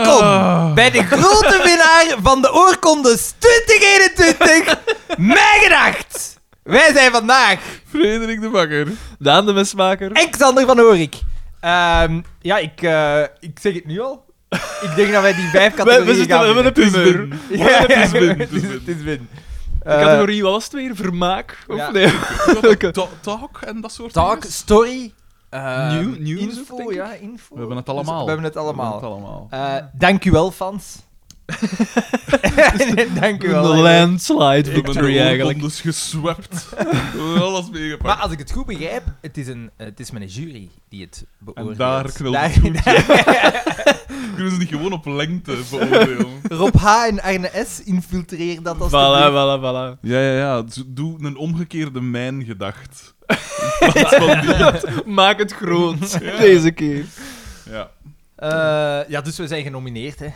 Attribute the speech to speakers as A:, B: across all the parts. A: Ah.
B: bij de grote winnaar van de oorkondes 2021, Mijn Gedacht. Wij zijn vandaag
C: Frederik de Bakker.
A: Daan de mesmaker.
B: en Xander van Horik. Ehm, ja, ik, eh, ik zeg het nu al. Ik denk dat wij die vijf
A: We,
B: categorieën
A: we zitten
B: gaan
A: we hebben een
B: winnen.
A: primeur.
C: win.
B: Ja, ja,
A: Het is win, het
B: het
A: is
B: is-
A: win.
B: het is win. Eh,
A: De categorie, wat was het weer? Vermaak? Of
B: ja.
A: nee? Welke?
C: Ta- Talk en dat soort
B: Talk,
C: dingen.
B: story, eh,
A: Nieuw- nieuws ook,
B: info,
A: denk ik.
B: ja, info.
C: We hebben het
B: Dus
C: allemaal.
B: We hebben het allemaal.
C: We hebben het allemaal.
B: Eh, dank u wel, fans. Nee, dank u wel.
A: Een landslide
C: Ik ben
A: victory eigenlijk.
C: dus geswept. We hebben alles meegepakt.
B: Maar als ik het goed begrijp, het is, een, het is mijn jury die het beoordeelt.
C: En daar knelt het
B: Daar-
C: Kunnen ze niet gewoon op lengte beoordelen?
B: Rob H. en Arne S. infiltreer dat als
A: Voilà, voilà, voilà.
C: Ja, ja, ja. Dus Doe een omgekeerde mijn gedacht. In plaats van die.
A: Maak het groot. Deze keer.
C: Ja.
B: ja, dus we zijn genomineerd, hè.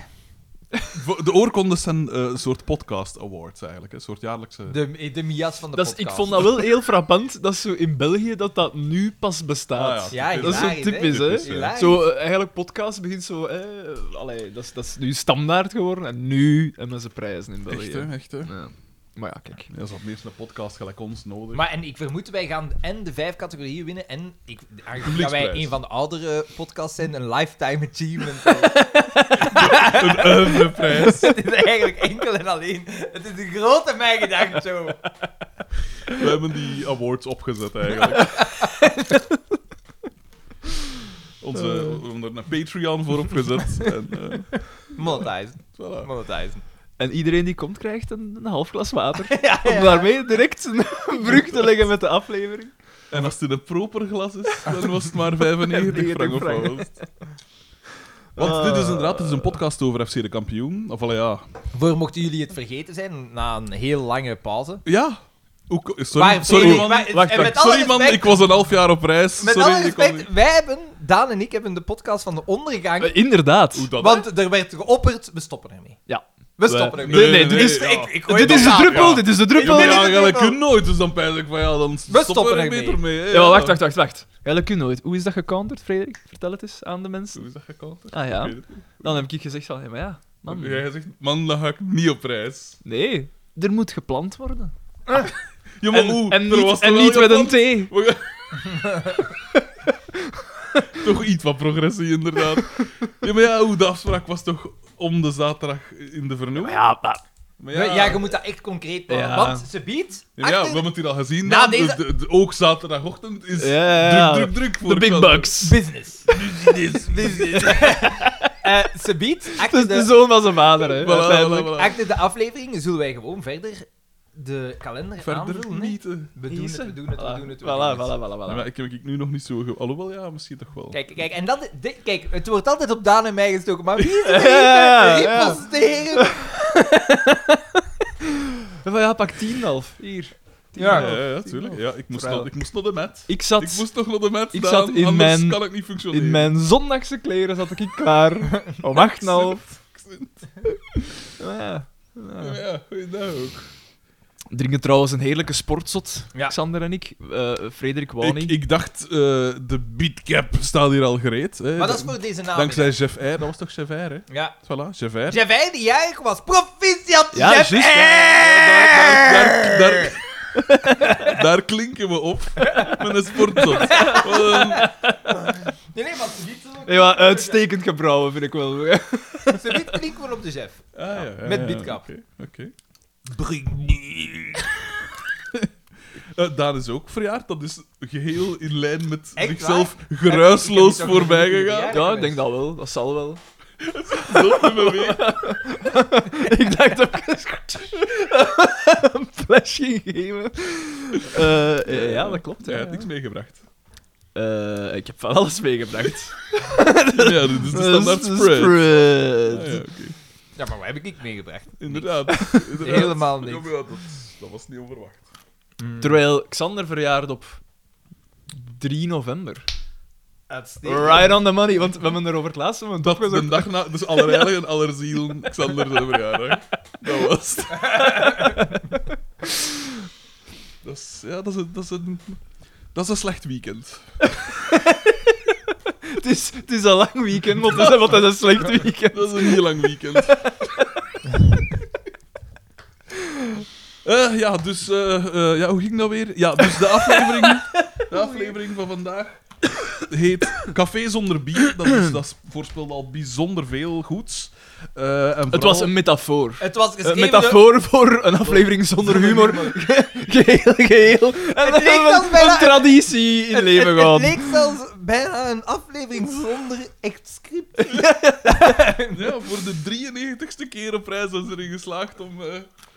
C: Voor- De oorkondes zijn eh, een soort podcast awards eigenlijk. Een soort jaarlijkse...
B: De, de Mias van de
A: Dat is, ik
B: podcast.
A: vond dat wel heel frappant dat zo in België dat dat nu pas bestaat.
C: Ah,
B: Ja,
A: Dat is zo
B: hilarisch, hè.
A: typisch, hè?
B: Hilarisch.
A: Zo, eh, eigenlijk podcast begint zo... eh, allee, dat, is, dat is nu standaard geworden en nu hebben ze prijzen in België.
C: Echt, hè? Echt, hè?
A: Ja. Maar ja, kijk.
C: Ja, ze had meestal een podcast gelijk ons nodig.
B: Maar en ik vermoed, wij gaan en de vijf categorieën winnen en ik, aangezien dat wij
C: Publieksprijs.
B: een van de oudere podcasts zijn, een lifetime achievement. eh,
C: Een oeuvreprijs.
B: het is eigenlijk enkel en alleen. Het is de grote mijn gedacht zo.
C: We hebben die awards opgezet eigenlijk. Onze, we hebben er een Patreon voor opgezet. En, eh,
B: Monetizen.
C: voilà.
B: Monetizen.
A: En iedereen die komt krijgt een, een half glas water.
B: Ja,
A: Om daarmee direct een brug te leggen met de aflevering.
C: En als het in een proper glas is, dan was het maar 95 frank of wat was het? Want dit is inderdaad dit is een podcast over FC de kampioen. Of allee, ja.
B: Voor mochten jullie het vergeten zijn, na een heel lange pauze.
C: Ja. Hoe ko-
B: Waar-
C: sorry, sorry,
B: Frederik,
C: man.
B: waar- en met
C: Wacht, wacht.
B: alle
C: sorry man,
B: respect-
C: ik was een half jaar op reis.
B: Met
C: sorry,
B: alle
C: ik kon
B: respect, wij hebben, Daan en ik hebben de podcast van de ondergang.
A: Eh, inderdaad.
C: niet- Hoe dat?
B: want er werd geopperd, we stoppen ermee.
A: Ja.
B: We
C: Wij-
B: stoppen ermee. Dus
A: Nee, nee, dit is-
C: ja.
B: ik- ik gooi
A: Dit
B: het
A: is de
B: op tafel.
A: druppel,
C: ja.
A: dit is de
C: Ja,
A: druppel.
C: maar
B: dit
C: ja,
B: is
C: jij
B: het ook.
C: kunt nooit, dus dan pijs ik van ja, dan
B: stoppen
C: stoppen we
B: er
C: er
B: mee.
C: beter mee. hè,
A: Ja, maar wacht, wacht, wacht, wacht. Eigenlijk kun je nooit. Hoe is dat gecounterd, Frederik? Vertel het eens aan de mensen.
C: Hoe is dat gecounterd?
A: Ah
C: Ik
A: ja.
C: weet het niet.
A: Dan heb ik gezegd van, ja, maar ja, man.
C: Jij zegt, man, dan ga ik niet op reis.
A: Nee, er moet gepland worden.
C: Ja, maar
A: En,
C: hoe?
A: en
C: Er
A: niet,
C: was
A: en
C: toch
A: niet
C: wel
A: met een
C: gepland?
A: thee.
C: We gaan- toch iets wat progressie, inderdaad. Ja, maar ja, hoe de afspraak was toch om de zaterdag in de vernoeming?
A: Ja, maar...
C: Maar
B: Ja, ja, je moet dat echt concreet maken.
A: Ja.
B: Want ze biedt.
C: Ja, maar ja, we
B: achter-
C: hebben het hier al gezien.
B: Na
C: dan.
B: deze-
C: De- de- de- ook zaterdagochtend is
A: Ja, ja, ja.
C: druk, druk, druk. voor
A: De big
C: Xander.
A: bucks.
B: Business. Business. Business. Eh, ze biedt.
A: Dat
B: Achter
A: is de
B: de,
A: zoon van zijn vader, hè.
C: Voilà,
A: uiteindelijk.
C: voilà, voilà.
B: achter de aflevering zullen wij gewoon verder de kalender
C: Verder
B: aanvullen. hè.
C: niet. hè.
B: We doen het, we doen het, we doen het.
A: Voilà,
B: we doen het.
A: voilà, voilà,
C: Ja,
A: voilà.
C: maar ik heb ik nu nog niet zo... Ge... Alhoewel, ja, misschien toch wel.
B: Kijk, kijk, en dat, dit- kijk, het wordt altijd op Daan en mij gestoken, maar wie is
A: Ja,
B: het ja,
A: ja, ja.
B: reposteren?
A: Van, ja, pak 10,5. Hier.
C: Ja,
B: Ja.
C: ja, ja, tuurlijk. Ja, ik, moest
A: Vrijwel.
C: nog- ik moest naar de mat.
A: Ik zat...
C: Ik moest toch naar de mat,
A: ik
C: Daan,
A: zat in
C: anders
A: mijn-
C: kan ik niet functioneren.
A: In mijn zondagse kleren zat ik klaar. Om acht en half. Ja.
C: Ja,
A: Ja.
C: ja, goeiedag ook.
A: Drinken trouwens een heerlijke sportzot,
B: Ja.
A: Xander en ik. Eh, Frederik wou
C: Ik,
A: niet.
C: ik dacht, eh, de beatcap staat hier al gereed. Hè.
B: Maar dat is voor deze naam.
C: Dankzij Jeff R. Dat was toch Jeff R, hè?
B: Ja.
C: Voilà, Jeff R.
B: Javijn die jarig was. Proficiat,
A: Ja,
B: Jeff
A: juist,
B: R.
C: Daar, daar, daar, daar- daar klinken we op met een sportzot. Ehm, ah, Wat een-
B: Nee, nee, want ze biedt ze ook-
A: Nee, maar uitstekend gebrouwen vind ik wel.
B: ze biedt klinken we op de Jeff.
C: Ah, ja, ja,
B: Met
C: ja,
B: beatcap.
C: Oké. oké.
B: Brugnie.
C: Eh, Daan is ook verjaard. Dat is geheel in lijn met
B: Echt
C: zichzelf
B: Ik- ik
C: geruisloos
B: heb niet zo
C: voorbij
B: gezien,
C: gegaan.
A: Ja, ik denk dat wel. Dat zal wel.
C: Zo te bewegen.
A: ik dacht ook eens een flesje geven. Eh, eh, ja, dat klopt.
C: Jij
A: Ja,
C: hebt niks meegebracht.
A: Eh, ik heb van alles meegebracht.
C: Ja, dit is de standaard
A: Een
C: spread.
A: spread.
C: Ah, ja, oké.
B: Ja, maar wat heb ik meegebracht?
C: Inderdaad. inderdaad.
B: Helemaal
C: Ja,
B: niks.
C: maar ja, dat, dat was niet onverwacht.
A: Terwijl Xander verjaard op 3 november.
B: Uitstekend.
A: Right on the money, want we hebben erover het laatste moment
C: Dat was
A: opgezocht.
C: de dag na, dus allerheiligen en allerzielen, Xander zijn verjaardag. Dat was het. dat is, ja, dat is, een, dat, is een, dat is een slecht weekend.
A: Het is, het is een lang weekend, want het is, want het is een slecht weekend.
C: Dat is een heel lang weekend. Eh, ja, dus... eh, eh, ja, hoe ging dat weer? Ja, dus de aflevering, de aflevering van vandaag heet Café zonder bier. Dat, is, dat voorspelde al bijzonder veel goeds. Eh, en
A: Het
C: vooral-
A: was een metafoor.
B: Het was
A: Een
B: geschreven door...
A: metafoor voor een aflevering zonder humor. Geheel, geheel. En dat
B: leek
A: was
B: dan bijna-
A: een traditie in leven
B: het, het
A: gaan.
B: leek zelfs bijna een aflevering zonder echt script.
C: Ja, voor de 93ste keer op reis was erin geslaagd om eh,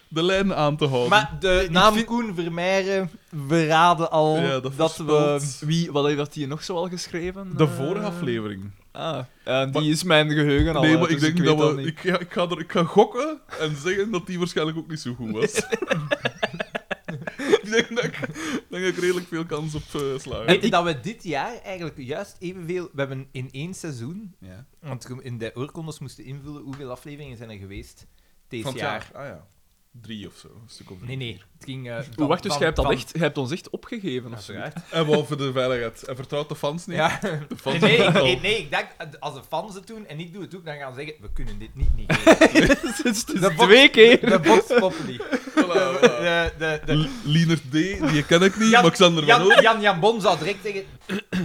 C: de lijn aan te houden.
B: Maar de naam
A: naam
B: Koen Vermeijeren verraden al
C: Ja, dat
B: dat, we...
C: voorspelt.
A: Ehm, Wie, wat heeft dat hier nog zoal geschreven?
C: de
A: Eh,
C: vorige aflevering.
A: Ah, ja, die
C: Maar-
A: is mijn geheugen al.
C: nee,
A: uit,
C: maar ik
A: dus
C: denk
A: weet
C: dat
A: al
C: we.
A: niet.
C: Ik, ga- ik, ga er, ik ga gokken en zeggen dat die waarschijnlijk ook niet zo goed was. ik denk dat ik, ik denk dat ik redelijk veel kans op eh slaag.
B: Weet je dat we dit jaar eigenlijk juist evenveel... We hebben in één seizoen...
C: Ja.
B: Want we in de oorkondes moesten invullen hoeveel afleveringen zijn er geweest deze
C: Van het
B: jaar.
C: jaar. Ah ja. Drie of zo. Een stuk of drie.
B: Nee, nee. Het ging... eh,
A: Oeh,
B: van-
A: wacht, dus
B: van-
A: jij hebt, dat
B: van-
A: echt, jij hebt ons echt opgegeven? Of zo?
B: Uiteraard.
C: En wel voor de veiligheid. En vertrouwt de fans niet.
B: Ja.
C: De fans
B: Nee, nee,
C: doen
B: ik,
C: het al.
B: nee, nee, ik denk, eh, als de fans het doen en ik doe het ook, dan gaan ze zeggen, we kunnen dit niet niet geven.
A: het is het is
B: Dat
A: twee keer.
B: De box poppen niet.
C: Voilà, voilà.
B: De, de, de,
C: L- Lienert D, die ken ik niet.
B: Jan-
C: Maxander van
B: Jan,
C: Ooyen.
B: Jan, Jan Bon zou direct zeggen,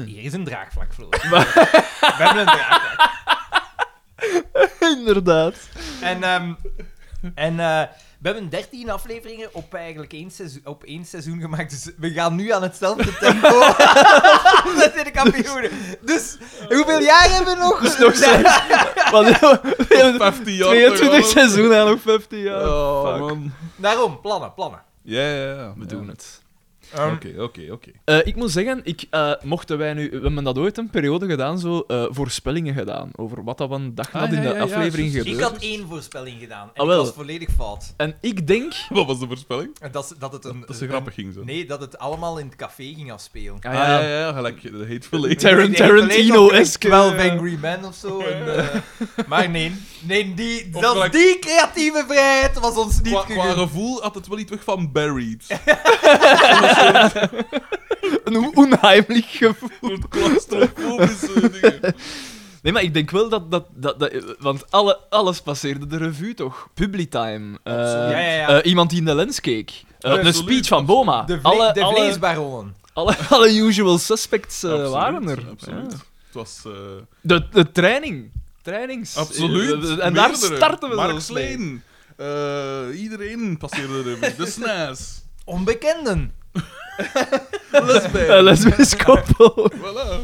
B: hier is een draagvlak, Floor. We hebben een draagvlak.
A: Inderdaad.
B: En, ehm, en eh, we hebben 13 afleveringen op eigenlijk één seizoen, op één seizoen gemaakt, dus we gaan nu aan hetzelfde tempo Dat in de kampioenen. Dus hoeveel jaar hebben we nog?
A: Dus nog zes. Wat- we hebben
C: 15 jaar.
A: 22
C: toch al?
A: seizoen en nog 15 jaar.
C: Oh,
A: Fuck.
C: man.
B: Daarom, plannen, plannen.
C: Ja, ja, ja.
A: We doen het.
B: Ehm,
C: Oké, oké, oké.
A: Eh, ik moet zeggen, ik, eh, mochten wij nu, we hebben dat ooit een periode gedaan, zo eh, voorspellingen gedaan over wat dat van dag
C: Ah,
A: had
C: ja,
A: in de
C: ja, ja,
A: aflevering
C: juist.
B: Ik
A: gebeurd.
B: had één voorspelling gedaan en
A: dus- Ah,
B: ik
A: wel.
B: was volledig fout.
A: En ik denk.
C: Wat was de voorspelling?
B: En Dat, ze- dat het een...
C: Dat ze
B: een-
C: grappig ging zo.
B: Eh, Nee, dat het allemaal in het café ging afspelen.
A: Ah,
C: Ah, ja,
A: ja,
C: ja, ja, gelijk de Hateful Eight.
A: Ter- Taran- Tarantino-esque,
B: Wel
A: eh.
B: Angry Man of zo. en, eh, maar nee, nee die,
C: Of
B: zelfs
C: gelijk-
B: die creatieve vrijheid was ons niet
C: Qua, qua
B: gegund.
C: gevoel had het wel iets weg van Buried.
A: eh, Een onheimlich gevoel.
C: Een claustrofobische dingen.
A: Nee, maar ik denk wel dat. dat, dat, dat want alle, alles passeerde de revue toch? Publitime. eh,
C: Absoluut.
B: Ja, ja, ja.
A: eh, iemand die in de lens keek. eh,
C: Absoluut,
A: een speech van Boma.
B: De, vle
A: alle,
B: de
A: alle,
B: vleesbaronnen.
A: alle, alle usual suspects eh,
C: Absoluut,
A: waren er.
C: Absoluut.
A: Ja.
C: Het was... eh
A: De, de training. Trainings.
C: absoluut.
A: Eh, En daar
C: meerdere.
A: starten we
C: Mark
A: zelfs mee.
C: Sleen. eh, iedereen passeerde de revue. De Snaas.
B: Onbekenden.
A: Een Eh,
C: Lesbijn.
A: lesbisch koppel.
C: Voilà.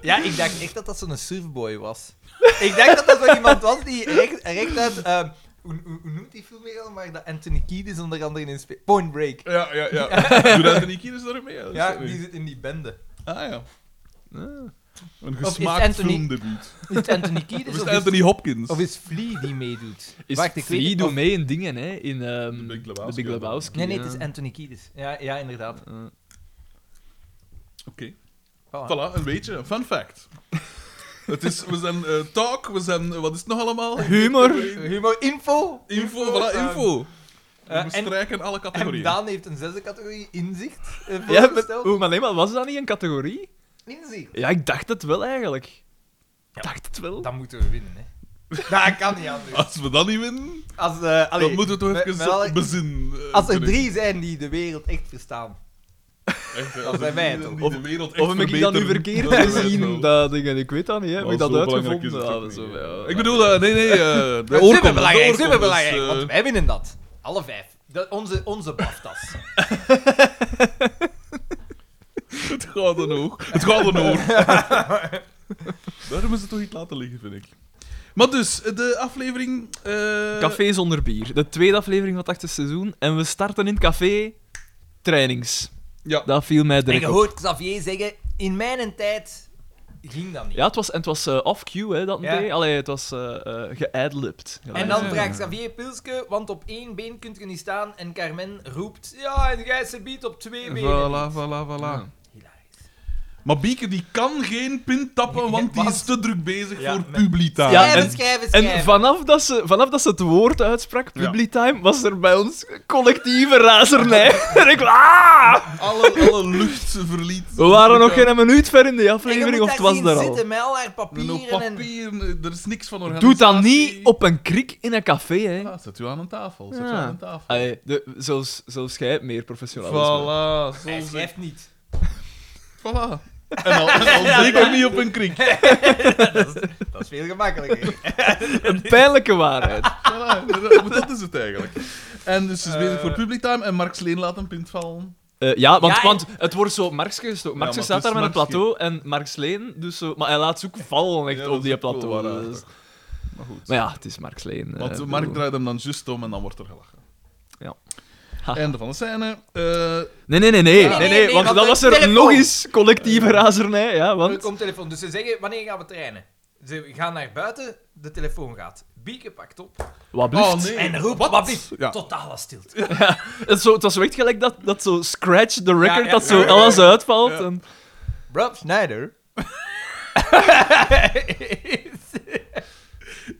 B: Ja, ik dacht echt dat dat zo'n surfboy was. ik dacht dat dat zo iemand was die recht, recht uit... eh, hoe, hoe, hoe noemt die film weer al? Maar dat Anthony Kiedis onder andere in spe- Point Break.
C: Ja, ja, ja. Doe dat niet kies daarmee. Ja, dat is
B: Ja,
C: er niet.
B: die zit in die bende.
C: Ah, ja.
A: Ah.
C: Een
B: is
C: gesmaakt
B: Anthony-
C: filmdebuut.
B: Is het Anthony Kiedis
C: Of is
B: of,
C: het
B: is-
C: Anthony Hopkins?
B: of is Flea die meedoet?
A: Is
B: Wacht, ik weet
A: Flea
B: het-
A: doet
B: of-
A: mee in dingen, hè? In ehm,
C: De Big Lebowski.
A: de Big Lebowski.
B: Nee, nee, het
A: ja.
B: is Anthony Kiedis. Ja, ja inderdaad.
A: Eh,
C: Oké.
B: Voilà.
C: Voilà, een beetje. Een fun fact. het is, we zijn eh, talk, we zijn... eh, wat is het nog allemaal?
A: Humor.
B: Humor, info.
C: Info, voilà,
B: ehm,
C: info.
B: eh,
C: we
B: en-
C: strijken alle
B: En
C: categorieën.
B: Daan heeft een zesde categorie, inzicht, eh,
A: Ja, maar,
B: voorgesteld.
A: oeh, maar nee, maar was dat niet een categorie?
B: Inzicht.
A: Ja, ik dacht het wel eigenlijk.
B: Ja.
A: Ik dacht het wel.
B: Dat moeten we winnen, hè. Nou, Dat kan niet anders.
C: Als we dat niet winnen,
B: Als, eh, allee,
C: dan moeten we toch
B: met-
C: even
B: met alle-
C: bezinnen. eh,
B: Als er
C: kunnen.
B: drie zijn die de wereld echt verstaan.
C: Echt, hè,
B: dat
C: als er
B: zijn wij
C: drie
B: toch?
C: die de wereld echt
A: of heb ik dat nu
C: verbeteren,
A: verkeerd
C: dan zijn wij het
A: gezien?
C: wel.
A: Dat dingen, ik weet dat niet, hè. Heb
C: Maar
A: ik dat
C: zo belangrijk
A: uitgevonden?
C: is het
A: Ja,
C: ook
A: zo,
C: niet, hè.
A: ja.
C: Ik bedoel, eh, nee, nee, eh, de oorkonde.
B: superbelangrijk,
C: de oorkonde is,
B: superbelangrijk.
C: eh,
B: Want wij winnen dat. Alle vijf. Dat, onze onze baftas.
C: Het gouden oog. Het gouden oog. Daarom is het toch iets laten liggen, vind ik. Maar dus, de aflevering... eh,
A: Café zonder bier. De tweede aflevering van het achtste seizoen. En we starten in het café... Trainings.
C: Ja.
A: Dat viel mij
B: en
A: direct
B: je
A: op.
B: hoort Xavier zeggen, in mijn tijd ging dat niet.
A: Ja, het was, en het was eh, off-cue, hè, dat
B: Ja.
A: deed. Allee, het was eh eh geadlibbed. Ja,
B: En
C: ja,
B: dan
C: ja.
B: vraagt Xavier Pilske, want op één been kunt je niet staan. En Carmen roept, ja, en jij ze biedt op twee benen.
C: Voilà, voilà, voilà.
A: Ja.
B: Hilarisch.
C: Maar Bieke die kan geen pint tappen, want die is
B: Want-
C: te druk bezig
B: Ja,
C: voor
B: met-
C: publita.
A: Ja,
B: schrijven,
C: en
B: schrijven, schrijven.
A: En vanaf dat, ze, vanaf dat ze het woord uitsprak,
C: Ja.
A: Publitime, was er bij ons collectieve razernij. en ik, ah!
C: alle, alle lucht verliet.
A: We waren nog geen minuut ver in de
B: En je
A: aflevering,
B: moet
A: of
B: daar
A: het was
B: zien
A: daar al.
B: zitten met al haar
C: Een hoop
B: papieren en...
C: papier, er is niks van organisatie.
A: Doe dat niet op een kriek in een café,
B: Oh.
A: hè.
C: Ja, zet u aan een tafel, zet u
A: Ja.
C: aan een tafel.
A: Allee, de, zelfs, zelfs jij hebt meer professionalisme.
C: Voilà, zo
B: Hij
C: zeg.
B: schrijft niet.
C: Voilà. En al, en al drie keer niet op een kriek.
B: Dat is veel gemakkelijker.
A: Een pijnlijke waarheid.
C: Voilà, inderdaad, maar dat is het eigenlijk. En dus ze is
B: Eh.
C: bezig voor public time en Mark Sleen laat een pint vallen.
A: Eh, ja, want,
B: Ja, en-
A: want het wordt zo Marxke gestoken. Marxke
C: maar
A: staat
C: het
A: daar
C: is
A: met een
C: Marxke.
A: plateau en Marx Leen, dus zo, maar hij laat ze ook vallen echt
C: Ja, dat
A: op
C: is
A: die
C: ook wel waar,
A: plateau. dus-
C: eigenlijk. Maar goed.
A: Maar ja, het is Marx Leen. eh,
C: Want
A: bedoel.
C: Mark draait hem dan juist om en dan wordt er gelachen.
A: Ja. Ha.
C: Einde van de scène. Eh,
A: Nee, nee, nee, nee,
B: Ja.
A: nee, nee, want, dan
B: er
A: was er
B: telefoon.
A: nog eens collectieve razernij, ja,
B: Er
A: want...
B: komt telefoon. Dus ze zeggen, wanneer gaan we trainen? Ze gaan naar buiten, de telefoon gaat. Bieke pakt op
A: Wat blieft.
C: oh nee.
B: en roept, wat blieft?
C: Ja.
B: Totale stilte.
A: Het, zo, het was zo echt gelijk dat, dat zo scratch the record,
B: Ja, ja,
A: dat zo
B: ja, ja.
A: alles uitvalt.
C: Ja.
A: En...
B: Rob Schneider.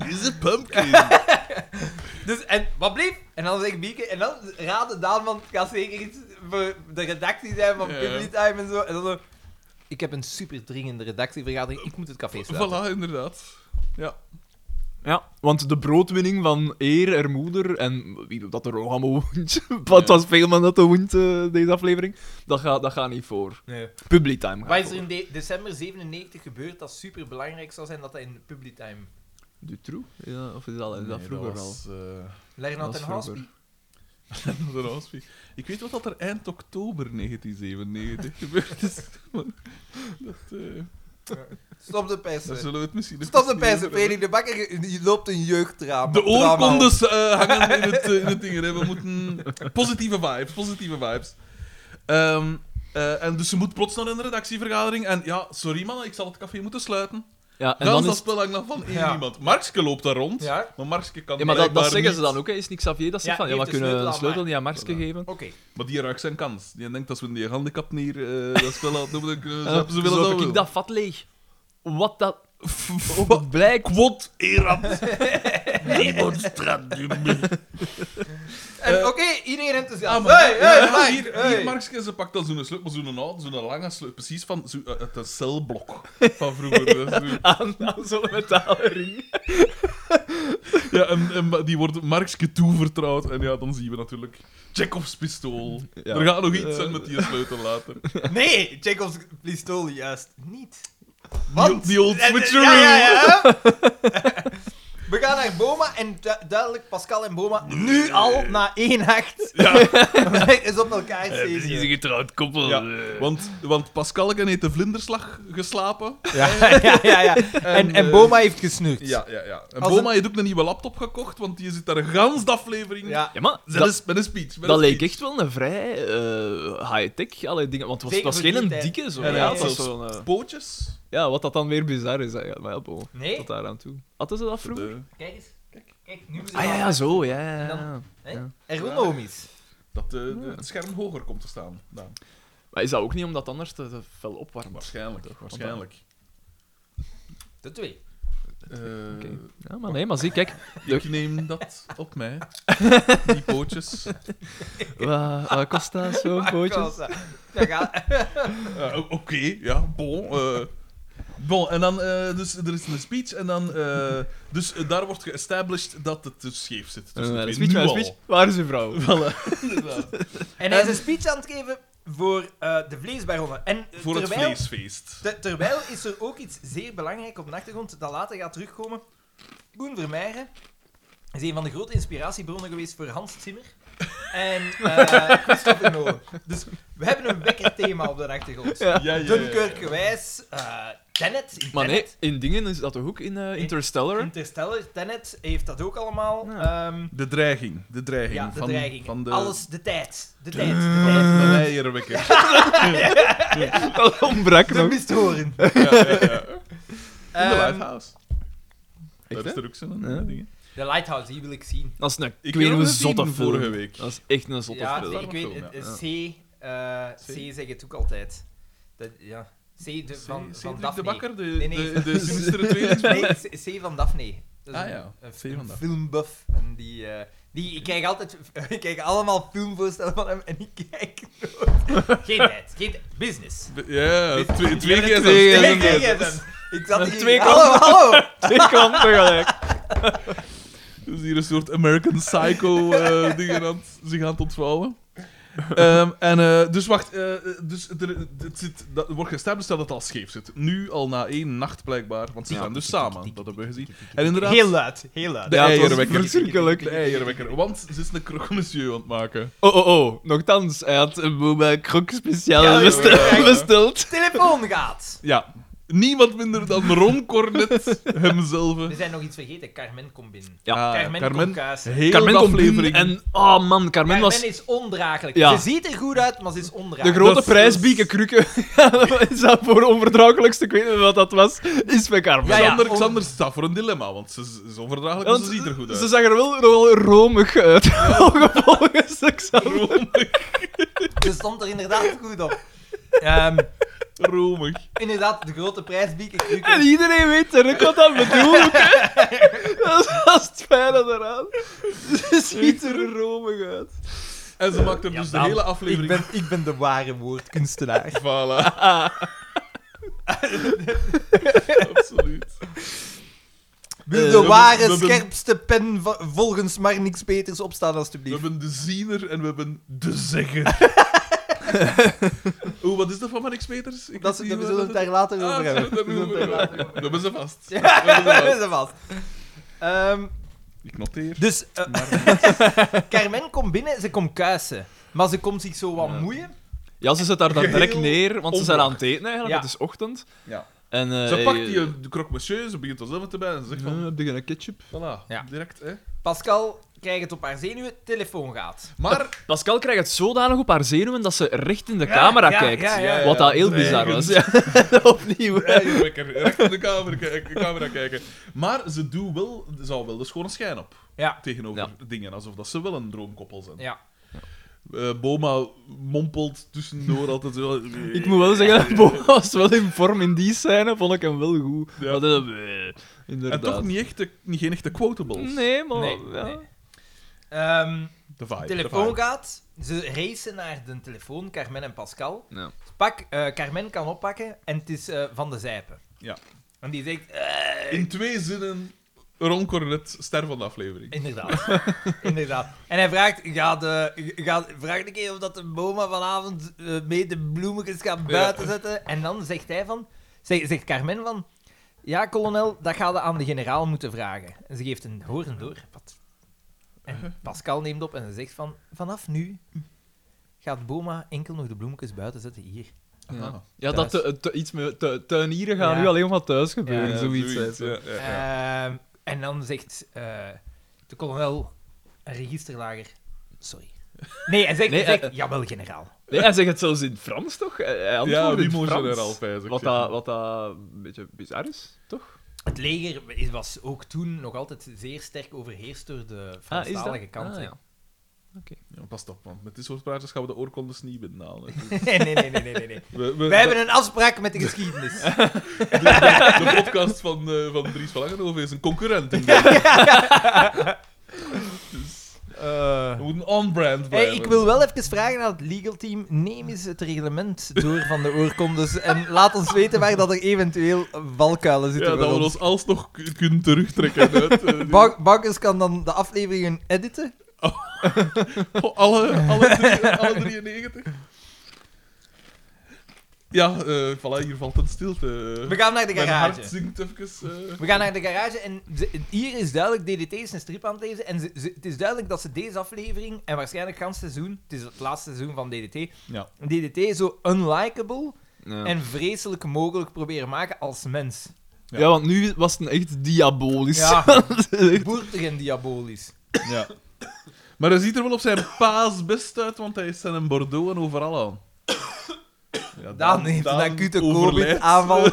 C: Is een pumpkin.
B: dus, en wat bleef? En dan zegt Bieke, en dan raadde Daan, want het kan zeker iets voor de redactie zijn van
C: Ja.
B: Public Time en zo. En dan zo, ik heb een super dringende redactievergadering, ik moet het café sluiten.
C: voilà, inderdaad. Ja.
A: Ja, want de broodwinning van eer en moeder en wie doet dat er nog allemaal woont? Want het was veel man dat de woont, eh, deze aflevering. Dat gaat dat gaat niet voor.
B: Nee.
A: Public time gaat
B: Wat is er
A: voor.
B: in de- december 97 gebeurd dat super belangrijk zou zijn dat dat in Public Time...
A: Dutroux? Ja, of is dat, is
C: Nee,
A: dat vroeger al?
C: was, eh,
B: Lernout
A: Dat
B: en
A: is
B: Haspie.
A: vroeger.
C: de Raspie. Ik weet wat dat er eind oktober 1997 gebeurd is. maar dat, eh,
B: Stop de
C: daar
B: pijzen.
C: zullen we het misschien even
B: Stop de
C: niet
B: pijzen,
C: over hebben.
B: Frederik de Bakker. je- Je loopt een jeugddrama.
C: De
B: Drama op.
C: oorkondes eh, hangen in het, eh, in het ding. hè. We moeten... Positieve vibes, positieve vibes. Ehm, eh, en dus ze moet plots naar een redactievergadering. En ja, sorry mannen, ik zal het café moeten sluiten.
A: Ja, en
C: Dan
A: dan
C: dat
A: is...
C: spel hangt nog van één
B: Ja.
C: iemand. Markske loopt daar rond.
B: Ja,
C: Maar Markske kan
A: Ja, maar dat, dat
C: blijkbaar
A: zeggen ze
C: niet.
A: dan ook, hè. Is niks Xavier dat zegt
B: Ja,
A: van, ja,
B: geef de
A: we kunnen
B: sleutel
A: een
B: aan
A: sleutel
B: Mark.
A: niet aan Marx
C: Voilà.
A: geven.
B: oké.
C: Maar die raakt zijn kans. Die denkt als we die handicap neer eh, dat spel laten doen, dan kunnen we
A: Ja,
C: zappen
A: Eh, zo
C: zoveel als
A: heb
C: dat
A: ik
C: wil.
A: Dus dat vat leeg. Wat dat ook blijkt.
C: Quod erat demonstrandum.
B: En
C: Eh,
B: Oké, iedereen enthousiast.
C: Ah, maar
B: hey, hey,
C: ja,
B: Mike,
C: hier,
B: hey.
C: hier Markske, ze pakt dan zo'n sleutel, maar zo'n oude, zo'n lange sleutel. Precies van zo, eh, het celblok van vroeger. Dat is zo-
A: aan, aan zo'n metalen ring.
C: ja, en, en die wordt Markske toevertrouwd. En ja, dan zien we natuurlijk Chekhovs pistool.
A: Ja.
C: Er gaat nog iets
A: Eh.
C: zijn met die sleutel later.
B: Nee, Jacob's pistool juist niet.
C: Die, die old
B: Eh, eh,
C: switcheroo.
B: Ja, ja, ja. We gaan naar Boma en du- duidelijk Pascal en Boma nu al na één acht is op elkaar stevig.
A: getrouwd eh. koppel.
C: Ja, want, want Pascalke heeft de vlinderslag geslapen.
B: Ja, ja, ja. ja. En, en
C: eh,
B: Boma heeft gesnukt.
C: Ja, ja, ja. En
B: Als
C: Boma
B: een-
C: heeft ook een nieuwe laptop gekocht, want die zit daar gans de aflevering.
B: Ja.
A: Ja, maar
C: Met
A: dat,
C: een s- met een speech. met
A: dat
C: een
A: leek
C: speech.
A: echt wel een vrij eh, high-tech alle dingen. Want het
B: Zeker
A: was, het was
B: voor
A: geen
B: die
A: een
B: tijd.
A: dikke zo.
C: En
A: Ja,
C: hij had
A: het was
C: zelfs
A: zo'n, eh,
C: pootjes.
A: ja, wat dat dan weer bizar is. hè. Ja, maar ja, bon,
B: Nee,
A: tot daar aan toe. Hadden ze dat vroeger?
C: De-
B: kijk eens. Kijk, nu
A: Ah ja, ja, zo, ja. ja, ja.
B: Dan-
A: Ja.
B: Hè? Ergonomisch.
C: Dat eh, de- het scherm hoger komt te staan. Daan.
A: Maar is dat ook niet omdat het anders te, te fel opwarmt?
C: Waarschijnlijk. Waarschijnlijk.
B: De twee.
C: Eh,
A: Oké. Ja, maar nee, maar zie, kijk.
C: Ik neem dat op mij. Die pootjes.
A: Wat wat kost dat, zo'n
B: Ah,
A: pootje?
B: Kassa. Dat gaat.
C: Eh, o- Oké, ja, bon. eh. bon, en dan, eh, dus er is een speech en dan, eh, dus eh, daar wordt geestablished dat het dus scheef zit.
A: Eh,
C: tussen de twee.
A: speech,
C: Nu
A: maar
C: al.
A: speech. Waar is uw vrouw?
C: Voilà, inderdaad.
B: En hij is een speech aan het geven voor eh, de vleesbaronnen. En eh,
C: Voor het
B: terwijl,
C: vleesfeest.
B: te- terwijl is er ook iets zeer belangrijk op de achtergrond dat later gaat terugkomen. Koen Vermeijren is een van de grote inspiratiebronnen geweest voor Hans Zimmer en eh Christopher Nolan. Dus we hebben een wekker thema op de achtergrond.
A: Ja.
C: Ja, ja, ja,
B: Dunkirk
C: ja.
B: gewijs, eh, Tenet, in
A: Maar nee,
B: Tenet, Hm?
A: in dingen is dat toch ook in eh, Interstellar?
B: Interstellar, Tenet heeft dat ook allemaal.
A: Ja.
B: Ehm,
C: De dreiging. De dreiging.
B: ja, de
C: van,
B: dreiging.
C: Van de,
B: Alles, de tijd. De tijd,
C: Van
B: de tijd.
C: de leierwekker. Ja,
A: dat ontbrak
B: De
A: nog.
B: mist horen.
C: ja, ja. In de
B: Ehm,
C: Lighthouse.
A: Echt,
C: Daar is
A: hè?
C: er ook zo'n
A: Ja.
C: ding.
B: De Lighthouse, die wil ik zien.
A: Dat is een
C: Ik
A: ik
C: heb
A: weet
C: hem
A: hoe
C: gezien
A: zotte film.
C: vorige week.
A: Dat is echt een zotte
B: ja,
A: film.
B: ik weet,
C: film,
B: het- het C, eh, C,
C: C.
B: zeg het ook altijd. Dat, ja. C, de, van,
C: C-
B: van
C: Cedric de
B: Daphne.
C: Bakker, de,
B: Nee, nee.
C: de, de sinistere tweelings.
B: Nee, C, C van Daphne. Dat is
C: Ah,
B: een-
C: ja.
B: Een,
C: C
B: een
C: van Daphne.
B: filmbuff. En die, eh, die, ik kijk altijd... Ik kijk allemaal filmvoorstellen van hem en ik kijk nooit. Geen tijd. Geen tijd. Business.
C: Ja, twee, twee
B: keer
C: gsm's.
B: Twee gsm's. Ik zat
A: Met
B: hier...
A: twee
B: hallo, hallo.
A: Ik kan tegelijk.
C: Dus hier een soort American Psycho eh dingen aan het- zich aan het ontvouwen. Ehm, en eh, dus wacht, eh, dus er, het zit, dat wordt gestemd dat het al scheef zit. Nu al na één nacht blijkbaar, want ze
A: Ja.
C: gaan dus samen, dat hebben we gezien. En inderdaad,
B: Heel luid. Heel luid.
C: de
A: Ja, het was
C: eierwekker.
A: verschrikkelijk.
C: De eierwekker, want ze is een croque monsieur aan het maken.
A: Oh, oh, oh. Nochtans, hij had een Boba Krok speciaal
B: Ja,
A: bestel-
C: ja, ja.
A: besteld.
B: Telefoon gaat.
C: Ja, niemand minder dan Ron Cornet hemzelf.
B: We zijn nog iets vergeten. Carmen komt binnen.
A: Ja.
C: Ah,
B: Carmen, komt kaas.
C: heel
A: Carmen
C: de
A: komt
C: aflevering.
A: binnen en... Oh man, Carmen
B: Carmen
A: was...
B: is ondraaglijk.
A: Ja.
B: Ze ziet er goed uit, maar ze is ondraaglijk.
A: De grote
C: dat is-
A: prijs Bieke Krukke is dat voor onverdraaglijkste, ik weet niet wat dat was, is bij Carmen.
B: Ja, ja.
C: Xander,
B: om-
C: Xander staat voor een dilemma, want ze ze is onverdraaglijk, maar
A: Want
C: ze ziet er goed uit.
A: Ze zag er wel nogal romig uit. Volgens Xander.
B: Ze stond er inderdaad goed op. Ehm,
C: Romig.
B: inderdaad, de grote prijs Bieke Kruken.
A: En iedereen weet terug wat dat bedoelt. hè. dat is dat is het fijne eraan. Ze ziet er romig uit.
C: En ze maakt er
B: Ja,
C: dus de
B: dan.
C: hele
B: ik,
C: aflevering
B: ben, ik ben de ware
A: Eh,
B: woordkunstenaar.
C: Voilà. Absoluut.
B: Wil
A: we
B: de ware,
C: hebben- we hebben-
B: scherpste pen va- volgens maar niks beters opstaan,
C: We
B: alstublieft.
C: hebben de ziener en we hebben de zegger. Oeh, wat is dat van Mark Peters? Ik
B: Dat,
C: weet
B: we
C: niet
B: zullen
C: wat
B: we het daar later
C: Ah,
B: over
C: dat
B: hebben.
C: hebben we
B: We zullen het daar later
C: over. Dat hebben ze vast.
B: Ja.
C: Dat hebben ze
B: Dat is
C: vast.
B: een vast. Ehm,
C: Ik noteer.
B: dus, eh, Carmen komt binnen, ze komt kuisen. Maar ze komt zich zo wat
A: Ja.
B: moeien.
A: Ja, ze zit daar dan
C: Geheel
A: direct neer, want ze zijn aan het eten eigenlijk.
B: Ja.
A: Het is ochtend.
C: Ja.
A: En, eh,
C: Ze pakt
A: eh,
C: die eh, de croque monsieur, ze begint er zelf te bij en ze zegt
A: eh,
C: van,
A: heb je een ketchup?
C: voilà,
B: Ja.
C: direct, hè.
B: Pascal krijgt het op haar zenuwen, telefoon gaat.
C: Maar,
A: Pascal krijgt het zodanig op haar zenuwen dat ze recht in de camera
B: ja,
A: kijkt.
B: ja, ja,
C: ja.
A: Wat dat heel
C: Nee,
A: bizar
C: goed.
A: was. Ja, opnieuw.
C: eierwekker, recht in de camera, kijken- camera kijken. Maar ze doet wel, ze houdt wel de schone schijn op.
B: Ja.
C: Tegenover dingen, alsof dat ze wel een droomkoppel zijn.
B: Ja.
C: Eh, Boma mompelt tussendoor altijd Eh, wel.
A: Ik moet wel zeggen, Bo was wel in vorm in die scène, vond ik hem wel goed.
C: Ja.
A: Maar dat- eh,
C: En
A: inderdaad.
C: toch niet echt de, niet, geen echte quotables.
A: Nee, maar...
B: Nee,
A: ja.
B: nee. Ehm,
C: De vibe.
B: telefoon
C: de
B: gaat. Ze racen naar de telefoon, Carmen en Pascal.
A: Ja.
B: Pak, eh, Carmen kan oppakken en het is eh, van de zijpen.
C: Ja.
B: En die zegt... eh,
C: vibe. In twee zinnen, Ron Cornet, ster van de aflevering.
B: Inderdaad. Inderdaad. En hij vraagt, gaat, eh gaat, vraagt een keer of dat de boma vanavond eh, mee de bloemetjes gaat buiten zetten. En dan zegt hij van, zeg- zegt Carmen van, ja, kolonel, dat gaan we aan de generaal moeten vragen. En ze geeft een horen door. Wat? En Pascal neemt op en ze zegt van, vanaf nu gaat boma enkel nog de bloemetjes buiten zetten hier.
C: Aha.
A: Ja, dat
B: Thuis.
A: tu- tu- iets met tu- tuinieren gaat
B: Ja.
A: nu alleen maar thuis gebeuren,
B: Ja,
A: zoiets. zei ze.
C: ja, ja, ja.
B: Ehm, en dan zegt eh, de kolonel, een registerlager, sorry. Nee, hij zegt,
A: Nee,
B: hij zegt
A: eh, eh.
B: jawel, generaal.
A: Nee, hij zegt het zelfs in Frans, toch? Hij- Hij
C: Ja,
A: antwoordt
C: wie
A: in
C: moest
A: Frans.
C: er al vijzig
A: Wat
C: zijn?
A: dat, wat dat een beetje bizar is, toch?
B: Het leger is- was ook toen nog altijd zeer sterk overheerst door
C: Ah,
B: de Franstalige kant.
A: Ah,
B: hè.
A: ja.
C: Ja, Pas op, man. Met dit soort praatjes gaan we de oorkondes niet binnenhalen.
B: nee, nee, nee, nee, nee, nee, nee.
C: We, we-
B: Wij hebben een afspraak met de geschiedenis.
C: de, de- de podcast van, eh, van Dries van Langenhoven is een concurrent. in dit. We moeten on-brand
B: Hey,
C: blijven.
B: ik wil wel even vragen aan het legal team. Neem eens het reglement door van de oorkondes en laat ons weten waar dat er eventueel valkuilen zitten.
C: ja, dat
B: voor
C: we
B: ons.
C: ons alsnog k- kunnen terugtrekken. Uit, eh, die-
B: Bak- Bakkers kan dan de afleveringen editen.
C: Oh, alle, alle, drie- alle 93. Ja, eh voilà, hier valt een stilte.
B: We gaan naar de
C: Mijn
B: garage.
C: hart zingt even. eh.
B: We gaan naar de garage en ze- hier is duidelijk DDT is een strip aan het lezen. En ze- ze- het is duidelijk dat ze deze aflevering en waarschijnlijk het seizoen, het is het laatste seizoen van DDT,
C: Ja.
B: DDT zo unlikable
A: Ja.
B: en vreselijk mogelijk proberen maken als mens.
C: Ja.
A: Ja, want nu was het echt diabolisch.
B: Ja, boertig en diabolisch.
C: ja. Maar hij ziet er wel op zijn paas best uit, want hij is zijn in Bordeaux en overal aan. Ja,
B: Daan heeft een acute
C: overlijdt.
B: COVID-aanval.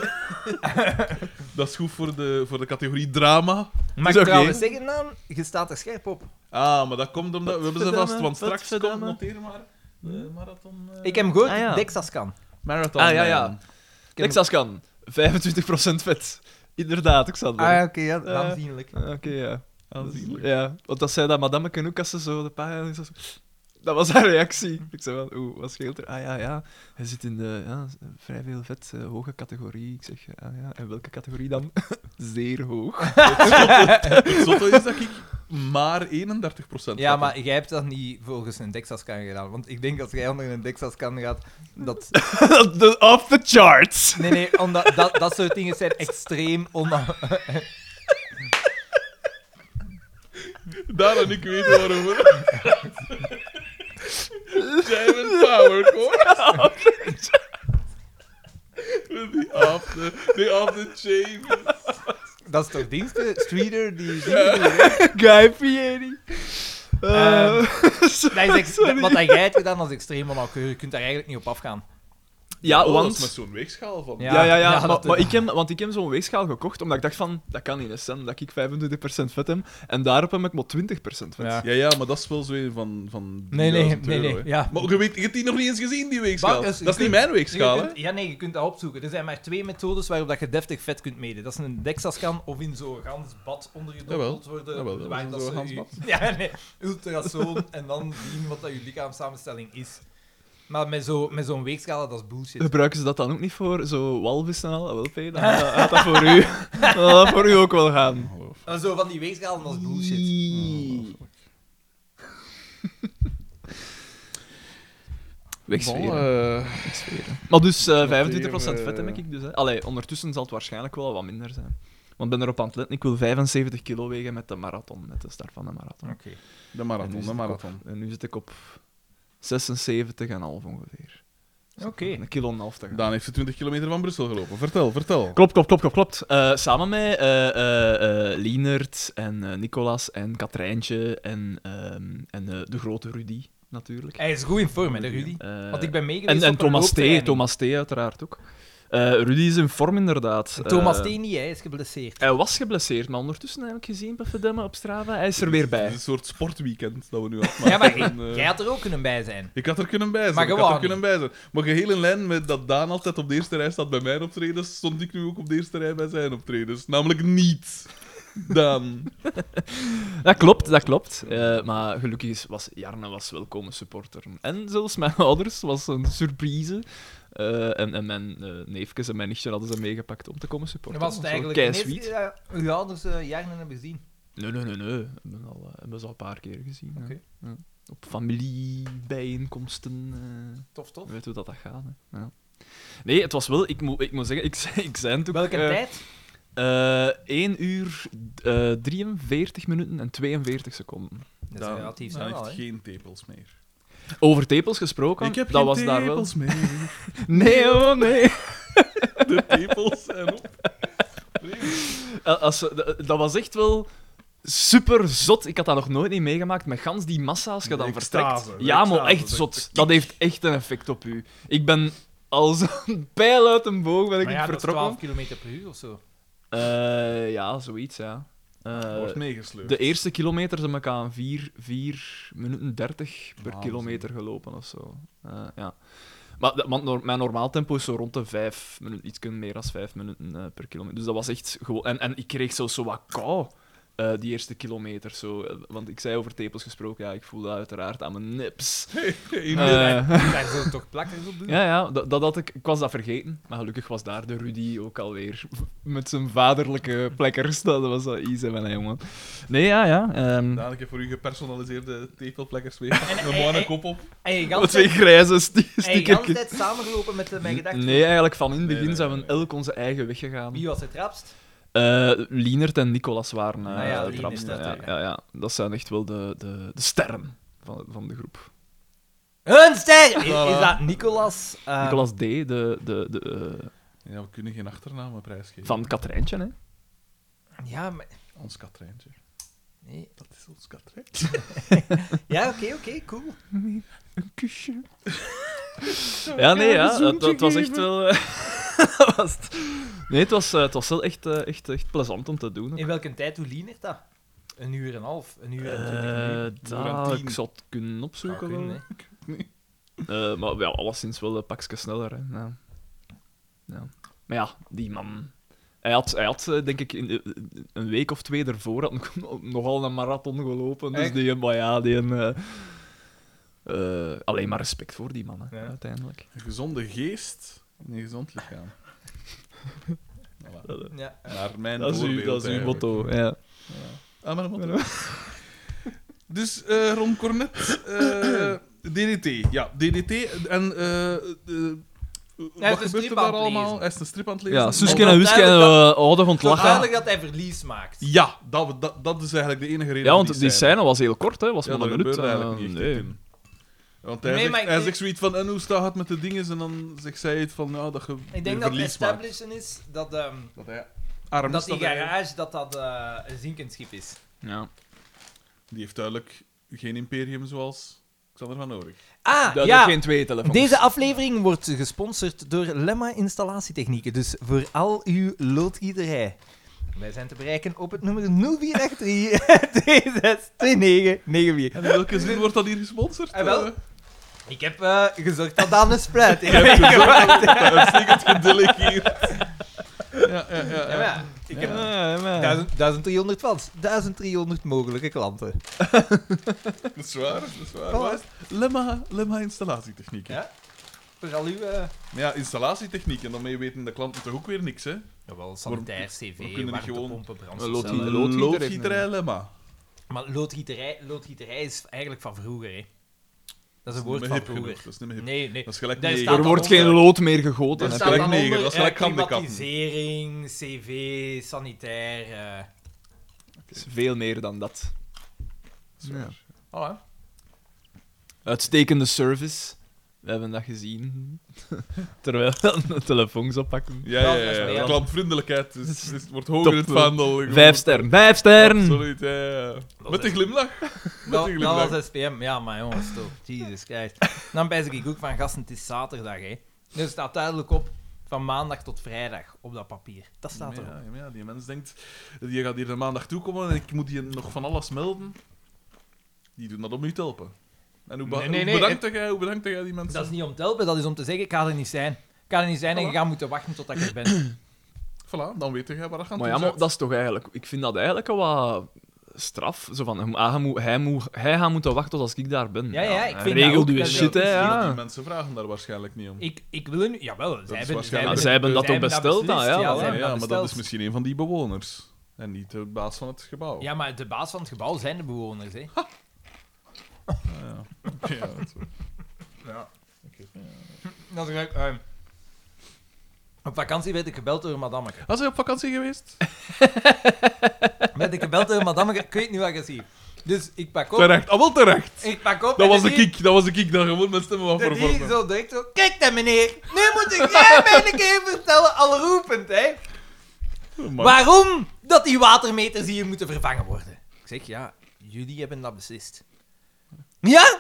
C: Dat is goed voor de, voor de categorie drama.
B: Mag
A: Is
B: ik
A: oké.
B: trouwens zeggen, Daan? Je staat er scherp op.
C: Ah, maar dat komt omdat... We hebben ze vast, want straks komt...
A: Potverdamme.
C: Noteer maar. eh, marathon... eh,
B: Ik heb hem gehoord,
A: Ah, ja.
B: Dexas kan.
C: Marathon eh,
A: Ah, ja,
C: Man.
A: ja.
B: heb-
A: Texas kan. 25% vet. Inderdaad, Xander.
B: Ah, oké, ja,
A: Eh.
B: aanzienlijk.
A: Ah, Oké, ja.
C: Aanzienlijk.
A: Ja, want dat zei dat madame ook als ze zo de pagina... zo- Dat was haar reactie. Ik zei van, oeh, wat scheelt er? Ah ja, ja, hij zit in de ja, vrij veel vet, eh, hoge categorie. Ik zeg, ah ja, en welke categorie dan? Zeer hoog.
C: Het zotte is dat ik maar 31 procent
B: Ja, maar jij hebt dat niet volgens een Dexascan gedaan. Want ik denk als jij onder een Dexascan gaat, dat...
A: de, off the charts!
B: Nee, nee, omdat dat, dat soort dingen zijn extreem ona...
C: Daar en ik weten waarover. Jij bent powered, hoor. Die af de, die af de chain.
B: Dat is toch diensten? Streeter, die... die-
A: Guy Fieri.
B: Ehm,
A: Eh,
B: Dat is ex- Wat dat jij hebt gedaan, dat is extreem onnauwkeurig. Je kunt daar eigenlijk niet op afgaan.
A: ja,
C: Oh, dat is
A: want...
C: met zo'n weegschaal van.
B: Ja.
A: Ja, ja, ja.
B: ja,
A: maar,
B: dat-
A: maar ik heb, want ik heb zo'n weegschaal gekocht, omdat ik dacht van, dat kan niet, hè, Sam, dat ik 25% vet heb. En daarop heb ik maar 20% vet.
B: Ja.
C: Ja, ja, maar dat is wel zo een van, van
B: Nee, nee,
C: 10.000
B: nee, nee,
C: euro, hè.
B: ja.
C: Maar je, weet, je hebt die nog niet eens gezien, die weegschaal.
B: Bakkes, je
C: dat is niet
B: kunt-
C: mijn weegschaal,
B: Je
C: hè.
B: kunt- ja, nee, je kunt dat opzoeken. Er zijn maar twee methodes waarop dat je deftig vet kunt meten. Dat is een Dexascan of in zo'n gans bad ondergedompeld
C: Jawel,
B: worden.
C: jawel, dat
B: waar
C: was
B: dat
C: zo'n
B: ze
C: gans
B: u-
C: bad.
B: Ja, nee, ultrasoon en dan zien wat dat je lichaamssamenstelling is. Maar met zo'n met zo'n weegschaal, dat is bullshit.
A: Gebruiken ze dat dan ook niet voor zo walvis en al? Ah, Wel, P, dan had had dat voor u, dan had dat voor u ook wel gaan. Oh,
B: Maar Eh, Zo van die weegschalen, dat is bullshit.
A: Wegsferen.
C: Bon, eh,
A: maar dus eh, 25%
C: eh,
A: vet heb ik dus. Hè. Allee, ondertussen zal het waarschijnlijk wel wat minder zijn. Want ik ben erop aan het letten. Ik wil 75 kilo wegen met de marathon, met de start van de marathon.
B: Oké.
C: de
A: En
C: marathon,
A: nu
C: de
A: zit ik
C: marathon.
A: op- en nu zit ik op 76,5 ongeveer.
B: Oké.
A: Een kilo en een half te gaan.
C: Daan heeft ze 20 kilometer van Brussel gelopen. Vertel, vertel.
A: Klopt, klopt, klopt, klopt. klopt. Eh, samen met eh eh, eh, Lienert en eh, Nicolas en Katrijntje en, ehm, en eh, de grote Rudy, natuurlijk.
B: Hij is goed in vorm, hè, de Rudy.
A: Eh,
B: Want ik ben meegeweest
A: en, en
B: op een
A: Thomas T.
B: looptraining.
A: Thomas T. uiteraard ook. Eh, Rudy is in vorm, inderdaad.
B: Thomas
A: Eh,
B: T. niet, hè, hij is geblesseerd.
A: Hij was geblesseerd, maar ondertussen heb ik gezien, Puffedemme, op Strava. Hij is er weer
C: Het is
A: bij.
C: een soort sportweekend dat we nu
B: Ja, maar
C: afmaken. En,
B: jij-
C: eh,
B: jij had er ook kunnen bij zijn.
C: Ik had er kunnen bij zijn.
B: Maar
C: ik had
B: gewoon
C: er kunnen bij zijn. Maar geheel in lijn met dat Daan altijd op de eerste rij staat bij mijn optredens, stond ik nu ook op de eerste rij bij zijn optredens. Namelijk niet. Daan.
A: Dat klopt, dat klopt. Eh, maar gelukkig is, was Jarne was welkome supporter. En zelfs mijn ouders was een surprise. Eh, en, en mijn eh, neefjes en mijn nichtje hadden ze meegepakt om te komen supporten.
B: was het
A: Zo
B: eigenlijk
A: keisweet.
B: ineens, ja, uw ouders eh, jaren hebben gezien.
A: Nee, nee, nee, nee. Hebben, al, eh, hebben ze al een paar keer gezien. ja.
B: Oké.
A: Ja. Op familiebijeenkomsten. eh,
B: Tof, tof.
A: weet hoe dat, dat gaat. Hè. Ja. Nee, het was wel, ik moet ik moet zeggen, ik, zei- ik eh, zei toen.
B: Welke tijd?
A: tijd? 1 eh, uur eh 43 minuten en 42 seconden.
B: Dat is
C: Daan,
B: relatief
C: Daan
B: snel al,
C: heeft
B: hè.
C: geen tepels meer.
A: Over tepels gesproken,
C: ik heb
A: dat
C: geen
A: was daar wel.
C: tepels meer.
A: Nee, oh nee.
C: De tepels zijn op.
A: Eh, Als, ze- de- dat was echt wel super zot. Ik had dat nog nooit niet meegemaakt. Met gans die massa, als je
C: De
A: dan
C: extase,
A: vertrekt.
C: de
A: Ja, maar
C: extase,
A: echt
C: de- de
A: zot.
C: kick.
A: Dat heeft echt een effect op u. Ik ben als een pijl uit een boog ben ik
B: Maar ja, dat is
A: vertrokken.
B: 12 km per uur of zo.
A: Eh, ja, zoiets, ja. Eh,
C: Wordt meegesleurd.
A: de eerste kilometer zijn ik aan 4, 4 minuten 30 per
C: Wauw,
A: kilometer gelopen of zo. Eh, ja. Maar dat- want nor- mijn normaal tempo is zo rond de 5 minuten, iets meer dan 5 minuten eh, per kilometer. Dus dat was echt gewoon. En, en ik kreeg zelfs zo wat kou. eh, die eerste kilometer zo. Eh, Want ik zei over tepels gesproken, ja, ik voel dat uiteraard aan mijn nips.
C: Eén
A: Eh,
B: Daar zullen toch plakkers op doen?
A: ja, ja dat, dat had ik, ik was dat vergeten. Maar gelukkig was daar de Rudy ook alweer met zijn vaderlijke plekkers. Dat was wel easy van hè, jongen. Nee, ja, ja. ehm,
C: Daan, ik heb voor u gepersonaliseerde tepelplekkers weer. Een mooie
B: en-
C: kop op.
B: En je
A: Wat twee
B: gaat
A: grijze sti-
B: de
A: stickertjes.
B: tijd samengelopen met eh, mijn gedachten.
A: Nee, eigenlijk van in het
C: Nee,
A: begin
C: nee,
A: zijn
C: nee,
A: we
C: nee.
A: elk onze eigen weg gegaan.
B: Wie was het rapst?
A: Eh, Lienert en Nicolas waren eh,
B: Ah ja,
A: het
B: Lienert,
A: rapste.
B: dat,
A: Ja,
B: ja.
A: ja, ja. Dat zijn echt wel de, de, de sterren van, van de groep.
B: Een ster! Is,
C: Voilà.
B: is dat Nicolas? eh,
A: Nicolas D, de, de, de, eh,
C: Ja, we kunnen geen achternamen prijsgeven.
A: van Katrijntje. Hè.
B: Ja, maar...
C: Ons Katrijntje.
B: Nee.
C: Dat is ons Katrijntje.
B: Ja, oké, oké, cool.
A: Een kusje. ja, nee, ja. Het, het was echt wel... eh, dat was het. Nee, het was, eh, het was wel echt, eh, echt, echt plezant om te doen. ook.
B: In welke tijd doet Lienert dat? Een uur en een half, een uur en twintig Ah,
A: Eh,
B: minuten.
C: aan
A: dat
C: tien.
A: ik zou het kunnen opzoeken.
B: Zou kunnen,
A: wel.
B: hè.
A: Eh, maar ja, alleszins wel een pakje sneller. Hè. Ja. Ja. Maar ja, die man. Hij had, hij had eh, denk ik, in, eh, een week of twee daarvoor had nog- nogal een marathon gelopen. Dus
B: Echt?
A: die, maar ja, die. eh, eh, alleen maar respect voor die man, hè,
B: Ja.
A: uiteindelijk.
C: Een gezonde geest en een gezond lichaam. Voilà.
B: Ja. eh.
C: Naar mijn
A: dat is uw,
C: voorbeeld
A: dat is uw
C: eigenlijk.
A: motto. Ja.
C: Ah, maar een motto. Dus eh Ron Cornet, eh, DDT. Ja, DDT. En eh eh, wat
B: een
C: gebeurt
B: strip
C: er
B: aan
C: daar
B: het
C: allemaal?
B: lezen.
C: Hij is een strip aan het lezen.
A: ja, Suske
B: Al-
A: en Wiske en
B: duidelijk
A: eh, houden van het
B: Het
A: lachen.
B: dat hij verlies maakt.
C: Ja, dat, we- dat, dat is eigenlijk de enige reden.
A: Ja,
C: van
A: want die
C: scène.
A: scène was heel kort, hè. was
C: Ja,
A: maar
C: dat
A: een minuut.
C: gebeurt eigenlijk
A: eh,
C: niet echt
A: nee.
C: in. Want hij,
B: Nee,
C: zegt,
B: maar ik
C: hij
B: denk-
C: zegt zoiets van, en hoe staat het met de dingen? En dan zegt zij het van, nou, dat je
B: Ik denk
C: je
B: dat het
C: verlies maakt.
B: establishen is dat, ehm,
C: Dat hij arm
B: dat
C: is,
B: die
C: hij-
B: garage dat dat, eh, een zinkend schip is.
A: Ja.
C: Die heeft duidelijk geen imperium zoals Xander van Orig.
B: Ah,
A: Dat
B: ja.
A: geen twee telefoons.
B: Deze aflevering wordt gesponsord door Lemma Installatietechnieken. Dus voor al uw loodgieterij. Wij zijn te bereiken op het nummer 0483-262994.
C: En in welke zin wordt dat hier gesponsord?
B: Eh, wel.
C: Eh,
B: Ik heb eh, gezorgd dat aan een spruit. Ik heb
C: hebt
B: gezorgd.
C: Uitstekend gedelegeerd. Ja, ja, ja.
B: Ja, maar ja, ik heb
A: Ja, maar-
B: 1000 1300 fans, 1300 mogelijke klanten.
C: Dat is waar, dat is waar.
B: Oh.
C: Waar is het? Lemma, Lemma installatietechniek. Ja.
B: Ja? Voor al uw... eh,
C: ja, installatietechniek. En daarmee weten de klanten toch ook weer niks, hè?
B: Jawel, sanitair, cv,
C: we kunnen niet gewoon-
B: warmtepompen,
A: Loodgieter-
B: brandstofcellen.
A: loodgieter heeft
C: Loodgieterij Lemma.
B: Maar loodgieterij, loodgieterij is eigenlijk van vroeger, hè. Dat is een
C: Dat
B: woord
C: is niet
B: van
C: meer hip
B: vroeger.
C: genoeg, Dat is niet meer hip.
B: Nee, nee.
C: Dat is gelijk
B: Daar
C: neger.
B: staat
A: Er
B: dan
A: wordt
B: onder-
A: geen lood meer gegoten.
C: Dat
B: Er
A: hè.
C: is
B: staat dan
C: gelijk neger,
B: onder,
C: dat is
B: eh,
C: gelijk handicap.
B: Klimatisering, cv, sanitair... eh.
A: Het is veel meer dan dat.
C: Dat is waar.
B: Oh,
A: Uitstekende service. We hebben dat gezien. Terwijl we de telefoons oppakken.
C: Ja, ja,
B: Ja, dat is
C: ja.
B: waar,
C: ja.
B: ja.
C: Klantvriendelijkheid is, is, eh, wordt hoger in het
A: Top.
C: vaandel. Gewoon.
A: Vijf sterren. Vijf sterren!
C: Absoluut, ja, ja. Met de glimlach.
B: Dat,
C: een
B: dat
C: glimlach.
B: was SPM. Ja, maar jongens, toch. Jesus Christ. Dan ben ik ook van gasten, het is zaterdag, hè. Dus het staat duidelijk op van maandag tot vrijdag op dat papier. Dat staat erop.
C: Ja, ja, ja, die mens denkt, die gaat hier de maandag toekomen en ik moet hier nog van alles melden. Die doen dat om u te helpen. En hoe, be-
B: Nee, nee,
C: hoe
B: nee,
C: bedankt dat jij, hoe bedankt dat jij die mensen?
B: Dat is niet om te helpen, dat is om te zeggen, ik ga er niet zijn. Ik ga er niet zijn en je
C: Oh.
B: gaat moeten wachten tot ik er ben.
C: Voilà, dan weet jij waar dat gaat.
A: Maar ja, maar dat is toch eigenlijk... Ik vind dat eigenlijk een wat straf. Zo van, ah, hij, moet, hij, moet, hij gaat moeten wachten tot als ik daar ben.
B: Ja, ja, ik vind dat
A: regel
B: ook
A: je
B: wel
A: shit,
B: leuk.
A: hè.
B: Ja.
C: Die
A: Ja.
C: mensen vragen daar waarschijnlijk niet om.
B: Ik, ik wil nu... Jawel, zij
C: is
B: hebben, zij
C: waarschijnlijk-
A: Ja,
B: hebben,
A: zij hebben dat
B: zij
A: toch besteld dan,
B: beslist,
A: ja.
B: Ja,
A: voilà.
B: zij
C: ja,
B: hebben
C: maar dat is
B: besteld.
C: misschien een van die bewoners. En niet de baas van het gebouw.
B: Ja, maar de baas van het gebouw zijn de bewoners, hè.
C: Ah, ja. Oké, ja, dat is waar.
B: Dat is gelijk, ehm, op vakantie werd ik gebeld door een madammeke.
C: Was hij op vakantie geweest?
B: Werd ik gebeld door een madammeke, ik weet niet wat ik zie. Dus ik pak op,
C: Terecht, al wel terecht.
B: ik pak op
C: Dat
B: en
C: was de
B: die-
C: kick, dat was de kick dat gewoon met stemmen van
B: En die
C: vervormen.
B: zo direct zo, kijk dan meneer, nu moet ik jij mij een keer vertellen, al roepend, hè. Waarom dat die watermeters hier moeten vervangen worden? Ik zeg, ja, jullie hebben dat beslist. Ja?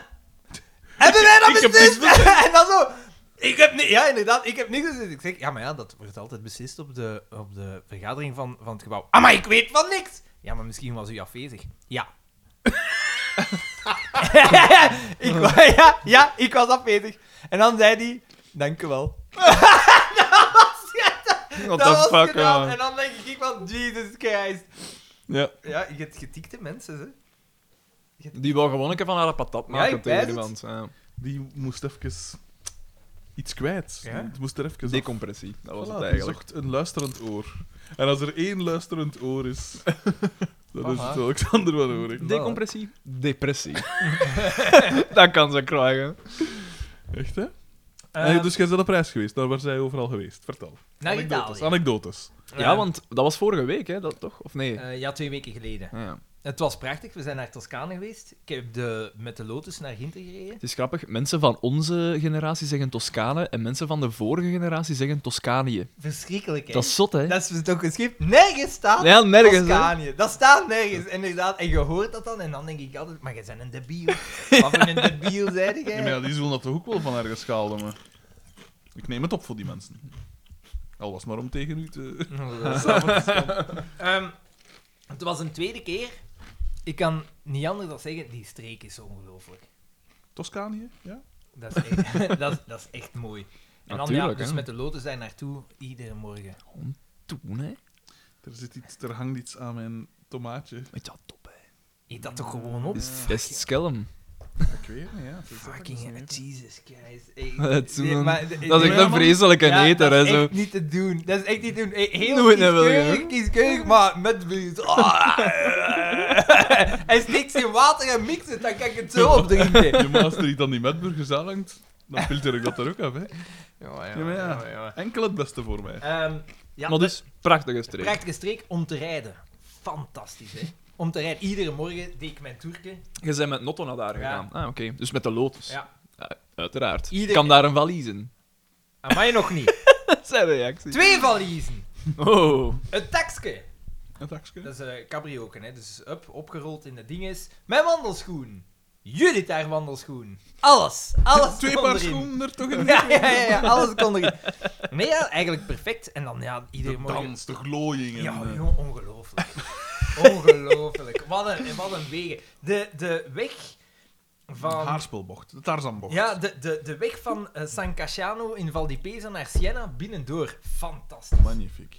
B: Hebben wij dat
C: Ik heb
B: beslist? en dan zo... Ik heb ni- ja, inderdaad, ik heb niks beslist. Ik zeg, ja, maar ja, dat wordt altijd beslist op de, op de vergadering van, van het gebouw. Ah, maar ik weet van niks! Ja, maar misschien was u afwezig. Ja. ik, wa- ja, ja, ik was afwezig. En dan zei hij, dank u wel.
C: What
B: dat was
C: the fuck,
B: gedaan.
C: man.
B: En dan denk ik van, Jesus Christ.
C: Ja.
B: Ja, je hebt getikte mensen, hè.
A: Die wou gewoon een keer van haar een patat maken
B: ik
A: tegen
B: wijs
A: iemand. Ja.
C: Die moest even iets kwijt.
B: Ja.
C: Het moest er even af.
A: Decompressie, dat was
C: Voilà,
A: het
C: die
A: eigenlijk.
C: zocht een luisterend oor. En als er één luisterend oor is, dan is
B: Aha.
C: het Alexander van Orig.
A: Decompressie? Depressie. dat kan ze krijgen.
C: Echt, hè? Nee, dus jij bent op reis geweest. Daar waar zij overal geweest. Vertel.
B: Ehm, Naar
C: anekdotes.
B: Italië.
C: Anekdotes.
A: Ja, want dat was vorige week, hè, dat toch? Of nee?
B: Eh, ja, twee weken geleden.
A: Ah, ja.
B: Het was prachtig. We zijn naar Toscane geweest. Ik heb de, met de Lotus naar Ginter gereden.
A: Het is grappig, mensen van onze generatie zeggen Toscane en mensen van de vorige generatie zeggen Toscanië.
B: Verschrikkelijk, hè?
A: Dat is zot, hè?
B: Dat is toch een schip? Nergens staat
A: Ja, nergens, hè?
B: Toscanië. Dat staat nergens, inderdaad. En je hoort dat dan en dan denk ik altijd... Maar jij bent een debiel. Wat voor een debiel zei
C: Ja, maar ja,
B: jij?
C: die zullen dat toch ook wel van ergens schaalden, maar... Ik neem het op voor die mensen. Al was het maar om tegen u te...
B: Oh, Ehm, het was een tweede keer. Ik kan niet anders dan zeggen, die streek is ongelooflijk.
C: Toscanië, ja?
B: Dat is, echt, dat, is, dat is echt mooi. En dan ja,
A: Natuurlijk,
B: dus
A: hè.
B: met de lotus daar naartoe iedere morgen.
A: Toen, hè.
C: Er, zit iets, er hangt iets aan mijn tomaatje.
A: Met ja, top, hè.
B: Eet dat toch gewoon op?
A: Is dat is skelm.
C: Ik weet het niet, ja. Het is dat ik
B: Fucking
C: het niet
B: Jesus Christ. Ey,
A: Dat is
B: nee,
A: een-
B: maar-
A: Dat is echt
B: Ja,
A: een vreselijke
B: ja, dat
A: eter, hè.
B: is
A: Zo.
B: echt niet te doen. Dat is echt niet te doen. Ey, Heel
A: Doe het nou wel,
B: kieskeurig,
A: joh.
B: kieskeurig, maar met bloed. Ah. Hij steekt zijn water en mixt het, dan kan ik het zo opdrinken.
C: weet. Ja, maar als er iets aan die metburgers aanhangt, dan filter ik dat er ook af, hè.
B: Ja,
C: Ja, maar ja. Enkel het beste voor mij.
B: Ehm, ja,
A: maar dus, prachtige streek.
B: prachtige streek om te rijden. Fantastisch, hè. Om te rijden. Iedere morgen deed ik mijn toerke.
A: Je bent met Notto naar
B: Ja.
A: daar gegaan. Ah, oké. Dus met de Lotus.
B: Ja.
A: Ja, uiteraard.
B: Ieder-
A: Kan daar een valies in?
B: Amai, nog niet.
A: Dat zijn reactie.
B: Twee valiezen.
A: Oh.
B: Een taxke.
C: Een taxje.
B: Dat is eh cabrioken, hè. Dus up, opgerold in de dinges. Mijn wandelschoen. Jullie daar wandelschoen. Alles. Alles
C: Twee
B: kon
C: paar
B: erin.
C: schoenen er toch in.
B: Ja, ja, ja, ja, alles kon erin. Nee, ja, eigenlijk perfect. En dan, ja, iedere
C: De
B: morgen...
C: dans, de glooiing. en,
B: Ja,
C: eh,
B: joh, ongelooflijk. ongelooflijk. Wat een, wat een wegen. De, de weg
C: Van...
B: van...
C: Haarspelbocht, de Tarzanbocht.
B: Ja, de, de, de weg van eh, San Casciano in Val di Pesa naar Siena binnendoor. Fantastisch.
C: Magnifiek.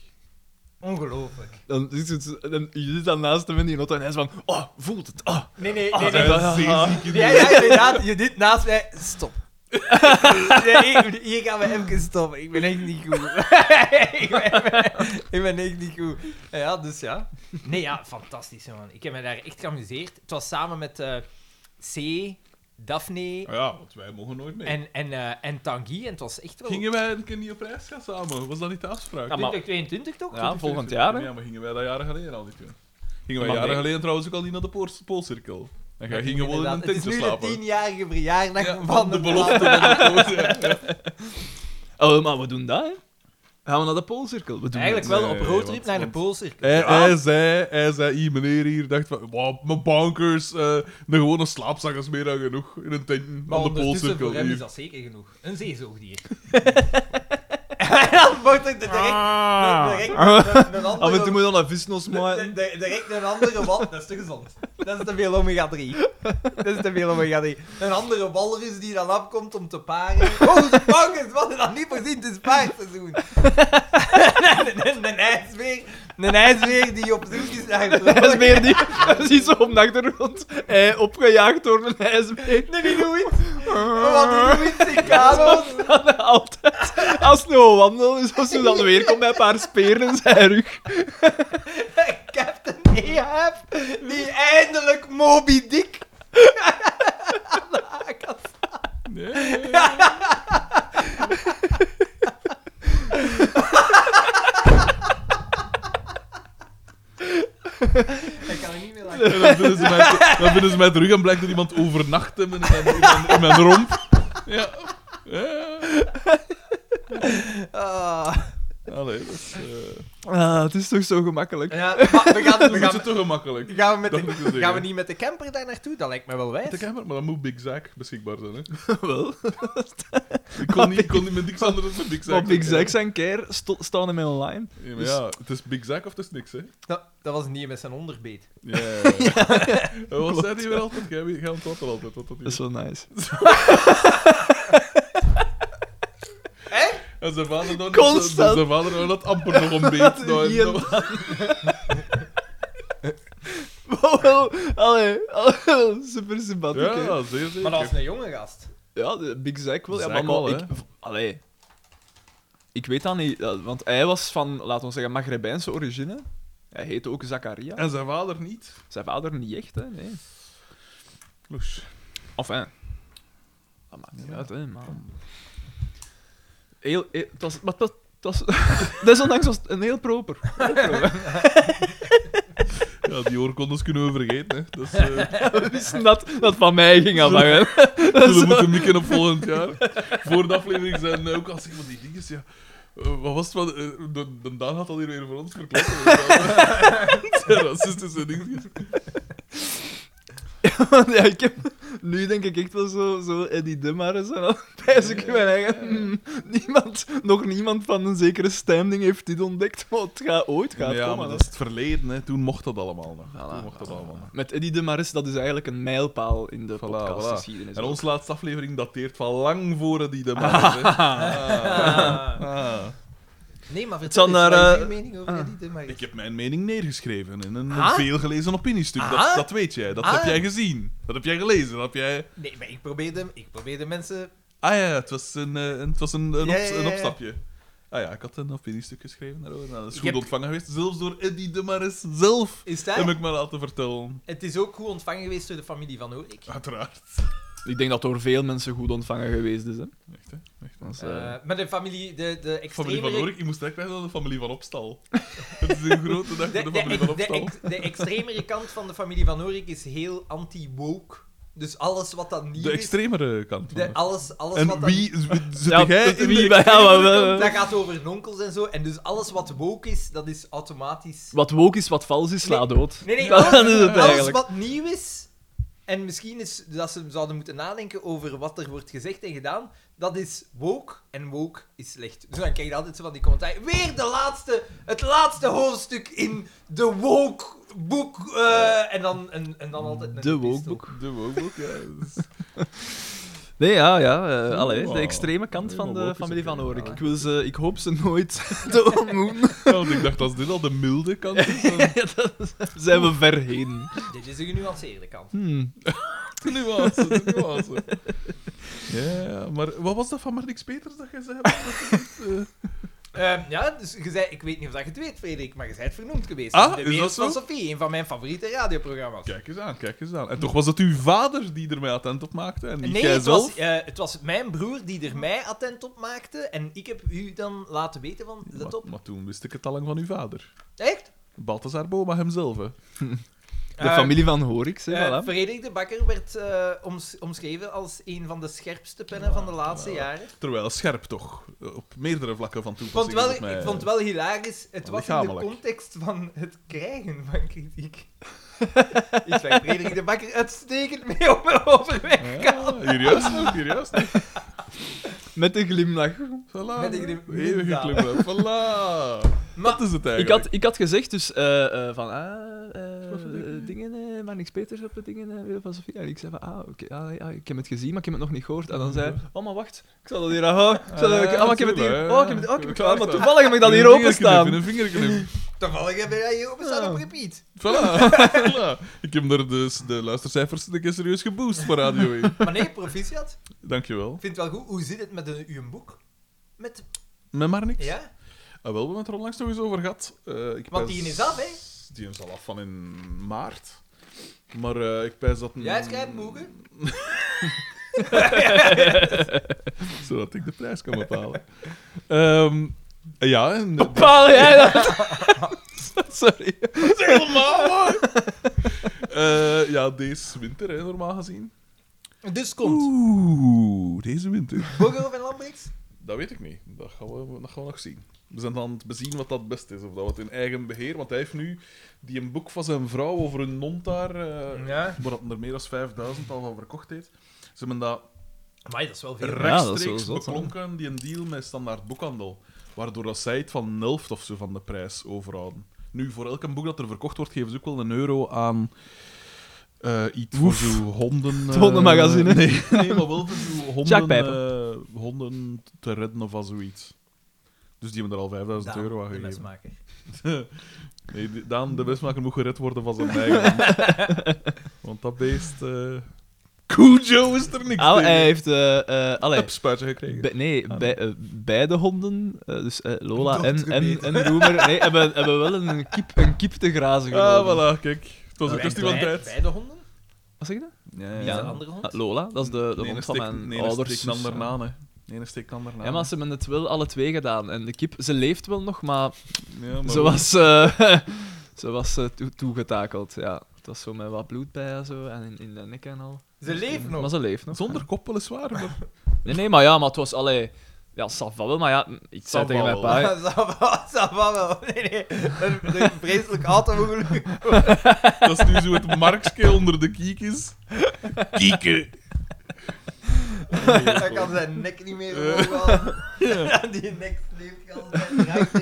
B: Ongelooflijk.
A: Dan is het, dan, je zit dan naast hem in die Notto en hij is van... Oh, voelt het? Oh.
B: Nee, nee,
A: Ah,
B: nee.
A: dat
B: nee.
A: is wel
C: zeer
A: zeer
C: ziek in
B: Ja, ja, inderdaad. Je dit naast mij. Stop. Nee, hier- hier gaan we even stoppen. Ik ben echt niet goed. ik, ben, ik ben- ik ben echt niet goed. Ja, dus ja. Nee, ja, fantastisch, man. Ik heb me daar echt geamuseerd. Het was samen met eh, C, Daphne
C: Ah ja, want wij mogen nooit mee.
B: en, en, eh, en Tanguy. En het was echt wel...
C: Gingen wij een keer niet op reis gaan samen? Was dat niet de afspraak?
A: Ja, maar-
B: 2022 toch?
A: Ja, volgend jaar, hè.
C: Ja, maar gingen wij dat jaren geleden al niet doen? Gingen wij
A: Maar
C: jaren
A: nee.
C: geleden trouwens ook al niet naar de Pool- Poolcirkel? En jij ging gewoon in een
B: Inderdaad,
C: tentje
B: Het is nu de
C: slapen.
B: tienjarige verjaardag
C: Ja,
B: van de,
C: belofte van de Pool, ja.
A: Oh, maar we doen dat, hè. Gaan we naar de Poolcirkel? We doen
B: Eigenlijk
A: het.
B: wel op
C: Nee,
B: roadtrip
C: want-
B: naar de
C: want-
B: Poolcirkel.
C: Hij,
B: Ja.
C: hij zei, hij zei, hier meneer hier, dacht van, wow, mijn bankers, eh een gewone slaapzak is meer dan genoeg in een tent
B: Maar
C: aan de
B: ondertussen
C: Poolcirkel
B: voor hem is
C: hier.
B: dat zeker genoeg. Een zeezoogdier. en dan wordt er direct, direct een, een
A: Af en toe
B: andere...
A: moet je dan een visnos
B: de-
A: maken.
B: de- Direct een andere wal... Dat is te gezond. Dat is te veel omega-3. Dat is te veel omega-3. Een andere walrus die dan afkomt om te paren. Oh, de bankers, wat hadden dat niet voorzien. Het is paarseizoen. En een- een ijsbeer... Een ijsbeer die op zoek is naar...
A: Dat is meer die... Dat is iets zo op de achtergrond. Hij opgejaagd door een ijsbeer. Ah.
B: Nee, die doet iets. Wat die doet iets in Kano's.
A: Dan altijd. Als het nou wandelen is of zo, dan weer komt met een paar speren in zijn rug.
B: Captain Ahab, die eindelijk Moby Dick.
C: Nee, nee, nee.
B: Ik kan er niet meer lachen.
C: En dan vinden ze mij, dan vinden ze mij terug en blijkt er iemand overnacht hebben in mijn, in mijn, in mijn romp. Ja. ja.
B: Ah.
C: Allee, dat is... eh,
A: Ah, het is toch zo gemakkelijk.
B: Ja, maar we gaan, we
C: Dat is
B: gaan,
C: het toch gemakkelijk.
B: gaan, we met
C: Dat
B: de-
C: moet je zeggen.
B: gaan we niet met de camper daar naartoe? Dat lijkt me wel
C: De
B: wijs.
C: camper, maar dan moet Big Zack beschikbaar zijn. Hè.
A: Wel.
C: Ik kon niet, ik kon niet met niks anders dan Big Zack.
A: Want Oh, Big
C: doen,
A: Zack en Care sto- staan hem online.
C: hè. Ja, maar ja, het is Big Zack of het is niks, hè?
B: Dat, dat was niet met zijn onderbeet.
C: Ja. ja, ja. Wat zei hij weer altijd? Jij, weet- jij ontwapt er altijd. Wat dat
A: Dat is
C: is.
A: wel nice.
C: En zijn vader dan...
A: Constant.
C: zijn- Zijn vader dan dat amper nog een beet. Nou, en
A: Hier.
C: dan-
A: Wow, wow. Allee, allee, super sympathiek. hè.
C: Ja, zeer zeker.
B: Maar dat was een jonge gast.
A: Ja, de Big Zack wel. Ja,
C: Zack
A: maar, maar
C: wel,
A: ik,
C: hè.
A: v- allee. Ik weet dat niet, eh, want hij was van, laten we zeggen, Maghrebijnse origine. Hij heette ook Zakaria.
C: En zijn vader niet.
A: Zijn vader niet echt, hè? Nee.
C: Loes.
A: Enfin. Dat maakt niet uit, hè, maar... Heel, heel, het was, maar dat, dat was, desondanks was het een heel proper.
C: Ja, die oorkondes kunnen we vergeten, hè. Dat is... eh,
A: We wisten dat dat van mij ging afhangen.
C: We moeten mikken op volgend jaar. Voor de aflevering zijn eh, ook al zeggen van die dingen. Ja. eh, wat was het? Wat, eh, de, de Daan had al hier weer voor ons verklapt. Het zijn racistische dingetjes.
A: Want ja, ik heb Nu denk ik echt wel zo, zo Eddie Demaris en dan pijs ik in mijn eigen... "Hmm, niemand, nog niemand van een zekere standing heeft dit ontdekt, maar het gaat ooit gaan
C: ja,
A: komen.
C: maar
A: hè."
C: dat is het verleden. Hè. Toen mocht dat allemaal nog.
A: Voilà,
C: Toen mocht dat
A: voilà.
C: allemaal nog.
A: Met Eddie Demaris, dat is eigenlijk een mijlpaal in de
C: Voilà,
A: podcastgeschiedenis.
C: En onze laatste aflevering dateert van lang voor het die de maand is, hè.
B: Ah.
C: Ah.
B: Nee, maar
A: zal
B: vertel eens,
A: naar,
B: wat is
A: eh,
B: uw mening over
A: ah.
B: Eddie de Maris?
C: Ik heb mijn mening neergeschreven in een
B: Ah.
C: veelgelezen opiniestuk.
B: Ah.
C: Dat, dat weet jij. Dat
B: Ah.
C: heb jij gezien. Dat heb jij gelezen. Dat heb jij...
B: Nee, maar ik probeerde, ik probeerde mensen...
C: Ah ja, het was een, eh, een- het was een, een,
B: Ja,
C: ops-
B: ja, ja,
C: een
B: ja.
C: opstapje. Ah ja, ik had een opiniestuk geschreven daarover. Nou, dat is
B: Ik
C: goed
B: heb-
C: ontvangen geweest. Zelfs door Eddie de Maris zelf.
B: Is
C: Heb
B: dat?
C: ik me laten vertellen.
B: Het is ook goed ontvangen geweest door de familie van Orik.
C: Uiteraard.
A: Ik denk dat door veel mensen goed ontvangen geweest is. Hè.
C: Echt, hè? Echt.
A: Dat is, eh,
B: Eh maar de familie, de, de
C: Familie van
B: extremere...
C: Orik, je moest direct wijzen aan de familie van Opstal. Het is een grote dag
B: De,
C: voor
B: de,
C: de familie van
B: de, de,
C: Opstal.
B: ex- de extremere kant van de familie van Orik is heel anti-woke. Dus alles wat dat niet
C: De
B: is...
C: extremere kant. van
B: De,
C: het.
B: alles, alles wat
C: En
B: dat
C: wie eh, z- zit
A: Ja,
C: jij
A: dat-
C: in
A: wie
C: de
A: bij- ja,
C: extremere
A: maar-
C: kant?
B: Dat gaat over nonkels en zo. En dus alles wat woke is, dat is automatisch.
A: Wat woke is, wat vals is, sla
B: Nee.
A: dood.
B: Nee, nee,
A: dat
B: alles,
A: is het
B: alles
A: eigenlijk.
B: wat nieuw is. En misschien is dat ze zouden moeten nadenken over wat er wordt gezegd en gedaan. Dat is woke en woke is slecht. Dus dan krijg je altijd zo van die commentaar. Weer de laatste, het laatste hoofdstuk in de woke boek. eh, en, dan, en, en dan altijd. een
A: De woke
B: epistel.
A: boek.
C: De woke, ja. Dus- dat is-
A: Nee, ja, ja. eh,
C: Oeh,
A: allee, de
C: wauw.
A: extreme kant
C: Nee,
A: van
C: maar
A: de
C: woke is
A: familie
C: oké.
A: van Orik. Ik, wil ze, ik hoop ze nooit te ontmoeten.
C: Ja, want ik dacht, als dit al de milde kant is, dan
A: Ja, dat zijn we ver heen.
B: Dit is de genuanceerde kant.
A: Hmm.
C: de nuance, de nuance. Ja, maar wat was dat van Marnix Peters dat jij zei?
B: Ehm, ja, dus je zei, ik weet niet of dat je het weet, Frederik, maar je bent vernoemd geweest.
C: Ah,
B: in de
C: is dat
B: wereld
C: zo?
B: van Sophie, een van mijn favoriete radioprogramma's.
C: Kijk eens aan, kijk eens aan. En toch was het uw vader die ermee attent op maakte en niet
B: Nee,
C: jij
B: het was,
C: zelf?
B: eh, het was mijn broer die er mij attent op maakte. En ik heb u dan laten weten van, let
C: Maar,
B: op.
C: maar toen wist ik het al lang van uw vader.
B: Echt?
C: Balthazar Boma hemzelf, hè.
A: De
B: Eh,
A: familie van Horik, zeg
B: eh,
A: voilà.
B: Frederik de Bakker werd eh, oms- omschreven als een van de scherpste pennen van de laatste jaren.
C: Terwijl scherp toch, eh, op meerdere vlakken van
B: Ik vond,
C: toepassing
B: wel,
C: is op mij.
B: ik vond wel hilarisch. Het was in de
C: Lichamelijk.
B: context van het krijgen van kritiek. Iets waar Frederik de Bakker uitstekend mee op overweg kan.
C: Ja, Ah, hier juist nog, hier juist nog.
A: Met een glimlach.
C: Voilà.
B: Met een glim-
C: Eeuwige glimlach. Voilà.
B: Maar-
C: dat is het eigenlijk.
A: Ik had, ik had gezegd dus eh, eh, van, ah, eh,
C: Wat voor dingen?
A: eh, dingen, eh, maar niks beters op de dingen, eh, Wereld van Sofia. En ik zei van, ah, oké, ah, ja, ik heb het gezien, maar ik heb het nog niet gehoord. En dan zei hij, oh, maar wacht, ik zal dat hier, ah, ik zal dat,
C: Ah,
A: ah, maar ik heb het
C: zo,
A: hier,
C: ja.
A: oh, ik heb het, oh, ik heb het, ah, maar
C: Klaar.
A: toevallig heb ik dat
C: Een
A: hier
C: vingerknip,
A: openstaan.
C: Een vingerknip.
B: Toevallig hebben wij hier openstaan op repeat.
C: Voilà, voilà. Ik heb daar dus de luistercijfers een keer serieus geboost voor Radio 1.
B: Maar nee, proficiat.
C: Dankjewel.
B: Ik vind het wel goed. Hoe zit het met een, uw boek? Met,
C: Met maar niks.
B: ja?
C: Ah, wel, we hebben het er onlangs nog eens over gehad. Eh, ik
B: Want
C: pijs-
B: die is af, hè?
C: Die is al af van in maart. Maar eh, ik pijs dat...
B: Jij schrijft boeken?
C: Zodat ik de prijs kan bepalen. Ehm, ja, en...
A: Bepaal jij dat? Sorry.
C: Helemaal, man! Eh, ja, deze winter, hè, normaal gezien.
B: Dus komt.
C: Oeh, deze winter.
B: Borgerhof en Lambrechts?
C: Dat weet ik niet. Dat gaan we, dat gaan we nog zien. We zijn aan het bezien wat dat best is. Of dat we het in eigen beheer... Want hij heeft nu die een boek van zijn vrouw over een non daar... eh,
B: Ja.
C: Waar dat er meer dan 5000 al van verkocht heeft. Ze hebben dat
B: Maar dat is wel veel.
A: dat is wel
C: rechtstreeks
A: zot, hè.
C: beklonken, die een deal met standaard boekhandel. Waardoor dat zij het van Nelft of zo van de prijs overhouden. Nu, voor elk boek dat er verkocht wordt, geven ze ook wel een euro aan... eh iets voor
A: Oef.
C: zo honden...
A: Het
C: eh,
A: hondenmagazine.
C: Nee, nee, maar wel voor zo honden,
A: Jackpijpen.
C: eh, honden te redden of als zoiets. Dus die hebben er al 5000 euro aan
B: de
C: gegeven.
B: mesmaker.
C: Nee, die- Daan, de bestmaker moet gered worden van zijn eigen. hand. Want dat beest... eh Cujo is er niks
A: Ah,
C: tegen.
A: hij heeft, eh, eh, allee,
C: Heb spuiten gekregen.
A: Bij- nee,
C: Ah,
A: bij, eh, beide honden, eh, dus eh, Lola
B: Dat
A: en, en,
B: gebeten.
A: en Roemer, nee, hebben, hebben wel een kip, een kip te grazen
C: Ah,
A: genomen.
C: voilà, kijk. Het was een kwestie van
B: Bij-
C: tijd.
B: Bij de honden?
A: Wat zeg je dat?
C: Ja,
B: Wie
A: Ja.
B: is de andere hond?
A: Ah, Lola, dat is de, de hond van mijn ouders.
C: steek
A: zus,
C: ander
A: ja.
C: na, hè. Nee, een steek ander na.
A: Ja, maar ze hebben het wel alle twee gedaan. En de kip, ze leeft wel nog, maar,
C: Ja, maar
A: ze
C: wel.
A: was, eh, ze was eh, toe- toegetakeld. Ja. Het was zo met wat bloed bij haar zo, en in, in de nek en al.
B: Ze leven nog.
C: Oh.
A: Maar ze leeft nog.
C: Zonder kop, weliswaar. Maar...
A: Nee, nee, maar ja, maar het was, allee, Ja, ça va wel, maar ja, ik zei
C: va
A: tegen mijn
C: wel.
A: pa...
B: Ça va wel. Nee, nee. Een, een vreselijk auto-ongeluk.
C: Dat is nu zo het markske onder de kiekjes. Kieken.
B: Dan kan zijn nek niet meer omhoog halen. Dan Die nek sleept kan zijn raak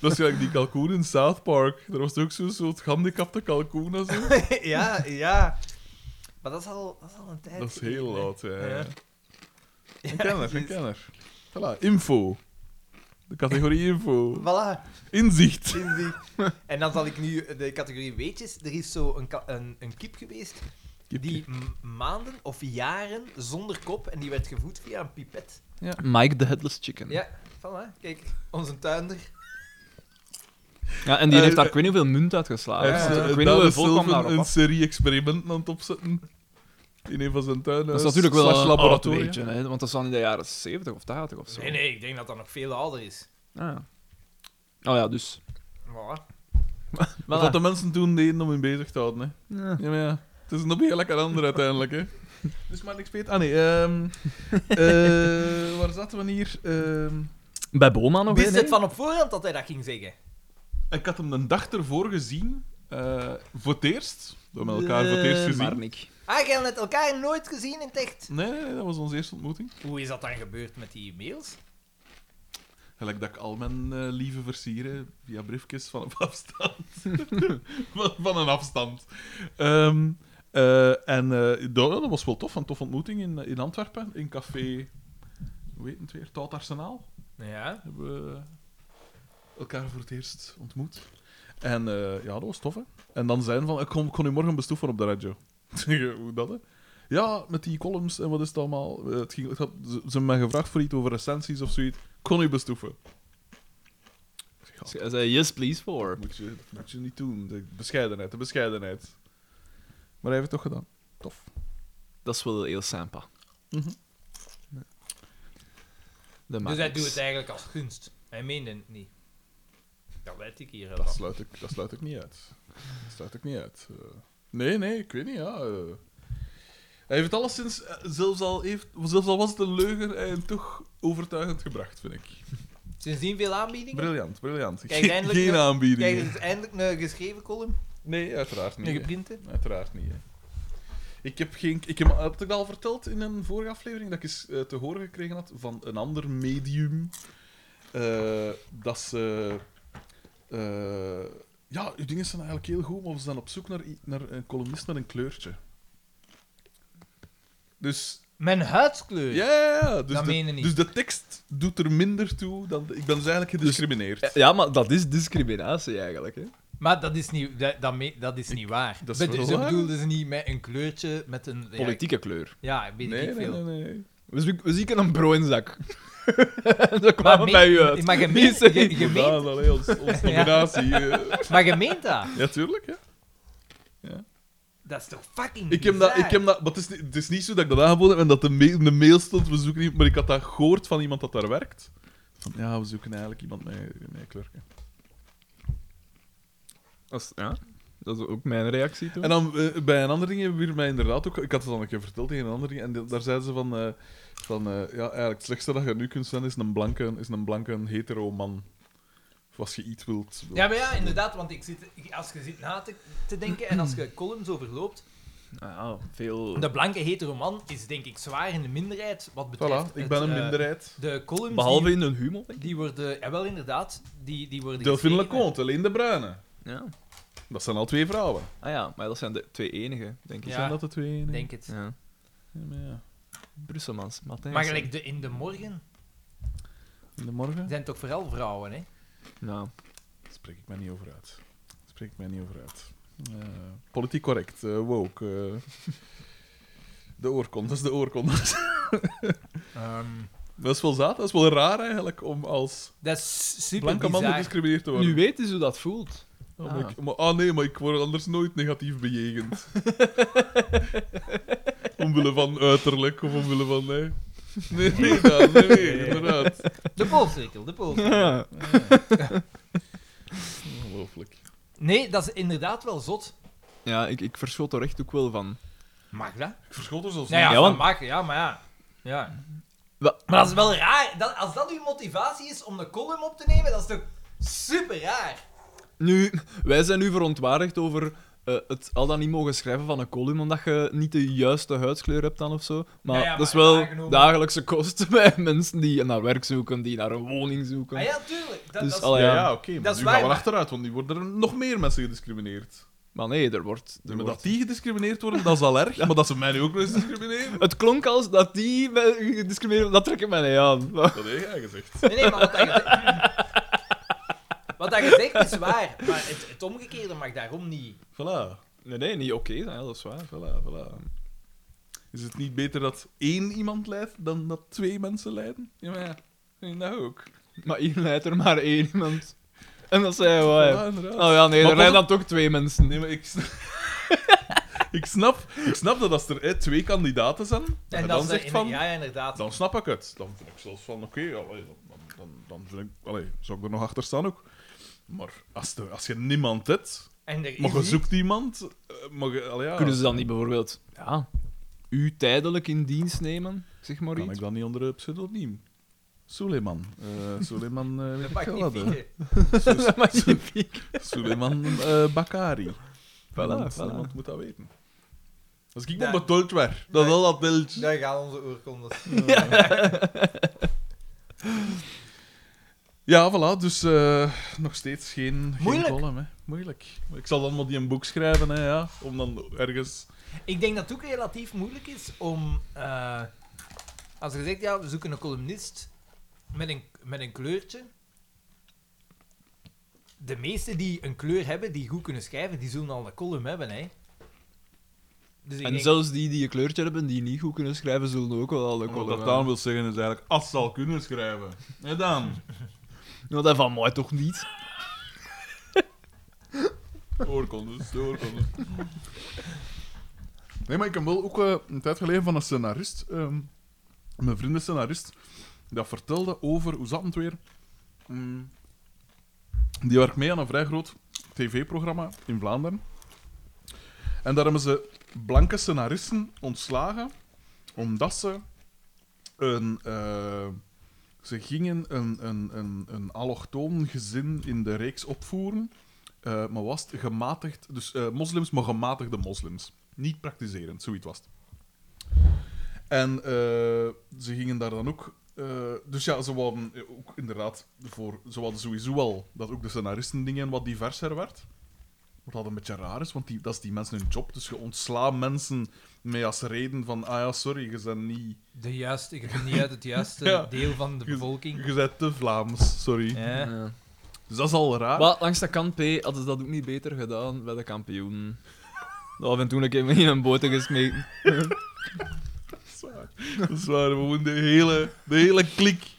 C: Dat is gelijk die kalkoen in South Park. Er was ook zo'n soort gehandicapte kalkoen en zo.
B: niet. Ja, ja. Maar dat is al, dat is al een tijd.
C: Dat is
B: geleden,
C: heel
B: hè.
C: oud, ja. ja.
B: Ja.
C: Een kenner, een
B: juist.
C: kenner. Voilà, info. De categorie info.
B: Voilà.
C: Inzicht.
B: Lindsay. En dan zal ik nu de categorie weetjes. Er is zo een, ka- een, een kip geweest die m- maanden of jaren zonder kop en die werd gevoed via een pipet.
A: Mike the Headless Chicken.
B: Ja, voilà. Kijk, onze tuinder.
A: Ja, en die
C: Eh,
A: heeft daar
C: eh,
A: ik weet niet hoeveel munt uitgeslagen.
C: Hij
A: Ah, Ja,
C: heeft
A: Ik
C: eh,
A: weet niet hoeveel
C: Daan
A: volk kwam
C: zelf een,
A: daarop
C: een
A: af.
C: serie experimenten aan het opzetten. In een van zijn tuinen.
A: Dat is natuurlijk wel eh, oh,
C: slash
A: een
C: laboratorium.
A: oud beetje, hè, want dat is dan in de jaren 70 of 80 of zo.
B: Nee, nee, ik denk dat dat nog veel ouder is.
A: Ah, ja. Oh ja, dus.
B: Voilà.
C: Wat dat de mensen toen deden om hun bezig te houden. Hè.
A: Ja.
C: Ja, maar ja. Het is nog heel lekker ander uiteindelijk, hè. Dus maar niks beter. Ah, nee. ehm, eh, waar zaten we hier? Ehm,
A: Bij Boma nog
B: Wist
A: een,
B: het
A: hè?
B: van op voorhand dat hij dat ging zeggen?
C: ik had hem een dag ervoor gezien. eh, voor het eerst. We hebben elkaar voor het eerst
A: Eh,
C: gezien.
A: Maar niet.
B: Ah, jij hebt het elkaar nooit gezien in het echt.
C: Nee, nee, nee, dat was onze eerste ontmoeting.
B: Hoe is dat dan gebeurd met die mails?
C: Gelijk dat ik al mijn eh, lieve versieren via briefjes van op afstand. van, van een afstand. Ehm, eh, en eh, dat, dat was wel tof, een toffe ontmoeting in, in Antwerpen, in café, hoe heet het weer, Tout Arsenaal.
B: Ja.
C: Hebben we elkaar voor het eerst ontmoet. En eh, ja, dat was tof, hè. En dan zijn van, ik kon, kon u morgen bestoeven op de radio. Zeg, Hoe dat, hè? Ja, met die columns en wat is het allemaal. Eh, Het ging, het had, ze, ze hebben mij gevraagd voor iets over recensies of zoiets. Kon u bestoeven? Ik zeg, ja,
A: Dus Hij zei yes, please, for.
C: dat moet je, dat moet je niet doen. De bescheidenheid, de bescheidenheid. Maar hij heeft het toch gedaan. Tof.
A: Dat is wel heel sympa.
C: Mhm.
A: De
B: Dus hij
A: Matrix.
B: doet het eigenlijk als gunst. Hij meende het niet. Dat weet ik hier wel.
C: Dat sluit ik, dat sluit ik niet uit. Dat sluit ik niet uit. Eh, nee, nee, ik weet niet, ja. eh. hij heeft het alleszins, eh, zelfs al, heeft, zelfs al was het een leugen, hij heeft hem toch overtuigend gebracht, vind ik.
B: Sindsdien veel aanbiedingen.
C: Briljant, briljant.
B: Kijk,
C: Geen-
B: eindelijk
C: Geen
B: een-
C: aanbieding.
B: Kijk, er is eindelijk een geschreven column.
C: Nee, uiteraard niet.
B: Een
C: hè.
B: geprinte.
C: Uiteraard niet. Hè. Ik heb geen. Ik heb, heb ik dat al verteld in een vorige aflevering dat ik eens eh, te horen gekregen had van een ander medium. eh, dat ze. eh, ja, uw dingen zijn eigenlijk heel goed, maar we zijn op zoek naar, i- naar een columnist met een kleurtje. Dus.
B: Mijn huidskleur.
C: Ja, ja, ja. Dus,
B: Dat
C: de,
B: meen je niet.
C: dus de tekst doet er minder toe dan. de- ik ben dus eigenlijk gediscrimineerd.
A: Eh, Ja, maar dat is discriminatie eigenlijk. Hè?
B: Maar dat is niet, dat, dat, me- dat is niet waar.
C: dat is
B: Bedo-
C: wel
B: ze
C: waar.
B: bedoelden ze niet met een kleurtje, met een...
A: Politieke kleur.
B: Ja, ja, weet
C: nee,
B: ik
C: nee,
B: veel.
C: nee, nee.
A: We, zien- we zien een broeinzak. dat kwamen
B: me-
A: bij u uit.
B: maar je
A: Die
B: meent-
A: zijn-
B: je- je-
C: Gedaan,
B: meent-
C: allee, ons, ons nominatie. eh.
B: Maar je meent dat?
C: Ja, tuurlijk, hè.
B: Dat is toch fucking
C: Ik heb dat, ik
B: bizar?
C: heb dat, maar het is, niet- het is niet zo dat ik dat aangeboden heb en dat de ma- in de mail stond, we zoeken niet, maar ik had dat gehoord van iemand dat daar werkt. Van, ja, we zoeken eigenlijk iemand met, met klurken.
A: Dat is- ja, dat is ook mijn reactie toen.
C: En dan eh, bij een ander ding hebben we hier mij inderdaad ook, ik had het al een keer verteld tegen een ander ding, en da- daar zeiden ze van, eh, van eh, ja, eigenlijk het slechtste dat je nu kunt zijn is een blanke, is een blanke hetero man. Of als je iets wilt. wilt.
B: Ja, maar ja, inderdaad, want ik zit, als je zit na te, te denken en als je columns overloopt...
A: Nou ja, veel...
B: De blanke hetero man is denk ik zwaar in de minderheid, wat betreft
C: Voilà, ik
B: het,
C: ben een
B: eh,
C: minderheid.
B: de columns
A: Behalve
B: die,
A: in hun humor. denk ik.
B: die worden... Ja, wel inderdaad, die, die worden
C: Delphine
B: geschreven.
C: Leconte, alleen de bruine.
A: Ja.
C: Dat zijn al twee vrouwen.
A: Ah ja, maar dat zijn de twee enige, denk ik.
B: Ja.
C: Zijn dat de twee? ene?
B: Denk het.
A: Ja.
C: Ja, maar ja.
A: Brusselmans, Matthijs.
B: Maar gelijk de, in de morgen
C: In de morgen?
B: zijn toch vooral vrouwen, hè?
A: Nou,
C: Daar spreek ik mij niet over uit. Daar spreek ik mij niet over uit. Eh, politiek correct, eh, woke. eh. de oorkondes, de oorkondes.
B: Ehm,
C: dat is wel zaad, dat is wel raar eigenlijk om als
B: dat is super
C: blanke man
B: bizar.
C: gediscrimineerd te worden.
A: nu weten ze hoe dat voelt.
C: Oh, maar
A: Ah.
C: ik- maar- ah, nee, maar ik word anders nooit negatief bejegend. omwille van uiterlijk of omwille van. Nee, nee, nee, Daan, nee, nee, inderdaad.
B: De poolcirkel, de poolcirkel.
C: Ongelooflijk.
B: Nee, dat is inderdaad wel zot.
A: Ja, ik, ik verschot er echt ook wel van.
B: Mag dat?
C: Ik verschot er zelfs
B: Nou ja,
A: Ja, want-
B: mag, ja, maar ja. ja.
A: Wa-
B: Maar dat is wel raar. Dat, als dat uw motivatie is om de column op te nemen, dat is toch super raar? Ah
A: Nu, wij zijn nu verontwaardigd over eh, het al dan niet mogen schrijven van een column omdat je niet de juiste huidskleur hebt dan of zo. Maar
B: Ja, ja,
A: dat is
B: maar
A: wel
B: aangenomen-
A: dagelijkse kost bij mensen die naar werk zoeken, die naar een woning zoeken.
B: Ah ja, tuurlijk. Dat,
A: Dus
B: dat is-
A: allee,
C: Ja,
A: Ja.
C: ja oké. maar
B: Dat is
C: nu
B: waar,
C: gaan we
B: maar-
C: achteruit, want nu worden er nog meer mensen gediscrimineerd.
A: Maar nee, er wordt...
C: Maar
A: Er wordt...
C: dat die gediscrimineerd worden, dat is al erg. Maar dat ze mij nu ook nog eens discrimineren,
A: Het klonk als dat die mij discrimineren, dat trek ik mij niet aan.
C: dat heb jij gezegd.
B: Nee, nee, maar wat dat je zegt- Wat dat je zegt is waar, maar het, het omgekeerde mag daarom niet.
C: Voilà,
A: Nee, nee, niet oké zijn, dat is waar.
C: voilà, voilà. Is het niet beter dat één iemand leidt dan dat twee mensen lijden? Ja, maar ja, vind je dat ook.
A: Maar hier leidt er maar één iemand. En dat zijn wij.
C: Voilà, inderdaad.
A: Oh ja, nee,
C: Maar
A: er rijden
C: wat-
A: dan toch twee mensen.
C: Nee, maar ik... sn- ik, snap, ik snap dat als er eh, twee kandidaten zijn, dat je
B: En
C: dan
B: dat is
C: zegt van...
B: Ja, ja, inderdaad.
C: Dan snap ik het. Dan vind ik zelfs van, oké, allee, dan, dan, dan, dan vind ik... Allee, zou ik er nog achter staan ook? Maar als, de, als je niemand hebt,
B: en er is
C: maar je
B: niet-
C: zoekt iemand... eh, Maar je, allee, ja,
A: Kunnen ze dan niet bijvoorbeeld ja, u tijdelijk in dienst nemen? Zeg maar
C: kan
A: iets.
C: ik dan niet onder een pseudoniem? Suleiman. Eh Suleiman... eh, weet
B: Dat
C: ik
B: mag
C: veel
B: niet
C: wat, hè.
B: vieren.
A: Dat mag je niet pieken.
C: Suleiman eh, Bakari.
A: Voilà,
C: iemand,
A: voilà.
C: iemand moet dat weten. Als ik
B: Ja.
C: niet betoeld werd, dat is al dat beeld.
B: Daar gaan onze oorkondes.
C: Ja, voilà, dus eh, nog steeds geen, geen
B: Moeilijk.
C: column. Hè. Moeilijk. Ik zal dan wel die een boek schrijven, hè, ja, om dan ergens...
B: Ik denk dat het ook relatief moeilijk is om. eh, als je zegt, ja, we zoeken een columnist met een, met een kleurtje. De meesten die een kleur hebben, die goed kunnen schrijven, die zullen al een column hebben, hè. Dus ik
A: En
B: denk-
A: zelfs die die een kleurtje hebben, die niet goed kunnen schrijven, zullen ook wel al de
C: Wat
A: column
C: Oh, dat dan
A: hebben.
C: wil zeggen is eigenlijk, als ze al kunnen schrijven. Ja, dan.
A: Nou, dat van mij toch niet?
C: Oorkondes, de oorkondes. Nee, maar ik heb wel ook eh, een tijd geleden van een scenarist, ehm, mijn vriend is scenarist, dat vertelde over, hoe zat het weer? Mm. Die werkt mee aan een vrij groot tv-programma in Vlaanderen. En daar hebben ze blanke scenaristen ontslagen, omdat ze een... eh, ze gingen een, een, een, een allochtoon gezin in de reeks opvoeren. Eh, maar was het gematigd, dus eh, moslims, maar gematigde moslims. Niet praktiserend, zoiets was het. En eh, ze gingen daar dan ook. eh, dus ja, ze hadden ook inderdaad voor. Ze hadden sowieso al dat ook de scenaristen dingen wat diverser werd. Wat dat een beetje raar is, want die, dat is die mensen hun job. Dus je ontslaat mensen mee als reden van: ah ja, sorry, je bent niet.
B: De juiste, je bent niet uit het juiste
C: Ja.
B: deel van de
C: Je-
B: bevolking.
C: Je bent te Vlaams, sorry.
B: Ja.
A: Ja.
C: Dus dat is al raar.
A: Maar langs de kant P hadden ze dat ook niet beter gedaan bij de kampioenen. Dat af en toe een keer in een boter gesmeten.
C: Dat is waar. Dat is waar, gewoon de hele, de hele klik.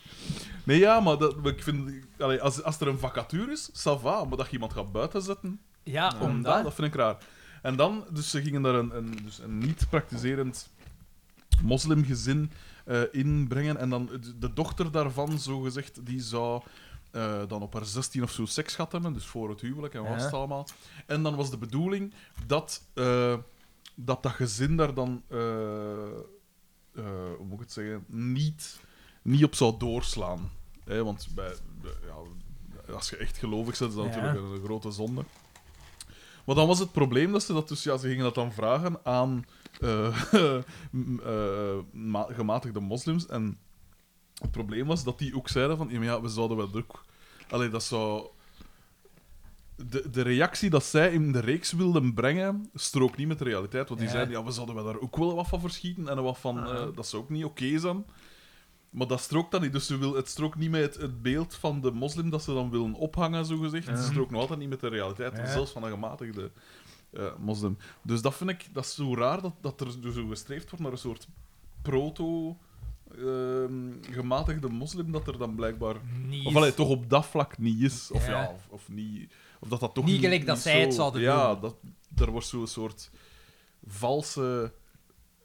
C: Nee, ja, maar, dat, maar ik vind... allee, als, als er een vacature is, ça va, maar dat je iemand gaat buitenzetten,
B: Ja,
C: zetten,
B: Ah, omdat.
C: omdat, dat vind ik raar. En dan, dus ze gingen daar een, een, dus een niet-praktiserend moslimgezin eh inbrengen en dan de- de dochter daarvan, zogezegd, die zou... eh, dan op haar 16 of zo seks gehad hebben, dus voor het huwelijk en wat is het
B: Ja.
C: allemaal. En dan was de bedoeling dat eh, dat, dat gezin daar dan eh, eh, hoe moet ik het zeggen, niet, niet op zou doorslaan. hè, want bij, bij- ja, als je echt gelovig bent, is dat
B: Ja.
C: natuurlijk een grote zonde. Maar dan was het probleem dat ze dat dus, ja, ze gingen dat dan vragen aan eh, m- eh, ma- gematigde moslims. En het probleem was dat die ook zeiden van, ja, maar ja we zouden wel ook... Allee, dat zou... De, de reactie dat zij in de reeks wilden brengen, strook niet met de realiteit. Want die
B: Ja.
C: zeiden, ja, we zouden wel daar ook wel wat van verschieten. En wat van, eh, dat zou ook niet oké zijn. Maar dat strookt dan niet. Dus ze wil, het strookt niet met het, het beeld van de moslim dat ze dan willen ophangen, zogezegd. Het strookt nog altijd niet met de realiteit.
B: Ja.
C: Zelfs van een gematigde eh, moslim. Dus dat vind ik dat is zo raar dat, dat er dus zo gestreefd wordt naar een soort proto-gematigde moslim dat er dan blijkbaar.
B: Niet,
C: Of allee, toch op dat vlak niet is. Of ja,
B: Ja.
C: of, of niet. Of dat dat toch
B: Niet gelijk dat zij het
C: zo-
B: zouden
C: Ja,
B: doen.
C: dat, er wordt zo'n soort valse.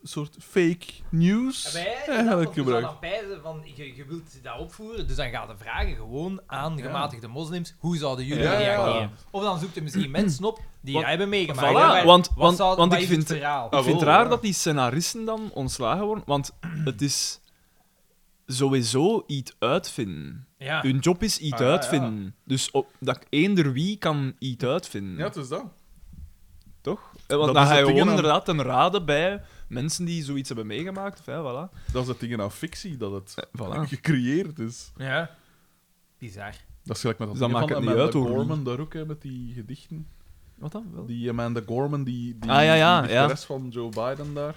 C: soort fake news.
B: Wij,
C: eigenlijk
B: Ah, dat, want je zou
C: gebruikt.
B: dan peizen van, je, je wilt dat opvoeren, dus dan gaat de vragen gewoon aan gematigde moslims, hoe zouden jullie
C: Ja, ja, ja.
B: reageren? Of dan zoekt er misschien mensen op die
A: Want-
B: dat hebben meegemaakt.
A: Voilà,
B: hè, maar
A: want-
B: wat
A: want-
B: zou-
A: want
B: wat
A: ik
B: is het
A: vind-
B: verhaal?
C: Ah,
A: ik vind het
C: wel,
A: raar
C: ja.
A: dat die scenaristen dan ontslagen worden, want het is... sowieso iets uitvinden.
B: Ja.
A: Hun job is iets
C: Ah, ja, ja.
A: uitvinden. Dus op, dat eender wie kan iets uitvinden.
C: Ja, het is dat.
A: Toch? Eh, Want
C: Dat
A: dan
C: is
A: ga je
C: het ding
A: gewoon
C: aan-
A: inderdaad een raden bij mensen die zoiets hebben meegemaakt. Of, ja, voilà.
C: Dat is het ding aan fictie, dat het
A: Eh, voilà.
C: gecreëerd is.
B: Ja. Bizar.
C: Dat is gelijk met dat
A: Dus dan
C: ding
A: maakt
C: van
A: het niet
C: Amanda
A: uit, hoor,
C: Gorman daar ook, hè, met die gedichten.
A: Wat dan? Wel?
C: Die eh, Amanda Gorman, die, die,
A: Ah, ja, ja,
C: die
A: ja.
C: dichteres van Joe Biden daar.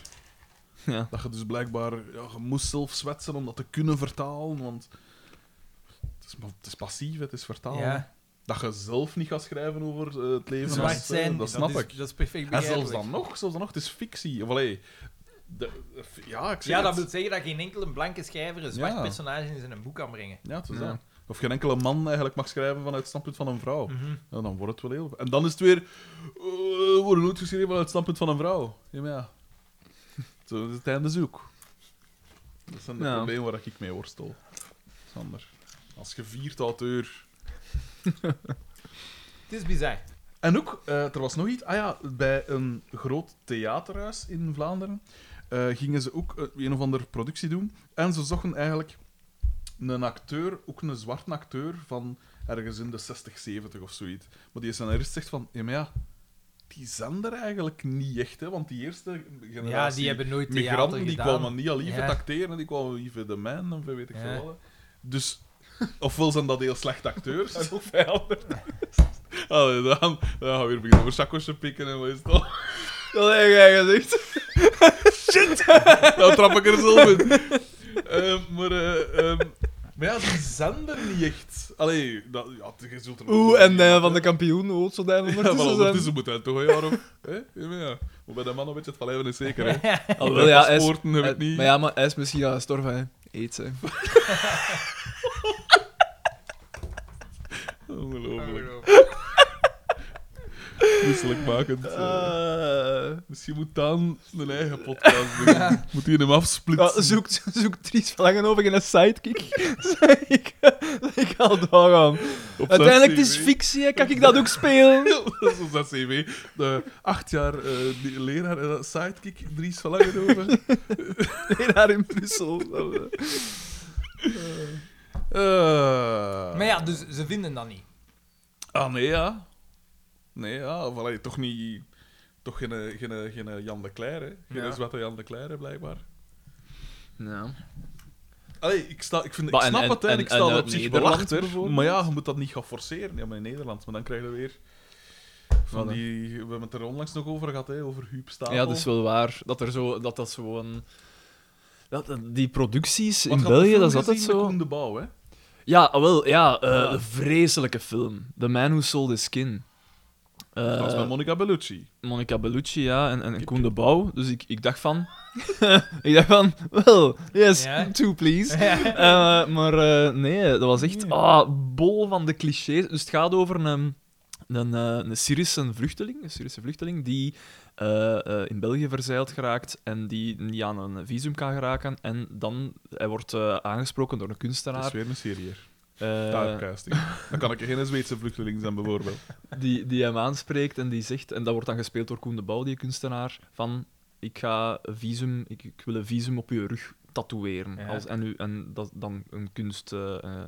A: Ja.
C: Dat je dus blijkbaar... Ja, je moest zelf zwetsen om dat te kunnen vertalen, want... Het is, het is passief, het is vertalen.
B: Ja.
C: Dat je zelf niet gaat schrijven over eh, het leven.
B: Zwart
C: als, eh,
B: zijn,
C: dat snap
B: is,
C: ik.
B: Dat is perfect
C: En zelfs
B: begrijpelijk.
C: dan nog, zelfs dan nog, het is fictie. Of, allee, de, eh, ja, ik zeg
B: Ja,
C: het.
B: dat wil zeggen dat geen enkele blanke schrijver een zwart
C: Ja.
B: personage in zijn boek kan brengen.
C: Ja, het is
A: Ja.
C: dat. Of geen enkele man eigenlijk mag schrijven vanuit het standpunt van een vrouw.
A: Mhm.
C: Ja, dan wordt het wel heel... En dan is het weer... eh, wordt nooit geschreven vanuit het standpunt van een vrouw. Ja, maar ja. Zo is het einde zoek. Dat zijn de
A: Ja.
C: problemen waar ik mee worstel. Sander. Als gevierd auteur...
B: Het is bizar.
C: En ook, eh, er was nog iets. Ah ja, bij een groot theaterhuis in Vlaanderen eh, gingen ze ook eh, een of andere productie doen. En ze zochten eigenlijk een acteur, ook een zwarte acteur van ergens in de 60, 70 of zoiets. Maar die scenarist zegt van, ja, maar ja, die zijn er eigenlijk niet echt, hè, want die eerste generatie
B: Ja, die hebben nooit theater
C: migranten die
B: gedaan.
C: kwamen niet al even
B: Ja.
C: acteren, die kwamen even de man en weet ik
B: Ja.
C: veel wat. Dus ofwel zijn dat heel slechte acteurs, en of vijanden. Allee, dan, dan gaan we weer beginnen over sakkos te pikken en wat is dat?
A: Dat heb jij gezegd.
C: Dan trap ik er zelf in. Ehm, maar, eh, ehm, maar ja, die zijn er niet echt. Allee, dat, ja, je zult er
A: Oeh, en eh, van de kampioen hoort zo daar
C: Ja, maar
A: ondertussen zijn.
C: ondertussen moet hij toch een jaar of... Hè? Ja, maar ja. Maar bij de mannen weet je het van even niet zeker, hè.
A: Alhoewel, ja, hij is-
C: paspoorten heb ik
A: Eh,
C: niet.
A: Maar ja, maar hij is misschien al gestorven, hè. Eet, hè.
C: Ongelooflijk. Misselijkmakend.
A: Ah.
C: eh. Misschien Dus moet Daan een eigen podcast doen. Moet hij hem
A: Ja,
C: afsplitsen?
A: zoek, zoek Dries Verlangenhoven in een sidekick. Zeg ik, zeg ik al daar aan.
C: Op zijn
A: Uiteindelijk, het is
C: CV.
A: fictie, hè. kan ik dat ook spelen?
C: Dat is op zijn cv. De acht jaar eh, die leraar, eh, sidekick Dries van Langenhoven.
A: Nee, daar in Brussel.
C: Eh.
B: Maar ja, dus ze vinden dat niet.
C: Ah, nee, ja. Nee, ja. Of, allee, toch niet... Toch geen, eh, geen, eh, geen eh, Jan de Cler, hè. Geen
B: Ja.
C: zwarte Jan de Cler, hè, blijkbaar.
A: Ja.
C: Allee, ik, sta, ik, vind, ik
A: Maar en-
C: snap
A: en-
C: het, hè.
A: en-
C: ik
A: en
C: sta er
A: uit
C: op zich wel
A: Nederland
C: achter.
A: bijvoorbeeld?
C: Maar ja, je moet dat niet gaan forceren. Ja, maar in Nederland. Maar dan krijg je weer... Van
A: Voilà.
C: die, we hebben het er onlangs nog over gehad, hè, over Huub Stapel.
A: ja, dat is wel waar. Dat er zo, dat dat zo een... Dat, dat- die producties
C: Want
A: in
C: je had
A: België,
C: de
A: dat is
C: film
A: altijd
C: gezien met
A: zo...
C: Koen de Bouw, hè?
A: Ja, ah, wel, ja. eh,
C: Ja.
A: Een vreselijke film. The Man Who Sold His Skin. Eh,
C: Dat was met Monica Bellucci.
A: Monica Bellucci, ja, en, en, en Koen de Bouw. Dus ik, ik dacht van... ik dacht van, well, yes,
B: Ja.
A: two please. Eh, maar eh, nee, dat was echt ah, bol van de clichés. Dus het gaat over een, een, eh, een Syrische vluchteling, een Syrische vluchteling die eh, eh, in België verzeild geraakt en die niet aan een visum kan geraken. En dan, hij wordt eh, aangesproken door een
C: Dat
A: kunstenaar.
C: is weer een serieer.
A: eh,
C: Dan kan ik geen Zweedse vluchteling zijn, bijvoorbeeld.
A: die, die hem aanspreekt en die zegt, en dat wordt dan gespeeld door Koen de Bouw, die kunstenaar, van ik ga een visum, ik, ik wil een visum op je rug tatoeëren.
B: Ja.
A: Als, en u, en dat, dan een kunst eh, eh,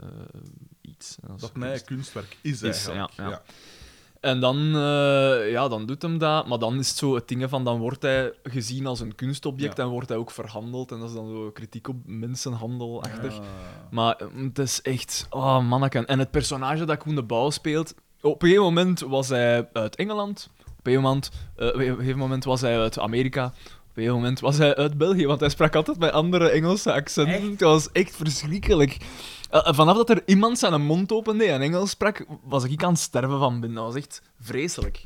A: iets. Als
C: Dat
A: kunst.
C: nee, kunstwerk is
A: Is,
C: eigenlijk.
A: ja, ja. En dan, eh, ja, dan doet hem dat, maar dan is het zo het ding van, dan wordt hij gezien als een kunstobject
C: Ja.
A: en wordt hij ook verhandeld. En dat is dan zo kritiek op mensenhandel achter.
C: Ah.
A: Maar eh, het is echt... Oh, manneken. En het personage dat Koen de Bouw speelt... Op een gegeven moment was hij uit Engeland. Op een gegeven moment, eh, op een gegeven moment was hij uit Amerika. Op een gegeven moment was hij uit België. Want hij sprak altijd met andere Engelse accenten.
B: Echt?
A: Het was echt verschrikkelijk. Eh, eh, vanaf dat er iemand zijn mond opende en Engels sprak, was ik aan het sterven van binnen. Dat was echt vreselijk.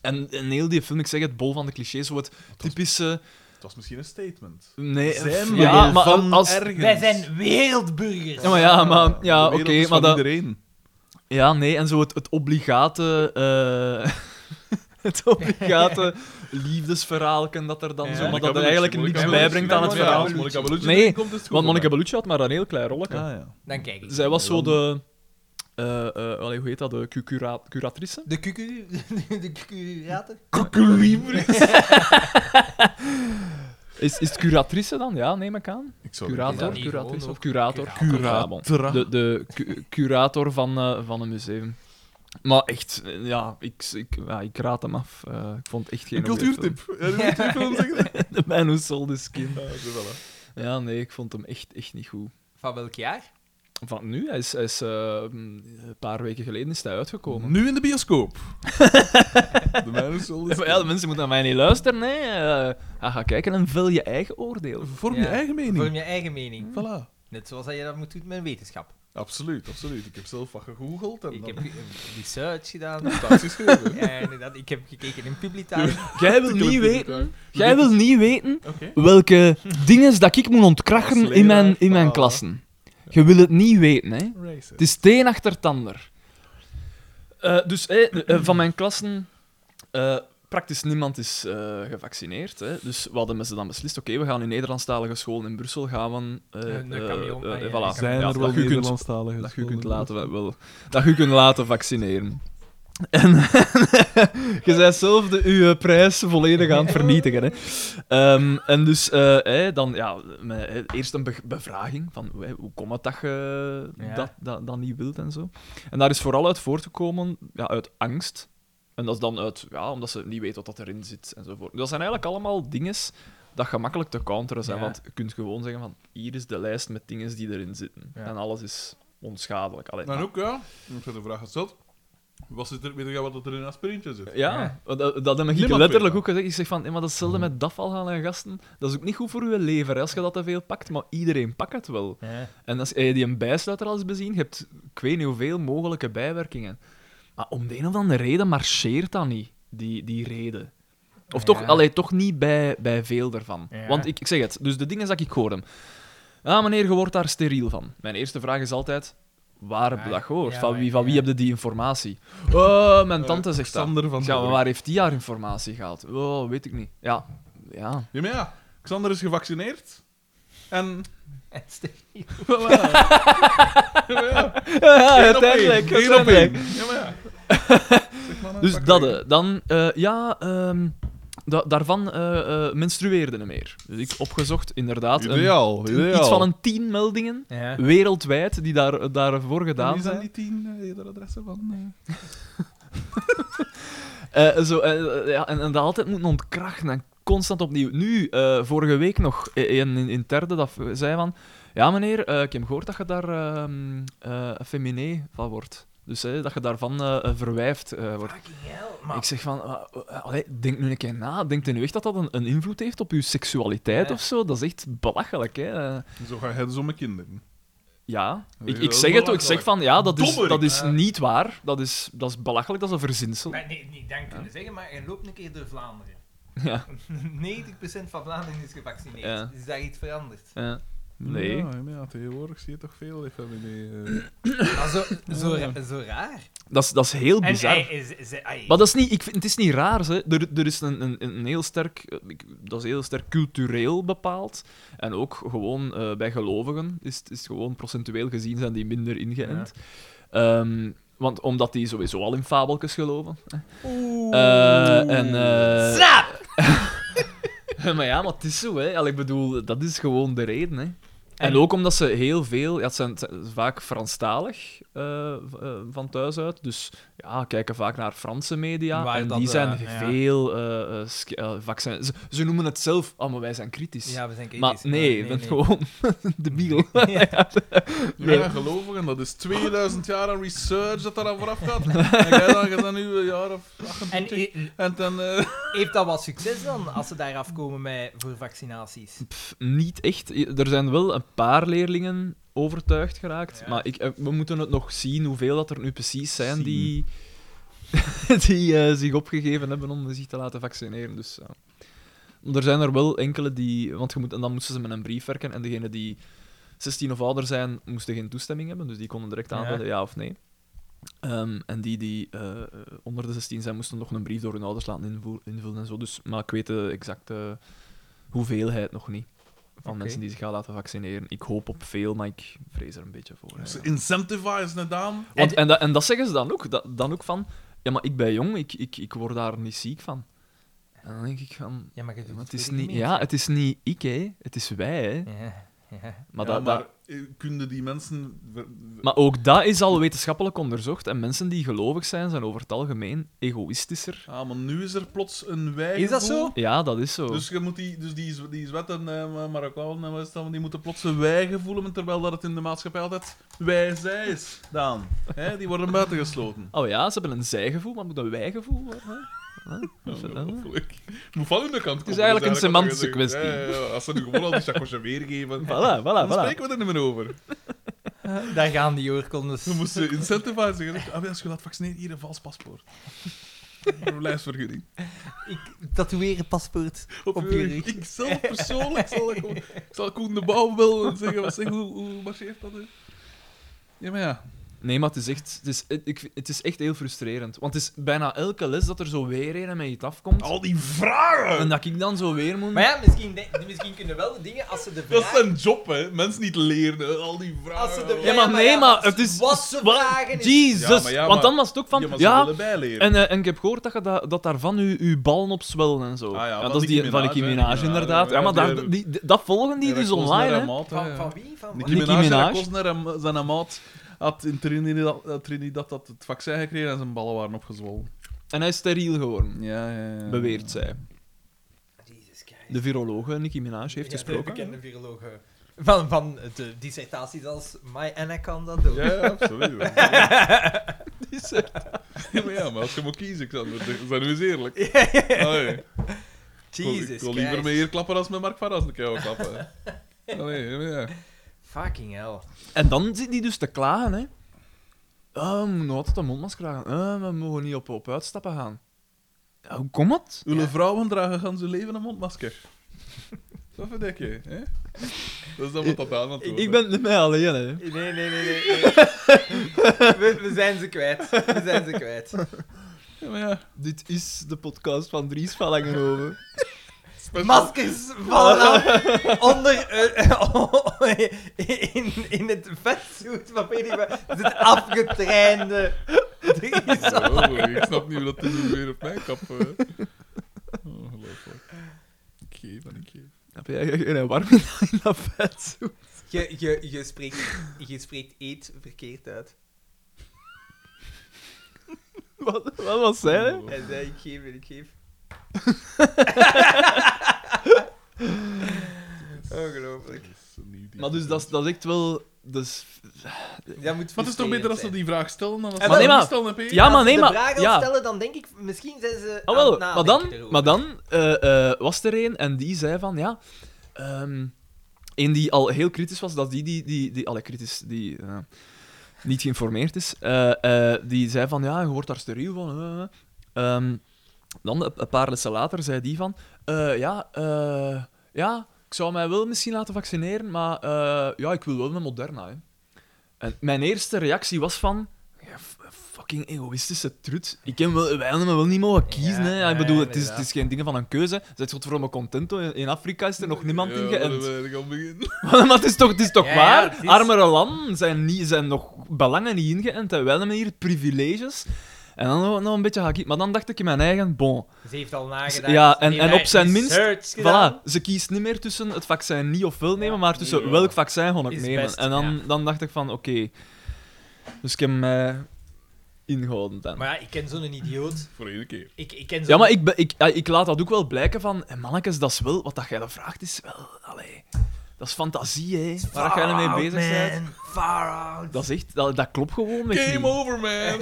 A: En, en heel die film, ik zeg het, bol van de clichés, zo het typische...
C: Het was misschien een statement.
A: Nee, eh,
C: Zijn we
A: ja,
C: er
A: maar
C: van
A: als...
C: ergens?
B: Wij zijn wereldburgers.
A: Ja, maar ja, maar... Ja,
C: De
A: oké,
C: wereld is
A: maar
C: van
A: dat...
C: iedereen.
A: Ja, nee, en zo het, het obligate... eh, het obligate liefdesverhaalken dat er dan
B: Ja.
A: zo... Maar
C: Monica
A: dat er
C: Bellucci,
A: eigenlijk
C: Monica
A: niks
C: Bellucci.
A: bijbrengt aan het
C: Ja,
A: verhaal.
C: als Monica Bellucci
A: Nee,
C: erin komt, is het
A: Want
C: gewoon
A: Monica
C: gedaan.
A: Bellucci had maar een heel klein rolletje.
C: Ah, ja.
B: Dan kijk ik.
A: Zij was zo de... eh, eh, allee, hoe heet dat? De cu- cura- curatrice?
B: De kuku... De kuku...
C: Kukulibris.
A: Is, is het curatrice dan? Ja, neem ik aan.
C: Ik zou
A: Curator,
B: Ja,
A: curatrice
B: Yvonne
A: of
B: ook.
A: curator. Ja, bon.
C: Curator.
A: De, de cu- curator van, eh, van een museum. Maar echt, eh, ja, ik, ik, ja, ik raad hem af. Eh, ik vond het echt geen
C: Een
A: goeie
C: cultuurtip. Ja, die moet je film zeggen.
A: film. The Man Who Sold His Skin.
C: Ja, zo, voilà.
A: Ja, nee, ik vond hem echt, echt niet goed.
B: Van welk jaar?
A: Van nu, hij is, hij is eh, een paar weken geleden is hij uitgekomen.
C: Nu in de bioscoop. de man is al
A: Ja, maar ja, de mensen moeten naar mij niet luisteren, hè. Eh, ga, ga kijken en vul je eigen oordeel.
C: Vorm je
B: Ja.
C: eigen mening.
B: Vorm je eigen mening.
A: Hm.
C: Voilà.
B: Net zoals dat je dat moet doen met wetenschap.
C: Absoluut, absoluut. Ik heb zelf wat gegoogeld en
B: Ik
C: dan
B: heb eh, research gedaan.
C: notaties geschreven.
B: Ja, inderdaad. Ik heb gekeken in Publitaar.
A: Jij wil
C: Ik heb
A: niet
C: het
A: weten,
C: gedaan.
A: jij wil niet weten
C: Oké.
A: welke dingen dat ik moet ontkrachten
C: Als
A: in mijn, in
C: leraar,
A: mijn
C: ah.
A: klassen. Je wil het niet weten, hè.
C: Racist.
A: Het is het een achter het ander. Eh, dus eh, eh, van mijn klassen, eh, praktisch niemand is eh, gevaccineerd. Hè. Dus wat hebben ze dan beslist? Oké, we gaan in Nederlandstalige scholen in Brussel gaan we... eh,
B: Een, eh,
A: eh,
B: camion,
A: eh,
B: ah, ja,
A: voilà.
B: een
C: Zijn
A: Ja,
C: er wel
A: dat je kunt-
C: Nederlandstaligen?
A: dat je kunt laten, wel, dat je kunt laten vaccineren. En je bent zelf de, je prijs volledig aan het vernietigen. Hè. Ehm, en dus eh, hè, dan, ja, met, hè, eerst een be- bevraging van hè, hoe komt het dat je
B: Ja.
A: dat, dat, dat niet wilt en zo. En daar is vooral uit voortgekomen ja, uit angst. En dat is dan uit, ja, omdat ze niet weten wat dat erin zit enzovoort. Dus Dat zijn eigenlijk allemaal dingen dat gemakkelijk te counteren zijn.
B: Ja.
A: Want je kunt gewoon zeggen van, hier is de lijst met dingen die erin zitten.
B: Ja.
A: En alles is onschadelijk. Allee,
C: Maar ook, ja, ik heb de vraag gesteld. Wat zit er, weet je wat er in een aspirintje zit?
A: Ja, dat, dat heb ik
C: Niemand weet Hmm.
A: letterlijk
C: dat.
A: ook gezegd. Ik zeg van, "Ja, maar dat is hetzelfde met dafval gaan en gasten. Dat is ook niet goed voor je lever hè, als je dat te veel pakt, maar iedereen pakt het wel.
B: Ja.
A: En als je die een bijsluiter al eens bezien, je hebt ik weet niet hoeveel mogelijke bijwerkingen. Maar om de een of andere reden marcheert dat niet, die, die reden. Of toch,
B: Ja.
A: allee, toch niet bij, bij veel daarvan.
B: Ja.
A: Want ik, ik zeg het, dus de dingen dat ik hoorde. Ah, meneer, je wordt daar steriel van. Mijn eerste vraag is altijd, waar heb je
B: Ah,
A: dat gehoord?
B: ja,
A: van wie, van wie
B: ja.
A: heb je die informatie? Oh, mijn
C: Eh,
A: tante zegt dat.
C: Xander van
A: Ja, maar
C: Doorn.
A: waar heeft die haar informatie gehaald? Oh, weet ik niet. Ja, ja.
C: Ja, maar ja, Xander is gevaccineerd. En...
B: En Stefanie.
A: uiteindelijk.
C: Eén op één. Ja, maar ja. Zeg maar een
A: Dus
C: pak
A: dat,
C: regen.
A: eh, dan, eh, ja, ehm, da- daarvan eh eh menstrueerde er meer. Dus ik opgezocht, inderdaad, een-
C: Ideaal, ideaal.
A: iets van een tien meldingen
B: Ja.
A: wereldwijd die daar, daarvoor
C: Eh. En
A: gedaan
C: Wie zijn
A: zijn.
C: die tien eh, eerderadressen van... eh?
A: Eh, zo, eh, eh, ja, en, en dat altijd moeten ontkrachten en constant opnieuw. Nu, eh, vorige week nog, eh, een in, in Terde, dat v- zei van... Ja, meneer, eh, ik heb gehoord dat je daar ehm eh féminé van wordt. Dus eh, dat je daarvan eh, eh, verwijfd eh, wordt.
B: Fucking hell, man.
A: Ik zeg van... wa- wa- allee, denk nu een keer na. Denkt u nu echt dat dat een, een invloed heeft op uw seksualiteit
B: Ja.
A: of zo? Dat is echt belachelijk, hè. Eh,
C: Zo ga je zo met kinderen.
A: ja,
C: Dat
A: ik,
C: is
A: ik
C: wel
A: zeg het ook. Ik zeg
C: belachelijk.
A: van, ja, dat is,
C: Dommerik.
A: dat is
B: Ja.
A: niet waar. Dat is, dat is belachelijk, dat is een verzinsel.
B: Maar nee, niet dank kunnen zeggen, maar je loopt een keer door Vlaanderen.
A: Ja.
B: 90% van Vlaanderen is gevaccineerd.
A: Ja.
B: Is daar iets veranderd?
A: ja. Nee.
C: Ja, maar ja, tegenwoordig zie je toch veel FMD. eh
B: Maar zo, zo, ra- zo raar.
A: Dat is, dat is heel
B: En
A: bizar.
B: hij is... is- hij-
A: Maar dat is niet, ik vind, het is niet raar. Hè. Er, er is een, een, een heel sterk, eh, ik- dat is heel sterk cultureel bepaald. En ook gewoon eh, bij gelovigen is het is gewoon procentueel gezien zijn die minder ingeënt. Ehm, want omdat die sowieso al in fabeltjes geloven. Eh, en, eh,
B: Snap!
A: maar ja, maar het is zo. Hè. Al, ik bedoel, dat is gewoon de reden. Hè. En,
B: En-
A: ook omdat ze heel veel... Ja, het zijn het zijn vaak Franstalig eh, v- eh, van thuis uit. Dus ja, kijken vaak naar Franse media.
B: Waar
A: en
B: dat,
A: die
B: eh,
A: zijn
B: ja.
A: veel eh, eh, sk- eh, vaccin... Ze, ze noemen het zelf... Oh, maar wij zijn kritisch.
B: Ja, we zijn kritisch.
A: maar
B: Ja,
A: nee, je bent gewoon de biel.
C: Ja, gelovigen, dat is 2000 jaar aan research dat daar aan vooraf gaat. En jij dan, jij dan nu een jaar of
B: En
C: 28. En,
B: i-
C: dan... eh,
B: heeft dat wat succes dan, als ze daar afkomen met, voor vaccinaties?
A: Niet echt. Er zijn wel een paar leerlingen overtuigd geraakt.
B: Ja.
A: Maar ik, eh, we moeten het nog zien hoeveel dat er nu precies zijn
C: Zien.
A: die, die eh, zich opgegeven hebben om zich te laten vaccineren. Dus, ja. Maar Er zijn er wel enkele die... Want je moet, en dan moesten ze met een brief werken. En degene die 16 of ouder zijn, moesten geen toestemming hebben. Dus die konden direct
B: Ja.
A: aanvullen, ja, of nee. Ehm, en die die eh, eh, onder de 16 zijn, moesten nog een brief door hun ouders laten invoer- invullen en zo. Dus, maar ik weet de exacte hoeveelheid nog niet. Van
B: Oké.
A: mensen die zich gaan laten vaccineren. Ik hoop op veel, maar ik vrees er een beetje voor. ja.
C: ze incentivize het aan.
A: Want,
B: En-
A: en, dat, en dat zeggen ze dan ook. Dat, dan ook van, ja, maar ik ben jong, ik, ik, ik word daar niet ziek van. En dan denk ik van...
B: Ja, maar je doet
A: Maar het
B: weer
A: is
B: niet
A: niet,
B: meer.
A: ja, het is niet ik, hè. Het is wij, hè.
B: Ja, ja.
A: Maar,
C: ja,
A: dat,
C: maar
A: dat-
C: eh, kunnen die mensen... ver- ver-
A: maar ook dat is al wetenschappelijk onderzocht. En mensen die gelovig zijn, zijn over het algemeen egoïstischer.
C: Ah, maar nu is er plots een wij.
B: Is dat zo?
A: Ja, dat is zo.
C: Dus, je moet die, dus die, z- die zwetten eh, en Marokkanen en Westen, die moeten plots een wij gevoelen, terwijl dat het in de maatschappij altijd wij zij is, Daan. Hè, die worden buitengesloten.
A: Oh ja, ze hebben een zijgevoel, maar het moet een wijgevoel worden. Huh? Huh?
C: Ongelooflijk. Het moet van hun kant komen.
A: Het is eigenlijk
C: dus
A: een
C: wat je
A: semantische
C: zegt.
A: kwestie.
C: Ja, ja, ja, als ze nu gewoon al die chakosje weergeven,
A: Voilà, voilà,
C: dan
A: voilà.
C: spreken we er niet meer over.
B: Daar gaan die oorkondes.
C: We moesten incentivizen. Ah, als je laat vaccineren, hier een vals paspoort. Een lijstvergunning.
B: Ik tatoeëer een paspoort op, je rug.
C: Ik zelf persoonlijk zal ik, gewoon- ik zal Koen de Bouw wel en zeggen, wat zeg, hoe, hoe marcheert dat nu? Ja, maar ja.
A: Nee, maar het is, echt, het, is, het- ik, vind- het is echt heel frustrerend. Want het is bijna elke les dat er zo weer een met iets afkomt.
C: Al die vragen!
A: En dat ik dan zo weer moet...
B: Maar ja, misschien, de- misschien kunnen wel de dingen als ze de
C: Dat
B: vraag...
C: is zijn job, hè. Mensen niet leren, al die
B: Als
C: vragen.
B: ze de
A: Ja, maar nee, maar het is-
B: Wat ze vragen is...
A: Jezus!
C: Ja, maar ja,
A: Want dan
C: maar-
A: was het ook van...
C: Ja,
A: Ja,
C: maar ze willen bijleren.
A: en, eh, en ik heb gehoord dat, je dat, dat daarvan je, je ballen op zwellen en zo.
C: Ah, ja, van
A: dat is
C: Nicki
A: die van
C: Minaj,
A: Nicki
C: hè.
A: Minaj,
C: Ja,
A: inderdaad.
C: ja,
A: Ja, maar
C: ja,
A: daar-
C: ja.
A: die, die- dat volgen die
C: Ja, dat
A: dus
C: kost naar
A: online,
C: haar
A: hè.
C: maat, hè,
B: Van,
C: ja.
B: van wie? Van
C: Nicki
A: Nicki
C: Minaj, en haar
A: Minaj.
C: kost naar hem- zijn maat had in Trinidad, eh, Trinidad dat het vaccin gekregen en zijn ballen waren opgezwollen.
A: En hij is steriel geworden,
C: Ja, ja, ja.
A: beweert zij.
B: Jezus Christus.
A: De virologe Nicki Minaj heeft
B: Ja, De
A: gesproken.
B: bekende virologe. Van, van de dissertaties als My Anaconda Doe.
C: Ja, ja, absoluut. ja, maar ja, maar als je moet kiezen, ik zou zijn we eens eerlijk. Allee.
B: Jesus
C: Ik wil liever
B: Christ.
C: met hier klappen als met Mark Varas een keer klappen. hè. Allee, ja, maar ja.
B: Fucking hell.
A: En dan zit die dus te klagen, hè. Ah, we moeten altijd een mondmasker aan. Ah, we mogen niet op, op uitstappen gaan. Ja, hoe komt het?
C: Ulle vrouwen dragen gaan ze leven een mondmasker. Dat verdek je, hè? Dus dan moet dat aan het
A: Ik, ik ben niet meer alleen, hè.
B: Nee, nee, nee, nee. nee. we, we zijn ze kwijt. We zijn ze kwijt.
C: Ja, maar ja.
A: Dit is de podcast van Dries van Langenhoven.
B: Maskers vallen af onder... eh, in, in het vetzoet van weet ik wat. Dit afgetrainde... Dries.
C: Oh, ik snap niet hoe dat nu weer op mijn kap... eh. Oh, Ongelooflijk. Ik geef en ik geef.
A: Heb jij een warme dag in dat vet?
B: Je, je, je, spreekt, je spreekt eet verkeerd uit.
A: Wat, wat was zij,
C: Oh,
A: hè?
B: Hij zei, ik geef en ik geef. Ongelooflijk.
A: Maar dus, dat, is- dat is echt wel... Dus,
B: Dat moet
C: Maar het is toch beter als ze die vraag stellen dan als ze
B: Maar nee,
C: die
A: maar-
C: stellen, hè, P?
A: ja, maar nee,
B: de
A: maar...
B: vraag
A: ja.
B: al stellen, dan denk ik, misschien zijn ze
A: Ah,
B: aan
A: wel,
B: het
A: maar
B: nadenken
A: dan,
B: erover.
A: maar dan eh, eh, was er een en die zei van ja. ehm een die al heel kritisch was, dat die, die, die, die alle kritisch, die eh, niet geïnformeerd is, eh, eh, die zei van ja, je wordt daar steriel van. eh, eh. Ehm, dan een- een paar lessen later zei die van eh, ja, eh, ja, ik zou mij wel misschien laten vaccineren, maar eh, ja, ik wil wel een Moderna. Hè. En mijn eerste reactie was van. ja, f- Fucking egoïstische trut. Ik heb wel, wij hebben wel niet mogen kiezen.
B: Ja,
A: hè.
B: ja,
A: Ik bedoel,
B: ja,
A: het, is, het is geen ding van een keuze. Zet je voor me contento. In in Afrika is er nog niemand in
C: Ja,
A: geënt.
C: we gaan beginnen.
A: maar het is toch, het is toch
B: Ja, ja,
A: waar?
B: het is-
A: Armere landen zijn, niet, zijn nog belangen niet ingeënt. En wij hebben hier privileges. En dan nog, nog een beetje hakkie. Maar dan dacht ik in mijn eigen, bon.
B: Ze heeft al nagedacht.
A: Ja, en-
B: ze heeft
A: en op
B: haar
A: zijn minst-
B: research gedaan.
A: Voilà, ze kiest niet meer tussen het vaccin niet of wel nemen,
B: Ja,
A: maar tussen
B: nee, ja.
A: welk vaccin ga ik
B: Is
A: nemen.
B: best,
A: en dan,
B: ja.
A: dan dacht ik van, oké. Dus ik heb mij ingehouden dan.
B: Maar ja, ik ken zo'n idioot.
C: Voor één keer.
B: Ik, ik ken zo'n...
A: Ja, maar ik, ben- ik, ja, ik laat dat ook wel blijken van... Hey, mannetjes, dat is wel... Wat dat jij dan vraagt is wel... Allee, dat is fantasie, hè. Waar dat jij
B: Far out,
A: mee bezig bent.
B: man. Far out.
A: Dat is echt... Dat, dat klopt gewoon met
C: Game over, man!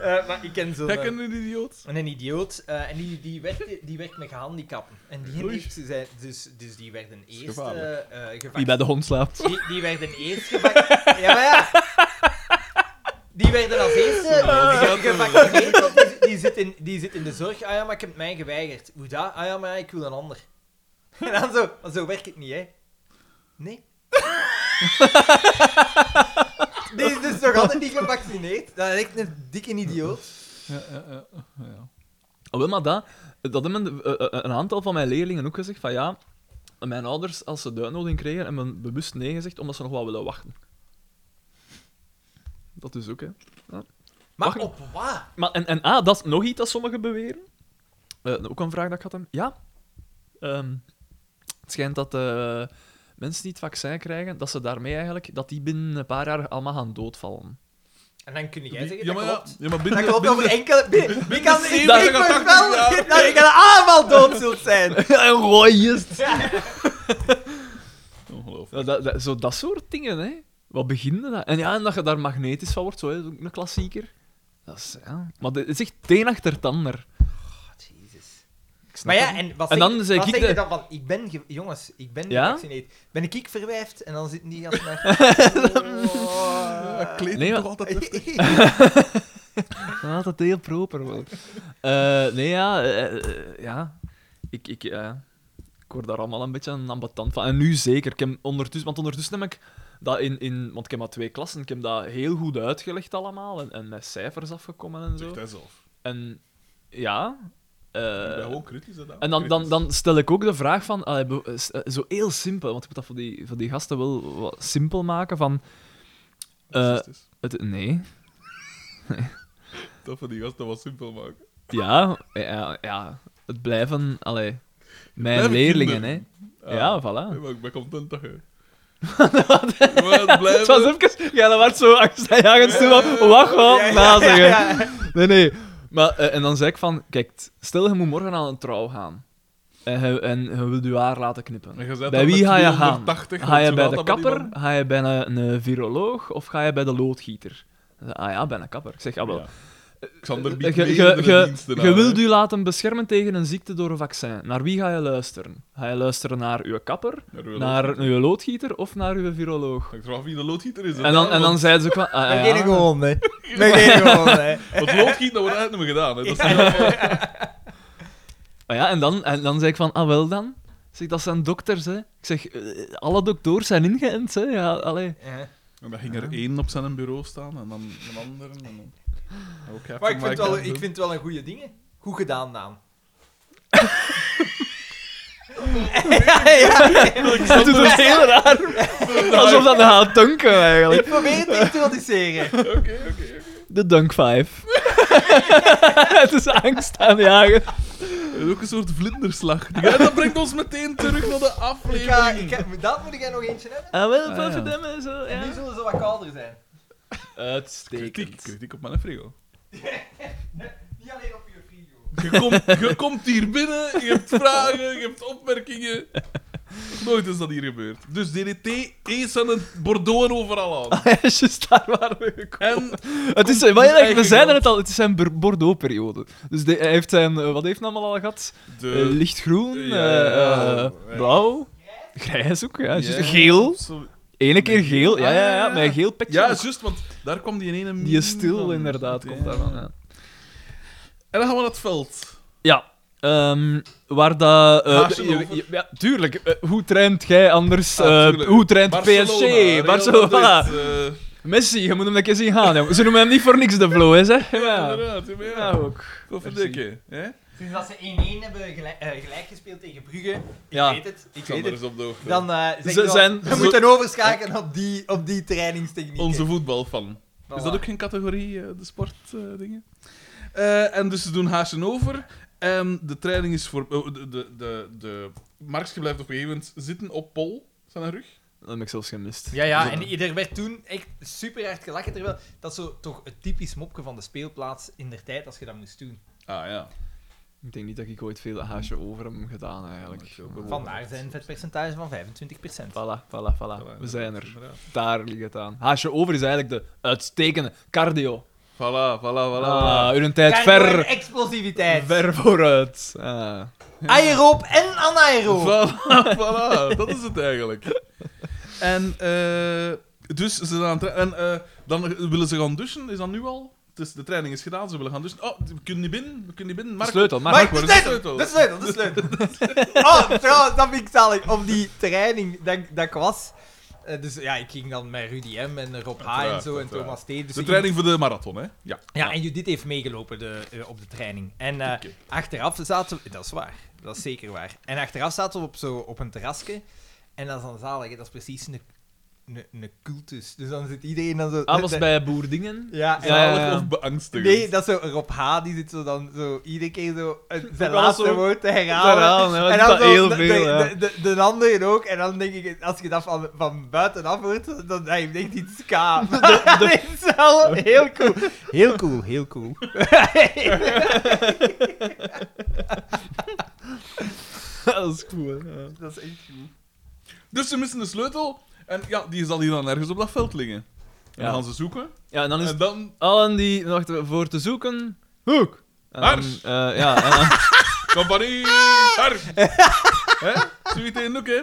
B: Eh, maar ik ken zo'n...
C: Jij kent een idioot.
B: En een idioot, eh, en die, die, werkte, die werkt met gehandicapten. En die
C: Oei.
B: heeft, ze zijn, dus, dus die werden eerst eh
C: gevaarlijk.
B: eh, gevaccineerd.
A: Wie bij de hond slaapt.
B: Die, die werden eerst gevaccineerd. Ja, maar ja. Die werden als eerste ge- gevaccineerd. want Die, die, zit in, die zit in de zorg. Ah ja, maar ik heb mij geweigerd. Hoe dat? Ah ja, maar ik wil een ander. En dan zo, maar zo werkt het niet, hè? Nee. Die is dus nog altijd niet gevaccineerd. Dat is echt een dikke idioot.
C: Ja, ja, ja. ja.
A: Oh, wel, maar dat, dat hebben de- eh, eh, een aantal van mijn leerlingen ook gezegd van ja, mijn ouders, als ze de uitnodiging kregen, hebben bewust nee gezegd, omdat ze nog wel willen wachten. Dat is ook, hè.
B: Maar
A: Wacht.
B: op wat?
A: Maar, en, en ah, dat is nog iets dat sommigen beweren. Eh, ook een vraag dat ik had hem. Ja. Ehm, het schijnt dat eh, mensen die het vaccin krijgen, dat ze daarmee eigenlijk, dat die binnen een paar jaar allemaal gaan doodvallen.
B: En dan kun jij zeggen, dat
C: Ja, maar,
B: klopt.
C: ja, ja, maar
B: Dat
C: binnen,
B: klopt over
C: binnen,
B: enkele... Wie- Wie kan... Ik ik
C: 70 of 80
B: voorspel
C: jaar.
B: dat ik een aanval dood zult zijn.
A: Rooiest.
C: Ongelooflijk.
A: Ja, dat, dat, zo dat soort dingen, hè. Wat beginde dat? En ja, en dat je daar magnetisch van wordt, zo, hè, dat is ook een klassieker. Dat is, ja. Maar dit- het is echt het een achter het ander.
B: Jezus.
A: Ik snap
B: Maar ja,
A: het.
B: en wat
A: En
B: zeg-
A: dan zeg
B: wat
A: ik
B: je
A: de-
B: dan van... Ik ben... ge- Jongens, ik ben
A: Ja?
B: gevaccineerd. Ben ik ik verwijfd? En dan zitten die als naar...
C: Ja, kleed
A: Nee,
C: toch
A: maar-
C: altijd heftig.
A: Ah, dat is heel proper wel. Eh, nee, ja. eh, eh, ja. Ik, ik, eh, ik word daar allemaal een beetje een ambetant van. En nu zeker. Ik heb ondertussen, want ondertussen heb ik dat in, in... Want ik heb maar twee klassen. Ik heb dat heel goed uitgelegd allemaal. En, en met cijfers afgekomen en zo.
C: Zegt hij zelf.
A: En ja... eh,
C: Ik ben gewoon kritisch, hè,
A: en dan, dan, dan stel ik ook de vraag van, allee, be- eh, s- eh, zo heel simpel, want ik moet dat voor die, voor die gasten wel wat simpel maken, van... eh,
C: Racistisch.
A: het, nee,
C: Dat van die gasten wat simpel maken.
A: Ja, ja, ja. Het blijven, allee, mijn
C: blijven
A: leerlingen,
C: kinderen.
A: hè.
C: Ah.
A: Ja,
C: Nee,
A: voilà.
C: maar ik ben content dat je... maar het
B: Eh,
A: Het was
C: blijven...
A: even... Ja, dat werd zo angstaanjagend toen van... Wacht, wat?
B: Ja, ja,
A: na zeggen.
B: ja, ja.
A: Nee, nee. Maar, eh, en dan zei ik van... Kijk, t- stel je moet morgen aan een trouw gaan. En je, en je wilt je haar laten knippen.
C: En je zet
A: Bij
C: dat
A: wie
C: met
A: ga je gaan?
C: 280,
A: Ga
C: want
A: je bij
C: zo
A: de
C: gaat dat met
A: kapper?
C: iemand.
A: Ga je bij een, een viroloog? Of ga je bij de loodgieter? Dan zei, Ah ja, bij een kapper. Ik zeg, ah wel.
C: Ja. Xander
A: Je
C: biedt meerdere diensten aan, hè.
A: wilt u laten beschermen tegen een ziekte door een vaccin. Naar wie ga je luisteren? Ga je luisteren naar uw kapper,
C: Naar uw
A: naar
C: loodgieter.
A: uw loodgieter of naar uw viroloog?
C: Ik vraag wie de loodgieter is. hè.
A: En dan, en dan
C: Want-
A: zeiden ze ook van... ah,
B: Met
A: ja.
B: geen gewoon, hè. Met geen gewoon, hè.
C: Want loodgieten, dat wordt uit me gedaan. Hè. Dat is
A: Ah ja, en dan, en dan zei ik van, ah wel dan. Ik zeg, dat zijn dokters, hè. Ik zeg, eh, alle dokters zijn ingeënt, hè. Ja, allee.
B: Ja.
C: En dan ging er één op zijn bureau staan en dan een ander. En dan... Ook
B: Maar ik vind, het wel, ik vind het wel een goede ding. hè. Goed gedaan, Daan. ja, ja, ja.
A: Dat doet het heel raar. Alsof dat gaat dunken,
B: Ik
A: eigenlijk.
B: probeer het niet te introduceren.
C: Oké, oké, oké.
A: De dunk 5. het is angst aan jagen.
C: En Ook een soort vlinderslag. Die guy, dat brengt ons meteen terug naar de
B: Ik ga,
C: aflevering.
B: ik ga- dat moet ik er nog eentje hebben.
A: Ah, wel,
C: Ah, ja.
A: verdomme, zo,
B: En nu
A: ja.
B: zullen ze wat kouder zijn.
C: Kritiek, kritiek op mijn frigo.
B: Niet alleen op je video.
C: Je komt, je komt hier binnen, je hebt vragen, je hebt opmerkingen. Nooit is dat hier gebeurd. Dus DDT, eens aan het Bordeaux en overal aan.
A: Ah, ja, juist daar waren we gekomen.
C: En
A: Het is,
C: Komt
A: maar ja,
C: eigen
A: we zeiden
C: kant.
A: het al, het is zijn Bor- Bordeaux-periode. Dus de- hij heeft zijn, eh, wat heeft hij allemaal al gehad? Eh,
C: de...
A: lichtgroen,
C: ja,
A: eh,
C: ja,
A: eh,
C: ja.
A: blauw, grijs ook, ja. juist.
C: Ja.
A: Geel,
C: Zo-
A: ene keer geel, ja, ja, ja,
C: Ah,
A: met een geel petje.
C: Ja, juist, want daar kwam die ene...
A: Die is
C: min
A: stil,
C: van.
A: inderdaad, komt daarvan, ja.
C: En dan gaan we naar het veld.
A: Ja. ehm, waar dat... eh,
C: Haasje
A: je-
C: over.
A: je- ja, tuurlijk. eh, hoe traint jij anders?
C: Ah,
A: eh,
C: tuurlijk.
A: hoe traint PSG?
C: Real
A: Barcelona.
C: Madrid, eh,
A: Messi, je moet hem een keer zien gaan, jongen. Ze noemen hem niet voor niks de flow, hè, zeg. Ja,
C: Inderdaad, ja, maar ja.
A: ja ook.
C: Kofferdikke, hè?
B: Dus als ze 1-1 hebben gelijk, eh, gelijk gespeeld tegen Brugge, ik
A: Ja.
B: weet het, ik weet
C: Xander
B: het,
C: is op de hoogte.
B: dan eh zeg
A: Ze
B: je wel,
A: zijn-
B: we
A: ze-
B: moeten overschakelen op die, op die trainingstechniek.
C: Onze voetbalfan.
B: Voilà.
C: Is dat ook geen categorie, eh, de sportdingen? dingen? Eh, en dus ze doen haasje over. En de training is voor... oh, de, de, de, de Marksje blijft op een gegeven moment zitten op Pol, zijn rug.
A: Dat heb ik zelfs gemist.
B: Ja, ja, en er werd toen echt super hard gelachen. Terwijl dat is zo toch het typisch mopje van de speelplaats in der tijd als je dat moest doen.
C: Ah ja.
A: Ik denk niet dat ik ooit veel haasje over hem gedaan eigenlijk.
C: Ja, maar ik ook wel.
B: Vandaar zijn vetpercentage van 25%.
A: Voilà, voilà, voilà.
C: Voilà,
A: We zijn er.
C: inderdaad.
A: Daar ligt het aan. Haasje over is eigenlijk de uitstekende cardio.
C: Voilà, voilà, voilà.
A: Ah, uw tijd
B: Cardio en
A: ver,
B: Explosiviteit.
A: ver vooruit. Ah.
B: Aeroob en anaeroob.
C: Voilà, voilà, dat is het eigenlijk. En eh, dus ze zijn aan het tra- en, eh, dan willen ze gaan douchen, is dat nu al? Het is, de training is gedaan, ze willen gaan douchen. Oh, we kunnen niet binnen, we kunnen niet binnen. Marco,
A: Sleutel,
B: Maar
A: Marco.
C: waar
B: de
C: is de
B: sleutel,
C: sleutel?
B: de sleutel, de sleutel. Oh, trouwens, dat vind ik zalig. Op die training dat, ik- dat ik was... eh, dus ja, ik ging dan met Rudy M en Rob H. en
C: Uiteraard,
B: zo en
C: uiteraard.
B: Thomas T. Dus ik
C: de
B: ging-
C: training voor de marathon, hè? Ja.
B: Ja, en Judith heeft meegelopen de, eh, op de training. En eh,
C: Oké.
B: achteraf zaten we... Dat is waar. Dat is zeker waar. En achteraf zaten we op, zo, op een terrasje. En dat is dan zalig. hè. Dat is precies een, een- een cultus. Dus dan zit iedereen dan zo...
A: Alles bij boerdingen.
B: Ja, en-
A: Ja, ja, ja.
C: Zalig of beangstigend.
B: Nee, dat is zo Rob H. die zit zo dan zo iedere keer zo het- zijn
A: wel
B: laatste
A: zo
B: woord te herhalen.
A: herhalen, ja, dat is wel
B: zo
A: heel
B: de-
A: veel,
B: de,
A: ja.
B: de, de, de anderen ook. En dan denk ik, als je dat van, van buitenaf hoort, dan hij heeft echt iets ska. dat is wel heel cool. Heel cool, heel cool.
A: dat is cool. hè. Ja.
B: dat is echt cool.
C: Dus ze missen de sleutel. En ja, die zal hier dan ergens op dat veld liggen. En
A: Ja.
C: dan gaan ze zoeken.
A: Ja, en dan is
C: En
A: het
C: dan
A: allen die nog te- voor te zoeken. Hoek! En dan,
C: Hars.
A: eh, ja, en dan-
C: Compagnie Ark. Hè? Zoiets in ook, hè?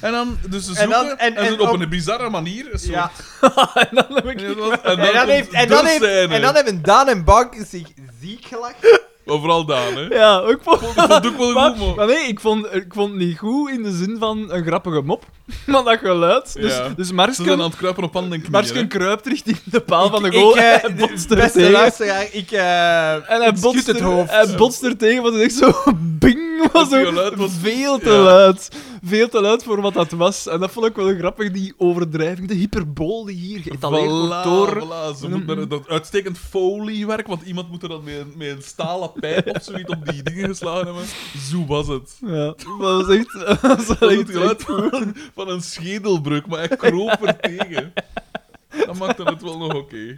C: En dan, dus ze
B: En
C: zoeken, en,
B: dan- en- en
C: ze- op,
B: op-
C: een bizarre manier... een soort-
B: Ja.
A: en dan heb ik.
C: En dan,
B: En
C: en
B: dan,
C: komt
B: heeft, en,
C: de
B: dan heeft,
C: scène.
B: en dan hebben Daan en Bank zich ziek gelachen.
C: Maar vooral Daan, hè?
A: Ja, ook voor.
C: Dat vond ik ook wel
A: Maar,
C: goed, maar...
A: maar nee, ik vond, ik vond het niet goed in de zin van een grappige mop. Maar dat geluid. Dus,
C: Ja.
A: dus
C: Ze zijn aan
A: Marsken,
C: het kruipen op handen en knieën,
A: Marsken
C: hè.
A: kruipt richting de paal van de
B: Ik-
A: goal.
B: ik, eh,
A: en
B: de-
A: botst er
B: Beste
A: tegen.
B: luisteraar, ik... eh,
A: En hij
B: ik schud
A: botst,
B: het
A: er,
B: hoofd.
A: hij botst er tegen, want het is echt zo... Bing! Was
C: Het
A: zo
C: geluid was-
A: veel te
C: ja.
A: luid. Veel te luid voor wat dat was. En dat vond ik wel grappig, die overdrijving. De hyperbol die hier geëtaleerd wordt
C: Voilà,
A: door...
C: voilà, ze moet naar dat uitstekend foliewerk, want iemand moet er dan met, een- met een stalen pijp of zoiets op die dingen geslagen hebben. Zo was het.
A: Ja, dat was echt... Dat was
C: Dat is
A: echt-
C: het geluid van, van een schedelbreuk, maar hij kroop er tegen. Dat maakte het wel nog oké.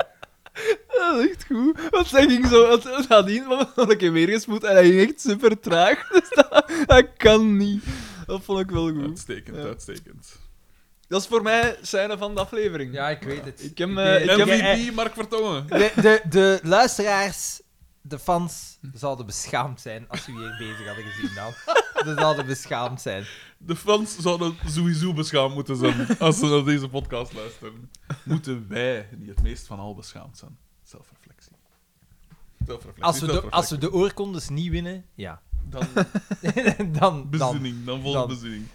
A: Dat is echt goed. Want hij ging zo... Het nadien had ik hem weer gespoed en hij ging echt super traag. Dus dat, dat kan niet. Dat vond ik wel goed.
C: Uitstekend,
A: Ja.
C: uitstekend.
A: Dat is voor mij scène van de aflevering.
B: Ja, ik weet het.
A: Ik heb, eh, ik heb-
C: MVP,
B: eh,
C: Mark Vertongen.
B: De, de, de luisteraars, de fans, zouden beschaamd zijn als we hier bezig hadden gezien dan. Ze zouden beschaamd zijn.
C: De fans zouden sowieso beschaamd moeten zijn als ze naar deze podcast luisteren. Moeten wij, die het meest van al beschaamd zijn, zelfreflectie. Zelfreflectie,
B: Als we de, als
C: zelfreflectie.
B: we de oorkondes niet winnen, ja.
C: Dan
B: dan, dan.
C: bezinning, dan volgt
B: dan.
C: bezinning.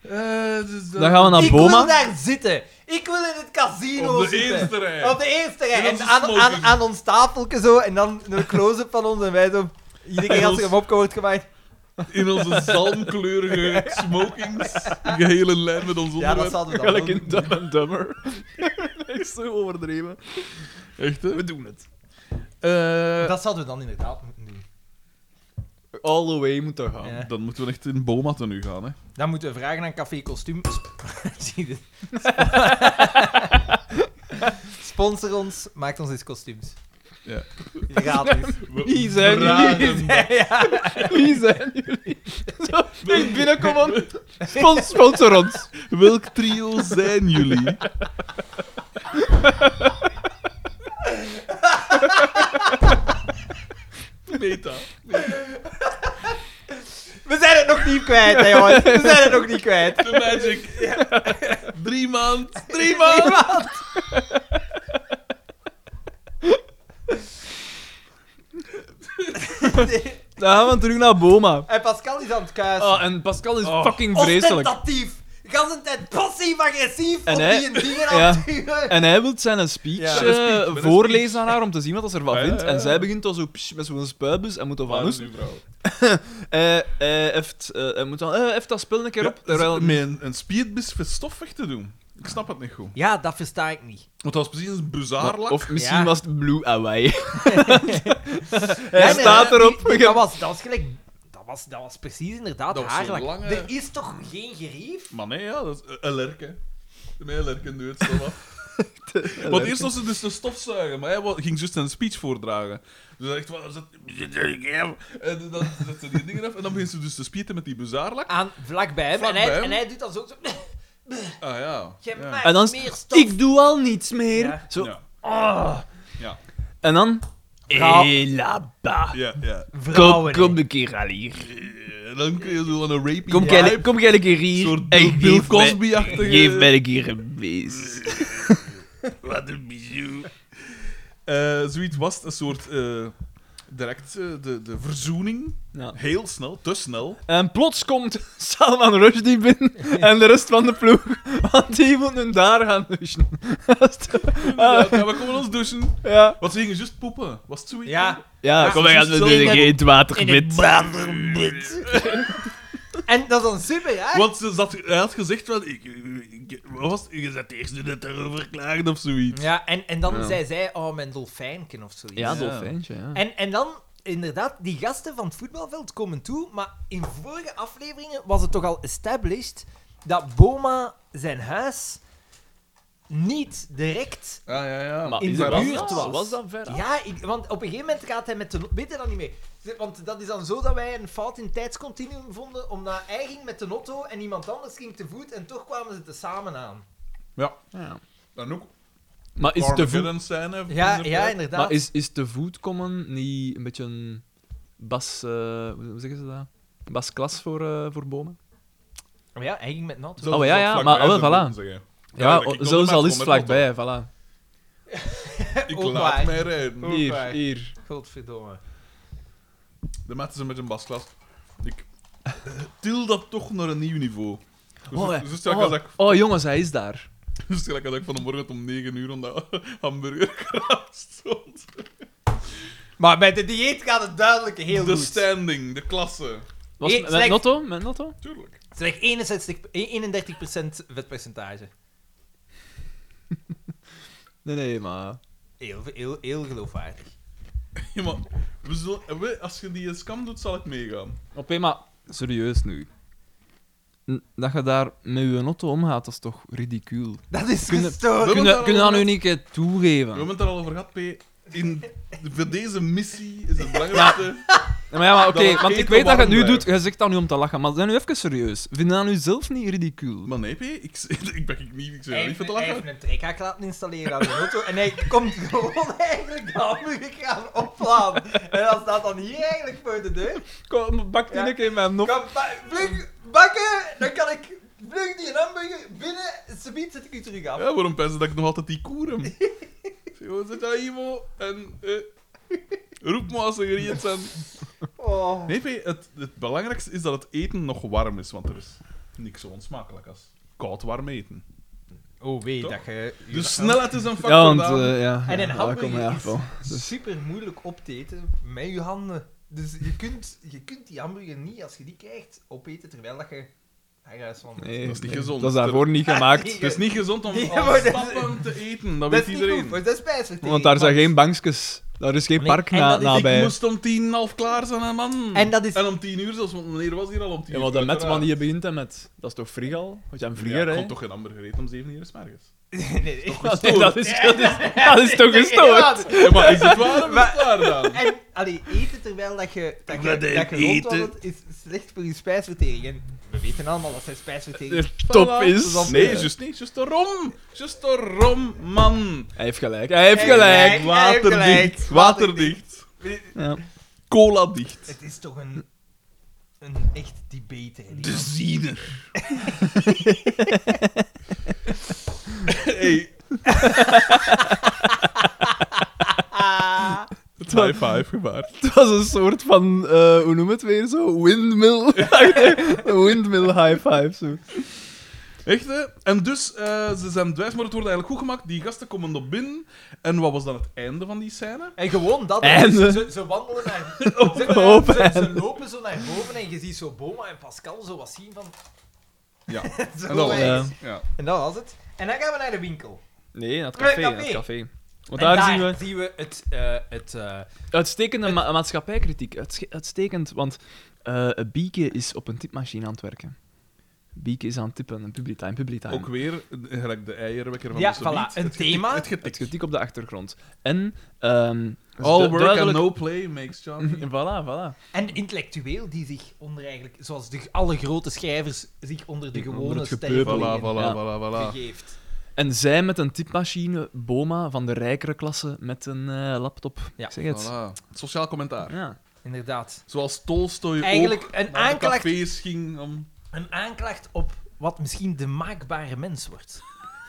C: Eh, dus
A: Dan gaan we naar
B: ik wil
A: Boma.
B: daar zitten. Ik wil in het casino
C: Op de
B: zitten.
C: eerste rij.
B: Op de eerste
C: En
B: rij. En
C: dan zo
B: aan, aan,
C: smoking.
B: aan ons tafeltje zo. En dan een close-up van ons. En wij zo... Iedere keer als er
C: ons-
B: een mopje wordt gemaakt.
C: In onze zalmkleurige smokings, die gehele lijn met ons
B: Ja, dat
C: onderwerp.
B: zouden we dan
A: Gelijk
B: wel
A: in
B: doen.
A: Dumb and Dumber. Echt zo overdreven.
C: Echt, hè?
A: We doen het.
C: Eh,
B: Dat zouden we dan inderdaad moeten doen.
A: All the way moeten gaan.
B: Ja.
C: Dan moeten we echt in Boma nu gaan, hè.
B: Dan moeten we vragen aan Café Kostuum. Zie je dit? Sponsor ons, maakt ons eens kostuums.
C: Ja.
B: Gratis.
C: We
A: Wie zijn
C: vragen
A: jullie?
C: dat.
A: Wie zijn jullie? Zo, ik binnenkom aan. Spon- Sponsor ons.
C: Welk trio zijn jullie? Meta.
B: We zijn het nog niet kwijt, hè, jongens. We zijn het nog niet kwijt.
C: The magic. Drie maand. Drie maand.
A: Dan gaan we terug naar Boma.
B: En Pascal is aan het kuisen.
A: Ah, en Pascal is
C: Oh.
A: fucking vreselijk.
B: Ostentatief. Gans een tijd passief-agressief
A: En
B: op
A: hij-
B: die dingen
A: ja.
B: aan het duwen.
A: En hij wil zijn speech,
B: Ja.
A: eh,
C: Met een speech, met een
A: voorlezen aan haar om te zien wat ze ervan
C: Ja, ja,
A: vindt.
C: ja.
A: En zij begint dan zo psh, met zo'n spuitbus en moet ervan
C: Waar is
A: hoesten.
C: die vrouw?
A: Eh, eh, heeft, eh, hij moet dan, eh, heeft dat spel een keer op. Terwijl...
C: Met een, een speedbus voor stof weg te doen. Ik snap het niet goed.
B: Ja, dat versta ik niet.
C: Want dat was precies een buzaarlak.
A: Of misschien
B: Ja.
A: was het Blue Hawaii. hij
B: Ja, nee,
A: staat
B: die-
A: erop.
B: die- Dat was, dat was gelijk... Dat was, dat was precies inderdaad
C: Dat was
B: haar
C: zo'n
B: lak.
C: lange-
B: Er is toch geen gerief?
C: Maar nee, ja, dat is een lerke. Mijn lerke doet het zo af. Want eerst was ze dus de stofzuiger, maar hij wa- ging juist een speech voordragen. Dus hij dacht van... zet- En dan zet ze die dingen af en dan begint ze dus te spieten met die buzaarlak.
B: aan vlakbij hem. en,
C: Vlakbij
B: hij,
C: hem.
B: en hij doet dan zo. zo
C: Ah ja.
B: je
C: ja.
B: maakt
A: En dan is-
B: meer stof.
A: Ik doe al niets meer.
B: Ja.
A: Zo.
C: Ja.
A: ah.
C: Ja.
A: En dan...
B: Vrouw-
A: Elaba.
C: Ja, ja.
A: Kom,
B: Vrouwen.
A: kom een keer al hier.
C: En dan kreeg je zo'n rapey
A: Kom,
C: vibe.
A: jij, kom jij een keer hier.
C: Een soort Bill-
A: en
C: Bill
A: geef mij-
C: Cosby-achtige-
A: Geef mij een keer een beest.
C: Wat een bijou. Eh, zoiets was het, een soort... eh, direct eh, de, de verzoening.
A: Ja.
C: Heel snel, te snel.
A: Nou, En plots komt Salman Rushdie binnen en de rest van de ploeg. Want die moeten daar gaan douchen.
C: Ja, ja, we komen ons douchen.
A: ja.
C: Wat ze gingen juist poepen. Was het zoiets?
B: Ja.
A: Ja,
C: Ja,
A: kom, we
C: ze
A: gaan
C: zitten
A: in de-
C: in het-
A: in het waterbed.
B: En dat is dan super raar.
C: Want ze zat, hij had gezegd wel, ik, ik- Wat was het? Je bent de eerste dat erover klaagde of zoiets.
B: Ja, en, en dan
C: Ja.
B: zei zij, oh, mijn dolfijnken of zoiets.
A: Ja,
C: Ja.
A: dolfijntje, ja.
B: En, en dan, inderdaad, die gasten van het voetbalveld komen toe, maar in vorige afleveringen was het toch al established dat Boma zijn huis niet direct...
C: Ja, ja, ja.
A: Maar
B: in
A: is
B: de
A: dat-
B: buurt was.
A: Was dat ver? af?
B: Ja, ik, want op een gegeven moment gaat hij met de... Weet je dat niet meer? Ze- Want dat is dan zo dat wij een fout in tijdscontinuum vonden, omdat hij ging met de auto en iemand anders ging te voet en toch kwamen ze te samen aan.
A: Ja.
C: Dan ook
A: Maar is te voet...
C: Armageddon scène.
B: Ja, ja inderdaad.
A: Maar is, is te voet komen niet een beetje een bas... eh, hoe hoe zeggen ze dat? Bas klas voor, eh, voor bomen?
B: Maar ja, hij ging met een auto.
C: Zelfs
A: Oh, ja,
C: op
A: ja,
C: vlakbij
A: maar- ah, wel,
C: zou ik
A: voilà.
C: moeten zeggen.
A: Ja,
C: dat ik
A: oh,
C: nog
A: zelfs
C: maar
A: al is
C: kom
A: het
C: met auto.
A: vlakbij, voilà.
C: Ik
B: Ook
C: laat
B: waar.
C: mij rijden.
B: Ook
A: Hier,
B: waar.
A: hier.
B: Godverdomme.
C: De maat is er met een basklas. Ik til dat toch naar een nieuw niveau. Dus,
A: Oh,
C: dus,
A: hè.
C: dus gelijk
A: oh,
C: als ik,
A: oh, jongens, hij is daar.
C: dus gelijk als ik vanmorgen om 9 uur aan de hamburgerkraam stond.
B: Maar bij de dieet gaat het duidelijk heel
C: De
B: goed.
C: standing, de klasse.
A: Was
B: Eén
A: het met
B: slecht-
A: Notto? Met Notto?
C: Tuurlijk.
B: Slechts 61, 31% e, vetpercentage.
A: Nee, nee, maar...
B: Heel, heel, heel geloofwaardig.
C: Ja, maar we zullen, we, als je die scam doet, zal ik meegaan.
A: Oké, maar serieus nu. N- Dat je daar met je auto omgaat, dat is toch ridicuul?
B: Dat is
A: Kunnen-
B: gestoord.
C: hebben
A: Kun
C: het
A: je,
C: daar
A: kun je
C: al
A: dat
C: over
A: nu niet een keer
C: We
A: toegeven?
C: hebben het er al over gehad, P. In, voor deze missie is het belangrijkste...
A: Ja, maar ja, maar oké,
C: Dat we
A: want ik
C: Peter
A: weet dat je het nu
C: warm
A: doet. Je zegt dat nu om te lachen, maar zijn nu even serieus. Vind je dat nu zelf niet ridicuul?
C: Maar nee, P, ik, ik ben ik niet... Ik zou
B: Hij
C: er
B: heeft,
C: niet van te
B: hij
C: lachen.
B: heeft een trekhaak laten installeren aan de auto en hij komt gewoon eigenlijk de hamburgerkraam opladen. En dat staat dan hier eigenlijk voor de deur.
A: Kom, bak die
B: Ja.
A: een keer met hem op.
B: Kan ba- vlug bakken, dan kan ik vlug die hamburger binnen, subiet zet ik u terug af.
C: Ja, waarom pensen dat ik nog altijd die koer heb? Zeg, wat zit daar, Ivo? En eh, roep maar als ze gereed zijn.
B: Oh.
C: Nee, P, het, het belangrijkste is dat het eten nog warm is, want er is niks zo onsmakelijk als koud warm eten.
B: oh, weet
C: Toch?
B: dat je...
C: De snelheid is een factor.
A: Ja, want
C: Daan.
A: eh, ja.
B: En een
A: ja,
B: hamburger
A: kom, ja,
B: is-
A: wel.
B: super moeilijk op te eten met je handen. Dus je kunt, je kunt die hamburger niet, als je die krijgt, opeten terwijl dat je naar huis wandelt.
A: Nee,
C: Dat is niet
A: nee,
C: gezond.
A: Dat is daarvoor niet gemaakt. Dus-
B: Nee.
C: Het is niet gezond om
B: Ja, maar
C: al
B: dat is-
C: stappend te eten, dat,
B: dat is
C: weet
B: niet
C: iedereen.
B: goed voor- dat is spijsvertering.
A: Want daar zijn
B: maar-
A: geen bankjes. Daar is geen
B: Nee,
A: park
B: en
A: na,
B: dat is-
C: Ik
A: nabij.
C: moest om tien, half klaar zijn, hè, man.
B: En dat is-
C: om tien uur zelfs, want meneer was hier al om tien
A: Ja,
C: uur.
A: want de
C: uiteraard.
A: metman die je begint hem met, dat is toch frigal? Want jij bent
C: Ja,
A: vlieger,
C: ik
A: hè?
C: kon toch geen hamburger eten om zeven uur is morgens.
B: nee, nee.
A: Ja, nee, dat, is, dat, is, dat is toch gestoord?
B: Inderdaad.
C: Ja, maar is het waar of is
B: Maar-
C: het waar dan?
B: En allee, eten terwijl dat je, dat je,
C: Dat
B: dat
C: hij
B: je
C: eten.
B: rondwandelt is slecht voor je spijsvertering. En we weten allemaal dat zijn spijsvertering.
A: Top
C: Voilà.
A: is.
C: Nee, juist niet. Juist daarom. Juist daarom, man.
A: Hij heeft gelijk. Hij
C: Dus
A: heeft
B: Hij heeft
A: gelijk.
B: gelijk. gelijk.
C: Waterdicht. Waterdicht.
A: Ja.
C: Cola dicht.
B: Het is toch een, een echt debater. die
C: De
B: man.
C: ziener. hey,
B: Ah,
C: het high five gebaard.
A: Het was een soort van, eh, hoe noem het weer zo? Windmill. Windmill high five. Zo.
C: Echt, hè? En dus, eh, ze zijn dwijs, maar het wordt eigenlijk goed gemaakt. Die gasten komen op binnen. En wat was dan het einde van die scène?
B: En gewoon dat.
A: En- eh,
B: Ze, ze wandelen naar...
C: Oh,
B: ze,
A: op
B: ze- ze
A: en-
B: lopen zo naar boven en je ziet zo Boma en Pascal zo wat zien van...
C: Ja.
B: zo
C: En dat was
A: eh.
B: wijs.
C: het. Ja.
B: En dat was het. En dan gaan we naar de winkel.
A: Nee, naar het
B: café,
A: café.
B: naar het
A: Want
B: En
A: daar, zien we
B: het... eh, het eh,
A: uitstekende ma- maatschappijkritiek. Uitsche- uitstekend, want eh Bieke is op een typmachine aan het werken. Bieke is aan het typen, publitime, publitime.
C: Ook weer, eh, gelijk de eierwekker van
B: Ja,
C: de
B: voilà. Een thema.
C: Het
A: Het
C: getik.
A: kritiek op de achtergrond. En, ehm
C: All work
A: duidelijk-
C: and no play makes John.
A: Voilà, voilà.
B: en intellectueel die zich onder eigenlijk... Zoals de, alle grote schrijvers zich onder de
A: Onder
B: gewone
A: het
B: stervelingen
C: Voilà,
A: gepeupel.
C: voilà,
A: Ja.
C: voilà, voilà.
B: begeeft.
A: En zij met een typmachine, Boma van de rijkere klasse met een eh, laptop.
B: Ja,
A: Ik zeg het.
C: Voilà. Sociaal commentaar.
A: Ja.
B: Inderdaad.
C: Zoals Tolstoy
B: Eigenlijk
C: ook
B: een
C: naar de
B: aanklacht-
C: cafés ging om...
B: Een aanklacht op wat misschien de maakbare mens wordt.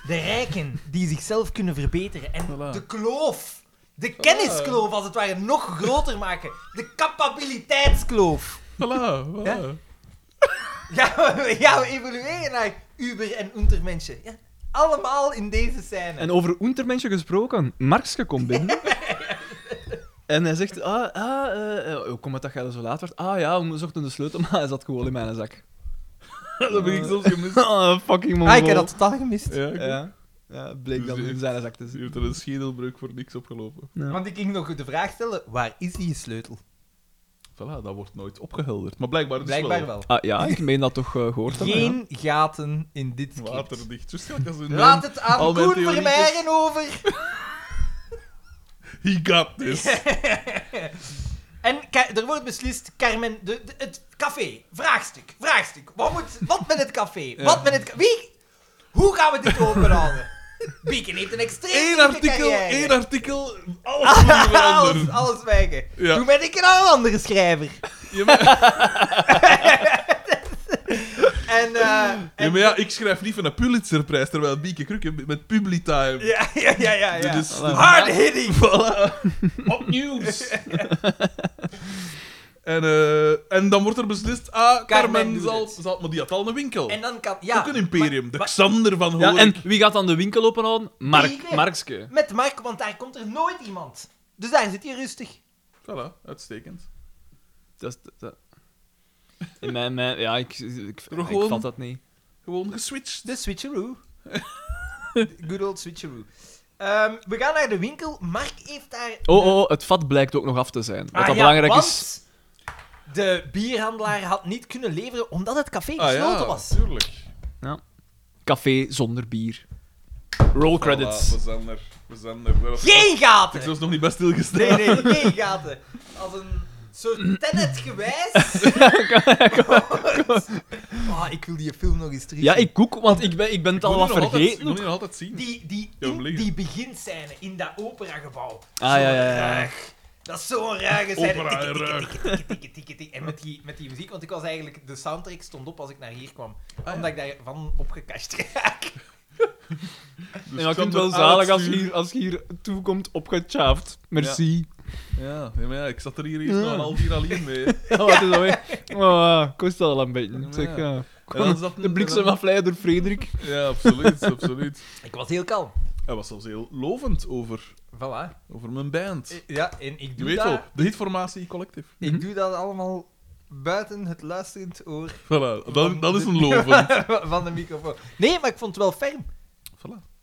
B: De rijken die zichzelf kunnen verbeteren. En
C: Voilà.
B: de kloof. De kenniskloof, als het ware, nog groter maken. De capabiliteitskloof.
C: Voilà, voilà.
B: Ja? Ja, we gaan evolueren naar Uber en Untermenschen. Ja, allemaal in deze scène.
A: En over Untermenschen gesproken, Marx komt binnen. en hij zegt, ah, ah eh, eh, hoe komt het dat jij er zo laat werd? Ah ja, we zochten de sleutel, maar hij zat gewoon in mijn zak.
C: dat heb ik zelfs gemist.
A: Ah, fucking man.
B: Ah, ik heb dat totaal gemist.
C: Ja, oké.
A: Ja. ja, bleek
C: Dus
A: dan
C: die-
A: in zijn zak te
C: Je
A: zitten.
C: hebt er een schedelbreuk voor niks opgelopen.
B: Want ik ging nog de vraag stellen, waar is die sleutel?
C: Voilà, dat wordt nooit opgehelderd. Maar blijkbaar, dus
B: Blijkbaar wel.
A: Ah, ja, ik meen dat toch eh, gehoord hebben. ja.
B: Geen gaten in dit script.
C: Waterdicht. Zo sterk als een
B: Laat het
C: al
B: aan
C: mijn
B: Koen
C: theorietjes.
B: Vermeijren over.
C: He got this.
B: En Ka- er wordt beslist, Carmen, de, de- het café, vraagstuk, vraagstuk. Wat, moet, wat met het café? Wat met het ca- Wie? Hoe gaan we dit openhouden? Bieken heeft een extreem
C: Eén
B: zieke
C: artikel,
B: carrière.
C: één artikel, alles moet hier
B: Alles,
C: veranderen.
B: alles wijken.
C: Ja.
B: Toen ben ik een al andere schrijver.
C: Ja, maar,
B: En, eh,
C: ja,
B: en-
C: maar ja, ik schrijf liever een Pulitzerprijs, terwijl Bieke Krukke met Publitime.
B: ja, ja, ja, ja, ja.
C: Dit is-
B: Hard hitting.
C: Hot news! en, eh, en dan wordt er beslist, ah, Carmen,
B: Carmen doet
C: zal,
B: het.
C: zal... Maar die had al een winkel.
B: En dan kan, ja.
C: Ook een imperium. De
B: maar-
C: Xander van
A: Ja,
C: Hoorn.
A: en wie gaat dan de winkel openhouden? Mark,
B: Bieke.
A: Markske.
B: Met Mark, want daar komt er nooit iemand. Dus daar zit hij rustig.
C: Voilà, uitstekend.
A: Dat, is- dat, dat. In mijn, mijn, ja, ik, ik, ik,
C: Toch gewoon-
A: vat dat niet.
C: Gewoon geswitcht.
B: De switcheroo. Good old switcheroo. Ehm, we gaan naar de winkel. Mark heeft daar...
A: Oh, oh, het vat blijkt ook nog af te zijn. Wat
B: Ah
A: dat
B: ja,
A: belangrijk
B: want
A: is.
B: De bierhandelaar had niet kunnen leveren omdat het café
C: Ah
B: gesloten
C: ja,
B: was.
C: tuurlijk.
A: Café zonder bier. Roll
C: Voilà,
A: credits.
C: we zijn er. We zijn er. Dat-
B: Geen
C: Ik
B: gaten!
C: was nog niet bij stilgestaan.
B: Nee, nee, geen gaten. Als een soort tenet gewijs. Ah, ik wil die film nog eens terug.
A: Ja, ik koek, want ik ben, ik ben het
C: Ik wil
A: al
C: die
A: wat
C: nog altijd- Ik
A: vergeten.
C: wil die nog altijd zien.
B: Die, die,
C: Ja,
B: in-
C: liggen.
B: die beginscène in dat operagebouw.
A: Ah, ja, ja, ja, ja.
B: Ruig. Dat is zo'n ruige scène.
C: Opera en
B: Tikke,
C: ruig.
B: tikke, tikke, tikke, tikke, tikke, tikke. En met die, met die muziek, want ik was eigenlijk... De soundtrack stond op als ik naar hier kwam.
C: Ah, ja.
B: Omdat ik daarvan opgekast raak.
C: Dus
A: En dat
C: Xander
A: kunt wel
C: aan het
A: zalig als je
C: stuur.
A: hier, als je hier toekomt opgechaafd. Merci.
C: Ja, ja, maar ja, ik zat er hier eerst
A: Ja.
C: nog een half uur alleen mee.
A: Ja. wat is dat weer? Oh, kost al een beetje.
C: Ja.
A: Zeg, ja.
C: En dan is dat-
A: De bliksemafleider door Frederik.
C: Ja, absoluut, absoluut.
B: Ik was heel kalm.
C: Hij was zelfs heel lovend over,
B: Voilà.
C: over mijn band.
B: Ja, en ik
C: Je
B: doe,
C: weet
B: dat,
C: wel, de hitformatie collectief.
B: ik doe dat allemaal buiten het luisterend oor
C: Voilà, dat, dat is een lovend.
B: van de microfoon. Nee, maar ik vond het wel ferm.
C: Voilà.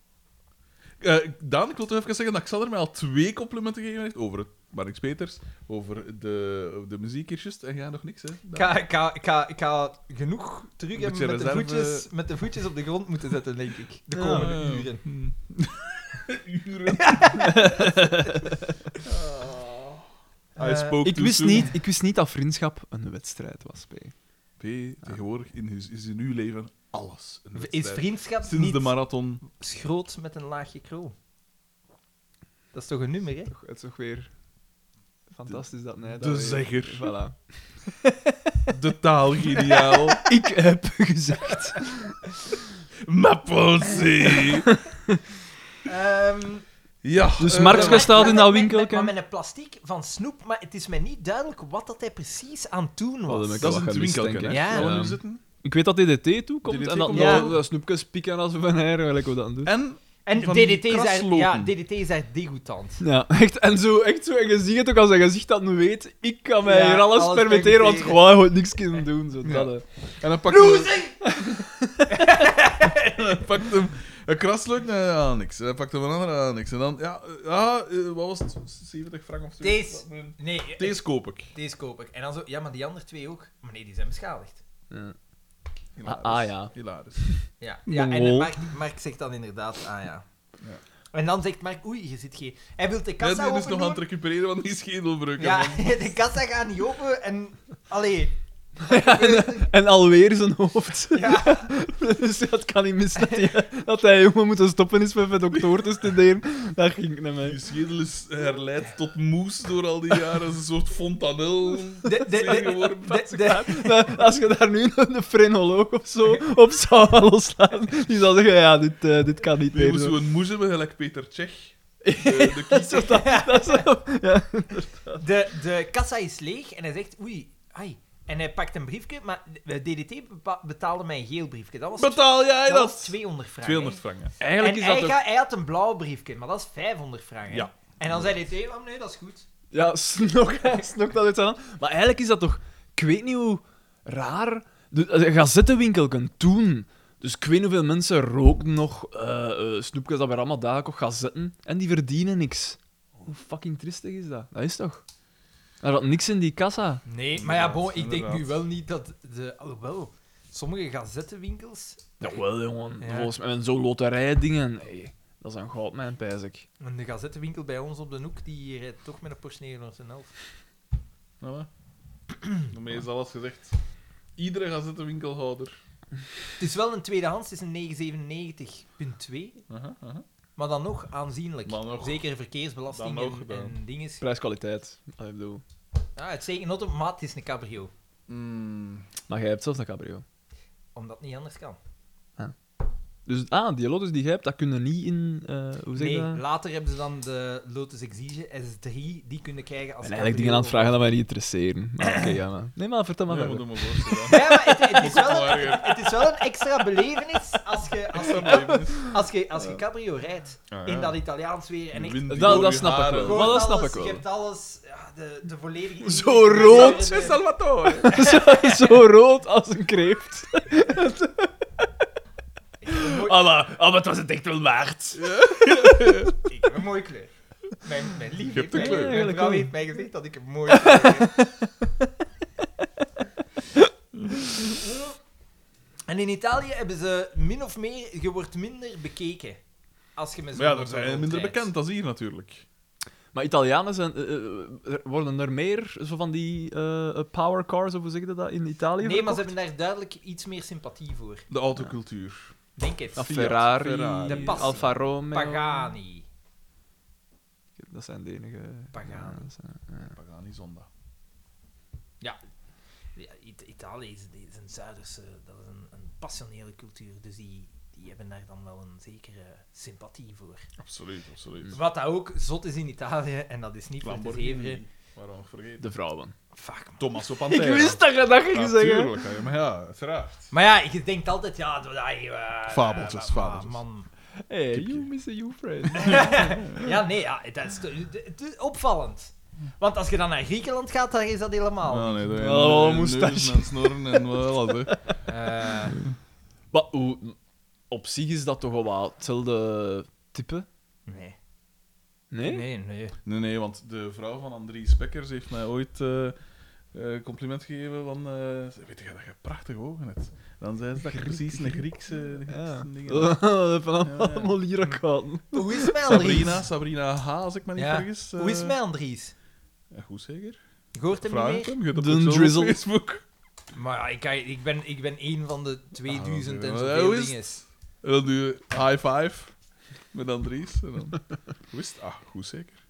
C: Eh, Daan, ik wil toch even zeggen dat Xander mij al twee complimenten gegeven heeft over het Marnix Peters, over de, de muziek hier juist. En jij nog niks, hè?
B: Ik
C: Daan?
B: ga, ik ga, ik ga, ik ga genoeg terug
C: Moet
B: hebben
C: je
B: met de,
C: reserve-
B: voetjes, met de voetjes op de grond moeten zetten, denk ik. De
C: Ja.
B: komende
C: Ja.
B: uren.
C: Hm. uren. I
B: Eh,
C: spoke
A: Ik
C: too
A: wist,
C: soon.
A: niet, ik wist niet dat vriendschap een wedstrijd was, P.
C: P, tegenwoordig in, his- is in uw leven alles. een
B: Is
C: wedstrijd.
B: vriendschap
C: Sinds
B: niet
C: de marathon.
B: schroot met een laagje krul? Dat is toch een nummer, hè?
A: Toch, het is toch weer fantastisch dat mij dat
C: de
A: weer-
C: zegger.
A: Voilà.
C: De taal geniaal.
A: Ik heb gezegd.
C: Mappelsie.
B: Ehm,
C: Ja.
A: Dus
C: eh,
A: Marx
B: maar-
A: staat in
B: maar- maar-
A: dat winkelken.
B: Maar met een plastiek van snoep, maar het is mij niet duidelijk wat dat hij precies aan het doen
A: Wat heb
B: was.
A: ik
C: Dat is
A: wel
C: het
A: gemist,
C: winkelken, hè?
B: denk ik. Ja.
C: Waar we nu
A: Ja.
C: zitten.
A: Ik weet dat DDT toekomt
C: DDT
A: en dat
C: komt
B: Ja.
A: nog ja. snoepjes pikken als we van her, gelijk hoe dat doen.
C: En
B: En
C: Van
B: DDT
C: die
B: is, daar,
C: kraslopen.
B: ja, DDT is daar degoutant.
A: Ja, echt. En zo, echt zo. En je ziet het ook als je gezicht dat nu weet. Ik kan mij
B: Ja,
A: hier alles,
B: alles
A: permitteren, want
B: permitteren.
A: gewoon je moet niks kunnen doen. Zo,
C: Ja.
A: dat, eh. hè.
C: En dan pakt
B: Loser!
C: hij pakt hem een krasleuk, nee, aan niks. Hij pakt hem een andere, aan niks. En dan, ja, eh, ja eh, wat was het? 70 frank of zo?
B: Deze. Nee, eh,
C: Deze koop ik.
A: Ah,
B: deze koop ik. En dan zo, ja, maar die andere twee ook. Maar nee, die zijn beschadigd.
C: Hilarisch.
A: Ah, ah, ja.
C: Hilarisch.
B: Ja, ja en
A: Mongol.
B: eh, Mark, Mark zegt dan inderdaad, ah ja.
C: Oh. Ja.
B: En dan zegt Mark, oei, je zit geen... Hij wil de
C: Net
B: kassa
C: die is
B: open
C: dus nog aan het
B: doen.
C: recupereren van die schedelbreuk.
B: Ja,
C: En dan-
B: de kassa gaat niet open en... Allee.
A: En alweer zijn hoofd.
B: Ja.
A: dus dat kan niet mis dat hij, dat hij jongen moet stoppen is met doctor te studeren. Dat ging naar
C: Je
A: mij.
C: schedel is herleid tot moes door al die jaren. Een soort fontanel.
B: De, de, de,
C: Tegenwoordig
B: de, de-
A: Maar Als je daar nu een een frenoloog of zo op zou loslaten, die zou zeggen, ja, dit, eh, dit kan niet
C: Je
A: meer.
C: moest
A: zo.
C: zo'n moes hebben, gelijk Peter Tsjech. De, de kiezer.
A: Dat is zo- ja.
B: de, de kassa is leeg en hij zegt, oei, ai. En hij pakt een briefje, maar de- de DDT bepa- betaalde mij een geel briefje. Dat was,
C: Betaal jij
B: dat was
C: dat?
B: 200 frank. hè.
C: 200 frank, hè.
A: Eigenlijk
B: en
A: is
B: hij,
A: dat ook...
B: ga- hij had een blauw briefje, maar dat is 500 vragen.
C: Ja.
B: En dan zei hij, oh nee, dat is goed.
A: Ja, snok, snok dat uit zijn hand. Maar eigenlijk is dat toch... Ik weet niet hoe raar De, eh, gazettenwinkel kan toen. Dus ik weet niet hoeveel mensen rookten nog eh, eh, snoepjes dat bij Ramadak of gazetten. En die verdienen niks. Hoe fucking tristig is dat? Dat is toch? Er had niks in die kassa.
B: Nee, maar ja,
D: Inderdaad,
B: bon, ik denk nu
D: inderdaad.
B: wel niet dat de... Alhoewel, sommige gazettenwinkels...
A: Jawel, jongen.
B: Ja.
A: Volgens mij, en zo'n loterijdingen. Nee, dat is een goudmijn, pijs ik.
B: En de gazettenwinkel bij ons op de hoek, die rijdt toch met een Porsche 911.
C: Nou, Daarmee is alles gezegd. Iedere gazettenwinkelhouder.
B: Het is wel een tweedehands, het is een 997.2.
C: Aha, aha.
B: Maar dan nog aanzienlijk.
C: Maar nog.
B: Zeker verkeersbelasting
C: Dan nog
B: en,
C: gedaan.
B: en dingen.
A: Prijs-kwaliteit. Ah, ik bedoel.
B: Ja, het is zeker not een maat, het is een cabrio.
D: Mm,
A: Maar jij hebt zelf een cabrio.
B: Omdat het niet anders kan.
A: Dus ah, die lotus die jij hebt, dat kunnen niet in. eh, hoe zeg je
B: Nee,
A: dat?
B: later hebben ze dan de Lotus Exige S3, die kunnen krijgen als
A: En eigenlijk dingen aan het vragen dat mij niet interesseren. Maar oké, ja, maar. Nee, maar vertel maar
C: Nee,
A: verder.
C: moet hem maar voorstellen.
B: Ja, maar het, het is wel
C: Maar,
B: een,
C: eh,
B: het is wel een extra belevenis als je, als
C: extra
B: je,
C: belevenis.
B: als je, als je cabrio rijdt.
D: ah, ja.
B: In dat Italiaans weer. En echt
C: Wind
A: Dat-
C: door
A: dat
C: je
A: snap ik
C: haren.
A: wel.
B: Gewoon
A: Maar dat
B: alles,
A: snap ik wel.
B: Je hebt alles, ja, de, de volledige...
A: Zo rood.
B: Ja, de-
D: Salvatore!
A: zo, zo rood als een kreeft. Alla, maar het was het echt wel waard.
B: Ik heb een mooie kleur. Mijn, mijn lief
C: hebt
B: heeft
C: een
B: mij-
C: kleur.
B: Mijn
A: Eigenlijk
B: vrouw
A: wel.
B: heeft mij gezegd dat ik een mooie kleur heb. En in Italië hebben ze min of meer, je wordt minder bekeken. Als je met zo'n
C: Maar ja, daar
B: auto
C: zijn minder
B: rondrijdt.
C: bekend als hier natuurlijk.
A: Maar Italianen zijn, eh, eh, er- worden er meer zo van die eh, eh, power cars, of hoe zeg je dat, in Italië?
B: Nee, maar ze
A: verkocht?
B: hebben daar duidelijk iets meer sympathie voor.
C: De autocultuur.
B: Denk het.
A: Ah,
C: Fiat,
A: Ferrari,
C: Ferrari.
B: De Passi.
A: Alfa Romeo.
B: Pagani.
A: Dat zijn de enige.
B: Pagani.
A: Ja, dat zijn-
C: Pagani Zonda.
B: Ja, It- Italië is, is een Zuiderse, dat is een, een passionele cultuur, dus die, die hebben daar dan wel een zekere sympathie voor.
C: Absoluut, absoluut.
B: Wat dat ook zot is in Italië, en dat is niet voor te zeveren.
C: Lamborghini. Waarom nog vergeten?
A: De vrouwen.
B: Fuck man.
C: Tommaso Pantera.
A: dat je dat ging
C: Natuurlijk, hè, maar ja, uiteraard.
B: Maar ja, je denkt altijd, ja, dat, dat, eh,
C: Fabeltjes,
B: maar-
C: fabeltjes.
B: Man.
A: Hey, you miss a you friend.
B: Ja, nee, ja, het, is, het is opvallend. Want als je dan naar Griekenland gaat, daar is dat helemaal.
C: Ja, nee, daar-
A: Oh,
C: en
A: moustache.
C: en snorren en wel hè.
B: Eh,
A: Maar hoe- op zich is dat toch wel wat hetzelfde type?
B: nee.
A: Nee?
B: Nee, nee.
C: Nee, Eh. nee, want de vrouw van Andries Bekkers heeft mij ooit eh, eh, compliment gegeven van... eh, weet je dat je prachtige ogen hebt? Dan zei ze dat je precies een Griekse, een
A: Ja.
C: Griekse ding hebt.
A: Van
C: Ja, ja.
A: allemaal hier kan.
B: Hoe is mijn
C: Sabrina,
B: Andries?
C: Sabrina H, als ik me niet
B: Ja.
C: vergis. eh,
B: Hoe is mijn Andries?
C: ja, goed zeker?
B: Je hoort hem niet
C: Vraag het
B: meer?
C: hem, je hebt
A: De
C: het op
A: drizzle.
C: Facebook.
B: Maar ja, ik, kan- ik, ben, ik ben één van de 2000 en
C: Ah,
B: zoveel
C: hoe is
B: dingen.
C: En dan doe je high five met Andries. En dan... Hoe is het? Ah, goed zeker.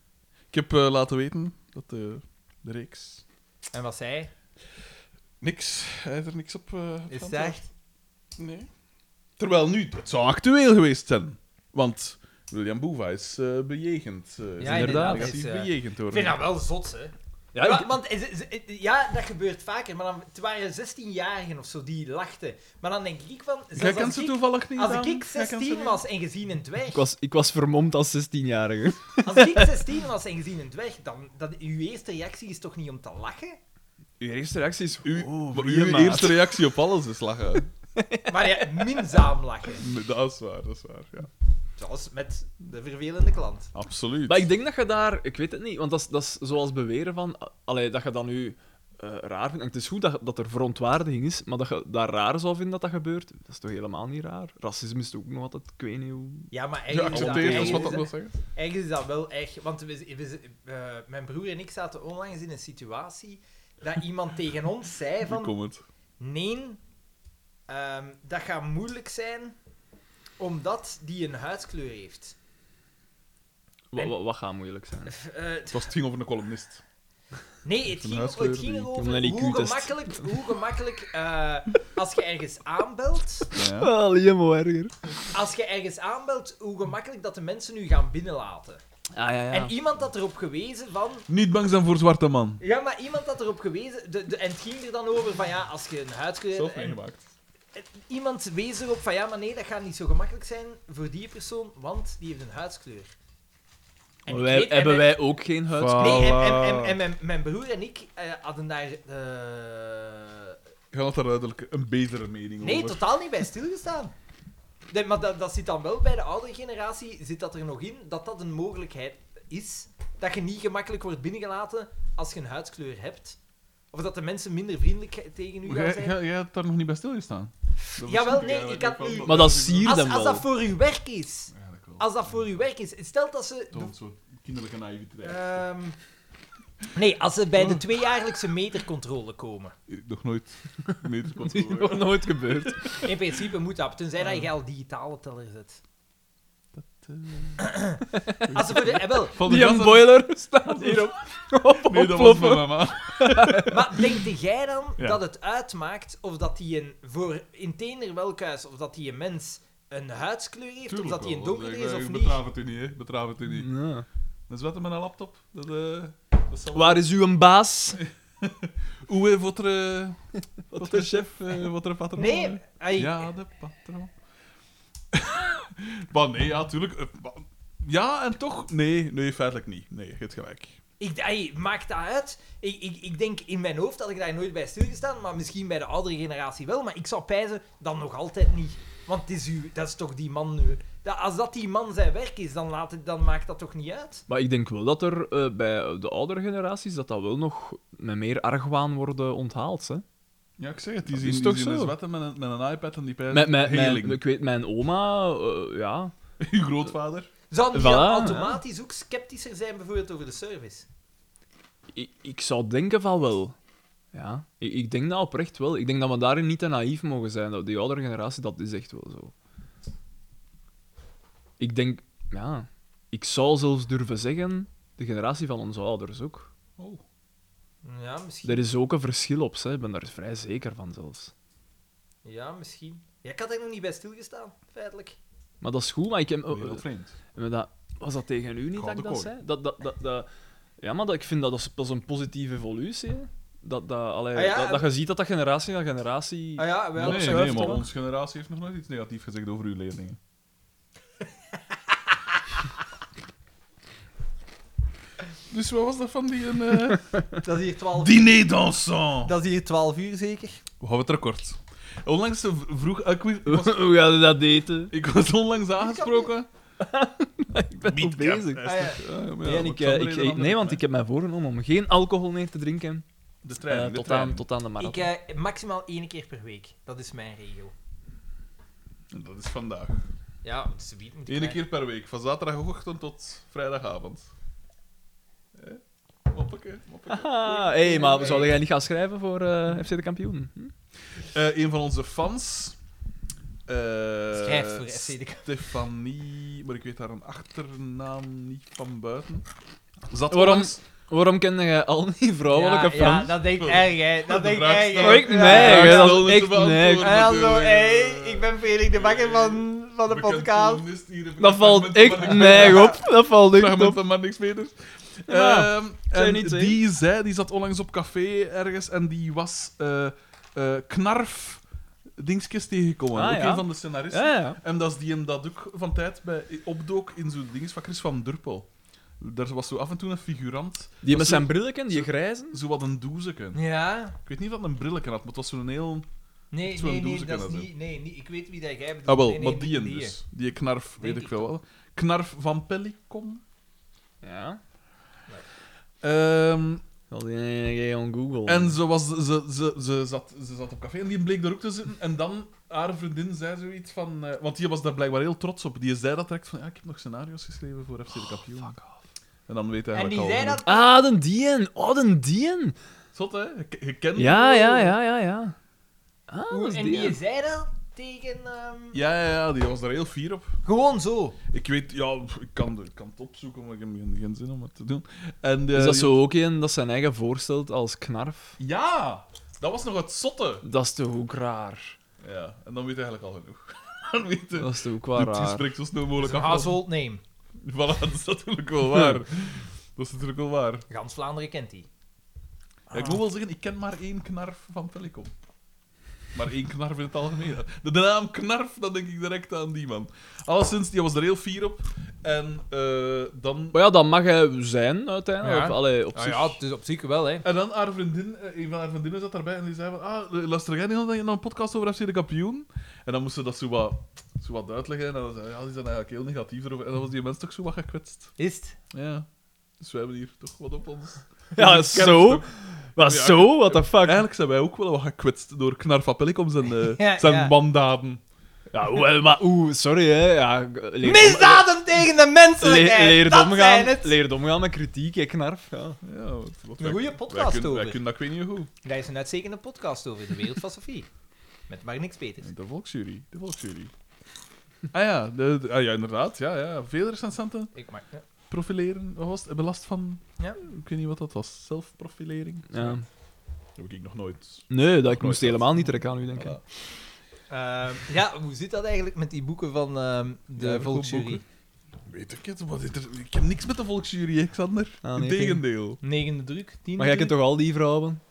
C: Ik heb eh, laten weten dat de, de reeks...
B: En wat zij?
C: Niks. Hij heeft er niks op... eh, op
B: Is het
C: geantwoord.
B: echt?
C: Nee. Terwijl nu, het zou actueel geweest zijn. Want William Boeva is eh, bejegend. eh, is
B: inderdaad,
C: Negatief
B: is, eh,
C: bejegend door
B: Ik vind
C: hem.
B: dat wel zot, hè?
A: Ja, ik-
B: Wa- Want is- is- is- ja, dat gebeurt vaker, maar dan, het waren 16-jarigen of zo die lachten. Maar dan denk ik van. zelfs
C: Jij
B: als
C: kent ze
B: ik-
C: toevallig niet,
B: Als
C: Daan?
B: ik
C: Jij kent ze
B: 16
C: niet?
B: was en gezien een dwerg,
A: Ik was, ik was vermomd als 16-jarige.
B: als ik 16 was en gezien een dwerg, dan dat uw eerste reactie is toch niet om te lachen?
A: Uw eerste reactie is... U,
C: Oh,
A: maar
C: maar
A: uw
C: uw eerste reactie op alles is lachen.
B: Maar ja, minzaam lachen.
C: Nee, dat is waar, dat is waar. Ja.
B: Zoals met de vervelende klant.
C: Absoluut.
A: Maar ik denk dat je daar... Ik weet het niet, want dat is, dat is zoals beweren van... ah, Allee, dat je dat nu eh, raar vindt. En het is goed dat, dat er verontwaardiging is, maar dat je daar raar zou vinden dat dat gebeurt. Dat is toch helemaal niet raar? Racisme is toch ook nog altijd... Ik weet niet hoe...
B: Ja, maar
C: Ja,
B: eigenlijk. is dat-
C: accepteer dat is wat
B: eigenlijk is
C: dat wil zeggen.
B: Eigenlijk is dat wel echt, want we, we, eh, mijn broer en ik zaten onlangs in een situatie dat iemand tegen ons zei
C: Hoe
B: van,
C: komt het?
B: nee, ehm, dat gaat moeilijk zijn, omdat die een huidskleur heeft.
A: Wa- wa- wat gaat moeilijk zijn?
B: Eh,
C: Het, was, het ging over een columnist.
B: nee, het
C: Een
B: ging,
C: huidskleur
B: het ging
C: die-
B: erover
A: Een
B: hoe
A: IQ-test.
B: gemakkelijk, hoe gemakkelijk eh, als je ergens aanbelt,
C: Ja.
A: Alleen maar erger.
B: als je ergens aanbelt, hoe gemakkelijk dat de mensen u gaan binnenlaten.
A: Ah, ja, ja.
B: En iemand had erop gewezen van,
C: Niet bang zijn voor zwarte man.
B: Ja, maar iemand had erop gewezen. De, de, en het ging er dan over van ja, als je een huidskleur.
C: Zelf
B: en-
C: meegemaakt.
B: en Iemand wees erop van ja, maar nee, dat gaat niet zo gemakkelijk zijn voor die persoon, want die heeft een huidskleur. En ik
A: Wij-
B: weet- en
A: hebben
B: mijn-
A: wij Ah. ook geen huid?
C: Fuck.
B: Nee, en, en,
C: Alla.
B: en, en mijn, mijn broer en ik eh, hadden daar eh,
C: Ik had daar duidelijk een betere mening
B: Nee,
C: over.
B: totaal niet bij stilgestaan. Nee, maar dat, dat zit dan wel bij de oudere generatie, zit dat er nog in, dat dat een mogelijkheid is. Dat je niet gemakkelijk wordt binnengelaten als je een huidskleur hebt. Of dat de mensen minder vriendelijk tegen u gaan
C: Jij,
B: zijn.
C: jij, jij hebt daar nog niet bij stilgestaan.
B: Jawel, nee, ik had niet-
A: Maar dat zie je
B: Als,
A: dan
B: als
A: wel.
B: dat voor uw werk is.
C: Eigenlijk wel.
B: Als dat voor uw werk is. Stel dat ze...
C: Toont zo'n kinderlijke naïviteit.
B: Ehm, nee, als ze bij de tweejaarlijkse metercontrole komen.
C: Eh, Nog nooit
A: Dat is
C: metercontrole.
A: nog nooit gebeurd.
B: In principe moet dat, tenzij dat je al digitale teller zet. Als ze voor de... eh, wel,
C: Van de
A: Die een
C: gans-
A: boiler staat hierop. Op,
C: Nee, dat was
A: oploppen.
C: mijn mama.
B: Maar denk jij dan
C: Ja.
B: dat het uitmaakt of dat die een voor in tener welk huis of dat die een mens een huidskleur heeft of dat die een donkerder is of niet?
C: Betraaf het u niet, hè. Betraaf het u niet.
A: Ja.
C: Dat is wat met een laptop. Dat, eh, dat zal...
A: Waar is uw baas?
C: Hoe heeft wat er... eh, Wat er
A: is-
C: chef, eh, wat er patroon?
B: Nee, ai,
C: Ja, de patroon. maar nee, ja, tuurlijk. eh, maar- Ja, en toch? Nee, nee, feitelijk niet. Nee, je hebt gelijk.
B: ik, ai, maakt dat uit? Ik, ik, ik denk in mijn hoofd had ik daar nooit bij stilgestaan, maar misschien bij de oudere generatie wel, maar ik zou pijzen dan nog altijd niet. Want het is u, dat is toch die man nu. Dat, als dat die man zijn werk is, dan, laat het, dan maakt dat toch niet uit?
A: Maar ik denk wel dat er eh, bij de oudere generaties dat dat wel nog met meer argwaan worden onthaald. Hè?
C: Ja, ik zeg het. Die
A: Dat
C: zien,
A: is
C: die
A: toch
C: zien een
A: zo?
C: zwetten met een, met een iPad en die pijzen.
A: Met, met,
C: Heerlijk.
A: mijn, ik weet, mijn oma, eh, ja.
C: Uw grootvader.
B: Zou die
A: Voilà,
B: dan automatisch ook sceptischer zijn bijvoorbeeld over de service?
A: Ik, ik zou denken van wel. Ja, ik, ik denk dat oprecht wel. Ik denk dat we daarin niet te naïef mogen zijn. Dat die oudere generatie, dat is echt wel zo. Ik denk, ja, ik zou zelfs durven zeggen, de generatie van onze ouders ook.
C: Oh.
B: Ja, misschien.
A: Er is ook een verschil op, ze. ik ben daar vrij zeker van zelfs.
B: Ja, misschien. Ja, ik had er nog niet bij stilgestaan, feitelijk.
A: Maar dat is goed, maar ik heb... eh,
C: Oh, heel vreemd.
A: Maar dat, was dat tegen u niet dat ik
C: Gouden
A: dat
C: kooi.
A: zei? Dat, dat, dat, dat- ja, maar dat, ik vind dat dat is, dat is een positieve evolutie. hè. Dat, dat, allee,
B: Ah ja,
A: dat, dat je ziet dat dat generatie na generatie...
B: Ah ja, wel.
C: Nee,
A: Ja, dat
C: nee,
A: zou
C: maar
A: even toch?
C: onze generatie heeft nog nooit iets negatiefs gezegd over uw leerlingen. dus wat was dat van die... Een, eh,
B: Dat is hier 12 uur.
C: Diner dansant!
B: Dat is hier 12 uur zeker.
C: We houden het record. Onlangs v- vroeg... eh, Ik was, ik was-
A: Hoe gaat je dat eten?
C: ik was onlangs aangesproken.
A: Ik ben
C: Beat
A: nog bezig.
C: Cap.
B: Ah, ja.
C: Ja, maar ja,
A: Nee, en ik, eh,
C: Alexander
A: ik-
C: heeft
A: ik-
C: een andere
A: nee, want
C: plan,
A: ik heb mij voorgenomen om geen alcohol meer te drinken
C: hè. De
A: eh,
C: trein, de
A: tot,
C: trein.
A: aan, tot aan de
B: Ik,
A: marathon.
B: eh, maximaal één keer per week. Dat is mijn regel.
C: En Dat is vandaag.
B: Ja, want ze biedt
C: Eén keer per week. Van zaterdagochtend tot vrijdagavond. Eh? Hoppakee, hoppakee.
A: Haha, hey, maar zou jij niet gaan schrijven voor eh, FC de kampioen? Hm?
C: Eh, een van onze fans. eh,
B: Schrijft voor FC de K.
C: Stefanie, maar ik weet haar een achternaam niet van buiten. Zat
A: Waarom-
C: onlangs-
A: Waarom ken jij al die
C: Oh,
A: vrouwelijke
B: ja,
A: fans?
B: Ja, dat denk ik erg, hè. Dat
C: De
B: denk ik
C: vraag
B: erg,
C: stelt-
B: hè.
A: Oh, ik-
B: Ja.
C: De
A: nee,
C: vraag
A: hè, dat
C: stelt
A: is
C: niet
A: echt
C: te beantwoorden,
A: nee.
B: Ah, ja, zo,
C: natuurlijk.
B: hey,
C: Eh,
B: ik ben Frederik de Bakker van, van de
C: bekend
B: podcast.
C: columnist hier, bekend
A: dat valt
C: fragment van
A: echt
C: Marnix-
A: neig op. Dat valt echt
C: Fragment
A: op.
C: van maar niks beter.
A: Ja,
C: dus. Ehm,
A: zou je
C: en
A: niet zeggen.
C: die zei, die zat onlangs op café ergens en die was eh, eh, knarf dingetjes tegengekomen.
A: Ah,
C: ook
A: ja.
C: een van de scenaristen.
A: Ja, ja.
C: En dat is die hem dat ook van tijd bij opdook in zo'n dinges van Chris van Durpel. Daar was zo af en toe een figurant,
A: Die met
C: zo-
A: zijn brilleken, die grijzen.
C: zo wat een doezeke.
B: Ja.
C: Ik weet niet of dat een brilletje had, maar het was zo'n heel...
B: Nee,
C: Zo'n
B: nee, nee,
C: doosje
B: dat
C: kan
B: is
C: dat
B: niet... Nee, niet, ik weet wie dat jij bedoelt.
C: Ah wel,
B: Nee, nee,
C: maar die
B: niet
C: en dus. Die knarf,
B: Denk
C: weet ik
B: ik
C: veel wel. Knarf van Pelicom.
A: Ja.
C: Ehm,
A: Dat die enige on Google.
C: en ze, was, ze, ze, ze, zat, ze zat op café en die bleek daar ook te zitten. En dan, haar vriendin zei zoiets van... eh, want die was daar blijkbaar heel trots op. Die zei dat direct van, ja, ik heb nog scenario's geschreven voor FC de kampioen. En dan weet hij
B: Oh, En
C: eigenlijk
B: die
C: al
B: zei dat...
C: genoeg.
A: Ah, de dien. Oh, de dien.
C: Zot, hè? Je, je kent
A: Ja,
C: hem wel.
A: ja, ja, ja, ja. Ah, dat is
B: Oh, En die
A: dien.
B: zei dat tegen... ehm,
C: Ja, ja, ja, die was daar heel fier op.
B: Gewoon zo.
C: Ik weet, ja, pff, ik kan, ik kan het opzoeken, maar ik heb geen, geen zin om het te doen. En, eh,
A: Is
C: die-
A: dat zo ook een dat zijn eigen voorstelt als knarf?
C: Ja, dat was nog het zotte.
A: Dat is toch ook raar?
C: Ja, en dan weet hij eigenlijk al genoeg. dan weet hij.
A: Dat is toch ook wel
C: Dit
A: raar?
C: gesprek zo snel mogelijk af.
B: Household name.
C: Voilà, dat is natuurlijk wel waar. Dat is natuurlijk wel waar.
B: Gans Vlaanderen kent die.
C: Ja,
A: Ah.
C: ik moet wel zeggen, ik ken maar één knarf van Telecom. Maar één knarf in het algemeen. De naam knarf, dan denk ik direct aan die man. Alleszins, die was er heel fier op. En eh, dan
A: Maar ja, dat mag hij zijn uiteindelijk.
B: Ja.
A: Of, allee, op
B: Nou
A: zich.
B: ja, het is op zich wel, hè.
C: En dan haar vriendin, eh, een van haar vriendinnen zat daarbij en die zei van, ah, luister jij niet altijd naar een podcast over FC de kampioen? En dan moest ze dat zo wat, zo wat uitleggen en dan zei ze, ja, die zijn eigenlijk heel negatief erover. En dan was die mens toch zo wat gekwetst.
B: Is het?
C: Ja. Dus wij hebben hier toch wat op ons.
A: Ja,
C: Dus ik ken
A: zo?
C: het toch.
A: Wat
C: Ja.
A: zo? What the fuck?
C: Eigenlijk zijn wij ook wel wat gekwetst door Knar van Pellikom zijn, eh,
B: Ja,
C: zijn
B: ja.
C: mandaden.
A: Ja, oeh, maar oeh, sorry hè. Ja, leer-
B: Misdaden tegen de
A: leer,
B: menselijkheid!
A: leert
B: dat zijn
A: omgaan,
B: het!
A: leert omgaan met kritiek, hè, knarf. Ja.
C: Ja, wat, wat
B: Een
C: wij-
B: goede
C: wij
B: podcast
C: kunnen-
B: over.
C: Wij kunnen dat ik weet niet hoe.
B: Daar is een uitstekende podcast over, De Wereld van Sophie. Met maar niks beters.
C: De Volksjury, de Volksjury. Ah ja, de, de- ah, ja inderdaad. Ja, ja. Veel recensenten
B: Ik maak...
C: profileren. Wat was het? Hebben last van...
B: Ja.
C: Ik weet niet wat dat was. Zelfprofilering?
A: Ja.
C: Dat heb ik nog nooit.
A: Nee, dat, ik
C: Nooit
A: moest
C: dat.
A: helemaal niet trekken aan u, denk ik.
C: Voilà.
B: Ehm, ja, hoe zit dat eigenlijk met die boeken van ehm, de
C: Ja,
B: Volksjury?
C: boeken. Weet ik het? Wat is er- Ik heb niks met de Volksjury, hè, Xander.
A: Ah, nee,
C: Integendeel.
B: Negende druk, tiende
A: Maar jij kent
B: druk.
A: toch al die vrouwen?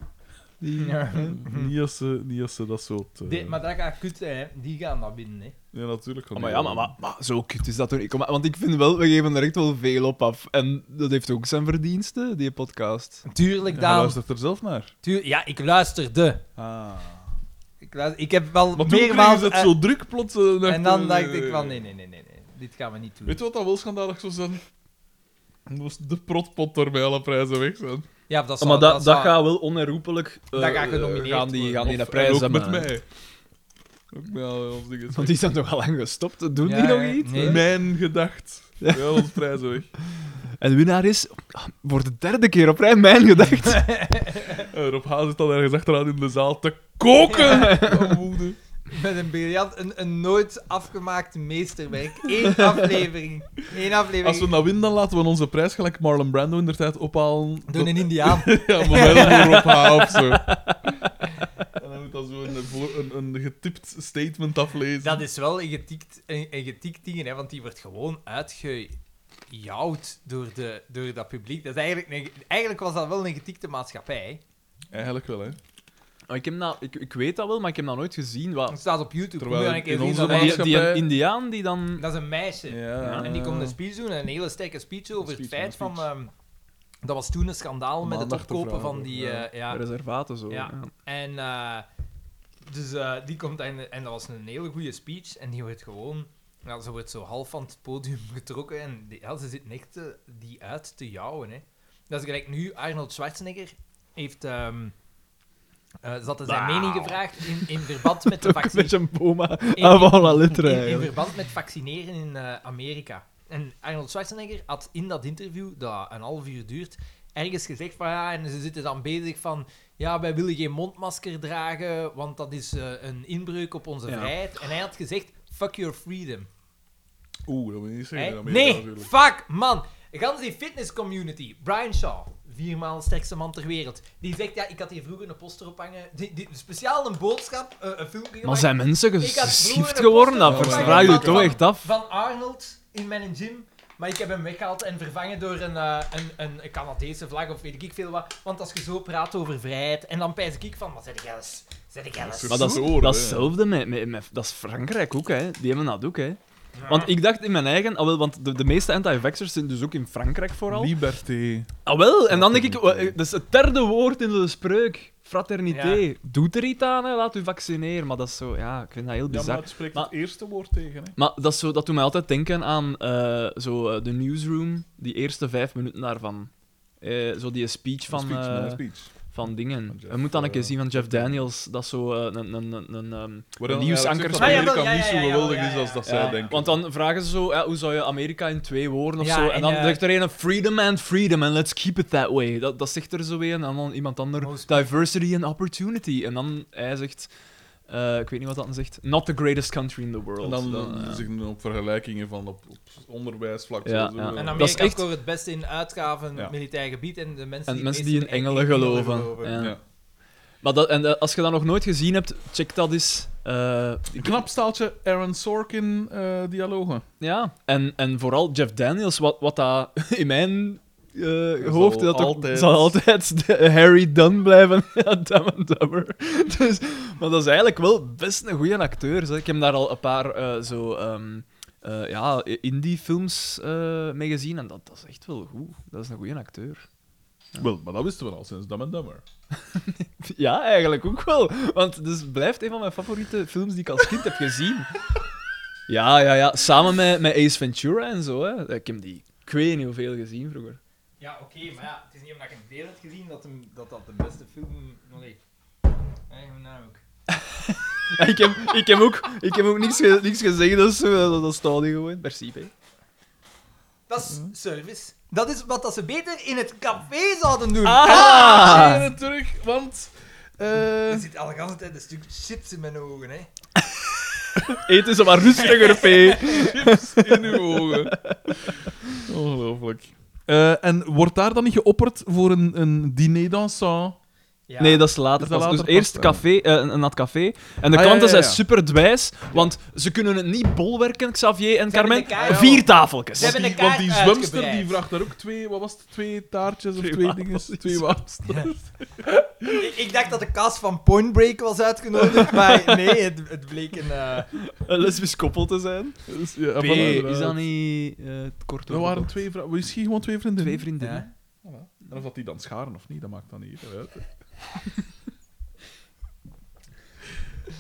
A: Die...
B: Ja.
C: Niet als ze, niet als ze dat soort... eh,
B: Dit- maar dat gaat kut zijn, hè. Die gaan naar binnen, hè.
C: Ja, natuurlijk. kan
A: Ah, maar
C: die
A: ja,
C: wel.
A: maar, maar, maar zo kut is dat toch niet. Kom maar, Want ik vind wel, we geven er echt wel veel op af. En dat heeft ook zijn verdiensten, die podcast.
B: Tuurlijk,
C: Ja,
B: Daan.
C: luistert er zelf naar.
B: Tuur- ja, ik luisterde.
C: Ah.
B: Ik, luister- ik heb wel
C: Maar toen kregen
B: meermaals...
C: ze het
B: eh,
C: zo druk plots. eh,
B: en dan
C: eh,
B: dacht ik van, nee, nee, nee, nee, nee. Dit gaan we niet doen.
C: Weet je wat dat wel schandalig zou zijn? Dan moest de protpot er bij alle prijzen weg zijn.
B: Ja, dat,
A: Ah,
B: zal,
A: maar dat, dat
B: zal-
A: gaat wel onherroepelijk. eh,
B: Dat gaat
A: eh,
B: genomineerd
A: gaan die, gaan die
C: Of-
A: een prijs
C: en ook
A: hebben.
C: met mij. Ook met al onze dingen.
A: Want die zijn toch al lang gestopt? Doen
B: Ja,
A: die nog
B: ja.
A: iets?
B: Nee.
C: Mijn gedacht.
A: Ja.
C: Bij al onze prijzen weg.
A: En de winnaar is ah, voor de derde keer op rij mijn gedacht.
C: En Rob Haas zit dan ergens achteraan in de zaal te koken. Van Oh, woede.
B: Met een briljant, een, een nooit afgemaakt meesterwerk. Eén aflevering. Eén aflevering.
C: Als we dat winnen, dan laten we onze prijs gelijk Marlon Brando in de tijd ophalen.
B: Doen een Indiaan.
C: Ja, maar wel door Rob H. of zo. En dan moet dat zo een, vo- een, een getipt statement aflezen.
B: Dat is wel een getikt, een, een getikt ding, hè, want die wordt gewoon uitgejouwd door, de, door dat publiek. Dat is eigenlijk, een- eigenlijk was dat wel een getikte maatschappij. hè.
C: Eigenlijk wel, hè.
A: Maar ik, heb dat, ik, ik weet dat wel, maar ik heb dat nooit gezien. Wat,
B: Dat staat op YouTube.
C: Terwijl
B: Moet je een keer
C: in
B: zien
C: onze
B: dat, hij-
C: maatschappij-
A: die, die een Indiaan die dan.
B: dat is een meisje.
C: Ja.
B: En die komt een speech doen, een hele sterke speech over het
C: Speech,
B: feit
C: Eh. een
B: van... ehm, dat was toen een schandaal met het
C: Maandag te
B: opkopen van
C: vragen,
B: die...
C: ja.
B: eh, ja,
A: Reservaten zo.
B: Ja. En eh, dus eh, die komt en, en dat was een hele goede speech. En die wordt gewoon, nou, ze wordt zo half van het podium getrokken. En die, ja, ze zit echt eh, die uit te jouwen. Hè. Dat is gelijk nu, Arnold Schwarzenegger heeft. ehm eh, ze hadden zijn
A: Wauw.
B: mening gevraagd in, in verband met de
A: Ook
B: vaccin.
A: met een boma
B: in-
A: aan la lettre.
B: In, in
A: Ah, eigenlijk.
B: verband met vaccineren in eh, Amerika. En Arnold Schwarzenegger had in dat interview, dat een half uur duurt, ergens gezegd van ja, en ze zitten dan bezig van ja, wij willen geen mondmasker dragen, want dat is eh, een inbreuk op onze
A: Ja.
B: vrijheid. En hij had gezegd, fuck your freedom.
C: Oeh, dat moet je niet zeggen.
B: Hè?
C: in Amerika
B: Nee,
C: natuurlijk.
B: fuck man. Gans die fitness community, Brian Shaw, viermaal sterkste man ter wereld, die zegt ja, ik had hier vroeger een poster ophangen, die, die, speciaal een boodschap, eh, een filmpje
A: Maar
B: gemaakt.
A: zijn mensen
B: Ik had
A: geschift
B: vroeger
A: geworden?
B: een
A: Dat
B: poster
C: van
A: vraag je
C: Michael
A: toch
B: Jackson.
A: echt af.
B: van Arnold in mijn gym. Maar ik heb hem weggehaald en vervangen door een, eh, een, een Canadese vlag of weet ik veel wat. Want als je zo praat over vrijheid, en dan pijs ik van, wat zeg jij eens? Zeg jij eens?
A: Maar dat is,
C: Zo,
A: dat
C: hè.
A: is hetzelfde met, met, met- Dat is Frankrijk ook, hè. Die hebben dat ook, hè. Want ik dacht in mijn eigen... Ah, wel, want de, de meeste anti-vaxxers zijn dus ook in Frankrijk vooral.
C: Liberté.
A: Ah, wel. En dan denk ik... wa- eh, Dat is het derde woord in de spreuk. Fraternité.
B: Ja.
A: Doet er iets aan, hè. Laat u vaccineren. Maar dat is zo... Ja, ik vind dat heel
C: Ja, maar
A: bizar.
C: het spreekt
A: Maar-
C: het eerste woord tegen, hè.
A: Maar dat, is zo, dat doet mij altijd denken aan eh, zo, eh, de newsroom. Die eerste vijf minuten daarvan. Eh, zo die speech van...
C: speech,
A: eh,
C: een speech.
A: van dingen.
C: Van
A: Je
C: Jeff,
A: moet dan een keer
C: eh,
A: zien van Jeff Daniels, dat zo eh, een, een, een, een, ehm,
C: Waar
A: een
C: dan
A: nieuwsanker
C: eigenlijk
B: Ah,
C: zegt
B: ja,
C: dat
A: speelt.
B: wel,
C: Amerika niet
B: ja, ja, ja, ja,
C: zo geweldig is als dat
B: ja,
C: zij
A: Ja,
C: denken.
A: Want dan vragen ze zo, ja, hoe zou je Amerika in twee woorden of
B: Ja,
A: zo? En,
B: en,
A: dan
B: eh,
A: zegt er een freedom and freedom and let's keep it that way. Dat, dat zegt er zo een. En dan iemand ander,
B: Most-
A: diversity and opportunity. En dan hij zegt, eh, ik weet niet wat dat dan zegt, not the greatest country in the world.
C: En dan,
A: Dan,
C: eh,
A: ja.
C: zeggen we ook vergelijkingen van op, op onderwijsvlak.
A: Ja,
C: zo,
A: ja.
C: zo.
B: En
A: dan-
B: Amerika
A: Dat is echt-
B: scoort het beste in uitgaven,
C: Ja.
B: militair gebied en de mensen
A: en
B: die,
A: mensen
B: het
A: die
B: meest
A: in e- engelen geloven. Ja.
C: Ja.
A: Maar dat, en eh, als je dat nog nooit gezien hebt, check dat eens. Eh,
C: Een knap staaltje Aaron Sorkin eh, dialogen.
A: Ja, en, en vooral Jeff Daniels, wat, wat dat in mijn eh
C: zal
A: hoofd dat ook-
C: altijd-
A: zal altijd de Harry Dunn blijven. Ja, Dumb and Dumber. Dus, maar dat is eigenlijk wel best een goede acteur. Zeg. Ik heb daar al een paar eh, zo, ehm, eh, ja, indie-films eh mee gezien. En dat, dat is echt wel goed. Dat is een goede acteur.
C: Wel, maar dat wisten we al sinds Dumb and Dumber.
A: Ja, eigenlijk ook wel. Want dus blijft een van mijn favoriete films die ik als kind heb gezien. Ja, ja, ja. Samen met, met Ace Ventura en zo. Hè. Ik heb die, ik weet niet hoeveel gezien vroeger.
B: Ja, oké, maar ja, het is niet omdat je hem veel hebt gezien dat hem, dat, dat de beste film... Nee. Nee, hoe nou ook.
A: Ja, ik, heb, ik, heb ook, ik heb ook niks, ge- niks gezegd, dus eh, dat, dat staat hier gewoon. Merci, hè.
B: Dat is service. Dat is wat dat ze beter in het café zouden doen.
C: Ah.
A: Ah!
C: terug, want...
B: Er
C: eh,
B: zit al de hele tijd een stuk chips in mijn ogen, hè.
A: Eet eens maar rustiger, P.
C: chips in uw ogen. Ongelooflijk. Eh, en wordt daar dan niet geopperd voor een, een diner dansant?
B: Ja.
A: Nee, dat is later.
C: Is dat
A: pas.
C: later
A: dus eerst
C: pas,
A: café, eh, een, een nat café. En de
C: Ah, ja,
A: klanten
C: ja, ja.
A: zijn super dwijs, want ze kunnen het niet bolwerken, Xavier en
B: hebben
A: Carmen.
B: de kaart-
A: Vier tafeltjes.
B: Ze hebben
C: Want
B: de
C: die, want die
B: kaart
C: zwemster
B: uitgebreid.
C: die vraagt daar ook twee, wat was het, twee taartjes of
A: Twee
C: twee dingen?
A: wafels.
C: Twee wafels.
B: Ik, ik dacht dat de cast van Point Break was uitgenodigd, maar nee, het, het bleek een... eh,
A: Een lesbisch koppel te zijn.
C: Dus, ja,
A: P,
C: voilà,
A: is
C: inderdaad.
A: dat niet eh kort
C: Er waren twee vrouwen, misschien gewoon twee vrienden.
A: Twee vriendinnen.
B: Ja.
C: Voilà. En of dat die dan scharen of niet, dat maakt dan niet veel uit. hè.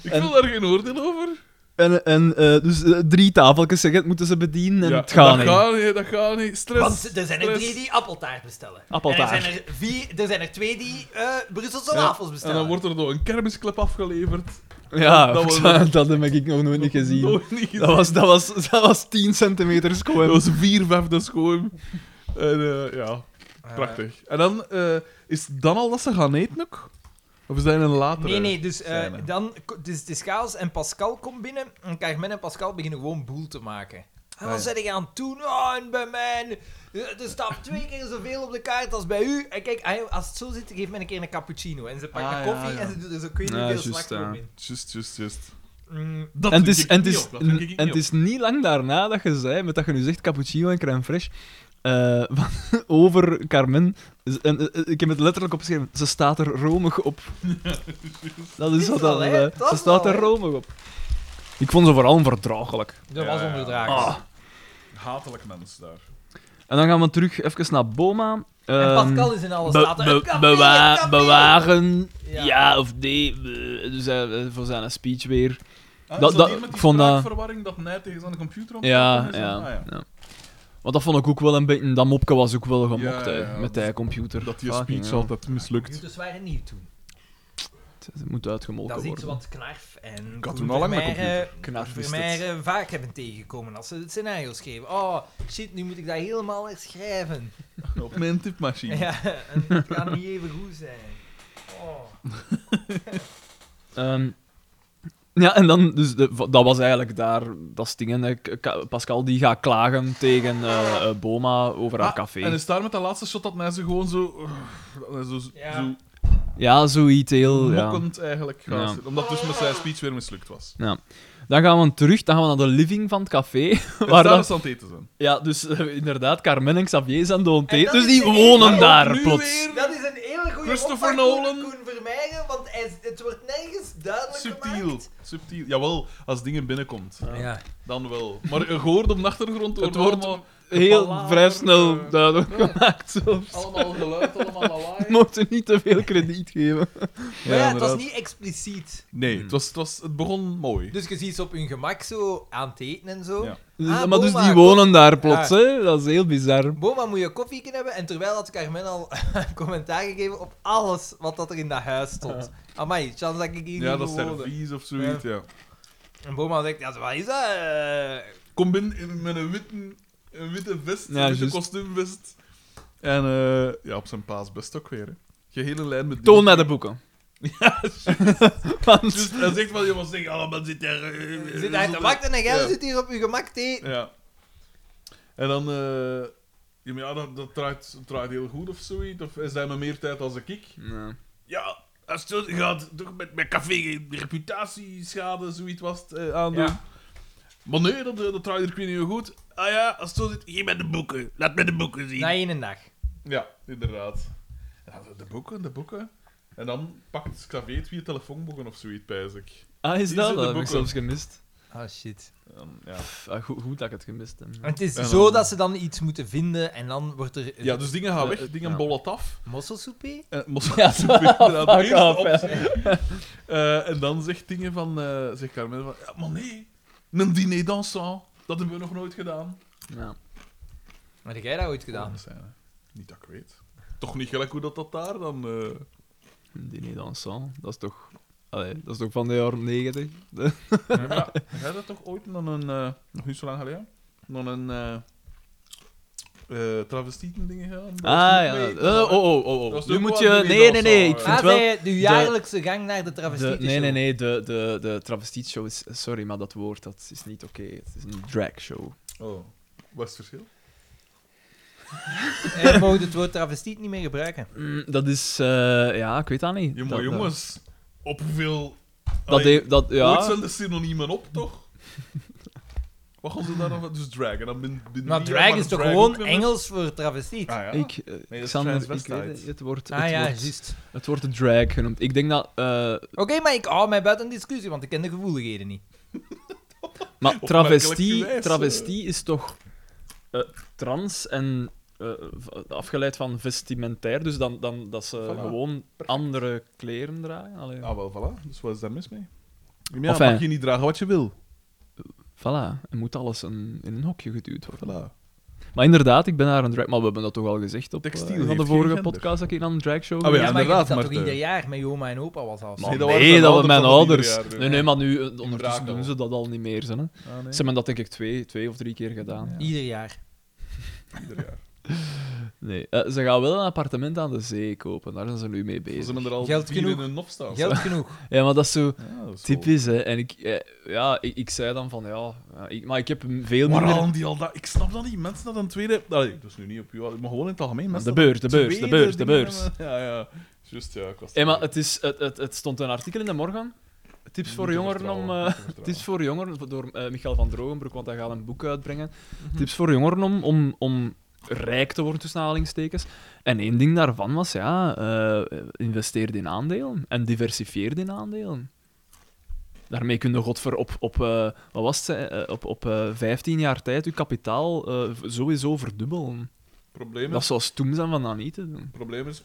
C: Ik
A: En-
C: wil daar geen oordeel over.
A: En, en eh, dus eh, drie tafeltjes zeg, het moeten ze bedienen en
C: Ja,
A: het gaat
C: dat
A: niet.
C: gaat niet. Dat gaat niet. Stress.
B: Want er zijn er
C: stress.
B: drie die appeltaart bestellen.
A: Appeltaart.
B: En er zijn er, vier, er, zijn er twee die eh, Brusselse
C: Ja,
B: wafels
C: En
B: bestellen.
C: dan wordt er door een kermisclub afgeleverd.
A: Ja,
C: Dat
A: dat,
C: was- Oh,
A: dat heb ik nog nooit niet gezien.
C: Nooit niet gezien.
A: Dat was, dat, was, dat was 10 centimeter
C: Dat
A: schoon.
C: was vier vijfde schoon. En eh, ja,
B: Eh,
C: prachtig. En dan, eh, is het dan al dat ze gaan eten ook? Of is dat in een latere?
B: Nee, nee, dus eh,
C: scène.
B: dan... ko- Dus het is chaos en Pascal komt binnen en Carmen en Pascal beginnen gewoon boel te maken. En
C: Ah,
B: wat
C: ja.
B: zijn je aan het doen? Oh, en bij mij... eh, Er staat twee keer zoveel op de kaart als bij u. En kijk, ah, als het zo zit, geef mij een keer een cappuccino. En ze pakt
C: Ah,
B: een
C: ja,
B: koffie
C: ja.
B: en ze doet er zo ik weet niet
A: Ja,
B: veel
A: juist,
B: slagroom
A: ja.
B: in.
C: Just, just, just.
B: Mm,
C: Dat
A: en het
C: drink
A: is,
C: ik
A: en het
C: niet
A: is,
C: op, dat drink ik niet
A: en het
C: op.
A: is niet lang daarna dat je zei, met dat je nu zegt cappuccino en crème fraîche, eh, van- over Carmen. Z- En, eh, ik heb het letterlijk opgeschreven. Ze staat er romig op. Dat is
B: Is
A: wat
B: wel,
A: dat
B: hè?
A: eh,
B: Dat
A: Ze
B: is
A: staat
B: wel,
A: er
B: hè?
A: romig op. Ik vond ze vooral onverdraaglijk.
B: dat
C: Ja,
B: was
C: ja.
B: onverdraaglijk.
A: Ah.
C: Hatelijk mens daar.
A: En dan gaan we terug even naar Boma.
B: En
A: Ehm,
B: Pascal is in alle
A: Be-
B: staten.
A: be-
B: Een café,
A: bewa-
B: een café.
A: bewaren, ja.
B: Ja.
A: of nee. eh, Dus hij- eh, voor zijn speech weer.
C: Ah,
A: Dat-
C: is
A: dat-
C: hier met die
A: ik vond dat-
C: spraakverwarring dat net tegen zijn computer op
A: Ja,
C: is?
A: ja,
C: Ah,
A: ja. Want dat vond ik ook wel een beetje. Dat mopke was ook wel gemokt,
C: Ja,
A: hè,
C: ja, ja.
A: met die computer. Ah,
C: Dat die
A: Fucking
C: speech
A: hell.
C: altijd mislukt.
B: Computers waren nieuw toen.
A: Het moet uitgemolken
B: Dat is iets
A: worden.
B: wat Knarf en
C: had
B: Koen
C: toen al lang mijn
B: Vermeijren-
A: Knarf wist
B: Vermeijren eh, vaak hebben tegengekomen als ze het scenario schreven. Oh, shit, nu moet ik dat helemaal herschrijven.
C: Op mijn tipmachine.
B: Ja, en het gaat niet even goed zijn. Oh.
A: Ehm, ja, en dan, dus de- va- dat was eigenlijk daar, dat stingen. hè. K- Ka- Pascal die gaat klagen tegen eh, eh, Boma over haar
C: Ah,
A: café.
C: En is daar met dat laatste shot dat mensen gewoon zo... oh, dat hij zo,
B: Ja.
C: zo
A: Ja, zoiets heel. Ja.
C: mokkend eigenlijk gaat
A: Ja.
C: zitten. Omdat dus met zijn speech weer mislukt was.
A: Ja. Dan gaan we terug, dan gaan we naar de living van het café.
C: En
A: Waar
C: daar
A: dan-
C: is aan het eten zijn.
A: Ja, dus eh, inderdaad, Carmen en Xavier zijn de
B: En dat
A: Dus
B: is
A: die
B: de enige-
A: wonen
B: Maar
A: daar
C: nu
A: plots.
C: weer
B: Dat is een hele goede
C: Christopher
B: opvang
C: Nolan.
B: voor Koen Vermeijren, want hij, het wordt nergens duidelijk
C: subtiel.
B: gemaakt.
C: Subtiel. Jawel, als dingen binnenkomt.
B: Ja.
C: Dan wel. Maar je hoort op de achtergrond...
A: Het wordt
C: wordt allemaal,
A: Heel
C: Palaver,
A: vrij snel
C: eh,
A: duidelijk
C: ja.
A: gemaakt. Zo.
C: allemaal geluid, allemaal lawaai.
A: Mocht u niet te veel krediet geven.
B: Maar ja, het was
C: inderdaad.
B: niet expliciet.
C: Nee,
A: Hmm.
C: het, was, het, was, het begon mooi.
B: Dus je ziet ze op hun gemak zo aan het eten en zo.
C: Ja.
A: Dus-
B: Ah,
A: maar dus
B: Boma,
A: die
B: kom.
A: wonen daar plots,
B: Ja.
A: hè? Dat is heel bizar.
B: Boma moet je koffie hebben. En terwijl had Carmen al commentaar gegeven op alles wat dat er in dat huis stond. Amai, chance dat ik hier
C: ja,
B: niet
C: dat is
B: gewoond heb.
C: servies of zoiets, ja.
B: En Boma zegt, ja, wat is dat? Eh,
C: Kom binnen in- met een, witte een witte vest,
A: Ja,
C: een witte
A: juist.
C: kostuumvest. En eh, ja, op zijn paas best ook weer. Hè. Gehele lijn met
A: Toon
C: dingen.
A: naar de boeken. Want
C: Dus hij zegt wel, je was zeggen, oh, man zit daar... eh, eh,
B: Zit hij te
C: zonder-
B: wachten en jij
C: Ja.
B: zit hier op je gemak te eten.
C: Ja. En dan... eh, ja, maar ja, dat, dat draait, draait heel goed of zoiets. Of is hij me meer tijd als ik?
A: Ja.
C: Ja, als het zo gaat, toch met mijn café geen reputatieschade, zoiets was het, eh, aandoen.
B: Ja.
C: Maar nee, dat, eh, dat draait er ik weet niet hoe goed. Ah ja, als het zo zit, geef mij de boeken. Laat mij de boeken zien.
B: Na één dag.
C: Ja, inderdaad. Ja, de, de boeken, de boeken. En dan pakt Xavier twee telefoonboeken of zoiets, pijs ik.
A: Ah, is
C: Die
A: dat?
C: zit de
A: Dat heb ik
C: boeken.
A: zelfs gemist.
B: Oh shit.
C: Ehm, ja.
A: Pff, ah, goed, goed dat ik het gemist heb.
B: En het is
C: En
B: zo
C: dan-
B: dat ze dan iets moeten vinden en dan wordt er.
C: ja, dus dingen gaan weg,
A: Eh, eh,
C: dingen
A: ja.
C: bollen af.
B: Mosselsoepé?
C: En Moskou is ook weer Eh, inderdaad de
A: fuck
C: eerste
A: off,
C: optie. Eh, en dan zegt dingen van, eh, zegt Carmen van, ja, maar nee, een diner dansant, dat hebben we nog nooit gedaan.
A: Ja.
B: Maar heb jij dat ooit gedaan?
C: Volgende scène. Niet dat ik weet. Toch niet gelijk hoe dat, dat daar dan... eh,
A: Een diner dansant, dat is toch... Allee, dat is toch van de jaren negentig?
C: Ja, maar heb jij dat toch ooit nog een, eh, nog niet zo lang geleden, nog een eh eh travestieten dingen gedaan? Dat was
A: Ah
C: niet
A: ja,
C: mee-
A: eh, oh, oh, oh,
C: Dat
A: oh.
C: was
A: Nu
C: ook
A: moet je...
C: wel een
A: Nee, nee, nee, ik
C: diner
A: vind
B: Ah,
A: wel...
B: zei je, de jaarlijkse gang naar de
A: De,
B: travestiete
A: nee, nee, nee, de, de, de travestietshow is... Sorry, maar dat woord dat is niet oké. Het is een dragshow.
C: Oh, wat is het verschil?
B: En we mogen het woord travestiet niet meer gebruiken.
A: Mm, dat is... eh, ja, ik weet dat niet.
C: Jongen,
A: dat, dat-
C: jongens, op hoeveel...
A: Dat,
C: Allee,
A: heeft- dat,
C: Ooit
A: ja.
C: zijn de synoniemen op, toch? Wat gaan ze daar dan van? Dus drag. En dan bin, bin
B: Maar
C: die-
B: drag Nou, is toch
C: drag
B: gewoon
C: ook weer-
B: Engels voor travestiet?
C: Ah, ja.
A: Ik, eh,
C: dat is
A: Xander, ik weet
C: transvestite.
A: het, het wordt, het,
B: Ah ja,
A: wordt,
B: juist.
A: het wordt de drag genoemd. Ik denk dat... eh,
B: Oké, maar ik hou mij buiten discussie, want ik ken de gevoeligheden niet.
A: Oh Maar
C: Opmerkelijk
A: travestie,
C: gewijs,
A: travestie is toch eh, trans en eh, v- afgeleid van vestimentair, dus dan, dan dat ze
C: Voilà.
A: gewoon andere kleren dragen. Allee.
C: Ah, wel, voilà. Dus wat is daar mis mee? Ja,
A: Enfin.
C: mag je niet dragen wat je wil.
A: Voilà, en moet alles een, in een hokje geduwd worden.
B: Nou,
C: Voilà.
A: Maar inderdaad, ik ben naar een drag... Maar we hebben dat toch al gezegd op eh,
C: Textiel
A: een van
C: heeft
A: de
C: geen
A: vorige
C: gender.
A: podcast dat ik naar een dragshow
C: Ah, ja,
B: maar je
A: ging.
C: inderdaad,
B: doet dat toch
C: Marten.
A: eh,
B: ieder jaar met je oma en opa was af.
C: Maar
A: Maar
C: Nee, dat waren
A: nee,
C: mijn
A: dat waren
C: ouders dat ieder
A: mijn ouders.
C: jaar doen.
A: nee, nee, maar nu, eh, ondertussen
C: Brakel.
A: doen ze dat al niet meer. Ze, hè.
C: Ah, nee.
A: ze hebben dat denk ik twee, twee of drie keer gedaan.
C: Ja.
B: Ieder jaar.
C: Ieder jaar.
A: Nee. eh, ze gaan wel een appartement aan de zee kopen, daar zijn ze nu mee bezig.
C: Ze hebben er al
B: Geld
C: vier
B: genoeg.
C: in hun nop staan.
B: Geld genoeg.
A: Ja, maar dat is zo...
C: Ja, dat is wel-
A: Typisch, hè. En ik, eh, ja, ik, ik zei dan van, ja, ja, ik, maar ik heb hem veel
C: Maar
A: minder...
C: halen die al dat... Ik snap dat niet. Mensen dat een tweede... Allee, dus nu niet op jou, maar gewoon in het algemeen. Mensen
A: Ah, De beurs, de
C: dat
A: beurs, de
C: tweede
A: beurs, de
C: dingen
A: beurs.
C: hebben. Ja, ja. Juist, ja. Ik was
A: Hey, maar het, is, het, het, het stond een artikel in de morgen. Tips
C: Niet
A: voor
C: te
A: jongeren om...
C: vertrouwen,
A: eh,
C: niet te vertrouwen.
A: tips voor jongeren, door eh, Michael van Drogenbroek, want hij gaat een boek uitbrengen. Tips voor jongeren om, om, om rijk te worden, tussen aanhalingstekens. En één ding daarvan was, ja, eh investeer in aandelen. En diversifieer in aandelen. Daarmee kun je godver op, op, eh, wat was het, eh, op, op eh, 15 jaar tijd je kapitaal eh, v- sowieso verdubbelen.
C: probleem
A: Dat
C: is,
A: zou stom zijn van dat niet te doen.
C: probleem is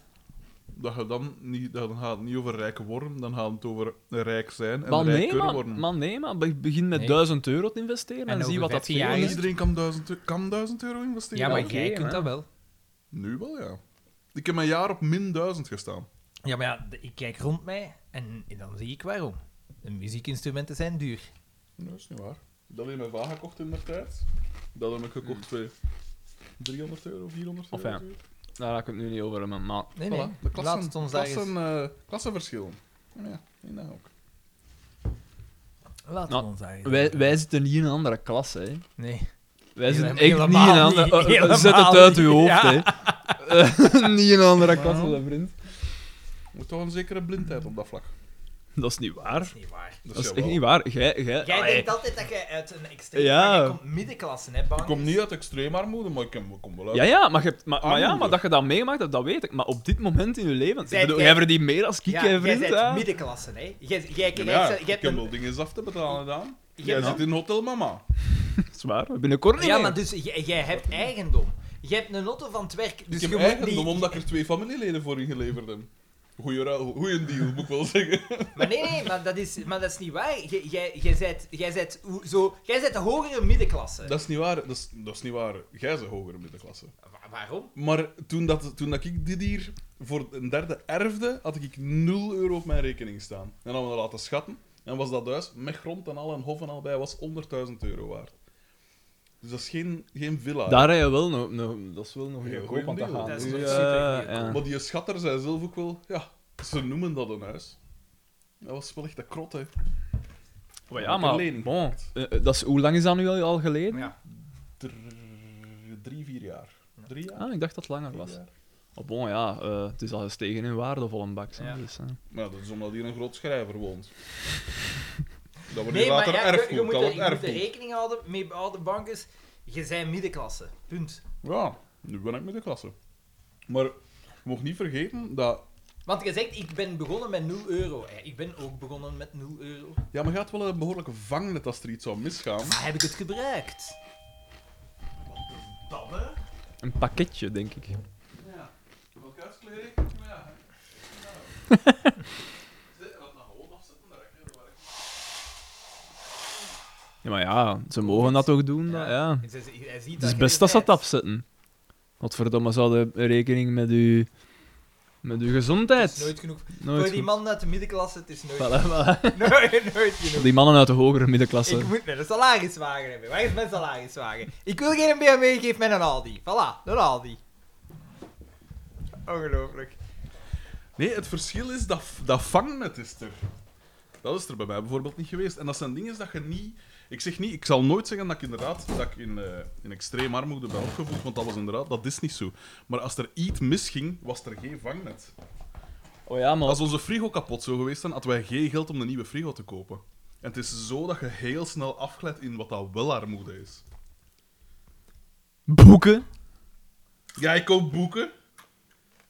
C: dat je dan niet, dan gaat het niet over rijke worden, dan gaat het over rijk zijn en
A: Maar
C: rijk
A: nee
C: kunnen
A: maar,
C: worden.
A: maar nee, maar be- begin met
B: Nee.
A: 1000 euro te investeren en,
B: En
A: zie
B: over
A: wat dat
B: 15 jaar
A: veel
C: En
B: is
A: is.
C: iedereen kan 1000 eu- kan 1000 euro investeren.
B: Ja, maar
A: oké,
B: jij
A: maar-
B: kunt dat wel.
C: Nu wel, ja. Ik heb mijn jaar op min 1000 gestaan.
B: Ja, maar ja, de- ik kijk rond mij en dan zie ik waarom. De muziekinstrumenten zijn duur.
C: Nee, dat is niet waar. Dat heb ik mijn vaar gekocht in de tijd. Dat heb ik gekocht voor 300 euro, 400
A: Of
C: euro.
A: ja. Daar ga ik het nu niet over hebben, maar...
B: Nee, nee.
C: Voilà, de klassen,
B: Laat het ons daar eens...
C: klassen, eh, klassenverschillen. Ja, ja, inderdaad ook.
B: Laat
A: Nou,
B: ons daar eens-
A: Wij, wij zitten niet in een andere klas, hè.
B: Nee.
A: Wij zitten
B: Helemaal
A: echt niet in een andere...
B: niet,
A: eh, eh,
B: helemaal
A: Zet het uit
B: niet.
A: uw hoofd,
B: Ja.
A: hè. Eh, niet in een andere klas,
C: Maar-
A: mijn vriend.
C: Je moet toch een zekere blindheid op dat vlak.
A: Dat is niet
B: Dat
A: waar. Ah,
B: is niet waar.
A: Dat is
C: jawel.
A: echt niet waar. Jij... jij,
B: Jij
A: Allee.
B: denkt altijd dat jij uit een extreem...
A: Ja.
B: Jij komt middenklasse, hè, Bang?
C: Ik kom niet uit extreem armoede, maar ik ken- ik kom wel uit.
A: Ja, ja, maar, je hebt- maar, maar, ja,
C: Armoede.
A: maar dat je dat meemaakt, dat, dat weet ik. Maar op dit moment in je leven... Ik
B: Zij-
A: bedoel,
B: jij-
A: jij verdient meer als ik, hè,
B: jij
A: vriend.
B: bent
A: ja.
B: middenklasse, hè. Jij, jij,
C: Ja,
B: jij,
C: maar
B: jij,
C: ja,
B: jij
C: ik
B: hebt
C: heb
B: een...
C: wel dingen af te betalen gedaan.
B: Je
C: Jij
B: hebt
C: zit in Hotel Mama.
A: Dat is waar. Binnenkort niet
B: Ja,
A: meer.
B: maar dus jij, jij hebt eigendom. Jij hebt een auto van het werk, dus
C: ik
B: je
C: heb
B: moet
C: eigendom
B: niet...
C: omdat ik er twee familieleden voor ingeleverd heb. Goeie, ruil, goeie deal, moet ik wel zeggen.
B: Maar nee, nee, maar dat is, maar dat is niet waar. Jij- Jij jij zijt- jij zijt hoe- zo... Jij bent de hogere middenklasse.
C: Dat is niet waar. Dat is, dat is niet waar. Jij bent hoger middenklasse.
B: Wa- Waarom?
C: Maar toen, dat, toen dat ik dit hier voor een derde erfde, had ik 0 euro op mijn rekening staan. En dan we dat laten schatten. En was dat huis met grond en al en hof en al bij, was 100.000 euro waard. Dus dat is geen, geen villa.
A: Daar heb je wel nog... nog- dat is wel nog
C: Heel
A: een
C: goeie
A: koop aan te
C: deal.
A: gaan.
B: Dat is
A: nu,
B: nog
A: eh,
B: zeker een
A: ja.
C: Maar die schatter zei zelf ook wel, ja, ze noemen dat een huis. Dat was wel echt een krot, hè.
A: Maar
C: Ik
A: ja,
C: heb
A: maar...
C: een lening
A: bon,
C: gepakt.
A: eh, eh, dat is, hoe lang is dat nu al, al geleden?
B: Ja.
C: Dr- drie, vier jaar. Drie jaar?
A: Ah, ik dacht dat het langer
C: Vier
A: was.
C: jaar.
A: Oh, bon, ja, eh, het is al gestegen in waarde, vol een bak. hè,
B: Ja.
A: Dus, hè.
C: Maar ja, dat is omdat hier een groot schrijver woont. Dat wordt
B: Nee,
C: hier
B: maar
C: later
B: ja, je,
C: erfgoed.
B: je moet, er,
C: dat wordt
B: je moet er
C: erfgoed.
B: rekening houden met bepaalde banken. Je bent middenklasse. Punt.
C: Ja, nu ben ik met de klasse. Maar je mag niet vergeten dat
B: Want je zegt, ik ben begonnen met 0 euro. Ja, ik ben ook begonnen met 0 euro.
C: Ja, maar gaat wel een behoorlijke vangnet als er iets zou misgaan.
B: Maar heb ik het gebruikt? Wat is dat, hè?
A: Een pakketje, denk ik.
C: Ja. Elkaarskleren? Ja. Wat nou gewoon afzetten, daar heb je
A: Ja, maar ja, ze mogen dat toch doen? dat- ja.
B: En ze- ze- hij ziet
A: Het is
B: je
A: best dat ze dat
B: bedrijft.
A: afzetten. Godverdomme, ze hadden rekening met uw, met uw
B: Het is
A: gezondheid.
B: nooit genoeg.
A: Nooit
B: Voor die
A: goed.
B: man uit de middenklasse, het is nooit
A: Voilà, voilà.
B: genoeg. Nooit, nooit genoeg.
A: Die mannen uit de hogere middenklasse.
B: Ik moet een salariswagen hebben. Waar is mijn salariswagen? Ik wil geen BMW, geef mij een Aldi. Voilà, een Aldi. Ongelooflijk.
C: Nee, het verschil is dat, dat vangnet is er. Dat is er bij mij bijvoorbeeld niet geweest. En dat zijn dingen dat je niet... Ik zeg niet, ik zal nooit zeggen dat ik inderdaad dat ik in, eh, in extreem armoede ben opgevoed, want dat was inderdaad, dat is niet zo. Maar als er iets misging, was er geen vangnet.
A: Oh ja, maar
C: Als onze frigo kapot zou geweest zijn, hadden wij geen geld om een nieuwe frigo te kopen. En het is zo dat je heel snel afglijdt in wat dat wel armoede is.
A: boeken.
C: Ja, ik koop boeken.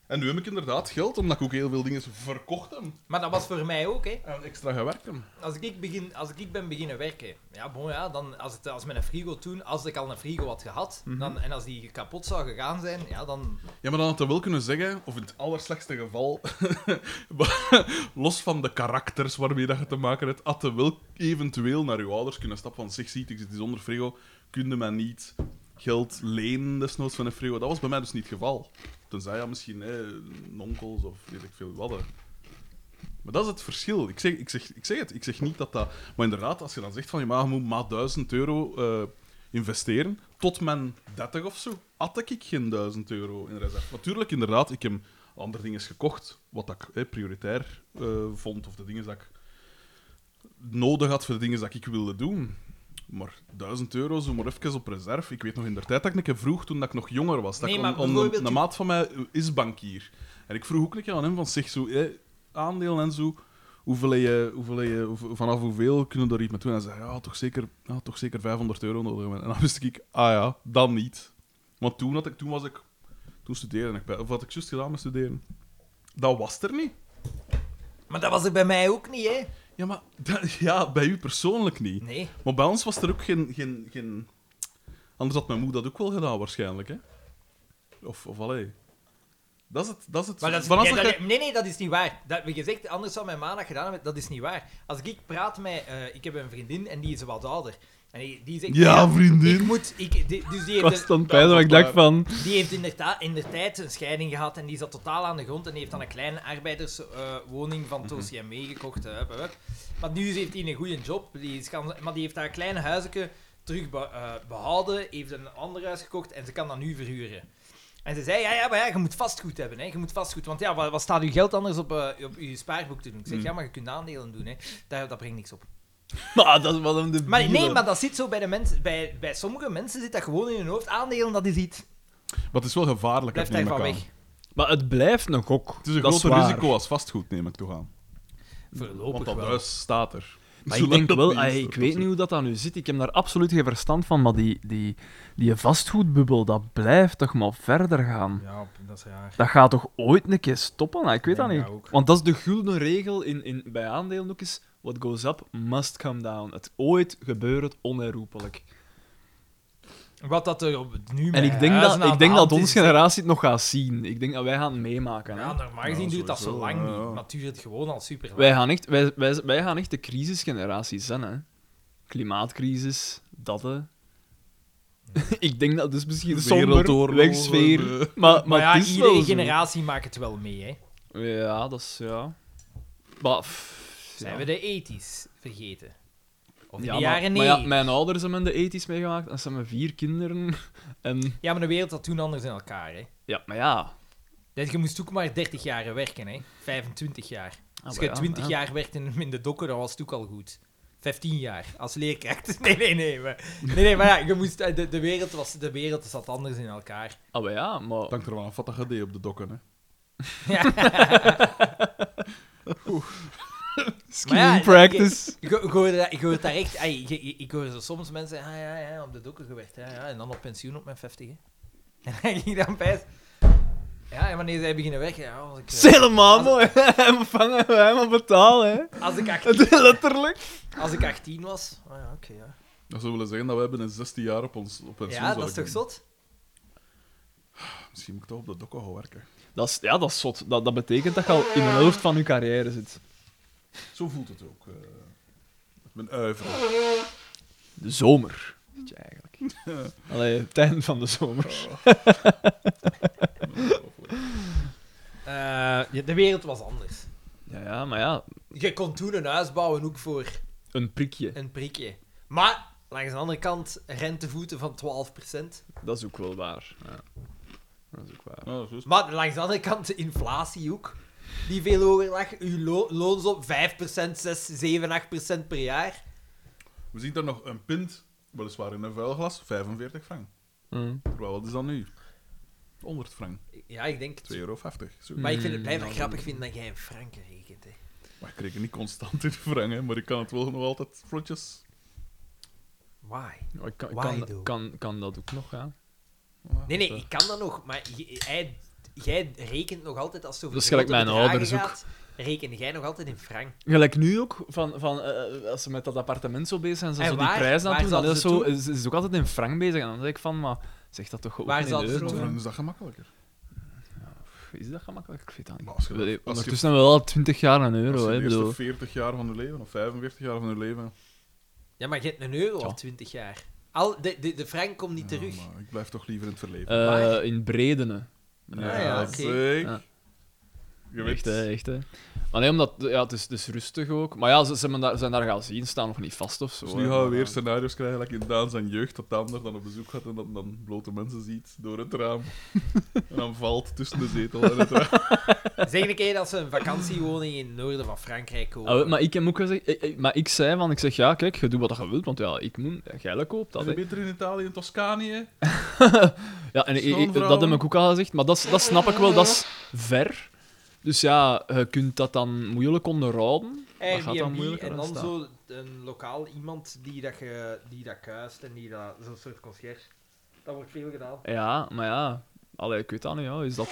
C: En nu heb ik inderdaad geld, omdat ik ook heel veel dingen verkocht heb.
B: Maar dat was voor mij ook, hè.
C: En extra gewerkt heb.
B: Als ik, begin, als ik ben beginnen werken, ja, bon, ja, dan als, het, als mijn frigo toen, als ik al een frigo had gehad, dan, en als die kapot zou gegaan zijn, ja, dan...
C: Ja, maar dan had hij wel kunnen zeggen, of in het allerslechtste geval, los van de karakters waarmee dat je te maken hebt, had hij wel eventueel naar uw ouders kunnen stappen van zich ziet, ik zit hier zonder frigo, kunde mij niet geld lenen desnoods van een frigo. Dat was bij mij dus niet het geval. Tenzij ja, misschien hè, onkels of weet ik veel wat. hè. Maar dat is het verschil. Ik zeg, ik, zeg, ik zeg het, ik zeg niet dat dat... Maar inderdaad, als je dan zegt van, ja, maar je moet maar 1000 euro eh, investeren, tot mijn 30 of zo, had ik geen 1000 euro in reserve. Natuurlijk, inderdaad, ik heb andere dingen gekocht, wat ik hè, prioritair eh, vond, of de dingen dat ik nodig had voor de dingen dat ik wilde doen. Maar 1000 euro, zo maar even op reserve. Ik weet nog in de tijd dat ik een keer vroeg, toen dat ik nog jonger was, dat
B: Nee,
C: ik
B: maar
C: om- om
B: bijvoorbeeld-
C: een, een maat van mij is bankier. En ik vroeg ook een keer aan hem van zich zo, hè, aandeel en zo. Hoeveel je, hoeveel je, hoe- vanaf hoeveel kunnen we er iets mee doen? En hij zei, ja, toch zeker, ja, toch zeker 500 euro nodig. hebben. En dan wist ik, ah ja, dan niet. Want toen, had ik, toen was ik... Toen studeerde ik bij... Of had ik juist gedaan met studeren? Dat was er niet.
B: Maar dat was er bij mij ook niet, hè.
C: Ja, maar... dat- ja, bij u persoonlijk niet.
B: Nee.
C: Maar bij ons was er ook geen... geen, geen... Anders had mijn moeder dat ook wel gedaan, waarschijnlijk, hè? Of, of allee. Dat is het... Dat is het
B: Maar dat is,
C: Vanaf
B: nee,
C: dat
B: dat-
C: je-
B: nee, nee, dat is niet waar. Dat, je zegt, anders zou mijn maandag gedaan hebben, dat is niet waar. Als ik praat met... eh, ik heb een vriendin en die is wat ouder. En die, die zegt...
C: Ja, vriendin.
B: Ik moet... Ik, die- dus die heeft,
A: Ik was
B: een-
A: dan bij dat ik dacht van...
B: die heeft inderdaad in de tijd een scheiding gehad en die zat totaal aan de grond en die heeft dan een kleine arbeiderswoning van Toos CMW gekocht. eh, hup, hup, hup. Maar nu heeft hij een goede job, die is kan, maar die heeft haar kleine huisje terug be- eh, behouden, heeft een ander huis gekocht en ze kan dat nu verhuren. En ze zei, ja, ja, maar ja, je moet vastgoed hebben, hè. Je moet vastgoed, want ja, wat, wat staat uw geld anders op, eh, op uw spaarboek te doen? Ik zeg,
C: Mm.
B: ja, maar je kunt aandelen doen, hè. Daar, dat brengt niks op.
A: Maar dat was hem de
B: Maar nee, maar dat zit zo bij de mensen, bij, bij sommige mensen zit dat gewoon in hun hoofd. Aandelen, dat is iets.
C: Maar het is wel gevaarlijk.
B: Blijf
C: neem ik
B: daarvan
C: aan.
B: weg.
A: Maar het blijft een gok.
C: Het is een
A: dat
C: groter
A: waar.
C: risico als vastgoed, neem ik toch aan.
B: Voorlopig
C: Want dat
B: wel.
C: huis staat er.
A: Maar ik
C: Zolang
A: denk
C: dat
A: wel,
C: niet
A: ah,
C: is,
A: ik
C: dat
A: weet
C: is-
A: niet hoe dat dan nu zit. Ik heb daar absoluut geen verstand van. Maar die, die, die vastgoedbubbel, dat blijft toch maar verder gaan.
B: Ja, dat is raar.
A: Dat gaat toch ooit een keer stoppen? Ah, Ik weet
B: Denk
A: dat niet.
B: dat ook.
A: Want dat is de gulden regel in, in, bij aandelen ook eens. What goes up must come down. Het ooit gebeurt het onherroepelijk.
B: Wat dat er op, nu
A: En
B: met
A: ik denk
B: huizen
A: dat,
B: aan
A: ik
B: de
A: denk dat
B: hand
A: onze
B: is,
A: generatie het nog gaat zien. Ik denk dat wij gaan het meemaken. hè.
B: Ja, normaal gezien
C: Ja,
B: duurt dat zo
C: sowieso,
B: lang
C: ja, ja.
B: niet. Maar duurt het gewoon al super lang.
A: Wij, gaan echt, wij, wij, wij gaan echt de crisisgeneratie zijn. Hè. Klimaatcrisis, dat hè. ik denk dat dus misschien somber,
C: Wereldoorlogen,
A: wegsfeer.
C: eh.
A: Maar, maar,
B: maar ja,
A: het is wel
B: iedere
A: zo.
B: generatie maakt het wel mee. Hè.
A: Ja, dat is... Ja. Maar, pff,
B: Zijn
A: ja.
B: we de ethisch vergeten? Of
A: Ja,
B: de
A: maar,
B: jaren
A: maar ja,
B: 90?
A: mijn ouders hebben de ethisch meegemaakt en ze hebben vier kinderen. En,
B: Ja, maar de wereld had toen anders in elkaar. Hè.
A: ja, maar ja.
B: Dat je moest ook maar 30 jaar werken, hè. 25 jaar.
A: Ah,
B: Als
A: maar
B: je
A: ja,
B: 20
A: ja.
B: jaar werkt in, in de dokken, dan was het ook al goed. 15 jaar als leerkracht. Nee, nee, nee. Maar, nee, nee, maar ja, je moest, eh, de, de, wereld was, de wereld zat anders in elkaar.
A: Ah, maar ja, maar...
C: Het hangt er wel af wat dat je deed op de dokken, hè.
A: Skiing
B: Maar ja,
A: practice.
B: Ik ho- ik hoor daar- ik hoor daar echt... ai, je- je- ik hoor zo soms mensen... Ah, ja, ja, op de dokken gewerkt. Ja, ja, en dan op pensioen op mijn 50. Hè. En dan ging ik dan bij... Ja, en wanneer zij beginnen weg, ja, als ik... eh,
D: Het is helemaal mooi. Hem vangen we hem aan betalen. hè.
B: Als ik, 18,
D: Letterlijk.
B: als ik 18 was. Ah ja, oké. ja.
C: Dat zou willen zeggen dat we hebben in 16 jaar op ons op pensioen
B: ja, dat
C: zouden
B: is toch
C: gaan.
B: zot?
C: Misschien moet ik toch op de dokken gaan werken.
A: Dat is, ja, dat is zot. Dat, dat betekent dat je al in de helft van je carrière zit.
C: Zo voelt het ook. eh met mijn uiveren.
A: De zomer. zit je eigenlijk. Allee, het einde van de zomer.
B: Eh, ja, de wereld was anders.
A: Ja, ja, maar ja,
B: Je kon toen een huis bouwen ook voor
A: een prikje.
B: een prikje. Maar, langs de andere kant, rentevoeten van 12%.
A: Dat is ook wel waar. Ja. Dat is ook waar.
C: Ja, zo is het.
B: Maar langs de andere kant, de inflatie ook. Die veel hoger lag. Uw lo loons op 5%, 6, 7, 8% per jaar.
C: We zien daar nog een pint, weliswaar in een vuilglas, 45 frank.
A: Mm.
C: Terwijl, wat is dat nu? 100 frank, 2,50
B: Ja, ik denk het.
C: euro.
B: Maar ik vind het
A: Mm,
B: blijkbaar
A: ja,
B: grappig vinden dat jij in franken rekent. Hè.
C: Maar ik reken niet constant in frank, hè, maar ik kan het wel nog altijd vlotjes.
B: Why?
A: Ja, Ik kan, ik
B: Why
A: kan,
B: though?
A: kan, kan dat ook nog, ja.
B: Nee, nee, ik kan dat nog, maar j- hij, jij rekent nog altijd als zo
A: Dat is gelijk mijn ouders ook.
B: Reken jij nog altijd in frank?
A: Gelijk nu ook, van, van, eh, als ze met dat appartement zo bezig zijn, ze
B: En
A: zo die
B: waar-
A: prijs aan
B: waar
A: doen, dan
B: zouden
A: is,
B: ze
A: zo,
B: toen?
A: is, is ook altijd in frank bezig. En dan zeg ik van, maar zeg dat toch ook
B: Waar
A: in
B: zouden ze
A: euro?
B: toen-
C: Dan is dat gemakkelijker.
A: Is dat gemakkelijk? Ik weet dat niet.
C: Maar als je dat-
A: Allee,
C: als je-
A: Ondertussen hebben we wel 20 jaar een
C: Als
A: euro,
C: je
A: hè.
C: de eerste
A: bedoel.
C: 40 jaar van je leven, of 45 jaar van je leven...
B: Ja, maar je hebt een euro
A: Ja.
B: al 20 jaar. Al, de, de, de frank komt niet
C: Ja,
B: terug.
C: maar ik blijf toch liever in het verleven.
A: Eh,
B: Waar?
A: in Bredene.
B: Ah, ja, oké.
C: zeker.
A: Eh, Ja.
C: Je weet
A: Echt, hè, echt, hè. Maar nee, omdat... Ja, het is, het is rustig ook. Maar ja, ze, ze hebben daar, zijn daar gaan zien, staan nog niet vast of zo.
C: Dus
A: hè.
C: nu gaan we
A: Maar-
C: weer scenario's krijgen, like in Daan zijn jeugd, dat Daan er dan op bezoek gaat en dan, dan blote mensen ziet door het raam. en dan valt tussen de zetel en het raam.
B: Zeg een keer dat ze een vakantiewoning in het noorden van Frankrijk kopen.
A: Ah, wel, maar ik heb ook gezegd... ik- ik- maar ik zei van... Ik zeg, ja, kijk, je doet wat je wilt, want ja, ik moet... Jij koopt dat,
C: En
A: hè.
C: beter in Italië, in Toscanië.
A: Ja, en ik- ik- dat
C: Schoonvrouwen.
A: heb ik ook al gezegd, maar dat, is- dat snap ik wel, dat is ver. Dus ja, je kunt dat dan moeilijk onderhouden. Dat gaat dan
B: Airbnb
A: moeilijker
B: en
A: dan
B: dan
A: staan.
B: zo een lokaal iemand die dat, ge, die dat kuist en die dat... Zo'n soort concierge. Dat wordt veel gedaan.
A: Ja, maar ja... Allee, ik weet dat niet, ja. Is dat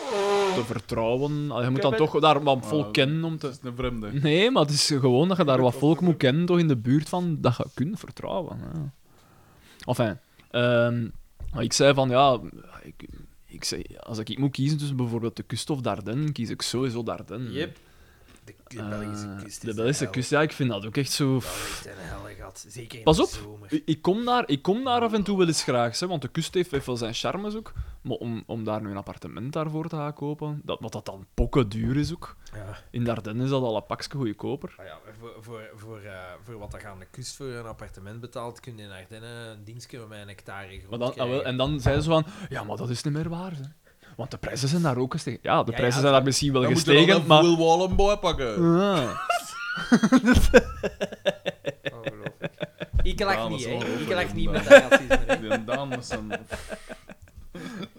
A: te vertrouwen? Allee, je moet
B: Ik
A: dan
B: heb het-
A: toch daar wat
C: Ah,
A: volk kennen om te...
C: Dat is een vreemde.
A: Nee, maar het is gewoon dat je daar
C: Ik
A: wat
C: weet
A: volk
C: wat
A: moet kennen, toch in de buurt van dat je kunt vertrouwen. Ja. Enfin, ehm, maar ik zei van ja, ik, ik zei, als ik moet kiezen tussen bijvoorbeeld de kust of Dardenne, kies ik sowieso Dardenne.
B: Yep. De, de
A: Eh,
B: Belgische kust is
A: de
B: een
A: Belgische
B: hel.
A: kust, ja, ik vind dat ook echt zo.
B: Dat is echt een helle gat. Zeker in
A: Pas
B: de
A: op.
B: zomer.
A: Ik- Ik kom, daar, ik kom daar af en toe wel eens graag, hè, want de kust heeft heeft wel zijn charmes ook. Maar om, om daar nu een appartement daarvoor te gaan kopen, dat, wat dat dan pokken duur is ook.
B: Ja.
A: In Dardenne is dat al een pakje goedkoper.
B: Ah ja, voor, voor, voor, eh, voor wat dat je aan de kust voor een appartement betaalt, kun je in Ardennen een dienstje met een hectare grond
A: Maar dan, ah,
B: krijgen.
A: wel, en dan zeiden ze van, ja, maar dat is niet meer waar. Hè. Want de prijzen zijn daar ook gestegen. Ja, de
B: Ja,
A: prijzen
B: ja.
A: zijn daar misschien wel
C: Dan moet je dan
A: gestegen,
C: een
A: maar... Ah.
C: Will Wallenboy pakken.
A: Ja.
B: Ongelooflijk. Oh, Ik lach
C: Ja, dat
B: niet,
C: is
B: hè. Ik
C: ongelooflijk,
B: lach niet met dat
C: inderdaad.
B: racisme. hè.
C: En Daan is een...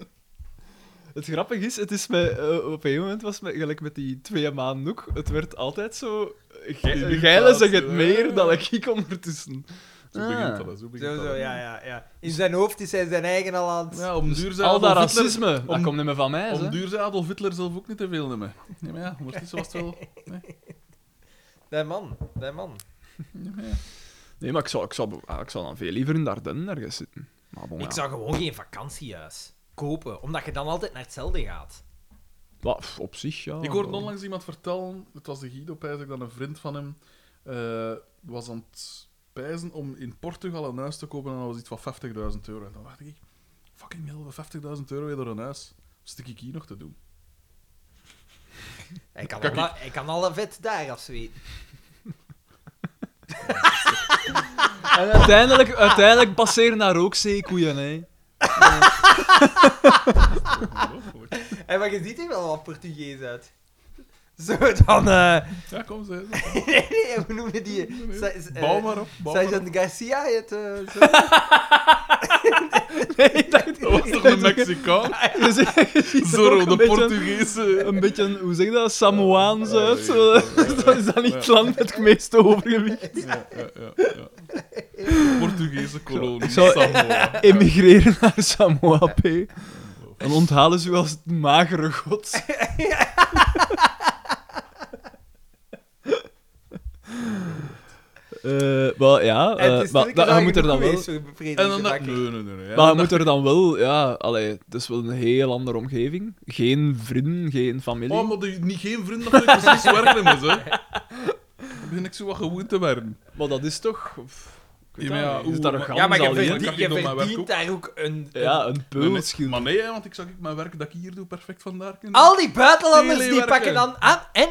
A: Het grappige is, het is mij, eh, op een gegeven moment was het mij, gelijk met die twee maanden ook, het werd altijd zo...
C: Irritatie,
A: Geilen zeg het
C: hè.
A: meer dan ik ondertussen.
C: Zo
A: Ah.
C: begint dat, hè, zo begint
B: Zo,
C: dat.
B: zo,
C: hè.
B: ja, ja, ja. In zijn hoofd is hij zijn eigen al aan het...
C: Ja, om duur zijn
A: Dus Al dat
C: Adolf Hitler-
A: racisme, dat
C: om-
A: komt niet meer van mij,
C: Om
A: hè.
C: duur zijn Adolf Hitler zelf ook niet te veel nemen. Nee, maar ja, ondertussen was het wel...
B: Die man, die man.
C: Nee, maar ja.
A: Nee, maar ik zou, ik, zou, ah, ik zou dan veel liever in Dardenne ergens zitten. Maar bon, ja.
B: Ik zou gewoon geen vakantiehuis kopen, omdat je dan altijd naar hetzelfde gaat.
A: Wat, pff, op zich, ja.
C: Ik hoorde
A: Oh, wel.
C: onlangs iemand vertellen, het was de Guido Pijzer, dan een vriend van hem, eh, was aan het pijzen om in Portugal een huis te kopen en dat was iets van 50.000 euro. En dan dacht ik, fucking hell, voor 50.000 euro weer door een huis. Wat stik ik hier nog te doen?
B: Hij kan,
C: Kijk,
B: al, dat- hij kan alle vet daar afzweten.
A: En uiteindelijk, uiteindelijk passeren daar ook zeekoeien, hè.
C: Ongelooflijk.
B: En maar je ziet er wel wat Portugees uit. Zo dan... eh,
C: ja, kom ze.
B: nee, nee, hoe noemde die? Sa- eh,
C: Bouw maar op. Bouw maar op.
B: Sergeant Garcia heet... eh, zo.
A: ik dacht...
C: Dat was toch een Mexicaan?
A: Dus
C: Zorro, de Portugese.
A: Een beetje, een- hoe zeg je dat, Samoaans
C: Ja,
A: uit.
C: ja,
A: zo.
C: ja, ja.
A: Dat is dan niet het land met het meeste overgewicht.
C: Ja, ja, ja, ja. Portugese kolonie.
A: Ik zou-
C: Samoa.
A: Emigreren naar Samoa, P.
B: zo.
E: Dan onthalen ze u als het magere god.
A: Eh, maar ja,
B: En
A: eh,
B: het is
A: maar,
B: drie
A: maar
B: keer
A: je
B: lang
A: moet er
B: genoeg
A: dan wel...
B: geweest voor Frederik
C: En dan
B: de
C: dat...
B: Bakker.
C: Nee, nee, nee. nee.
A: Maar
C: En
A: je
C: dan-
A: moet er dan wel... Ja, allee, het is wel een heel andere omgeving. Geen vrienden, geen familie.
C: Oh, maar die, niet geen vrienden, dat vind ik precies waar hem is, hè. Dan begin ik zo wat gewoon te werden.
A: Maar dat is toch...
C: Ja, maar ja,
E: Je zit
C: oeh,
E: daar een
C: maar-
E: gans
B: Ja, maar je
E: alleen.
C: Dan
B: verdient,
C: kan
B: je
C: ik nog mijn werk
B: verdient daar ook een... een-
A: Ja, een
C: Nee, nee.
A: peul.
C: Maar nee, hè, want ik zag ik mijn werk dat ik hier doe perfect vandaar kunnen.
B: Al die buitenlanders die
C: Telewerken.
B: pakken dan aan en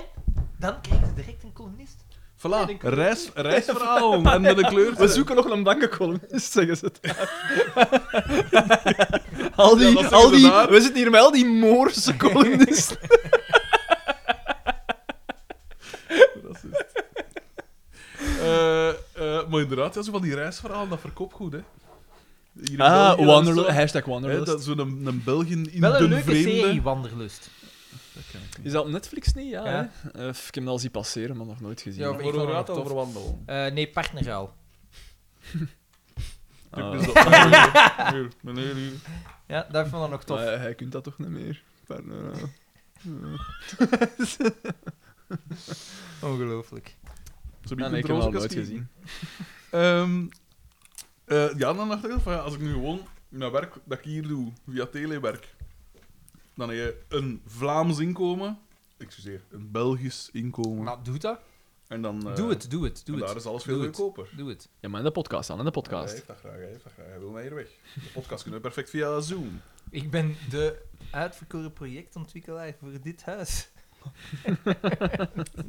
B: dan krijgen ze direct een columnist.
C: Voilà, reis, reisverhaal en met een kleur.
A: We zoeken nog een bankencolumnist, zeggen ze het. al die,
C: Ja, dat zeggen
A: al
C: ze
A: die,
C: daar.
A: we zitten hier met al die Moorse columnisten.
C: Eh, eh, maar inderdaad, ja, zo van die reisverhalen, dat verkoopt goed, hè. Hier in
A: ah,
C: België, dat is
A: Wanderlust.
C: zo-
A: Hashtag
C: Hè,
A: Wanderlust.
C: dat is zo'n een, een Belgen in
B: Wel een
C: den
B: leuke
C: vreemde.
B: serie, Wanderlust.
A: Is dat op Netflix niet? Ja,
B: Ja.
A: hè? Eh, ik heb hem al zien passeren, maar nog nooit gezien.
B: Ja,
A: Ja,
B: maar ik vond het tof.
A: wandelen?
B: Eh, nee, partnerruil.
A: Ah.
C: Tuurlijk is dat- Meneer, meneer, meneer, hier.
B: Ja, dat vond ik nog tof.
A: Maar hij kunt dat toch niet meer? Maar, eh,
B: Ongelooflijk.
C: Zo
A: Ah, nee,
C: biedt
A: ik
C: een
A: heb hem al
C: roze
A: nooit
C: kastje.
A: gezien.
C: Ehm, eh, ja, dan dacht ik van ja, als ik nu gewoon mijn werk dat ik hier doe via telewerk, dan heb je een Vlaams inkomen, excuseer, een Belgisch inkomen.
B: Maar doe dat.
C: en dan, eh,
B: Nou, Doe het, doe het, doe
C: en
B: het.
C: daar is alles
B: Doe
C: veel
B: het.
C: goedkoper.
B: Doe het.
A: Ja, maar in de podcast aan, in de
C: Ja, Hij
A: podcast.
C: heeft dat graag, hij heeft dat graag. Hij wil mij hier weg. De podcast kunnen we perfect via Zoom.
B: Ik ben de uitverkoren projectontwikkelaar voor dit huis.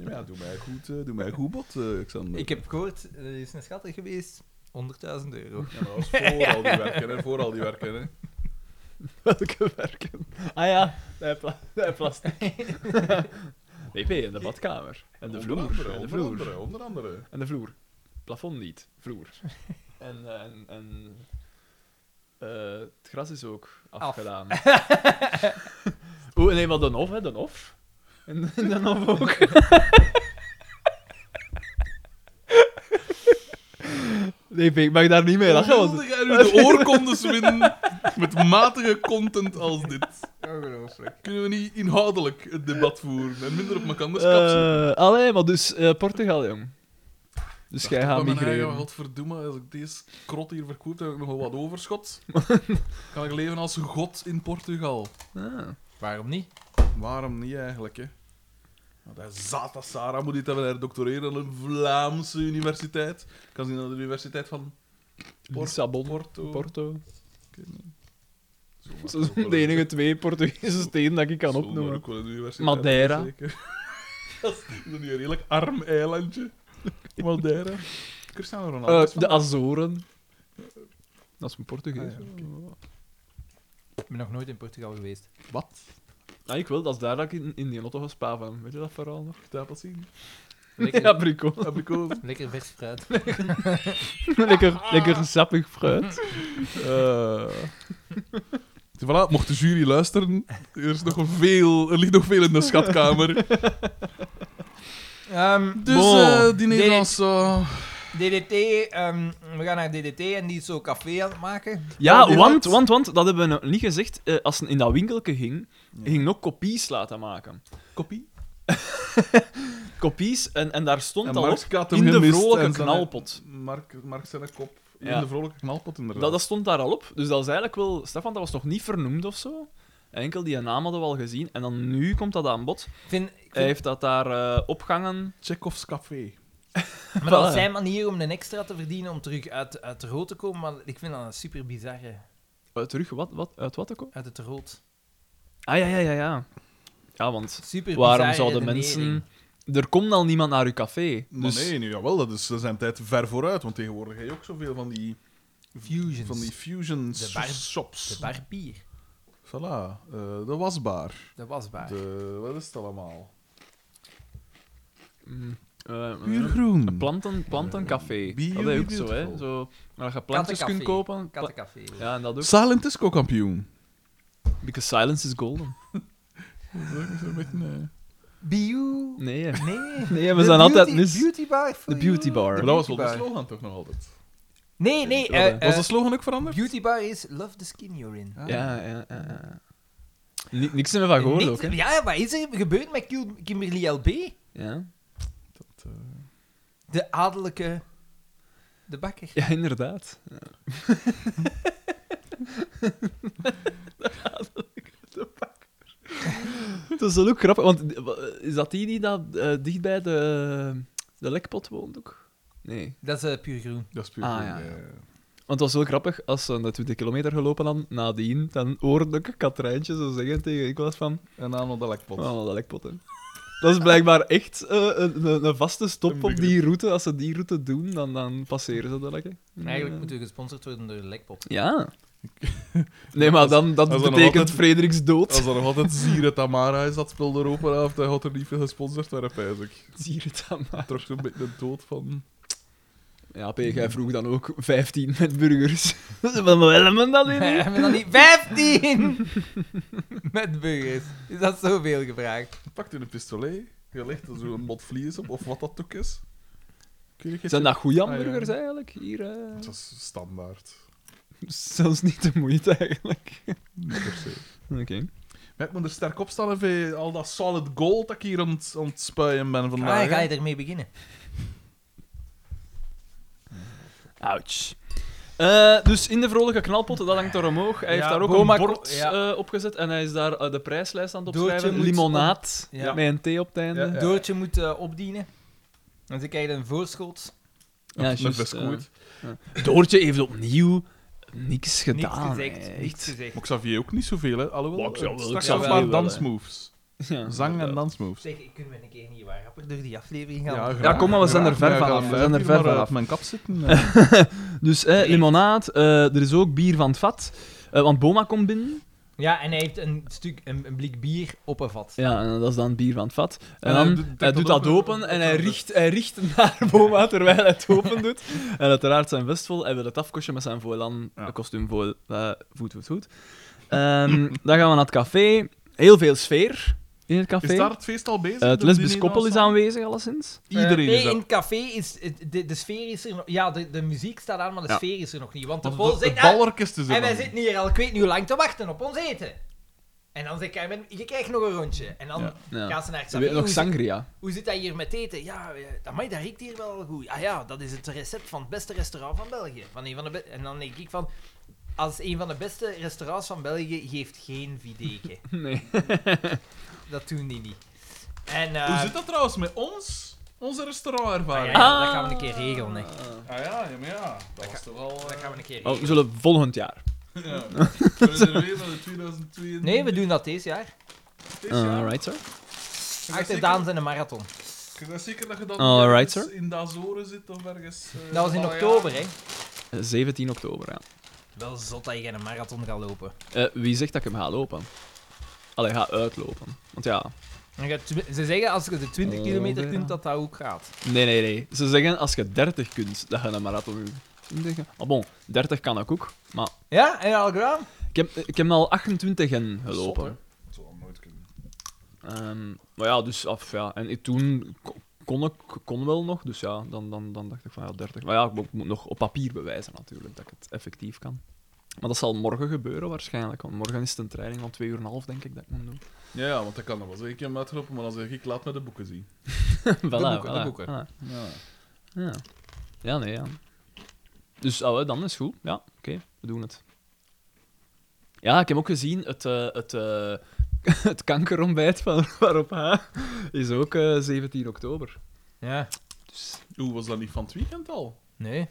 C: Ja, doe mij goed, eh, doe mij goed bot, eh, Xander.
B: Ik heb gehoord, er is een schatting geweest. 100.000 euro.
C: Ja, maar dat was voor al die werken, hè. Voor al die werken, hè.
A: Welke werken? Ah ja, bij, pla bij plastic. WP in de badkamer. En de vloer.
C: Onder andere,
A: en de
C: onder
A: vloer.
C: andere, onder andere.
A: En de vloer. Plafond niet, vloer. En, eh, en, en eh, het gras is ook afgedaan. Oeh, nee, maar de hof, hè, de hof. En, en de hof ook. Nee, Pink, mag ik daar niet mee lachen?
C: Hoe
A: Want...
C: wilde jij nu de oorkondes winnen met matige content als dit?
B: Ongelooflijk.
C: Kunnen we niet inhoudelijk het debat voeren en minder op elkaar kapsen?
A: Eh, allee, maar dus eh, Portugal, jong. Dus jij gaat migreren.
C: Wat verdoemen, als ik deze krot hier verkoop, dan heb ik nogal wat overschot. kan ik leven als god in Portugal.
A: Ah.
B: Waarom niet?
C: Waarom niet eigenlijk, hè? Want hij zat als Sarah moet dit hebben, hij doctoreren aan een Vlaamse universiteit. Kan zien aan de universiteit van
A: Lissabon,
C: Porto.
A: Porto.
C: Ik weet niet. Zomaar
A: Dat
C: ook wel
A: zijn de
C: een-
A: enige twee Portugese steden dat ik kan
C: zomaar
A: opnoemen.
C: ook wel een universiteit,
A: Madeira.
C: zeker. dat is nu een redelijk arm eilandje. Madeira. Cristiano Ronaldo. is
A: Eh,
C: van
A: de Azoren. Dat is een Portugees.
C: Ah,
A: Ah,
C: ja,
B: Ik ben nog nooit in Portugal geweest.
C: Wat?
A: ik wil, dat is daar dat ik in, in die lotto ga spaven. Weet je dat verhaal nog?
C: Stapels zien.
B: Lekker,
A: Ja, Brico.
C: Abrikoos.
B: lekker vers fruit.
A: lekker, lekker sappig fruit.
C: Eh. Voilà, mocht de jury luisteren, er, is nog veel, er ligt nog veel in de schatkamer.
B: Ehm,
C: Dus
A: Bon.
C: eh diner
B: Nee.
C: dans, eh,
B: DDT, ehm, we gaan naar DDT en die is zo café aan het maken.
A: Ja,
C: die
A: want,
C: had-
A: want, want, dat hebben we nog niet gezegd. Eh, als ze in dat winkelke ging,
C: Ja.
A: ging ook kopies laten maken.
C: Kopie.
A: Kopies, en, en daar stond
C: En
A: al
C: Marx
A: op,
C: gaat hem
A: in de
C: gemist
A: vrolijke
C: en zijn-
A: knalpot.
C: Mark, Mark zijn kop. In
A: Ja.
C: de vrolijke knalpot, inderdaad.
A: Dat, dat stond daar al op. Dus dat is eigenlijk wel... Stefan, dat was nog niet vernoemd of zo. Enkel die naam hadden we al gezien. En dan nu komt dat aan bod.
B: Ik vind, ik
A: Hij
B: vind
A: heeft dat daar eh, opgangen.
C: Chekhov's café.
B: maar dat is
A: voilà.
B: zijn manier om een extra te verdienen om terug uit, uit de rood te komen. Maar ik vind dat een super bizarre.
A: Eh, terug, wat, wat, uit wat te komen?
B: Uit het rood.
A: Ah, ja, ja, ja, ja. Ja, want
B: Super
A: waarom
B: bizarre
A: zouden
B: redenering.
A: mensen... Er komt al niemand naar uw café.
C: Maar
A: Dus
C: nee, nu, jawel, dat is, ze zijn tijd ver vooruit, want tegenwoordig heb je ook zoveel van die,
B: Fusions.
C: van die fusion
B: De bar-
C: shops.
B: De barbier.
C: Voilà, eh, de wasbaar.
B: Dat was waar.
C: De, wat is het allemaal?
A: mm, eh, een
C: Puurgroen.
A: planten, plantencafé.
C: Bio
A: dat is ook zo, hè.
C: Beautiful.
A: Zo, waar je plantjes
B: Kattencafé.
A: kunt kopen. Pla-
B: Kattencafé.
A: Ja, en dat ook.
C: Silent Disco kampioen.
A: Because silence is golden.
C: Dat is ook zo'n beetje, eh.
B: Bio.
A: Nee, hè.
B: Nee.
A: nee we
B: De
A: zijn altijd
B: beauty-
A: mis.
B: Beauty bar. for
A: De beauty
B: you.
A: bar.
C: Maar
A: Maar
C: dat was wel de
B: Beauty bar.
C: slogan toch nog altijd?
B: Nee, nee.
A: Wat,
B: eh,
A: eh,
C: Was
B: eh,
C: de slogan ook veranderd?
B: beauty bar is love the skin you're in.
C: Ah.
A: Ja, ja, ja, ja. Ni- niks hebben we van gehoord
B: Niks-
A: ook, hè?
B: ja, ja, wat is er gebeurd met Kil- Kimberly LB?
A: Ja.
B: De adellijke... De bakker.
A: ja, inderdaad. Dat is dan ook grappig, want is dat die die dat eh, dicht bij de, de lekpot woont ook? Nee.
B: Dat is eh, puur groen.
C: Dat is puur.
A: Ah,
C: goed,
A: ja, ja.
C: ja.
A: Want het was wel grappig, als ze de 20 kilometer gelopen hadden, nadien, dan hoorde ik Katrijntje zo zeggen tegen Nicolas van...
C: En aan op de lekpot.
A: Oh, dat lekpotten. Dat is blijkbaar echt eh, een, een- een vaste stop op die route. Als ze die route doen, dan, dan passeren ze dat lekker.
B: Eigenlijk moeten we gesponsord worden door Lekpot.
A: Ja. Nee, maar dan, dat
C: Als er nog
A: betekent
C: altijd-
A: Frederiks dood.
C: Als er nog altijd Zieren Tamara is, dat spul erover af, dan had er niet veel gesponsord worden, pijs ik.
A: Zie je het dan maar.
C: Terug zo'n beetje de dood van...
A: Ja, P, jij vroeg dan ook 15 met burgers. Van wel men dat
B: We
A: in?
B: hebben dan niet 15! Met burgers. Is dat zoveel gevraagd?
C: Pakt u een pistolet, je legt er zo'n mot vlies op, of wat dat ook is. Kun je
A: Zijn dat goede hamburgers
C: Ah, ja.
A: eigenlijk? Hier, eh,
C: Dat is standaard.
A: zelfs niet de moeite eigenlijk.
C: Niet per se.
A: Oké.
C: Maar ik moet er sterk op staan even al dat solid gold dat ik hier aan het, aan het spuien ben vandaag.
B: Ah,
C: hè.
B: ga je ermee beginnen?
A: Eh. Ouch. Eh, dus in de vrolijke knalpotten, dat hangt daar omhoog. Hij heeft
B: Ja,
A: daar ook
B: boom,
A: een
B: bor-
A: bord
B: ja.
A: eh, opgezet en hij is daar eh, de prijslijst aan het
B: Doortje
A: opschrijven.
B: moet
A: Limonaad,
B: op- ja.
A: met een thee op het einde.
C: Ja, ja.
B: Doortje moet eh, opdienen. En ze krijgt een voorschot.
A: Ja,
C: Met
A: juist, eh.
C: biscuit.
A: Doortje heeft opnieuw niks gedaan.
B: niks gezegd.
A: hè,
B: Niks
A: echt.
B: gezegd.
C: Maar Xavier ook niet zoveel, hè.
A: Maar
C: Alhoewel,
A: ik zou wel-
C: eh,
A: ik
C: straks
B: zou
C: was
B: wel-
C: maar dansmoves.
A: Ja.
C: Zang en dansmoves.
B: Zeg, kunnen we een keer niet waar rapper door die aflevering gaan?
A: Ja, kom maar, we zijn er ver
C: van
A: vanaf, we zijn er ver vanaf.
C: mijn kap zitten.
A: Dus eh, limonaad, eh, er is ook bier van het vat. eh, want Boma komt binnen.
B: Ja, en hij heeft een, stuk, een, een blik bier op een vat.
A: Ja, en dat is dan bier van het vat. En
C: En hij
A: dan,
C: doet-
A: hij,
C: trekt
A: doet
C: dat
A: dat
C: open,
A: open
C: dat
A: en
C: dat
A: hij
C: dat-
A: richt, hij richt naar Boma terwijl hij het open doet. En uiteraard zijn vest vol. Hij wil het afkostje met zijn voile aan.
C: Ja.
A: Een kostuum voile. eh, Voet, voet, voet. Ehm, dan gaan we naar het café. Heel veel sfeer in het café.
C: Is daar het feest al bezig?
A: Eh, het
C: De
A: lesbisch
C: diner
A: koppel is
C: al?
A: aanwezig, alleszins.
C: Iedereen
B: Eh, nee,
C: is
B: in
C: er.
B: het café is... het- De, de sfeer is er nog... Ja, de, de muziek staat aan, maar de
A: Ja.
B: sfeer is er nog niet. Want de
C: Want
B: vol
C: het-
B: zegt...
C: Het
B: "Ah,
C: ballerkist is er.
B: En wij
C: nog.
B: zitten hier al, ik weet niet hoe lang, te wachten op ons eten. En dan zeg ik, je krijgt nog een rondje. En dan
C: Ja.
A: Ja.
B: gaan ze naar het
A: Ze hebben
B: café.
A: nog
B: Hoe, zit-
A: sangria.
B: hoe zit dat hier met eten? Ja, dat, amai, dat riekt hier wel goed. Ah ja, dat is het recept van het beste restaurant van België. Van een van de be- en dan denk ik van... Als een van de beste restaurants van België geeft geen videken.
A: Nee.
B: dat doen die niet. En, eh,
C: Hoe zit dat trouwens met ons? Onze
B: ah, ja,
C: restaurantervaring.
B: ja, dat gaan we een keer regelen. Hè.
C: Ah ja, ja, maar ja. Dat was toch al... eh,
B: Dat gaan we een keer
A: Oh, we
B: regelen.
A: zullen volgend jaar.
C: Ja. We zijn er weer naar de 2022.
B: Nee, we doen dat deze jaar.
C: dit
A: Eh,
C: jaar.
A: alright, sir.
C: Ik ben
B: Achter
C: zeker-
B: Daan zijn een marathon.
C: Ik ben zeker dat je dan
A: Alright,
C: ergens
A: sir.
C: in de Azoren zit of ergens... eh,
B: Dat was in
C: Malaga.
B: oktober, hè.
A: Eh, 17 oktober, ja.
B: Wel zot dat je een marathon gaat lopen.
A: Eh, wie zegt dat ik hem ga lopen? Allee, ga uitlopen. Want ja...
B: En je tw- Ze zeggen als je de 20
A: Oh,
B: kilometer
A: ja.
B: kunt, dat dat ook gaat.
A: Nee, nee, nee. Ze zeggen als je 30 kunt, dat je een marathon doet. Dan denk je, ah bon, 30 kan ik ook. Maar
B: Ja, en al gedaan?
A: ik heb, ik heb al 28 en
C: Zot,
A: gelopen.
C: hè. Dat zou nooit kunnen.
A: Ehm, maar ja, dus af, ja. En ik- toen ko- kon ik kon wel nog, dus ja, dan, dan, dan dacht ik van ja, 30. Maar ja, ik mo- ik moet nog op papier bewijzen natuurlijk dat ik het effectief kan. Maar dat zal morgen gebeuren waarschijnlijk, want morgen is het een training van 2 uur en een half, denk ik, dat ik moet doen.
C: Ja, ja, want dat kan nog wel zeker een keer uitroepen, maar dan zeg ik, laat me de boeken zien.
A: voilà,
B: boeken, de
A: voilà,
B: boeken.
A: voilà.
C: Ja.
A: Ja. Ja, nee, ja. Dus ah, wel, dan is goed. Ja, oké, we doen het. Ja, ik heb ook gezien het, eh, het, eh, het kankerontbijt van Waarop H is ook eh, 17 oktober.
B: Ja.
A: Dus,
C: Hoe was dat niet van het weekend al?
B: Nee.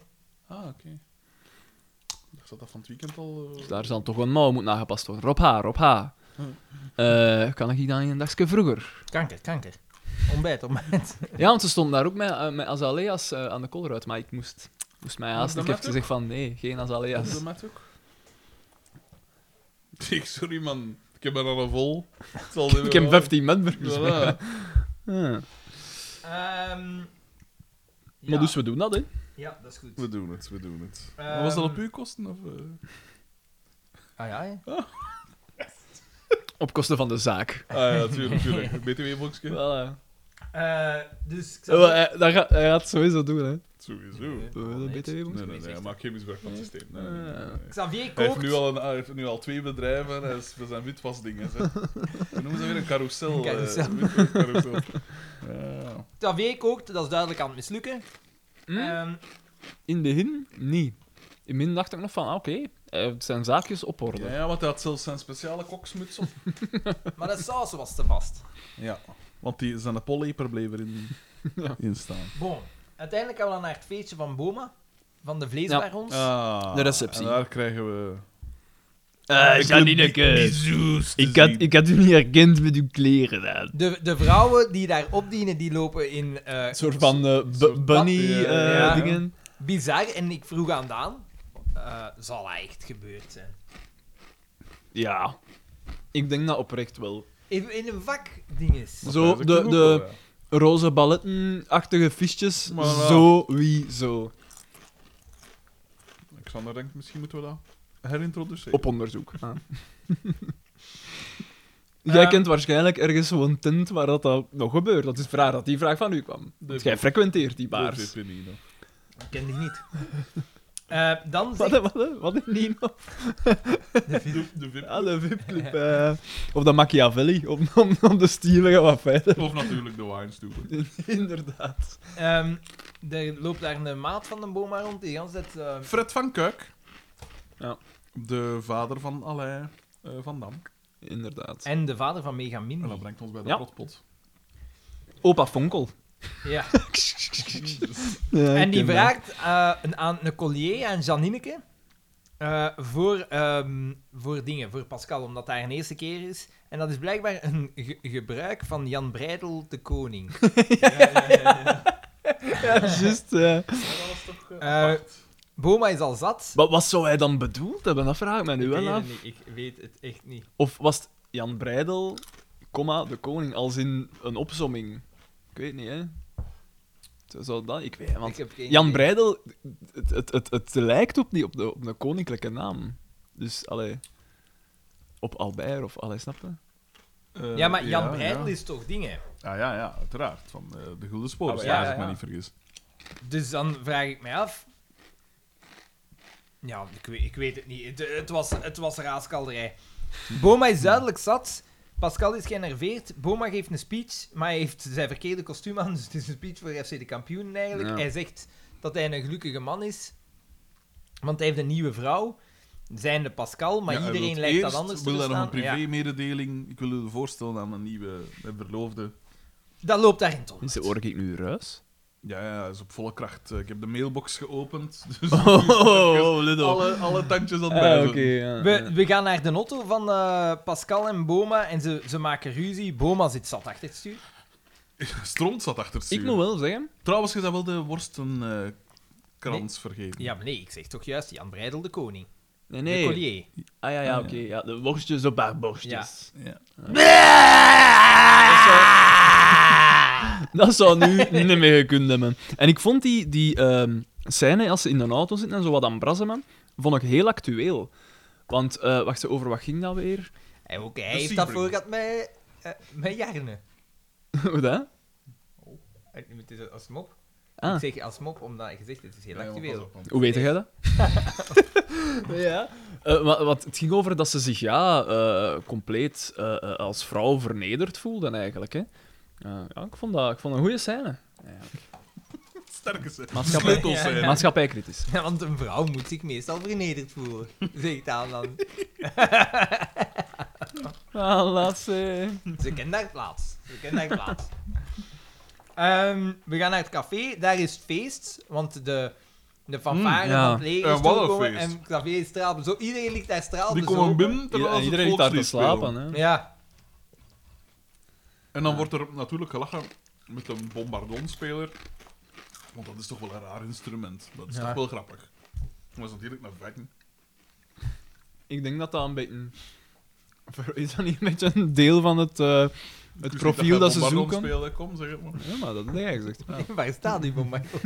C: Ah, oké. Ik dacht dat dat van het weekend al... eh,
A: dus daar zal toch een mouw moet nagepast worden. Rob H, Rob H. Eh, kan ik dan een dagje vroeger?
B: Kanker, kanker. Ontbijt, ontbijt.
A: Ja, want ze stond daar ook met, eh, met azaleas eh, aan de kolder uit, maar ik moest, moest mij haasten. Ik
C: dat
A: heb
C: met
A: gezegd van nee, geen
C: Op
A: azaleas.
C: de mat ook? Ik, sorry man, ik heb er al een vol. Het zal
A: Ik
C: weer
A: heb
C: wel-
A: 15 metburgers.
C: Voilà.
A: Ja.
B: Ehm, ja.
A: Maar dus we doen dat, hè.
B: Ja, dat is goed.
C: We doen het, we doen het.
B: Ehm,
C: Maar Eh, was dat op uw kosten? Of, eh?
B: Ah ja, hè.
A: Op kosten van de zaak.
C: Ah ja, tuurlijk, tuurlijk. BTW-boxje.
A: Voilà.
B: Eh, dus ik
A: Oh,
B: zal...
A: hij, dat gaat, hij gaat het sowieso doen, hè.
C: Sowieso.
B: Nee.
A: Wil je dat BTW
C: Nee,
A: moeten?
C: nee, nee, hij maakt geen misbruik van het systeem. Nee, Eh, nee, nee, nee, nee.
B: Xavier
C: Hij heeft,
B: kookt.
C: nu al een, hij heeft nu al twee bedrijven en hij is met zijn witwasdingen. hè. Hoe noemen ze dat weer? Een carousel. eh,
B: Carousel.
C: witwas- carousel. Ja.
B: Xavier kookt, dat is duidelijk aan het mislukken.
A: Hm?
B: Ehm,
A: In het begin niet. In het begin dacht ik nog van, ah, oké, eh, het zijn zaakjes op orde.
C: Ja, ja, want hij had zelfs zijn speciale koksmuts op.
B: maar de saus was te vast.
C: Ja, want die, zijn polleper bleef erin in staan.
B: Bon. Uiteindelijk gaan we dan naar het feestje van Boma. Van de vleesbarons.
C: Ah,
A: De receptie.
C: En daar krijgen we...
A: Eh, ik had niet
C: Bisous te
A: Ik had,
C: zien.
A: ik had u niet herkend met uw kleren aan.
B: De, de vrouwen die daar opdienen, die lopen in eh,
A: Een soort van eh, bu-
C: soort
A: bunny
C: pap-
A: eh,
C: ja,
B: ja.
A: dingen.
B: bizar. En ik vroeg aan Daan, eh, zal hij echt gebeurd zijn?
A: Ja. Ik denk dat oprecht wel.
B: In, in een vak dinges.
C: Dat
A: Zo,
C: is ook
A: de-
C: goed,
A: de-
C: hoor, ja.
A: Roze ballettenachtige fiches,
C: Maar ja.
A: sowieso.
C: Alexander denkt, misschien moeten we dat herintroduceren.
A: Op onderzoek. Jij
B: Eh.
A: kent waarschijnlijk ergens zo'n tent waar dat, dat nog gebeurt. Dat is raar dat die vraag van u kwam. Want jij frequenteert die
C: Baars.
A: baars.
B: Ik ken die niet. Eh, dan
A: Wat,
B: zegt
A: wat, wat, wat Nino?
B: de vi-
C: De, de VIP.
A: Ja, de VIP-club. eh, of de Machiavelli, om, om, om de stilige wat verder.
C: Of natuurlijk de wijnstoel.
A: Inderdaad.
B: ehm, er loopt daar een maat van de Boma rond, die gans het... eh,
C: Fred van Kuik.
A: Ja.
C: De vader van Alain eh, van Dam.
A: Inderdaad.
B: en de vader van Megamin.
C: En dat brengt ons bij de
A: Ja.
C: potpot.
A: Opa Fonkel.
B: Ja.
A: Ja,
B: En
A: ik
B: die
A: ken dat.
B: vraagt eh, een, aan een collier aan Janineke eh, voor, ehm, voor dingen, voor Pascal, omdat dat haar eerste keer is. En dat is blijkbaar een ge- gebruik van Jan Breidel de Koning.
A: Ja, juist. eh.
C: dat was toch...
B: Eh, Boma is al zat.
A: Wat, wat zou hij dan bedoeld hebben? Dat vraag ik mij nu
B: ik,
A: wel
B: weet
A: af.
B: het niet, ik weet het echt niet.
A: Of was het Jan Breidel, comma, de koning, als in een opsomming? Ik weet niet, hè. Zo Zou dat... Ik weet het,
B: ik
A: want
B: heb geen
A: Jan
B: idee.
A: Breidel, het, het, het, het lijkt op, die, op, de, op de koninklijke naam. Dus, allee... Op Albert of allee, snap je?
C: Eh,
B: Ja, maar Jan
C: ja,
B: Breidel
C: ja.
B: is toch dingen.
C: Ah ja, ja, uiteraard. Van eh, de Gulden Sporen,
A: Ah,
B: ja,
C: als
B: ja,
C: ik me
B: ja.
C: niet vergis.
B: Dus dan vraag ik mij af. Ja, ik weet, ik weet het niet. Het, het was, het was raaskalderij. Boma is duidelijk zat. Pascal is generveerd. Boma geeft een speech, maar hij heeft zijn verkeerde kostuum aan. Dus het is een speech voor FC de kampioenen eigenlijk.
A: Ja.
B: Hij zegt dat hij een gelukkige man is, want hij heeft een nieuwe vrouw. Zijnde Pascal, maar
C: Ja, hij
B: iedereen
C: wil
B: lijkt dat
C: eerst-
B: anders te
C: wil daar nog een
B: verstaan. Ja.
C: privé-mededeling. Ik wil u voorstellen aan een nieuwe mijn verloofde.
B: Dat loopt daarin toch.
A: Is de oor ik nu ruis?
C: Ja, ja, hij is op volle kracht. Eh, Ik heb de mailbox geopend. Dus
A: Oh, oh, oh, Ludo.
C: alle, alle tandjes aan het
A: Ah,
C: bijzen.
A: oké, ja,
B: We,
A: ja.
B: we gaan naar de auto van eh, Pascal en Boma en ze, ze maken ruzie. Boma zit zat achter het stuur.
C: Stront zat achter het
A: Ik
C: stuur.
A: moet wel zeggen...
C: Trouwens, je zou wel de worstenkrans vergeten.
B: Ja, maar nee, ik zeg toch juist Jan Breidel de koning.
A: Nee,
B: De
A: nee.
B: collier.
A: Ah ja, ja, oké. ja, de worstjes op haar borstjes.
C: Ja. Ah!
A: Dat zou nu niet meer gekund hebben. En ik vond die, die ehm, scène, als ze in een auto zitten en zo wat aan brassen, man, vond ik heel actueel. Want, eh, wacht, ze- over wat ging dat weer?
B: En ook hij
C: De
B: heeft dat
C: Sebring.
B: voor gehad met, eh, met Jarne.
A: Hoe dat?
B: Eh, Het is als mop.
A: Ah,
B: Ik zeg als mop, omdat je zegt het is heel
C: Ja, maar pas
B: actueel.
C: op, want-
A: hoe weet jij dat? ja. wat, het ging over dat ze zich ja, eh, compleet eh, eh, als vrouw vernederd voelden, eigenlijk. Hè. Eh, ja, ik vond dat ik vond dat een goede scène.
C: Sterke zin.
A: Maatschappij-
C: Sleutels zijn.
B: Ja.
A: Maatschappijkritisch.
B: Ja, want een vrouw moet zich meestal vernederd voelen, zegt Daan dan.
A: Ah, laat ze.
B: Ze kent daar plaats. Ze kent daar plaats. Ehm, we gaan naar het café. Daar is het feest, want de, de fanfare
A: Mm, ja.
B: van het leger
C: En
B: is
C: wat een
B: toegekomen
C: feest.
B: en het café is straal. Zo, iedereen ligt daar straal. dus
C: Die komen binnen terwijl
A: Iedereen
C: ze het
A: ligt daar te
C: volkslied spelen.
A: slapen. Hè.
B: Ja,
C: En dan wordt er natuurlijk gelachen met een bombardonspeler. Want dat is toch wel een raar instrument. Dat is
B: Ja.
C: toch wel grappig. Dat is natuurlijk naar vekken.
A: Ik denk dat dat een beetje. Is dat niet een beetje een deel van het, eh, het profiel dat ze zoeken?
C: Spelen. Kom, zeg het maar.
A: Ja, maar dat heb jij gezegd.
B: waar staat die van Michael?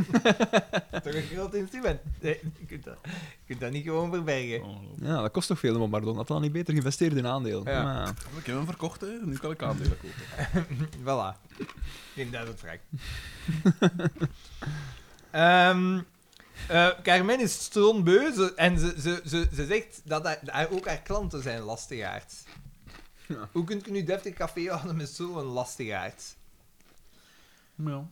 B: Toch een groot instrument. Nee, je, kunt dat, je kunt dat niet gewoon verbergen.
C: Ongelooflijk.
A: Ja, dat kost toch veel, maar Bardon. Had dat niet beter geïnvesteerd in aandelen?
B: Ja.
A: Maar ja.
C: Ik heb hem verkocht, hè. nu kan ik aandelen kopen.
B: voilà. Ik denk dat het vraag. Ehm eh, Carmen is strontbeu ze- en ze, ze, ze, ze zegt dat haar, haar- ook haar klanten zijn lastigaards. Hoe kunt je nu deftig café houden met zo'n lastigaard?
C: Ja.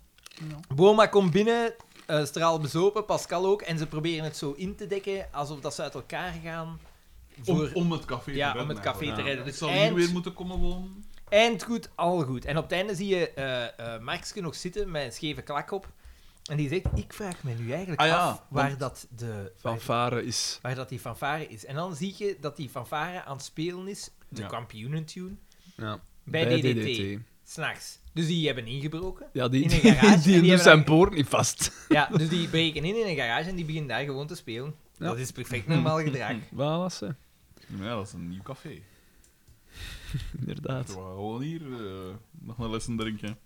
C: ja.
B: Boma komt binnen, eh straal bezopen, Pascal ook, en ze proberen het zo in te dekken alsof dat ze uit elkaar gaan.
C: Om,
B: Voor
C: om het café
B: Ja,
C: te redden.
B: om het café te
C: eigenlijk.
B: redden.
C: Ik
B: Dus
C: zal
B: eind-
C: hier weer moeten komen wonen.
B: eind goed, al goed. En op het einde zie je eh eh Markske nog zitten met een scheve klak op. En die zegt, ik vraag me nu eigenlijk
C: Ah ja,
B: af waar
C: want-
B: dat, de, waar,
F: Fanfare is...
B: waar dat die fanfare is. En dan zie je dat die fanfare aan het spelen is, de
F: Ja.
B: kampioenentune,
A: Ja.
B: bij, DDT. S'nachts. Dus die hebben ingebroken.
F: Ja, die,
B: In
F: die,
B: een garage, en die
A: dus
F: die
B: hebben
F: doet zijn
B: dan-
F: poort niet vast.
B: Ja, dus die breken in in een garage en die beginnen daar gewoon te spelen.
A: Ja.
B: Dat is perfect normaal gedrag.
F: Voilà, ze.
C: Ja, dat is een nieuw café. We
F: Inderdaad.
C: gaan gewoon hier eh, nog een lessen drinken.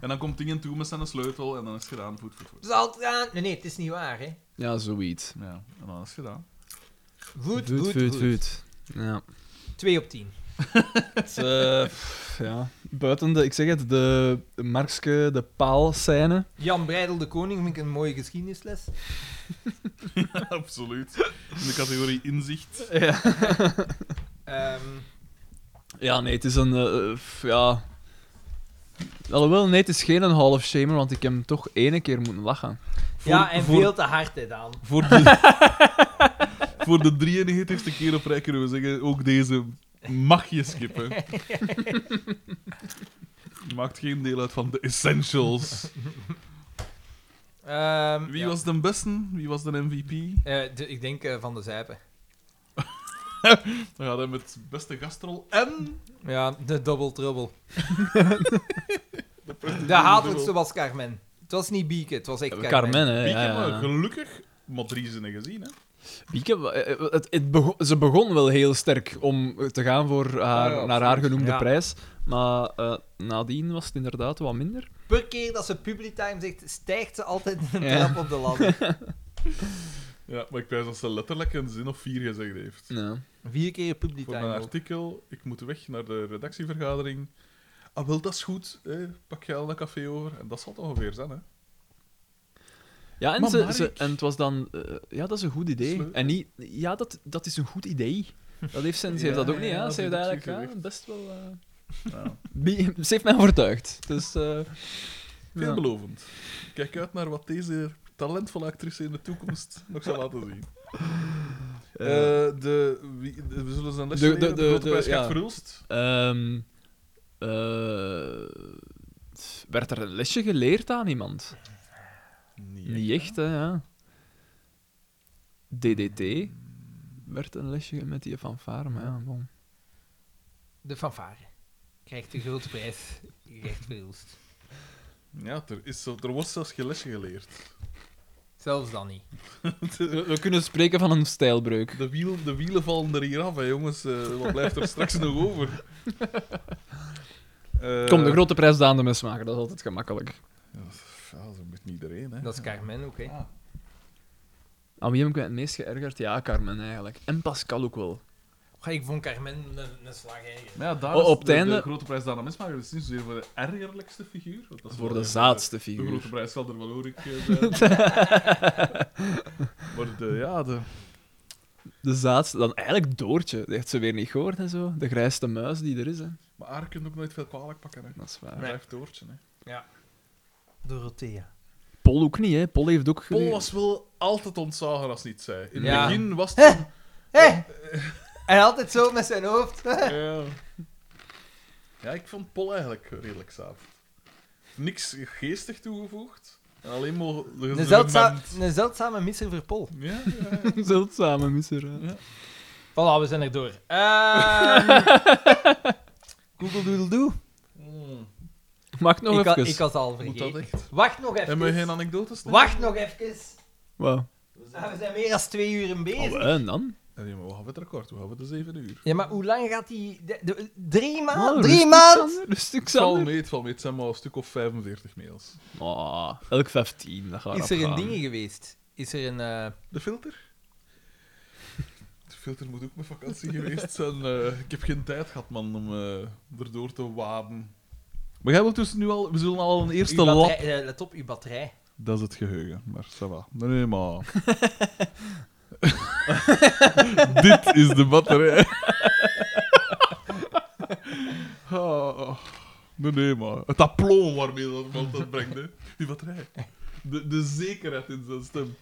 C: En dan komt dingen toe met zijn sleutel en dan is het gedaan. Voet, voet, voet.
B: Zal Dus het gaan? Nee, nee, het is niet waar, hè.
A: Ja, zoiets.
C: Ja, en dan is het gedaan.
B: Voet, voet, voet.
A: Ja.
B: Twee op tien.
A: Het, eh, pff, ja. Buiten de, ik zeg het, de Markske, de paalscène.
B: Jan Breidel de Koning vind ik een mooie geschiedenisles.
C: Absoluut. In de categorie inzicht.
A: Ja.
B: Ehm,
A: ja, nee, het is een, eh, eh, pff, ja... Alhoewel, nee, het is geen een Hall of Shamer, want ik heb hem toch ene keer moeten lachen.
B: ja, en
C: voor-
B: veel te hard, hè, Daan.
C: Voor de, voor de 93ste keer op rij kunnen we zeggen, ook deze mag je skippen. Maakt geen deel uit van de essentials.
B: Ehm,
C: Wie
B: ja.
C: was de beste? Wie was de MVP?
B: Eh, de- ik denk eh, Van de Zijpen.
C: Dan gaat hij met beste gastrol en...
B: Ja, de Double Trouble. de hatelijkste was Carmen. Het was niet Bieke, het was echt Carmen.
A: Carmen, hè.
C: Pieke,
A: Ja, ja,
C: maar
A: ja.
C: gelukkig maar drie zinnen gezien, hè.
A: Bieke, eh, eh, het, het begon- ze begon wel heel sterk om te gaan voor haar,
C: Ah, Ja, ja,
A: naar haar
C: absoluut.
A: genoemde
B: Ja.
A: prijs. Maar eh, nadien was het inderdaad wat minder.
B: Per keer dat ze Publitime zegt, stijgt ze altijd een
A: Ja.
B: trap op de ladder.
C: Ja, maar ik wijs dat ze letterlijk een zin of vier gezegd heeft.
A: Ja.
B: Vier keer
C: Voor mijn
B: Publitime. ook.
C: artikel, ik moet weg naar de redactievergadering. Ah, wel, dat is goed. Hè. Pak jij al een café over. En dat zal het ongeveer zijn, hè.
A: Ja, en,
C: Maar
A: ze,
C: Mark-
A: ze- en het was dan... eh, ja, dat is een goed idee.
C: Sleu-
A: En niet... Ja, dat, dat is een goed idee. Dat heeft ze, ze
C: Ja,
A: heeft dat ook niet,
C: ja,
A: ja.
C: dat
A: Ze heeft
C: heb ik
A: eigenlijk
C: gezegd.
A: ja, best wel... eh,
C: Ja.
A: bi- ze heeft mij overtuigd. Dus... eh, ja.
C: Veelbelovend. Kijk uit naar wat deze talentvolle actrice in de toekomst nog zal laten zien. Eh, de, wie- de- we zullen zijn les
A: De- de-
C: leren. De,
A: de-
C: grote
A: de-
C: prijs
A: ja.
C: gaat verhulst.
A: Ehm, eh, werd er een lesje geleerd aan iemand? Niet echt, hè, ja. DDT werd een lesje ge- met die fanfare, maar ja, bon.
B: De fanfare. Krijgt de grote prijs. Recht verhulst.
C: Ja, er, is, zo- er wordt zelfs geen lesje geleerd.
B: Zelfs dan niet.
A: We, we kunnen spreken van een stijlbreuk.
C: De, wiel, de wielen vallen er hier af, hè, jongens. Eh, wat blijft er straks nog over? Eh,
A: Kom, de grote prijs Daan de Mesmaker, dat is altijd gemakkelijk.
C: Ja, dat is- ja, dat is met iedereen, hè.
B: Dat is Carmen ook, hè.
C: Ah,
A: Aan wie heb ik me het meest geërgerd? Ja, Carmen eigenlijk. En Pascal ook wel.
B: Goh, ik vond Carmen een, een slag eigen.
C: Maar ja, daar
A: O-
C: is
A: op het
C: de,
A: einde-
C: de grote prijs daarna mismaken. Dat is niet zozeer voor de ergerlijkste figuur. want dat is
A: Voor
C: wel
A: de
C: echt- eh,
A: zaadste
C: De
A: figuur.
C: grote prijs zal er wel hoor ik eh, zijn. maar de, ja, de...
A: De zaadste, dan eigenlijk Doortje. Die heeft ze weer niet gehoord en zo. De grijste muis die er is, hè.
C: Maar haar kunt ook nooit veel kwalijk pakken. Hè.
A: Dat is
C: Hij
A: waar.
C: blijft doortje. Hè.
B: Dorothea.
A: Pol ook niet, hè. Pol heeft ook...
C: Paul
A: gele-
C: was wel altijd ontzagen als hij het zei. In het
B: Ja.
C: begin was het...
B: Hé! Hé! En altijd zo met zijn hoofd.
C: Ja. ja, ik vond Paul eigenlijk redelijk zaad. Niks geestig toegevoegd. En alleen maar...
B: Een, zeldza
C: zeldzaam.
B: een zeldzame misser voor Pol.
C: Ja, ja, ja.
A: Zeldzame misser. hè.
B: Voilà, we zijn er door. Ehm Google Doodle Doo.
C: Mm,
A: Mag nog
B: Ik, had-
A: even.
B: ik was al
C: moet dat
B: vergeten.
C: echt?
B: Wacht nog
C: Hebben we geen
B: even.
C: anekdotes? nee?
B: Wacht nog even.
A: Wauw.
B: Ah, we zijn weer als twee uur in bezig.
A: Oh, en dan?
C: Nee, maar we hebben het record. We hebben de zeven uur.
B: Ja, maar hoe lang gaat die... de- de- drie maanden?
A: Oh,
B: Ah, drie
A: rustig,
B: maanden?
A: Sander, Rustig,
C: Het zal
A: Sander.
C: mee, het valt mee. Het zijn maar een stuk of 45 mails.
A: Ah, elk 15, dat gaat
B: Is er een
A: afgaan.
B: ding geweest? Is er een... eh,
C: De filter? De filter moet ook met vakantie geweest zijn. eh, ik heb geen tijd gehad, man, om eh, erdoor te waden. Maar jij wilt dus nu al... We zullen al een
B: uw
C: eerste
B: batterij-
C: lap...
B: eh, let op, uw batterij.
C: Dat is het geheugen, maar ça va. Nee, nee, maar... Dit is de batterij. Ah, nee, nee, maar... Het aplomb waarmee dat man dat brengt, hè. Die batterij. De, de zekerheid in zijn stem.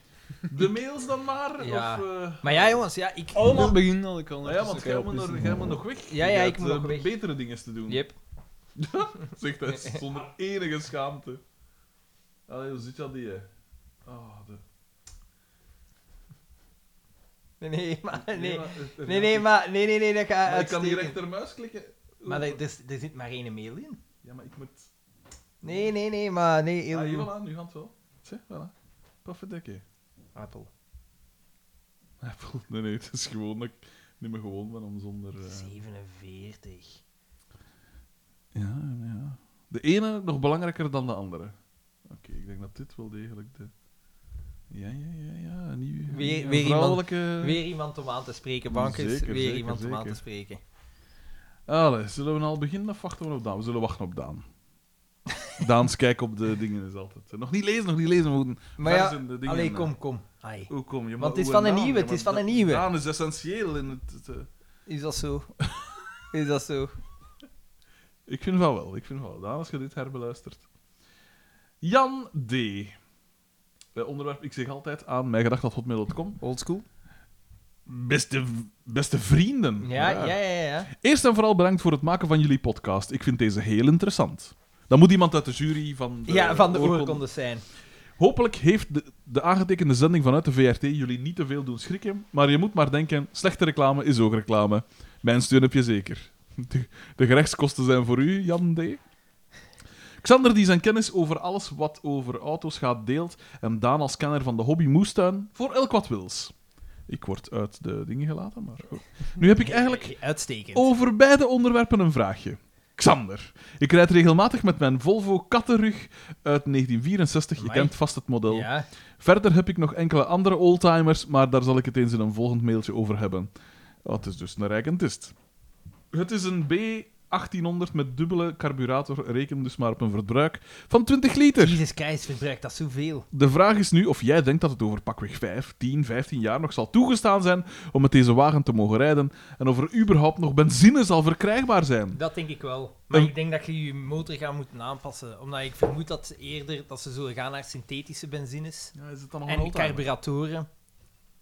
C: De mails dan maar?
B: Ja.
C: Of, eh,
B: Maar ja, jongens, ja, ik...
A: Allemaal begin al, ik kan
C: Ah ja, want jij moet, nog, jij moet nog weg.
B: Ja, ja,
C: Jij
B: ik
C: hebt,
B: moet nog
C: eh,
B: weg.
C: betere dingen te doen.
B: Yep.
C: Zegt hij zonder enige schaamte. Allee, hoe zit dat die? hè? Ah, de...
B: Nee, nee, maar... Nee,
C: maar het- het-
B: nee, nee, maar... eh, Nee, nee, nee, dat gaat
C: Maar ik kan die
B: uitstekend.
C: rechtermuis klikken.
B: Maar er, er, er zit maar één mail in.
C: Ja, maar ik moet...
B: Nee, nee, nee, maar... Nee,
C: Ah,
B: heel
C: hier,
B: goed.
C: voilà, nu gaat het wel. Zie, voilà. Paffedekje.
B: Appel.
C: Nee, nee, het is gewoon dat ik niet meer gewoon ben om zonder... eh,
B: 47.
C: Ja, ja. De ene nog belangrijker dan de andere. Oké, ik denk dat dit wel degelijk de... Ja, ja, ja, ja. Een nieuwe,
B: Weer-
C: een
B: weer iemand-
C: vrouwelijke...
B: Weer iemand om aan te spreken, bankers.
C: Zeker,
B: Weer
C: zeker,
B: iemand om aan
C: zeker.
B: te spreken.
C: Allee, zullen we nou al beginnen of wachten we op Daan? We zullen wachten op Daan. Daans kijk op de dingen is altijd. Nog niet lezen, nog niet lezen. We moeten
B: Maar
C: vers
B: ja,
C: in de dingen. eh.
B: allee, kom, kom. Ai.
C: Hoe kom je? maar
B: Want het is
C: hoe
B: van een
C: naam,
B: nieuwe,
C: ja,
B: het is
C: maar
B: van een
C: da-
B: nieuwe.
C: Daan is essentieel in het... het, eh,
B: Is dat zo? Is dat zo?
C: Ik vind van wel, ik vind van wel. Daan, als je dit herbeluistert. Jan D. Eh, onderwerp, ik zeg altijd aan mijngedacht.hotmail.com.
B: Oldschool?
C: Beste, beste vrienden.
B: Ja, ja, ja, ja. ja.
C: Eerst en vooral bedankt voor het maken van jullie podcast. Ik vind deze heel interessant. Dan moet iemand uit de jury van de,
B: Ja, van de
C: oorkonde-
B: oorkondes zijn.
C: Hopelijk heeft de, de aangetekende zending vanuit de VRT jullie niet te veel doen schrikken, maar je moet maar denken, slechte reclame is ook reclame. Mijn steun heb je zeker. De, de gerechtskosten zijn voor u, Jan D. Xander die zijn kennis over alles wat over auto's gaat deelt en Daan als kenner van de hobby moestuin voor elk wat wils. Ik word uit de dingen gelaten, maar goed. Nu heb ik eigenlijk Oh,
B: Uitstekend.
C: over beide onderwerpen een vraagje. Xander, ik rijd regelmatig met mijn Volvo Kattenrug uit 1964. Je
B: Amai.
C: kent vast het model.
B: Ja.
C: Verder heb ik nog enkele andere oldtimers, maar daar zal ik het eens in een volgend mailtje over hebben. Oh, het is dus een rijkentist. Het is een B1800 met dubbele carburator, reken dus maar op een verbruik van 20 liter.
B: Jezus Christus verbruikt dat zoveel.
C: De vraag is nu of jij denkt dat het over pakweg 5, 10, 15 jaar nog zal toegestaan zijn om met deze wagen te mogen rijden en of er überhaupt nog benzine zal verkrijgbaar zijn.
B: Dat denk ik wel. Maar
C: Een-
B: ik denk dat je je motor gaat moeten aanpassen. Omdat ik vermoed dat ze eerder dat ze zullen gaan naar synthetische benzines.
C: Ja, is het dan
B: En carburatoren.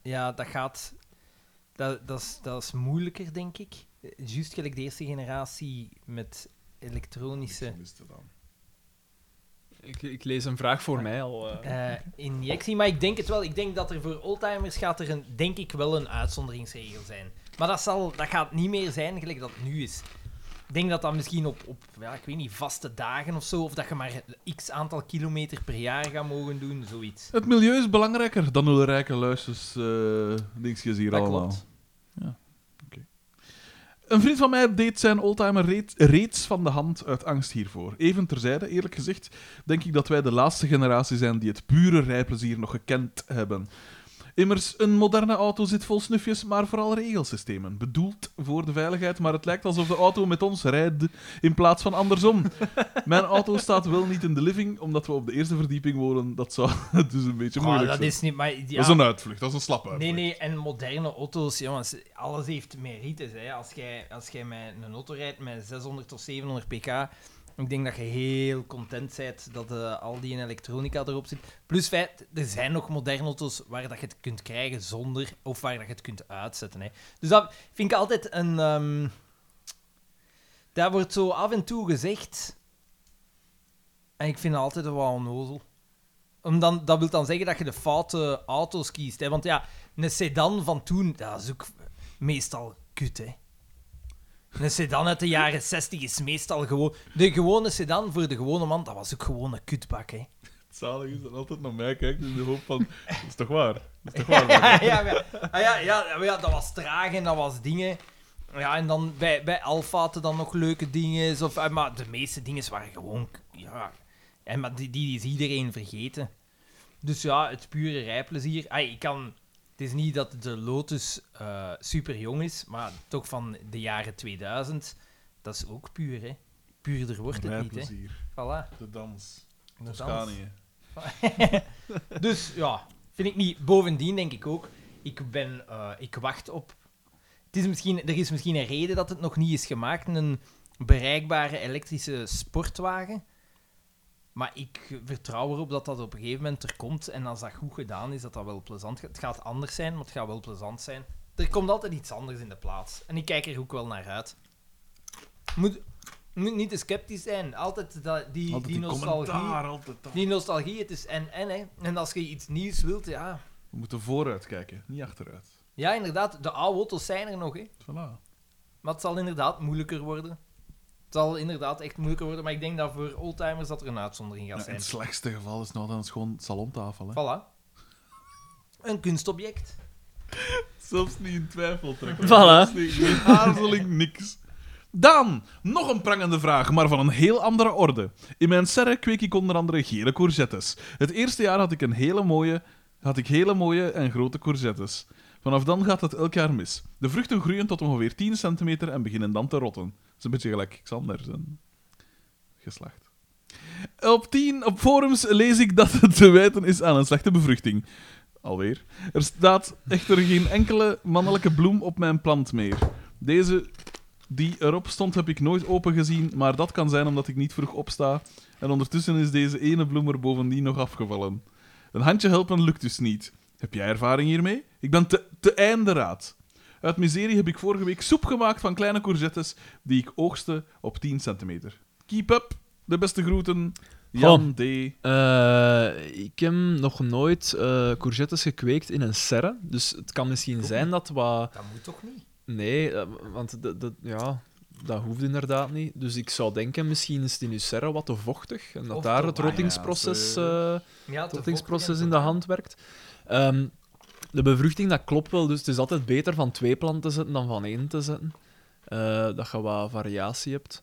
B: Ja, dat gaat... Dat, dat, is, dat is moeilijker, denk ik. Eh, Juist gelijk de eerste generatie met elektronische
A: Ik, ik lees een vraag voor mij al. eh.
B: eh, injectie. Maar ik denk het wel. Ik denk dat er voor oldtimers gaat er een, denk ik wel een uitzonderingsregel zijn. Maar dat, zal, dat gaat niet meer zijn gelijk dat het nu is. Ik denk dat dat misschien op, op ja, ik weet niet, vaste dagen of zo, of dat je maar x aantal kilometer per jaar gaat mogen doen, zoiets.
C: Het milieu is belangrijker dan de rijke luisters eh dingetjes hier
B: Dat
C: allemaal.
B: klopt.
C: Ja. oké. Een vriend van mij deed zijn oldtimer reed- reeds van de hand uit angst hiervoor. Even terzijde, eerlijk gezegd, denk ik dat wij de laatste generatie zijn die het pure rijplezier nog gekend hebben. Immers, een moderne auto zit vol snufjes, maar vooral regelsystemen. Bedoeld voor de veiligheid, maar het lijkt alsof de auto met ons rijdt in plaats van andersom. Mijn auto staat wel niet in de living, omdat we op de eerste verdieping wonen. Dat zou dus een beetje
B: Ah,
C: moeilijk
B: dat
C: zijn.
B: is niet... Maar, ja.
C: Dat is een uitvlucht, dat is een slappe
B: Nee,
C: uitvlucht.
B: nee, en moderne auto's, jongens, alles heeft merites. Hè. Als jij, als jij met een auto rijdt met 600 of 700 pk, ik denk dat je heel content bent dat eh, al die elektronica erop zit. Plus feit, er zijn nog moderne auto's waar dat je het kunt krijgen zonder, of waar dat je het kunt uitzetten. Hè. Dus dat vind ik altijd een... ehm, dat wordt zo af en toe gezegd. En ik vind het altijd wel onnozel. Om dan, dat wil dan zeggen dat je de foute auto's kiest. Hè? Want ja, een sedan van toen, dat is ook meestal kut, hè. Een sedan uit de jaren 60 is meestal gewoon... De gewone sedan voor de gewone man, dat was ook gewoon een kutbak, hè.
C: Het zalig is dat altijd naar mij kijkt in de hoop van... Dat is toch waar? Dat is toch waar?
B: ja, ja, maar- ah, ja, ja, ja, maar ja, dat was traag en dat was dingen. Ja, en dan bij, bij Alfa hadden dan nog leuke dingen. Of, eh, maar de meeste dingen waren gewoon... k- Ja, en, maar die, die is iedereen vergeten. Dus ja, het pure rijplezier. Ah, ik kan, het is niet dat de Lotus eh, super jong is, maar toch van de jaren 2000. Dat is ook puur, hè. Puurder wordt het niet, hè.
C: Rijplezier,
B: Voilà.
C: de dans,
B: De dans.
C: Toscanië.
B: dus ja, vind ik niet. Bovendien denk ik ook, ik ben, eh, ik wacht op. Het is misschien, er is misschien een reden dat het nog niet is gemaakt, een bereikbare elektrische sportwagen. Maar ik vertrouw erop dat dat op een gegeven moment er komt. En als dat goed gedaan is, dat dat wel plezant gaat. Het gaat anders zijn, maar het gaat wel plezant zijn. Er komt altijd iets anders in de plaats. En ik kijk er ook wel naar uit. Moet, moet niet te sceptisch zijn. Altijd dat, die,
C: Altijd
B: die
C: die
B: nostalgie.
C: commentaar, altijd dat.
B: Die nostalgie, het is en en hè. En als je iets nieuws wilt, ja.
C: We moeten vooruit kijken, niet achteruit.
B: Ja, inderdaad, de oude auto's zijn er nog, hè.
C: Voilà.
B: Maar het zal inderdaad moeilijker worden. Het zal inderdaad echt moeilijker worden, maar ik denk dat voor oldtimers dat er een uitzondering gaat
C: Ja, in
B: zijn.
C: het slechtste geval is het nou dan eens gewoon salontafel. Hè?
B: Voilà. Een kunstobject.
C: Zelfs niet in twijfel trekken.
A: Voilà.
C: Geen aarzeling, niks. Dan, nog een prangende vraag, maar van een heel andere orde. In mijn serre kweek ik onder andere gele courgettes. Het eerste jaar had ik, een hele mooie, had ik hele mooie en grote courgettes. Vanaf dan gaat het elk jaar mis. De vruchten groeien tot ongeveer 10 centimeter en beginnen dan te rotten. Dat is een beetje gelijk Xander zijn geslacht. Op 10 op forums lees ik dat het te wijten is aan een slechte bevruchting. Alweer. Er staat echter geen enkele mannelijke bloem op mijn plant meer. Deze die erop stond heb ik nooit opengezien, maar dat kan zijn omdat ik niet vroeg opsta. En ondertussen is deze ene bloem er bovendien nog afgevallen. Een handje helpen lukt dus niet. Heb jij ervaring hiermee? Ik ben te, te einde raad. Uit miserie heb ik vorige week soep gemaakt van kleine courgettes die ik oogste op 10 centimeter. Keep up, de beste groeten. Jan D.
A: Eh, ik heb nog nooit eh, courgettes gekweekt in een serre. Dus het kan misschien zijn dat wat.
B: Dat moet toch niet?
A: Nee, eh, want dat, dat, ja, dat hoeft inderdaad niet. Dus ik zou denken, misschien is het in uw serre wat te vochtig. En dat
B: Of te
A: daar
B: warm,
A: het
B: ja,
A: rottingsproces. eh,
B: Ja,
A: het
B: te
A: rottingsproces in
B: vochtig
A: de
B: en
A: hand werkt. Ehm, de bevruchting, dat klopt wel. Dus het is altijd beter van twee planten te zetten dan van één te zetten. Eh, dat je wat variatie hebt.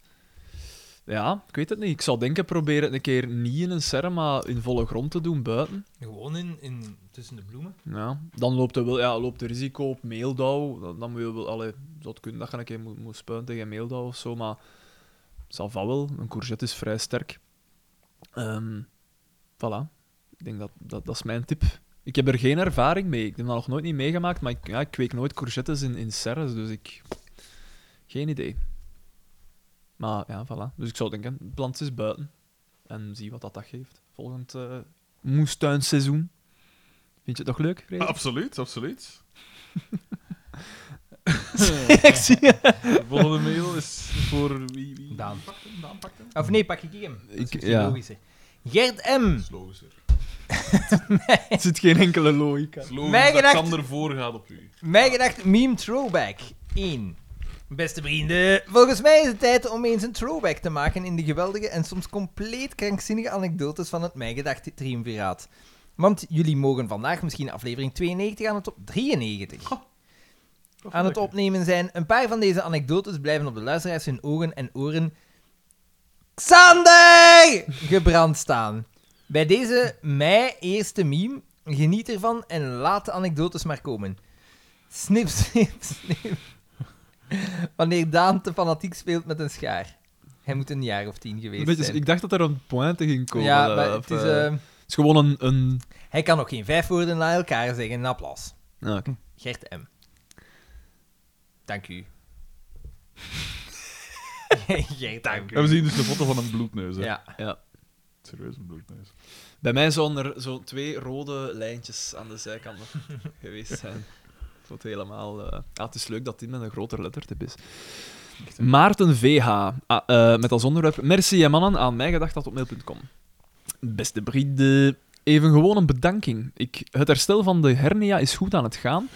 A: Ja, ik weet het niet. Ik zou denken, probeer het een keer niet in een serre, maar in volle grond te doen buiten.
B: te- Gewoon in, in, tussen de bloemen.
A: Ja. Dan loopt er wel ja, loopt er risico op meeldauw. Dan, dan moet je wel... Allee, zou het kunnen dat je een keer moet, moet spuien tegen meeldauw of zo, maar... Het zal van wel. Een courgette is vrij sterk. Ehm voilà. Ik denk dat, dat... Dat is mijn tip. Ik heb er geen ervaring mee. Ik heb dat nog nooit niet meegemaakt, maar ik, ja, ik kweek nooit courgettes in, in serres, dus ik... Geen idee. Maar ja, voilà. Dus ik zou denken, plant is buiten. En zie wat dat, dat geeft. Volgend eh moestuinseizoen. Vind je het toch leuk, Frederik?
C: Absoluut, absoluut.
A: ik zie
C: De volgende mail is voor wie? wie?
B: Daan.
C: Pakt hem, Daan pakt hem.
B: Of nee, pak ik hem. Dat is
A: Ik-
B: misschien
A: ja.
B: logischer. Gert M.
C: Dat is logischer.
A: Er zit geen enkele logica.
C: Het is logisch
B: Mijn
C: dat
B: gedacht-
C: Xander voorgaat op u.
B: Mij gedacht meme throwback 1. Beste vrienden, volgens mij is het tijd om eens een throwback te maken in de geweldige en soms compleet krankzinnige anekdotes van het Mij gedacht triumviraat. Want jullie mogen vandaag misschien aflevering 92 aan het op 93 aan het opnemen zijn. Een paar van deze anekdotes blijven op de luisteraars hun ogen en oren Xander gebrand staan. Bij deze mij eerste meme, geniet ervan en laat de anekdotes maar komen. Snip, snip, snip. Wanneer Daan te fanatiek speelt met een schaar. Hij moet een jaar of tien geweest zijn.
A: ik dacht dat er een pointe ging komen.
B: ja,
A: eh,
B: maar
A: of,
B: het is,
A: eh,
B: eh,
A: het is gewoon een... een...
B: hij kan nog geen vijf woorden na elkaar zeggen. Een applaus.
A: Ah, oké.
B: Gert M. Dank u. Gert Dank
C: En we zien dus de foto van een bloedneus. hè.
B: Ja.
C: Serieus, een bloedneus.
A: Bij mij zouden er zo twee rode lijntjes aan de zijkanten geweest zijn. Tot helemaal... eh, Ah, het is leuk dat dit met een groter lettertip is. Maarten VH, ah, eh, met als onderwerp... Merci en mannen aan mijgedacht.mail.com Beste vrienden, even gewoon een bedanking. Ik, het herstel van de hernia is goed aan het gaan.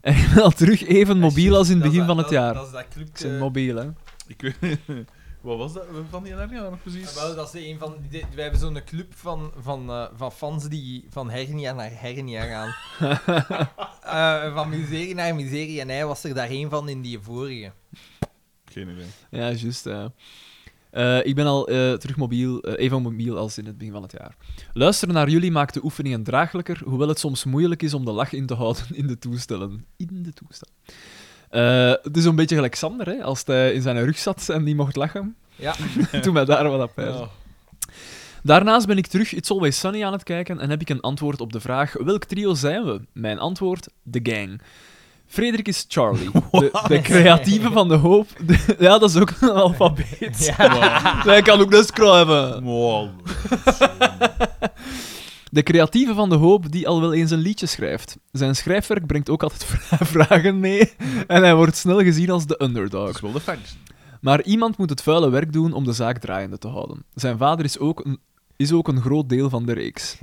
A: En ik ben al terug even mobiel als in het begin van het jaar.
B: Dat is dat club. eh,
A: Ik ben mobiel, hè.
C: Ik weet Wat was dat van die hernia nog precies?
B: Wel, dat is een van die, wij hebben zo'n club van, van, eh, van fans die van hernia naar hernia gaan. Eh, van miserie naar miserie. En hij was er daar één van in die vorige.
C: Geen idee.
A: Ja, juist. ja. Eh, ik ben al eh, terug mobiel, eh, even mobiel als in het begin van het jaar. Luisteren naar jullie maakt de oefeningen draaglijker, hoewel het soms moeilijk is om de lach in te houden in de toestellen. In de toestellen. Eh, het is een beetje gelijk Sander, hè, als hij in zijn rug zat en die mocht lachen.
B: Ja.
A: Toen mij daar wat op
C: Ja.
A: Daarnaast ben ik terug It's Always Sunny aan het kijken en heb ik een antwoord op de vraag: welk trio zijn we? Mijn antwoord: The Gang. Frederik is Charlie, de, de creatieve van de hoop. De- ja, dat is ook een alfabet. Hij kan ook dat schrijven.
C: Wow.
A: De creatieve van de hoop die al wel eens een liedje schrijft. Zijn schrijfwerk brengt ook altijd vra- vragen mee en hij wordt snel gezien als de
C: Dat
A: underdog.
C: is wel de fans.
A: Maar iemand moet het vuile werk doen om de zaak draaiende te houden. Zijn vader is ook een, is ook een groot deel van de reeks.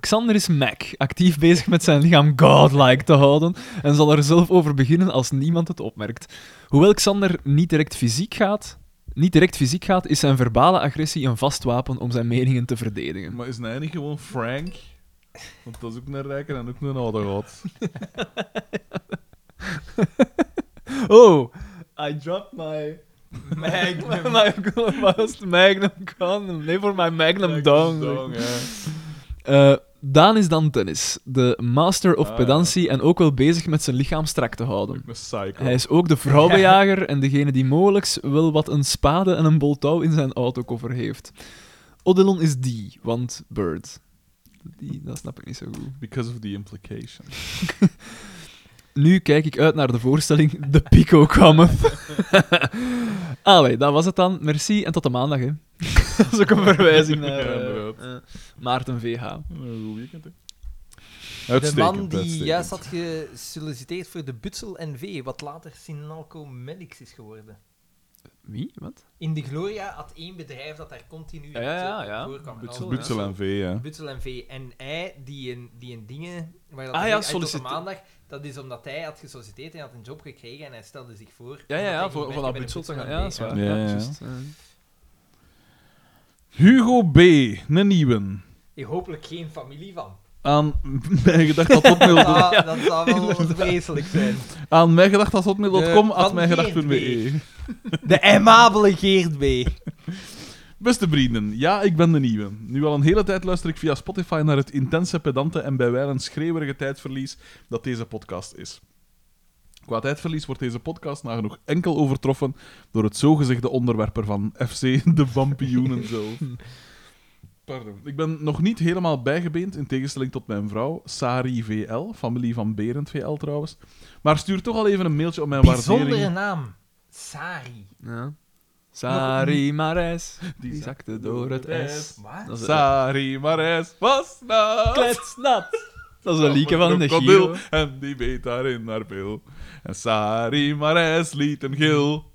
A: Xander is Mac, actief bezig met zijn lichaam godlike te houden en zal er zelf over beginnen als niemand het opmerkt. Hoewel Xander niet direct fysiek gaat, niet direct fysiek gaat is zijn verbale agressie een vast wapen om zijn meningen te verdedigen.
C: Maar is hij niet gewoon Frank? Want dat is ook een rijker en ook een oude god.
A: Oh, I dropped my Magnum was Magnum condom. Nee, voor mijn Magnum dong.
C: Dong, ja.
A: Eh, Daan is dan tennis, de master of
C: Ah,
A: pedantie en ook wel bezig met zijn lichaam strak te houden.
C: Ook een psycho.
A: Hij is ook de vrouwenjager en degene die mogelijk wel wat een spade en een bol touw in zijn autokoffer heeft. Odilon is die, want Bird. Die, dat snap ik niet zo goed.
C: Because of the implication.
A: Nu kijk ik uit naar de voorstelling The Pico Cometh. Allee, dat was het dan. Merci en tot de maandag, hè. dat is ook een verwijzing naar
C: Ja,
A: eh,
C: inderdaad.
A: eh, Maarten VH.
C: Een goed weekend, hè.
B: De
C: Uitstekend,
B: man die
C: uitstekend.
B: juist had gesolliciteerd voor de Butsel NV, wat later Sinalco Melix is geworden.
A: Wie? Wat?
B: In de Gloria had één bedrijf dat daar continu
A: Ja, ja, ja,
B: eh,
A: ja.
B: voorkwam.
A: Butsel,
B: Alles.
C: Butsel en V, ja.
B: Butsel en V. En hij, die een, die een dingen... Waar dat
A: Ah
B: hij
A: ja,
B: uit tot de
A: sollicite-
B: maandag, dat is omdat hij had gesolliciteerd en had een job gekregen en hij stelde zich voor.
A: Ja,
B: omdat
A: ja,
B: hij
A: ja,
B: ging
A: voor,
B: werken
A: voor dat
B: bij de
A: butsel te gaan.
B: Butsel
A: Ja,
B: NV.
A: dat is waar.
C: Ja, ja, ja.
A: juist, eh.
C: Hugo B. Een nieuwe.
B: Ik hopelijk geen familie van.
C: Aan mijn gedacht dat hotmail...
B: Ah, dat zou wel vreselijk zijn.
C: Aan mijn gedacht dat hotmail.com,
B: De-
C: at
B: van
C: mijn
B: Geert
C: gedacht.be.
B: De aimabele Geert B.
C: Beste vrienden, ja, ik ben de nieuwe. Nu al een hele tijd luister ik via Spotify naar het intense, pedante en bij wijlen schreeuwerige tijdverlies dat deze podcast is. Qua tijdverlies wordt deze podcast nagenoeg enkel overtroffen door het zogezegde onderwerp ervan, FC de Vampioenen zelf. Pardon. Ik ben nog niet helemaal bijgebeend, in tegenstelling tot mijn vrouw, Sari VL, familie van Berend VL trouwens. Maar stuur toch al even een mailtje om mijn
B: Bijzondere
C: waardering.
B: naam. Sari.
A: Ja. Sari Mares, die
C: Die
A: zakte door het ijs.
B: Wat?
A: Dat is een
C: Sari Mares was dat?
A: kletsnat. Dat is een liedje van de
C: krokodil
A: Giro.
C: En die beet daar in haar pil. En Sari Mares liet een gil.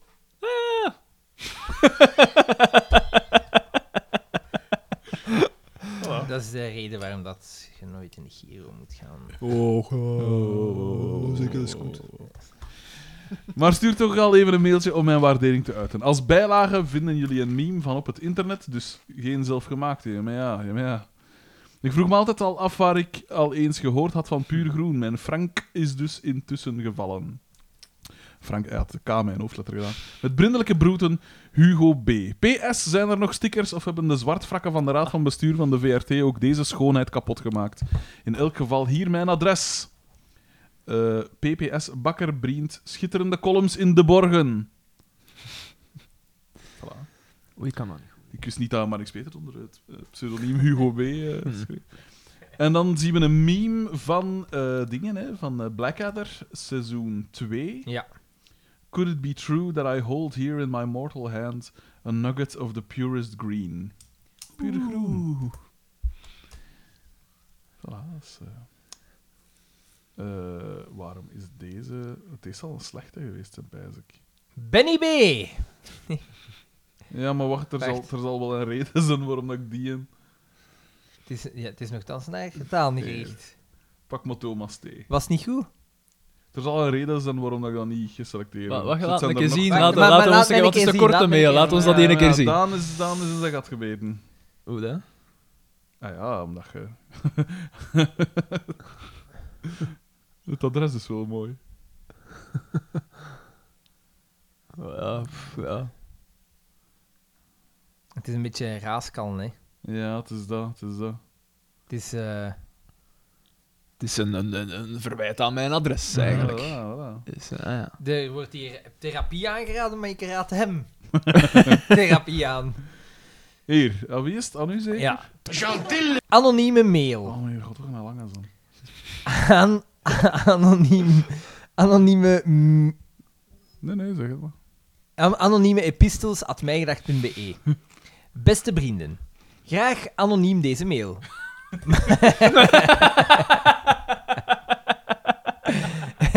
B: Dat is de reden waarom dat je nooit in de Giro moet gaan.
C: Oh, zeker is goed. Maar stuur toch al even een mailtje om mijn waardering te uiten. Als bijlage vinden jullie een meme van op het internet, dus geen zelfgemaakte. Ja, maar ja, ja, maar ja. Ik vroeg me altijd al af waar ik al eens gehoord had van Puur Groen. Mijn Frank is dus intussen gevallen. Frank, hij had de K mijn hoofdletter gedaan. Met brindelijke broeten, Hugo B. PS, zijn er nog stickers of hebben de zwartvrakken van de Raad van Bestuur van de VRT ook deze schoonheid kapot gemaakt? In elk geval hier mijn adres. Eh, PPS Bakker Brient, schitterende columns in de borgen. Voilà.
A: Oei, kan man.
C: Ik wist niet dat Mark Peters onder het eh, pseudoniem Hugo B. eh,
B: Mhm.
C: schreef. En dan zien we een meme van eh, dingen, hè, van eh, Blackadder, seizoen 2.
B: Ja.
C: Could it be true that I hold here in my mortal hand a nugget of the purest green? Puur groen. Voilà, dat is, eh. Eh, waarom is deze... Het is al een slechte geweest, hè, pijs ik.
B: Benny B.
C: Ja, maar wacht, er, zal,
B: Wacht.
C: er zal wel een reden zijn waarom dat ik die... in-
B: Het is, ja, het is nogthans naar eigen taal niet
C: Nee.
B: gericht.
C: Pak maar Thomas T. Er
B: Was niet goed.
C: zal een reden zijn waarom dat ik dat niet geselecteerd heb.
A: Wacht,
C: Het
A: laat
C: zijn
A: een
C: er
A: keer
C: nog- Ah,
A: zien.
B: Maar-
A: Laat
B: maar- maar
A: laat
B: laat
A: ons zeggen,
B: een
A: wat is
B: keer
A: de
B: zien,
A: korte
B: laat
A: mee?
B: een keer
A: Laat ons
B: zien.
A: dat
C: Ja,
A: één
C: maar ja,
A: keer zien.
C: Daan is, Daan is in zijn gat gebeten.
A: Hoe dan?
C: Ah ja, omdat je... Het adres is wel mooi.
A: Ja, pff, ja.
B: Het is een beetje een raaskalm, hè.
C: Ja, het is dat, het is dat.
B: Het is... eh,
A: Het is een, een, een, een verwijt aan mijn adres, eigenlijk.
C: Ja, voilà, voilà.
A: Dus, ah, ja.
B: er wordt hier therapie aangeraden, maar ik raad hem therapie aan.
C: Hier, ah, wie is het? Aan u zeker?
D: Ja. Anonieme mail.
C: Oh mijn god, toch maar lang aan zo'n.
D: Aan, anoniem, anonieme, mm,
C: Nee, nee, zeg het maar.
D: an- anonieme epistels at mijgedacht.be. Beste vrienden, graag anoniem deze mail.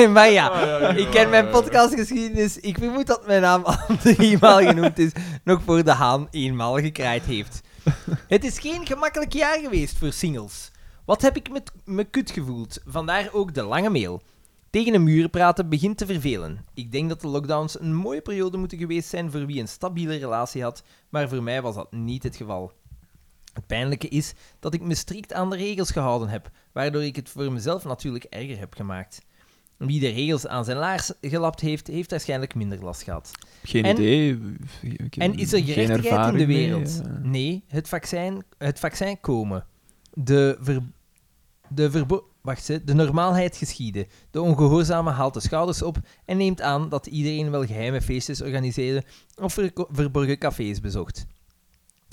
D: maar ja, ik ken mijn podcastgeschiedenis. Ik vermoed dat mijn naam al driemaal genoemd is, nog voor de haan eenmaal gekraaid heeft. Het is geen gemakkelijk jaar geweest voor singles. Wat heb ik met me kut gevoeld? Vandaar ook de lange mail. Tegen een muur praten begint te vervelen. Ik denk dat de lockdowns een mooie periode moeten geweest zijn voor wie een stabiele relatie had, maar voor mij was dat niet het geval. Het pijnlijke is dat ik me strikt aan de regels gehouden heb, waardoor ik het voor mezelf natuurlijk erger heb gemaakt. Wie de regels aan zijn laars gelapt heeft, heeft waarschijnlijk minder last gehad.
A: Geen
D: En-
A: idee. Ik heb
D: En is er
A: geen
D: gerechtigheid in
A: ervaring
D: de
A: mee,
D: wereld?
A: eh.
D: Nee, het vaccin, het vaccin komen. De, ver, de, verbo- wacht, hè. de normaalheid geschieden. De ongehoorzame haalt de schouders op en neemt aan dat iedereen wel geheime feestjes organiseerde of verko- verborgen cafés bezocht.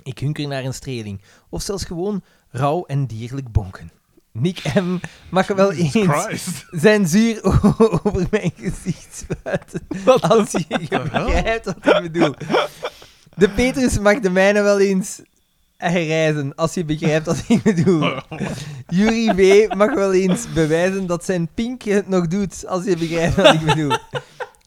D: Ik hunker naar een streling, of zelfs gewoon rauw en dierlijk bonken. Nick M. mag wel eens
C: Christ.
D: zijn zuur o- over mijn gezicht spuiten. Als je begrijpt wat ik bedoel. De Petrus mag de mijne wel eens reizen, als je begrijpt wat ik bedoel. Jury B. mag wel eens bewijzen dat zijn pinkje het nog doet, als je begrijpt wat ik bedoel.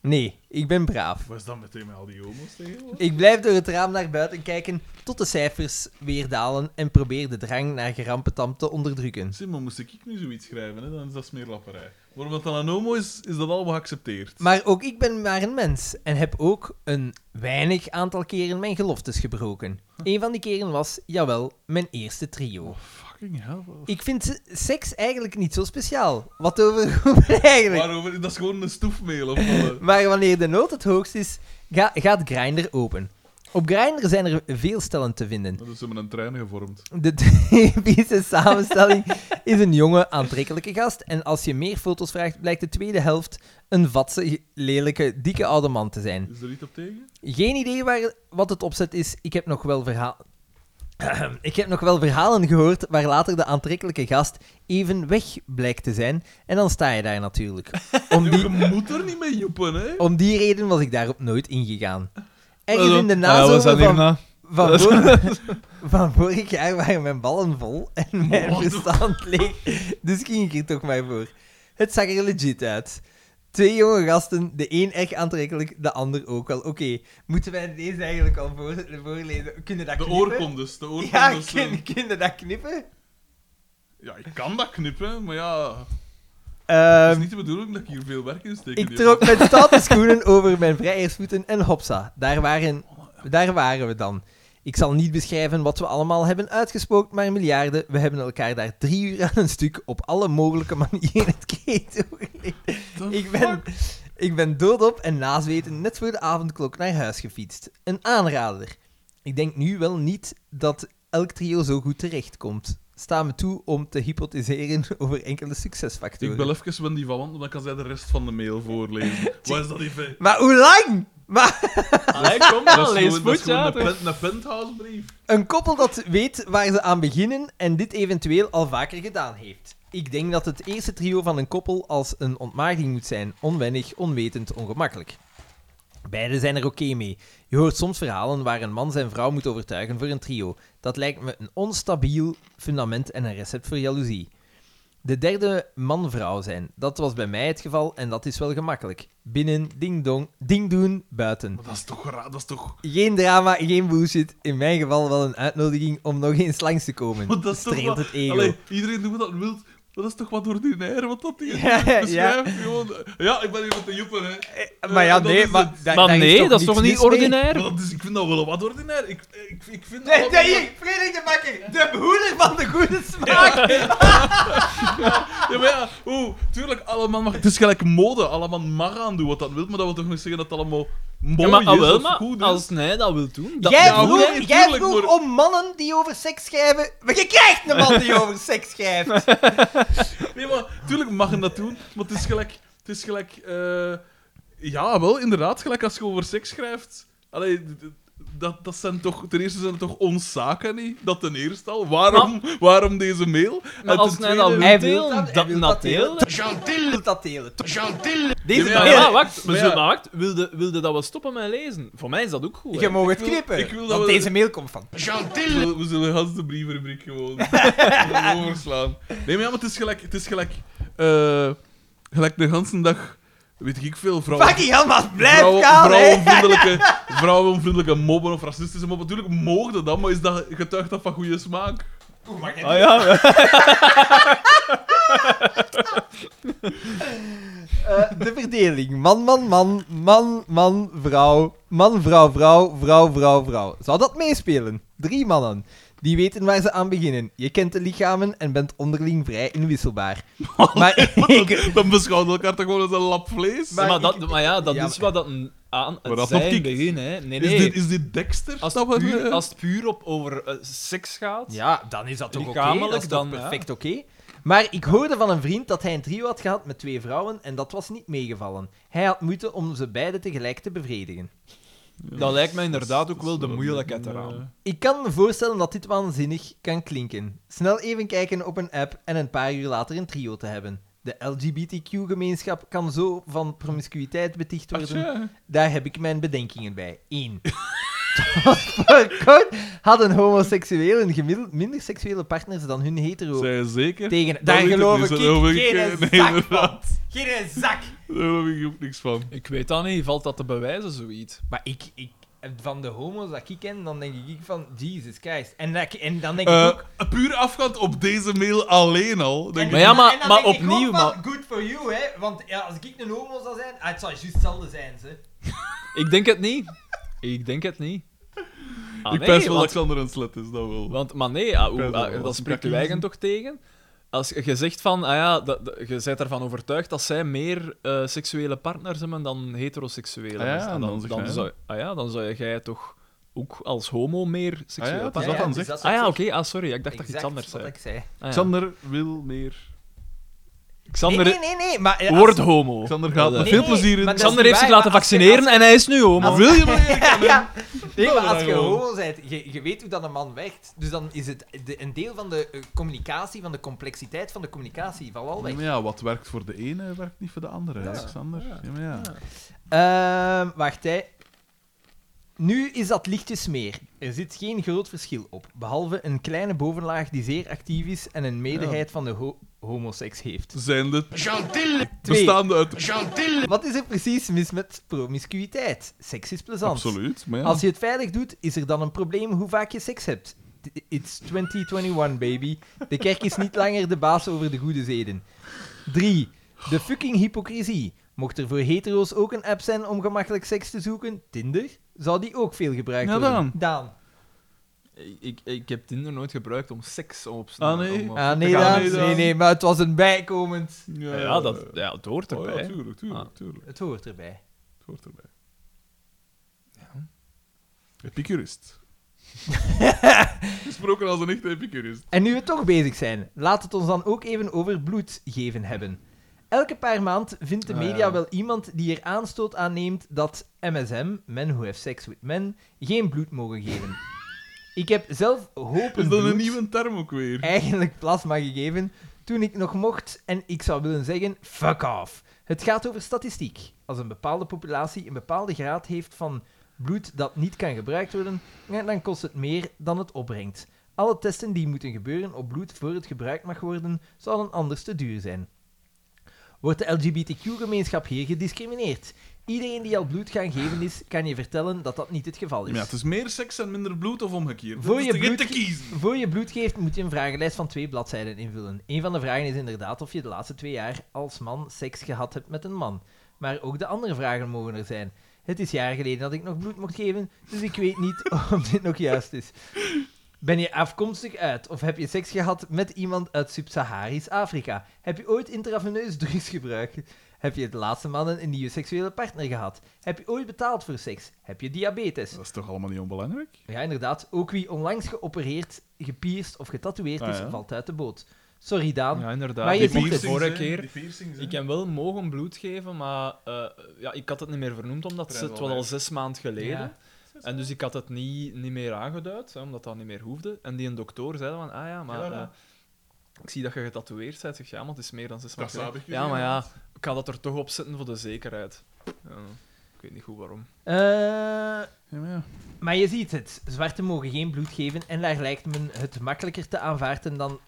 D: Nee, ik ben braaf.
C: Wat is dat meteen met al die homo's tegenwoordig?
D: Ik blijf door het raam naar buiten kijken tot de cijfers weer dalen en probeer de drang naar gerampetam te onderdrukken.
C: Simon, moest ik nu zoiets schrijven, hè? dan is dat smeerlapperij. Waarom dat dan een homo is, is dat al geaccepteerd.
D: Maar ook ik ben maar een mens en heb ook een weinig aantal keren mijn geloftes gebroken. Een van die keren was, jawel, mijn eerste trio.
C: Fucking hell. wat-
D: Ik vind se- seks eigenlijk niet zo speciaal. Wat over eigenlijk?
C: Waarover? Dat is gewoon een stoefmeel of wat?
D: Maar wanneer de nood het hoogst is, ga- gaat Grindr open. Op Grindr zijn er veel stellen te vinden.
C: Dat is met een trein gevormd.
D: De typische samenstelling is een jonge, aantrekkelijke gast. En als je meer foto's vraagt, blijkt de tweede helft een vatse, lelijke, dikke oude man te zijn.
C: Is er iets op tegen?
D: Geen idee waar, wat het opzet is. Ik heb nog wel verhaal... Ik heb nog wel verhalen gehoord waar later de aantrekkelijke gast even weg blijkt te zijn. En dan sta je daar natuurlijk. Om die,
C: Je moet er niet mee joepen, hè?
D: om die reden was ik daarop nooit ingegaan. Ergens
A: Hallo.
D: in de
A: Ah, ja, was dat
D: nazomer van
A: hierna?
D: van, vor- van vorig jaar waren mijn ballen vol en mijn verstand leeg. Dus ging ik er toch maar voor. Het zag er legit uit. Twee jonge gasten, de een erg aantrekkelijk, de ander ook wel. Oké, moeten wij deze eigenlijk al voor, voorlezen? Kunnen dat
C: De
D: knippen?
C: oorkondes. De
D: Ja,
C: oorkondes. eh,
D: kun, kunnen dat knippen?
C: ja, ik kan dat knippen, maar ja... Het
D: Ehm,
C: is niet de bedoeling dat ik hier veel werk in steek. in
D: ik
C: die
D: trok met stoute schoenen over mijn vrijersvoeten en hopsa, daar waren, daar waren we dan. Ik zal niet beschrijven wat we allemaal hebben uitgespookt, maar miljarden. We hebben elkaar daar drie uur aan een stuk op alle mogelijke manieren het keet doorgeleid.
C: The
D: Ik ben, ik ben doodop en nazweten net voor de avondklok naar huis gefietst. Een aanrader. Ik denk nu wel niet dat elk trio zo goed terechtkomt. Sta me toe om te hypotheseren over enkele succesfactoren.
C: Ik bel even Wendy van want dan kan zij de rest van de mail voorlezen. Wat is dat even?
D: Maar hoe lang? Maar
A: Allee, kom maar, lees
C: dat is
A: goed,
C: gewoon
A: ja.
C: een,
A: toch?
C: pen, een penthousebrief.
D: Een koppel dat weet waar ze aan beginnen en dit eventueel al vaker gedaan heeft. Ik denk dat het eerste trio van een koppel als een ontmaagding moet zijn. Onwennig, onwetend, ongemakkelijk. Beiden zijn er oké mee. Je hoort soms verhalen waar een man zijn vrouw moet overtuigen voor een trio. Dat lijkt me een onstabiel fundament en een recept voor jaloezie. De derde man-vrouw zijn. Dat was bij mij het geval en dat is wel gemakkelijk. Binnen, ding-dong, ding-doen, buiten.
C: Maar dat is toch raar, dat is toch...
D: Geen drama, geen bullshit. In mijn geval wel een uitnodiging om nog eens langs te
C: Maar
D: komen.
C: dat is toch
D: Streelt
C: wat-
D: het ego.
C: Allee, iedereen doet wat dat wil. Maar dat is toch wat ordinair, wat dat hier
D: Ja, ja.
C: beschrijft. Gewoon, eh, ja, ik ben hier met de joepen, hè.
D: Eh, maar ja,
C: dat
D: nee,
C: is
D: maar,
C: het.
D: daar-
A: Maar
D: daar is
A: nee, dat is
D: niks
A: toch niet
D: mis mee?
A: ordinair?
C: Maar dat is, ik vind dat wel wat ordinair. Ik, eh, ik, ik vind dat
D: Nee,
C: wat-
D: nee, hier, Frederik de Bakker, de behoeder van de goede smaak.
C: Ja, maar ja, oeh, tuurlijk, allemaal mag... Het is gelijk mode, allemaal mag aan doen wat dat wil, maar dat wil toch niet zeggen dat het allemaal mooi
A: Ja, maar, ah,
C: is
A: wel,
C: of
A: maar
C: goed is.
A: als hij dat wil doen... Dat,
D: jij
A: ja,
D: vroeg,
C: hoe dan?
D: jij
C: Tuurlijk,
D: vroeg
C: maar-
D: om mannen die over seks schrijven. Maar je krijgt een man die over seks schrijft.
C: Nee, maar tuurlijk mag je dat doen, maar het is gelijk... Het is gelijk eh, ja, wel, inderdaad, gelijk als je over seks schrijft. Allee, d- d- Dat, dat zijn toch, ten eerste zijn het toch ons zaken niet? Dat ten eerste al. Waarom, waarom deze mail?
A: Maar als
C: ten
A: hij dat
C: tweede-
B: Hij
A: wil
B: wil dat,
A: delen,
B: hij
A: dat
B: wil
A: nat
B: dat delen.
A: delen.
B: Gentil! Wil dat delen. toch?
A: Deze
C: Ja,
A: mail-
C: ja.
A: Ah, wacht.
C: Maar
A: Maar,
C: ja.
A: zo, maar wacht. Wilde, wilde dat we stoppen met lezen? Voor mij is dat ook goed.
B: Je
A: hè.
B: mag het
C: wil-
B: knippen.
C: ik wil dat
B: want
C: we-
B: deze mail komt van.
C: We zullen- We zullen gans de brievenrubriek gewoon gewoon overslaan. Nee, maar ja, maar het is gelijk... Het is gelijk, eh, gelijk de ganse dag, weet ik veel, vrouwen...
B: Fucking hell, maar blijf
C: vrouwen-
B: kaal, hè.
C: vrouwenvriendelijke, vrouwenvriendelijke mobben of racistische mobben. Natuurlijk mogen dat, maar is dat getuigd dat van goede smaak?
B: Oeh, maar
A: Ah ja.
B: Eh, de verdeling. Man, man, man, man, man, vrouw. Man, vrouw, vrouw, vrouw, vrouw, vrouw. Zou dat meespelen? Drie mannen. Die weten waar ze aan beginnen. Je kent de lichamen en bent onderling vrij inwisselbaar. Maar ik...
C: Dan beschouwen we elkaar toch gewoon als een lap vlees?
B: Maar
A: Maar,
B: ik-
A: dat, maar ja, dat
B: Ja,
A: is wat dat een aan
C: Maar
A: het
C: dat nog
A: zijn
C: kikt.
A: begin, hè. Nee,
C: Is, dit,
A: nee.
C: is dit Dexter?
A: Als
C: dat
A: het,
C: we-
A: puur, als het puur op over eh, seks gaat...
B: Ja, dan is dat toch oké.
A: Lichamelijk
B: Dat is toch
A: dan, ja.
B: perfect oké. Maar ik hoorde van een vriend dat hij een trio had gehad met twee vrouwen en dat was niet meegevallen. Hij had moeite om ze beide tegelijk te bevredigen.
A: Dat lijkt mij inderdaad ook wel de
C: dat-
A: moeilijkheid
C: eh,
A: eraan.
B: Ik kan me voorstellen dat dit waanzinnig kan klinken. Snel even kijken op een app en een paar uur later een trio te hebben. De LGBTQ-gemeenschap kan zo van promiscuïteit beticht
C: Ach,
B: worden.
C: ja.
B: Daar heb ik mijn bedenkingen bij. 1. Tot voor kort hadden homoseksuelen gemiddeld minder seksuele partners dan hun hetero
C: Zijn zeker?
B: tegen.
C: Dat
B: Daar
C: weet ik
B: geloof ik,
C: niet, daar geloof ik, eh,
B: geen
C: nee,
B: zak van.
C: inderdaad.
B: Geen zak.
C: Daar geloof ik ook niks van.
A: Ik weet dat niet. Valt dat te bewijzen, zoiets?
B: Maar ik, ik, van de homo's dat ik ken, dan denk ik van, Jesus Christ. En, dat, ik- en dan denk ik
C: Eh,
B: ook...
C: puur afgaand op deze mail alleen al. Denk
B: en-
C: ik.
A: Maar ja, maar-
B: en dan
A: maar
B: denk ik ook
A: opnieuw,
B: van,
A: maar-
B: Good for you, hè. Want ja, als ik een homo zou zijn, ah, het zou juist hetzelfde zijn, ze.
A: Ik denk het niet. Ik denk het niet. Ah,
C: ik
A: nee,
C: pijs wel
A: want-
C: dat Xander een slet is, dat wel.
A: Want, maar nee, ah,
C: Ik
A: hoe,
C: weet het
A: ah,
C: wel.
A: dat spreekt uw
C: Kakiezen.
A: eigen toch tegen? Als je- je zegt van, ah ja, dat, dat- je bent ervan overtuigd dat zij meer eh, seksuele partners hebben dan heteroseksuele.
C: Ah ja,
A: mensen. En
C: dan zeg jij.
A: zou, ah ja, dan zou jij toch ook als homo meer seksuele
C: Ah ja, dat is
A: partners
C: wat dan
B: dus
C: zegt.
B: dat
A: Ah ja,
B: is
A: oké, ah, sorry, ik dacht dat je
B: exact
A: iets anders
B: wat
A: zei.
B: ik zei.
A: Ah ja.
C: Xander wil meer.
A: Xander
B: Nee, nee, nee, nee, maar... eh, als-
A: wordt homo.
C: Xander gaat
A: Nee,
C: met
B: nee,
C: veel
B: nee,
C: plezier in.
B: maar dat-
A: Xander
B: is
A: heeft zich
B: waar,
A: laten
B: maar als je-
A: vaccineren en hij is nu homo.
C: Maar wil je meer?
B: Ja, ja. Nee, maar
C: Doe
B: als
C: dat
B: je
C: gewoon.
B: homo bent, je, je weet hoe dat een man werkt. Dus dan is het de, een deel van de eh, communicatie, van de complexiteit van de communicatie, valt al weg.
C: Ja, maar ja, wat werkt voor de ene, werkt niet voor de andere.
B: Ja.
C: hè, Xander. Ja, maar ja.
B: Ehm, wacht, hè. Nu is dat lichtjes meer. Er zit geen groot verschil op, behalve een kleine bovenlaag die zeer actief is en een meerderheid van de ho- homoseks heeft.
C: Zijn de
B: Twee.
C: bestaande uit.
B: Wat is er precies mis met promiscuïteit? Seks is plezant.
C: Absoluut. Maar ja.
B: Als je het veilig doet, is er dan een probleem hoe vaak je seks hebt. T- It's 2021, baby. De kerk is niet langer de baas over de goede zeden. 3. De fucking hypocrisie. Mocht er voor hetero's ook een app zijn om gemakkelijk seks te zoeken, Tinder, zou die ook veel gebruikt
C: Ja,
B: worden.
C: Daan.
B: Daan.
A: Ik, ik, ik heb Tinder nooit gebruikt om seks op
C: Ah, nee.
A: om-
B: Ah, nee,
C: Ja,
B: Daan.
C: nee, Daan.
B: Nee, nee, maar het was een bijkomend.
A: Ja, ja, dat, ja, het hoort
C: Oh
A: erbij.
C: ja, tuurlijk, tuurlijk,
A: Ah.
C: tuurlijk.
B: Het hoort erbij.
C: Het hoort erbij. Epicurist. Gesproken als een echte epicurist.
B: En nu we toch bezig zijn, laat het ons dan ook even over bloed geven hebben. Elke paar maand vindt de
A: Ah,
B: media
A: ja.
B: wel iemand die er aanstoot aanneemt dat MSM, Men Who Have Sex With Men, geen bloed mogen geven. Ik heb zelf hopen
C: Is dat
B: bloed
C: een nieuwe term ook weer?
B: eigenlijk plasma gegeven toen ik nog mocht en ik zou willen zeggen, fuck off. Het gaat over statistiek. Als een bepaalde populatie een bepaalde graad heeft van bloed dat niet kan gebruikt worden, ja, dan kost het meer dan het opbrengt. Alle testen die moeten gebeuren op bloed voor het gebruikt mag worden, zouden anders te duur zijn. Wordt de LGBTQ-gemeenschap hier gediscrimineerd? Iedereen die al bloed gaan geven is, kan je vertellen dat dat niet het geval is.
C: Ja, het is meer seks en minder bloed of omgekeerd.
B: Voor
C: dat
B: je
C: is te-
B: bloed-
C: te kiezen.
B: Voor je bloed geeft, moet je een vragenlijst van twee bladzijden invullen. Een van de vragen is inderdaad of je de laatste twee jaar als man seks gehad hebt met een man. Maar ook de andere vragen mogen er zijn. Het is jaren geleden dat ik nog bloed mocht geven, dus ik weet niet of dit nog juist is. Ben je afkomstig uit of heb je seks gehad met iemand uit Sub-Saharisch Afrika? Heb je ooit intraveneus drugs gebruikt? Heb je de laatste maanden een nieuwe seksuele partner gehad? Heb je ooit betaald voor seks? Heb je diabetes?
C: Dat is toch allemaal niet onbelangrijk?
B: Ja, inderdaad. Ook wie onlangs geopereerd, gepierst of getatoeëerd is,
C: Ah, ja.
B: valt uit de boot. Sorry, Daan.
A: Ja, inderdaad.
B: Maar je
A: ik
B: ziet
A: mocht de
B: het.
A: vorige keer... Ik
C: Ik heb...
A: heb wel mogen bloed geven, maar eh, ja, ik had het niet meer vernoemd, omdat
C: Vrij
A: het
C: wel
A: was al zes maanden geleden.
B: Ja.
A: En dus ik had het niet, niet meer aangeduid, hè, omdat dat niet meer hoefde. En die een dokter zei dan van, ah ja, maar...
C: Ja, ja.
A: eh, ik zie dat je getatoeëerd bent. Ik Zeg, ja, maar het is meer dan zes
C: Dat
A: maanden
C: snap
A: geleden.
C: ik
A: Ja, maar ja,
C: inderdaad.
A: ik ga dat er toch op zetten voor de zekerheid. Ja, ik weet niet goed waarom.
D: Eh,
C: Ja, maar ja.
D: maar je ziet het. Zwarten mogen geen bloed geven en daar lijkt men het makkelijker te aanvaarden dan...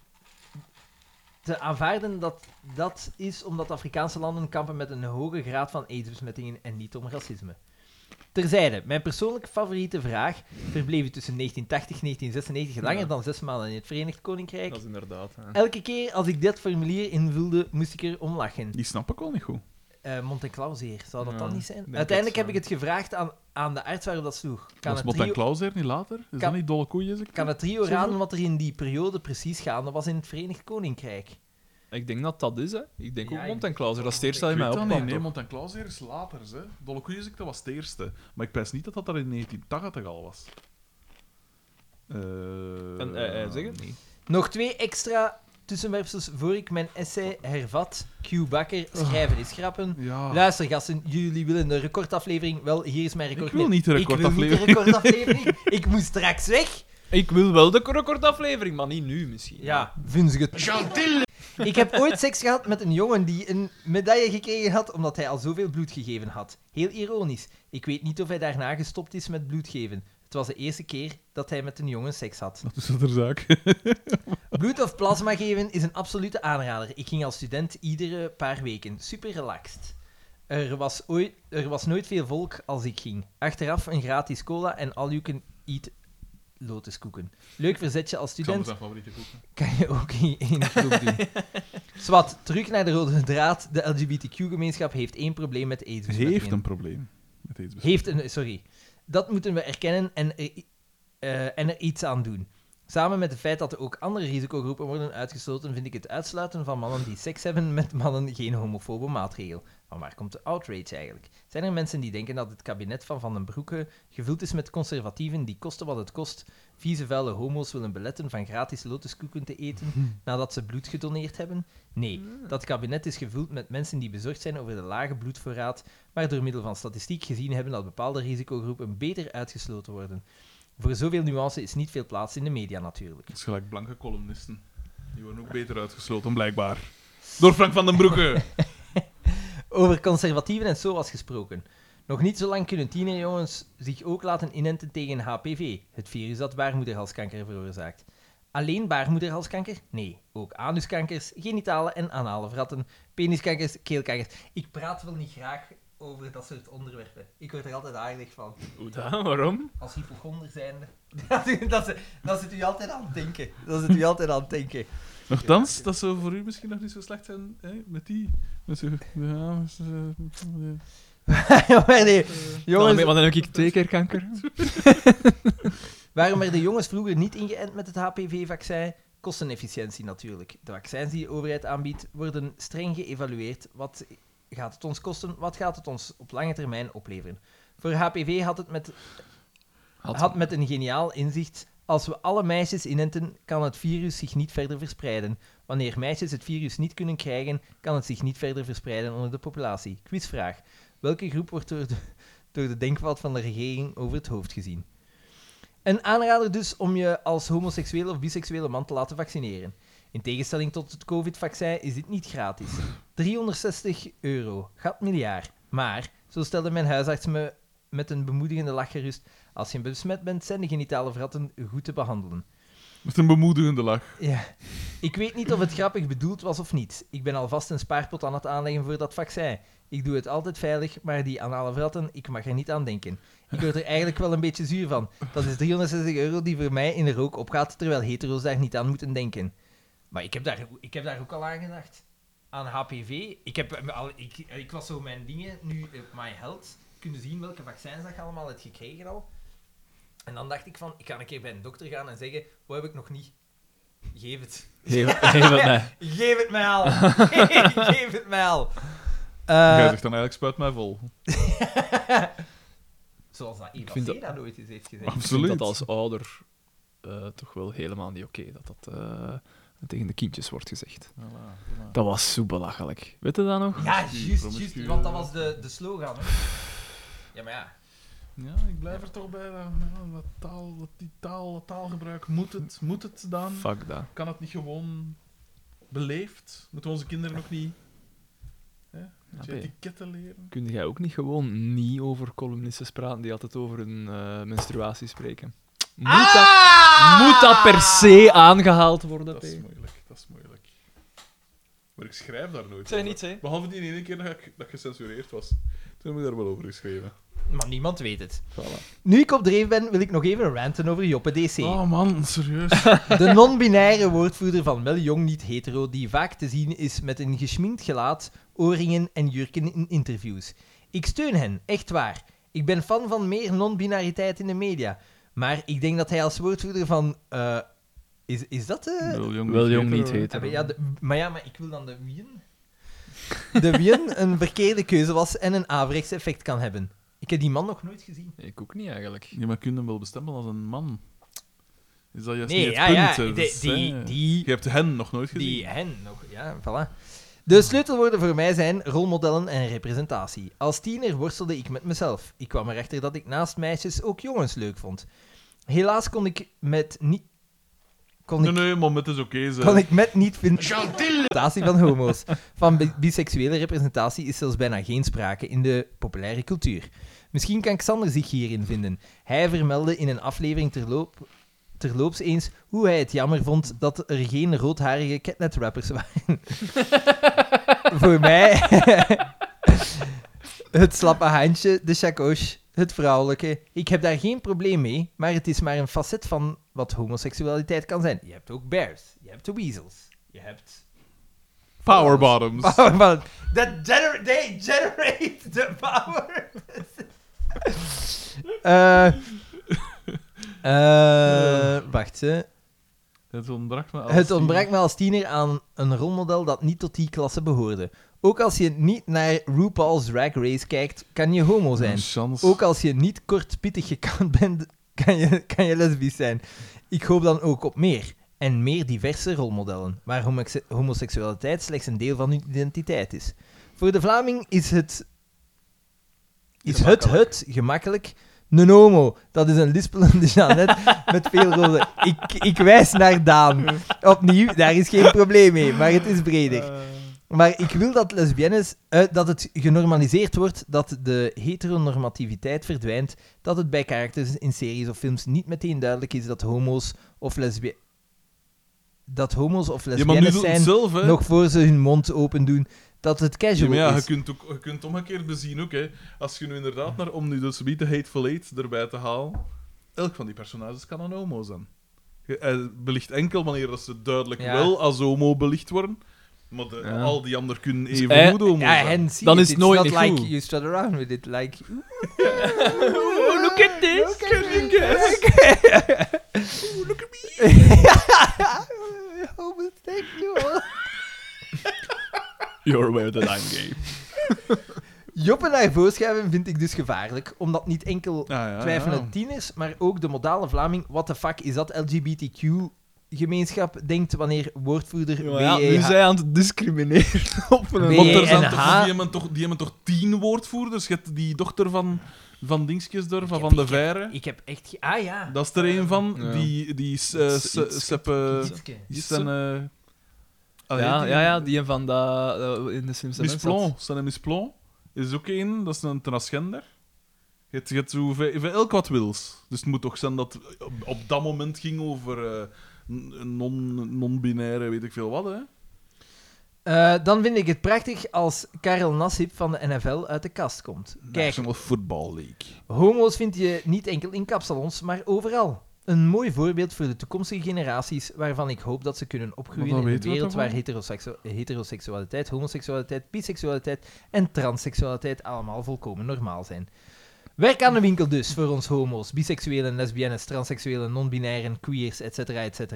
D: Te aanvaarden dat dat is omdat Afrikaanse landen kampen met een hoge graad van aidsbesmettingen en niet om racisme. Terzijde, mijn persoonlijke favoriete vraag verbleef u tussen 1980 en 1996 langer
A: Ja.
D: dan zes maanden in het Verenigd Koninkrijk.
A: Dat is inderdaad... hè.
D: Elke keer als ik dit formulier invulde, moest ik er om lachen.
C: Die snap ik al niet goed.
D: eh Montenclauseer, zou dat
A: Ja,
D: dan niet zijn?
A: denk
D: Uiteindelijk
A: het,
D: heb
A: ja.
D: ik het gevraagd aan, aan de arts waarop dat sloeg. Kan,
C: dat is
D: het
C: Bot en
D: trio,
C: Klaus er niet later? Is dat niet dolle koeien? zeg ik?
D: kan het trio
C: Zoveel?
D: raden wat er in die periode precies gaande was in het Verenigd Koninkrijk?
A: Ik denk dat dat is, hè. Ik denk
D: Ja,
A: ook
D: ik-
A: Mont en Klauser. Dat is het eerste dat
C: Ik
A: je mij
C: weet dat niet,
A: opkwam,
C: nee,
A: toch?
C: Mont en Klaus is later. Hè. Dolle koeien, zeg ik, dat was het eerste. Maar ik prijs niet dat dat er in 1980 al was. Eh
A: En, eh, eh, zeg het?
C: Nee.
D: Nog twee extra tussenwerpsels voor ik mijn essay hervat. Q. Bakker, schrijven is grappen.
C: Ja.
D: Luister, gasten, jullie willen de recordaflevering? Wel, hier is mijn record.
C: wil niet de recordaflevering.
D: Ik wil niet de recordaflevering. ik moet straks weg.
A: Ik wil wel de recordaflevering, maar niet nu misschien.
D: Ja, vunzig het. Ik heb ooit seks gehad met een jongen die een medaille gekregen had omdat hij al zoveel bloed gegeven had. Heel ironisch. Ik weet niet of hij daarna gestopt is met bloedgeven. Het was de eerste keer dat hij met een jongen seks had.
C: Dat is het er zaak.
D: Bloed of plasma geven is een absolute aanrader. Ik ging als student iedere paar weken. Super relaxed. Er was, ooit, er was nooit veel volk als ik ging. Achteraf een gratis cola en all you can eat lotuskoeken. Leuk verzetje als
C: Ik zal me
D: student
C: zijn favoriete boeken.
D: kan je ook in één groep doen. Zwat, terug naar de rode draad. De LGBTQ-gemeenschap heeft één probleem met aids.
C: Heeft een probleem met deze besmetting.
D: Heeft een, sorry. Dat moeten we erkennen en er, i- eh, en er iets aan doen. Samen met het feit dat er ook andere risicogroepen worden uitgesloten, vind ik het uitsluiten van mannen die seks hebben met mannen geen homofobe maatregel. Van waar komt de outrage eigenlijk? Zijn er mensen die denken dat het kabinet van Van den Broeke gevuld is met conservatieven die kosten wat het kost, vieze vuile homo's willen beletten van gratis lotuskoeken te eten nadat ze bloed gedoneerd hebben? Nee, dat kabinet is gevuld met mensen die bezorgd zijn over de lage bloedvoorraad maar door middel van statistiek gezien hebben dat bepaalde risicogroepen beter uitgesloten worden. Voor zoveel nuance is niet veel plaats in de media natuurlijk.
C: Dat is gelijk blanke columnisten. Die worden ook beter uitgesloten, blijkbaar. Door Frank van den Broeke.
D: Over conservatieven en zo was gesproken. Nog niet zo lang kunnen tienerjongens zich ook laten inenten tegen HPV, het virus dat baarmoederhalskanker veroorzaakt. Alleen baarmoederhalskanker? Nee, ook anuskankers, genitale en anale verratten, peniskankers, keelkankers. Ik praat wel niet graag over dat soort onderwerpen. Ik word er altijd aardig van.
A: Hoe dan? Waarom?
D: als hypochonder zijnde. dat, is- dat, is- dat zit u altijd aan het denken. Dat zit u altijd aan het denken.
C: Nochtans, dat zou voor u misschien nog niet zo slecht zijn hè? met die. Met zo, ja, dat is, eh, eh.
D: maar nee,
A: Jongens,
D: jongens,
A: want dan heb ik twee keer kanker.
D: waarom werden jongens vroeger niet ingeënt met het HPV-vaccin? Kostenefficiëntie natuurlijk. De vaccins die de overheid aanbiedt worden streng geëvalueerd. Wat gaat het ons kosten? Wat gaat het ons op lange termijn opleveren? Voor HPV had het met had, met een geniaal inzicht. Als we alle meisjes inenten, kan het virus zich niet verder verspreiden. Wanneer meisjes het virus niet kunnen krijgen, kan het zich niet verder verspreiden onder de populatie. Quizvraag. Welke groep wordt door de, door de denkfout van de regering over het hoofd gezien? Een aanrader dus om je als homoseksuele of biseksuele man te laten vaccineren. In tegenstelling tot het COVID-vaccin is dit niet gratis. 360 euro, gat miljard. Maar, zo stelde mijn huisarts me met een bemoedigende lach gerust, als je besmet bent, zijn de genitale verratten goed te behandelen.
C: Met een bemoedigende lach.
D: Ja. Ik weet niet of het grappig bedoeld was of niet. Ik ben alvast een spaarpot aan het aanleggen voor dat vaccin. Ik doe het altijd veilig, maar die anale verratten, ik mag er niet aan denken. Ik word er eigenlijk wel een beetje zuur van. Dat is 360 euro die voor mij in de rook opgaat, terwijl hetero's daar niet aan moeten denken. Maar ik heb daar, ik heb daar ook al aan gedacht. Aan HPV. Ik, heb, eh, al, ik, ik was zo mijn dingen, nu eh, My Health, kunnen zien welke vaccins dat je allemaal hebt gekregen al. En dan dacht ik van, ik ga een keer bij een dokter gaan en zeggen, wat heb ik nog niet? Geef het.
A: Geef, geef het mij.
D: Geef het mij al. Geef het mij al.
C: Jij
D: Eh,
C: zegt dan eigenlijk, spuit mij vol.
D: zoals dat Eva
A: vind
D: C.
A: dat-
D: dat ooit eens heeft gezegd.
A: Ik vind
C: Absoluut.
A: dat als ouder eh, toch wel helemaal niet oké dat dat eh, tegen de kindjes wordt gezegd.
C: Voilà, voilà.
A: Dat was zo belachelijk. Weet je dat nog?
D: Ja,
C: Promiscuus,
D: juist, juist.
C: promiscuus,
D: Want dat
C: ja.
D: was de, de slogan. Hè. Ja, maar ja.
C: Ja, ik blijf er toch bij. Dat, ja, dat taal, dat die taal, dat taalgebruik, moet het, moet het dan?
A: Fuck dat.
C: Kan het niet gewoon beleefd? Moeten we onze kinderen ook niet hè?
D: Ah,
C: Moet je
A: Ja,
C: etiketten leren?
A: Kun jij ook niet gewoon niet over columnisten praten die altijd over hun eh, menstruatie spreken? Moet, dat, moet dat per se aangehaald worden?
C: Dat
A: P?
C: is moeilijk, dat is moeilijk. Maar ik schrijf daar nooit
A: Zeg
C: over.
A: niets, hè?
C: Behalve die ene keer dat ik, dat ik gecensureerd was. Toen heb ik daar wel over geschreven.
D: Maar niemand weet het.
C: Voilà.
D: Nu ik op dreef ben, wil ik nog even ranten over Joppe DC.
C: Oh man, serieus.
D: De non-binaire woordvoerder van Wel Jong Niet Hetero, die vaak te zien is met een geschminkt gelaat, oorringen en jurken in interviews. Ik steun hen, echt waar. Ik ben fan van meer non-binariteit in de media. Maar ik denk dat hij als woordvoerder van... eh, is, is dat de...
C: jong,
A: Wel jong niet
D: Ah, maar
A: heten.
D: ja, de- maar ja, maar ik wil dan de wien. De wien een verkeerde keuze was en een averechts effect kan hebben. Ik heb die man nog nooit gezien.
A: Ik ook niet eigenlijk.
C: Ja, maar kun je hem wel bestempelen als een man? Is dat juist
D: Nee,
C: niet
D: ja,
C: het
D: ja.
C: punt? hè?
D: Die,
C: Dat is,
D: die,
C: hè,
D: die,
C: Je hebt hen nog nooit gezien.
D: die hen nog, ja, voilà. De sleutelwoorden voor mij zijn rolmodellen en representatie. Als tiener worstelde ik met mezelf. Ik kwam erachter dat ik naast meisjes ook jongens leuk vond. Helaas kon ik met niet... Kon
C: Nee,
D: ik
C: nee, maar het is oké. zeg.
D: Kan ik met niet vinden. Representatie van homo's. Van bi- biseksuele representatie is zelfs bijna geen sprake in de populaire cultuur. Misschien kan Xander zich hierin vinden. Hij vermeldde in een aflevering terloop, terloops eens hoe hij het jammer vond dat er geen roodharige catnet-rappers waren. Voor mij... het slappe handje, de chacoche, het vrouwelijke. Ik heb daar geen probleem mee, maar het is maar een facet van wat homoseksualiteit kan zijn. Je hebt ook bears, je hebt de weasels, je hebt
C: Power bottoms.
D: Power button. That gener- they generate the power. Eh, eh, wacht, hè.
C: Het ontbrak me als
D: Het ontbrak me als tiener aan een rolmodel dat niet tot die klasse behoorde. Ook als je niet naar RuPaul's Drag Race kijkt, kan je homo zijn.
C: Chance.
D: Ook als je niet kort pittig gekant bent, kan je, kan je lesbisch zijn. Ik hoop dan ook op meer. En meer diverse rolmodellen, waar homoxe- homoseksualiteit slechts een deel van hun identiteit is. Voor de Vlaming is het... Is het het gemakkelijk? Een homo, dat is een lispelende Jeannette met veel rozen. Ik, ik wijs naar Daan. Opnieuw, daar is geen probleem mee, maar het is breder. Maar ik wil dat lesbiennes, eh, dat het genormaliseerd wordt, dat de heteronormativiteit verdwijnt, dat het bij karakters in series of films niet meteen duidelijk is dat homo's of lesbiennes... Dat homo's of
C: Ja, maar nu
D: lesbiennes
C: doet het
D: zijn,
C: zelf, hè.
D: nog voor ze hun mond open doen, dat het
C: Ja,
D: casual
C: maar ja, je
D: is.
C: kunt, ook, je kunt omgekeerd bezien ook, hè. Als je nu inderdaad naar om nu dus een beetje Hateful Eight erbij te halen, elk van die personages kan een homo zijn. Je- eh, belicht enkel wanneer dat ze duidelijk
D: Ja.
C: wel als homo belicht worden, maar de-
A: Ja.
C: al die anderen kunnen
A: Dus
C: even
A: hij-
C: goed homo
D: Ja,
C: zijn.
D: hen zien
A: Dan
D: het.
A: is het
D: It's
A: nooit
D: not
A: niet
D: like
A: goed.
D: you strut around with it, like...
A: Look at this!
D: Homosexual.
A: You're aware that I'm gay.
D: Joppen naar voren schuiven vind ik dus gevaarlijk, omdat niet enkel
C: Ah, ja,
D: twijfelende
C: ja.
D: tieners, maar ook de modale Vlaming, what the fuck is dat LGBTQ-gemeenschap, denkt wanneer woordvoerder E
A: ja, dus nu
D: WEH
A: zij aan het discrimineren op een...
D: Nee.
C: Want er
D: B
C: zijn
D: en
C: toch,
D: H.
C: die, hebben toch, die hebben toch tien woordvoerders? Je hebt die dochter van, van Dingskjes daar, van,
D: heb-
C: van de
D: ik heb-
C: Veire.
D: Ik heb echt... ge- Ah ja.
C: Dat is er een van.
A: Ja.
C: Die, die is, eh,
A: Dat is
C: se-
A: iets-
C: seppe-
D: Ietske.
C: is zijn... eh,
B: Oh,
C: allee,
A: Ja,
C: die-
A: ja, ja, die van dat eh, in de Simpsons.
C: Miss Plon, zijn Miss Plon is ook één, dat is een transgender. Je hebt- je hebt zo ve- ve- elk wat wils. Dus het moet toch zijn dat het op, op dat moment ging over eh, n- non- non-binaire, weet ik veel wat. Hè?
D: Eh, dan vind ik het prachtig als Karel Nassib van de NFL uit de kast komt. Kijk,
C: National Football League.
D: Homo's vind je niet enkel in kapsalons, maar overal. Een mooi voorbeeld voor de toekomstige generaties, waarvan ik hoop dat ze kunnen
C: Maar
D: opgroeien
C: dan
D: in een
C: weten we
D: wereld
C: toch
D: waar
C: wel?
D: heteroseksu- heteroseksualiteit, homoseksualiteit, biseksualiteit en transseksualiteit allemaal volkomen normaal zijn. Werk aan de winkel dus voor ons homo's, biseksuelen, lesbiennes, transseksuelen, non-binairen, queers, etc. etc.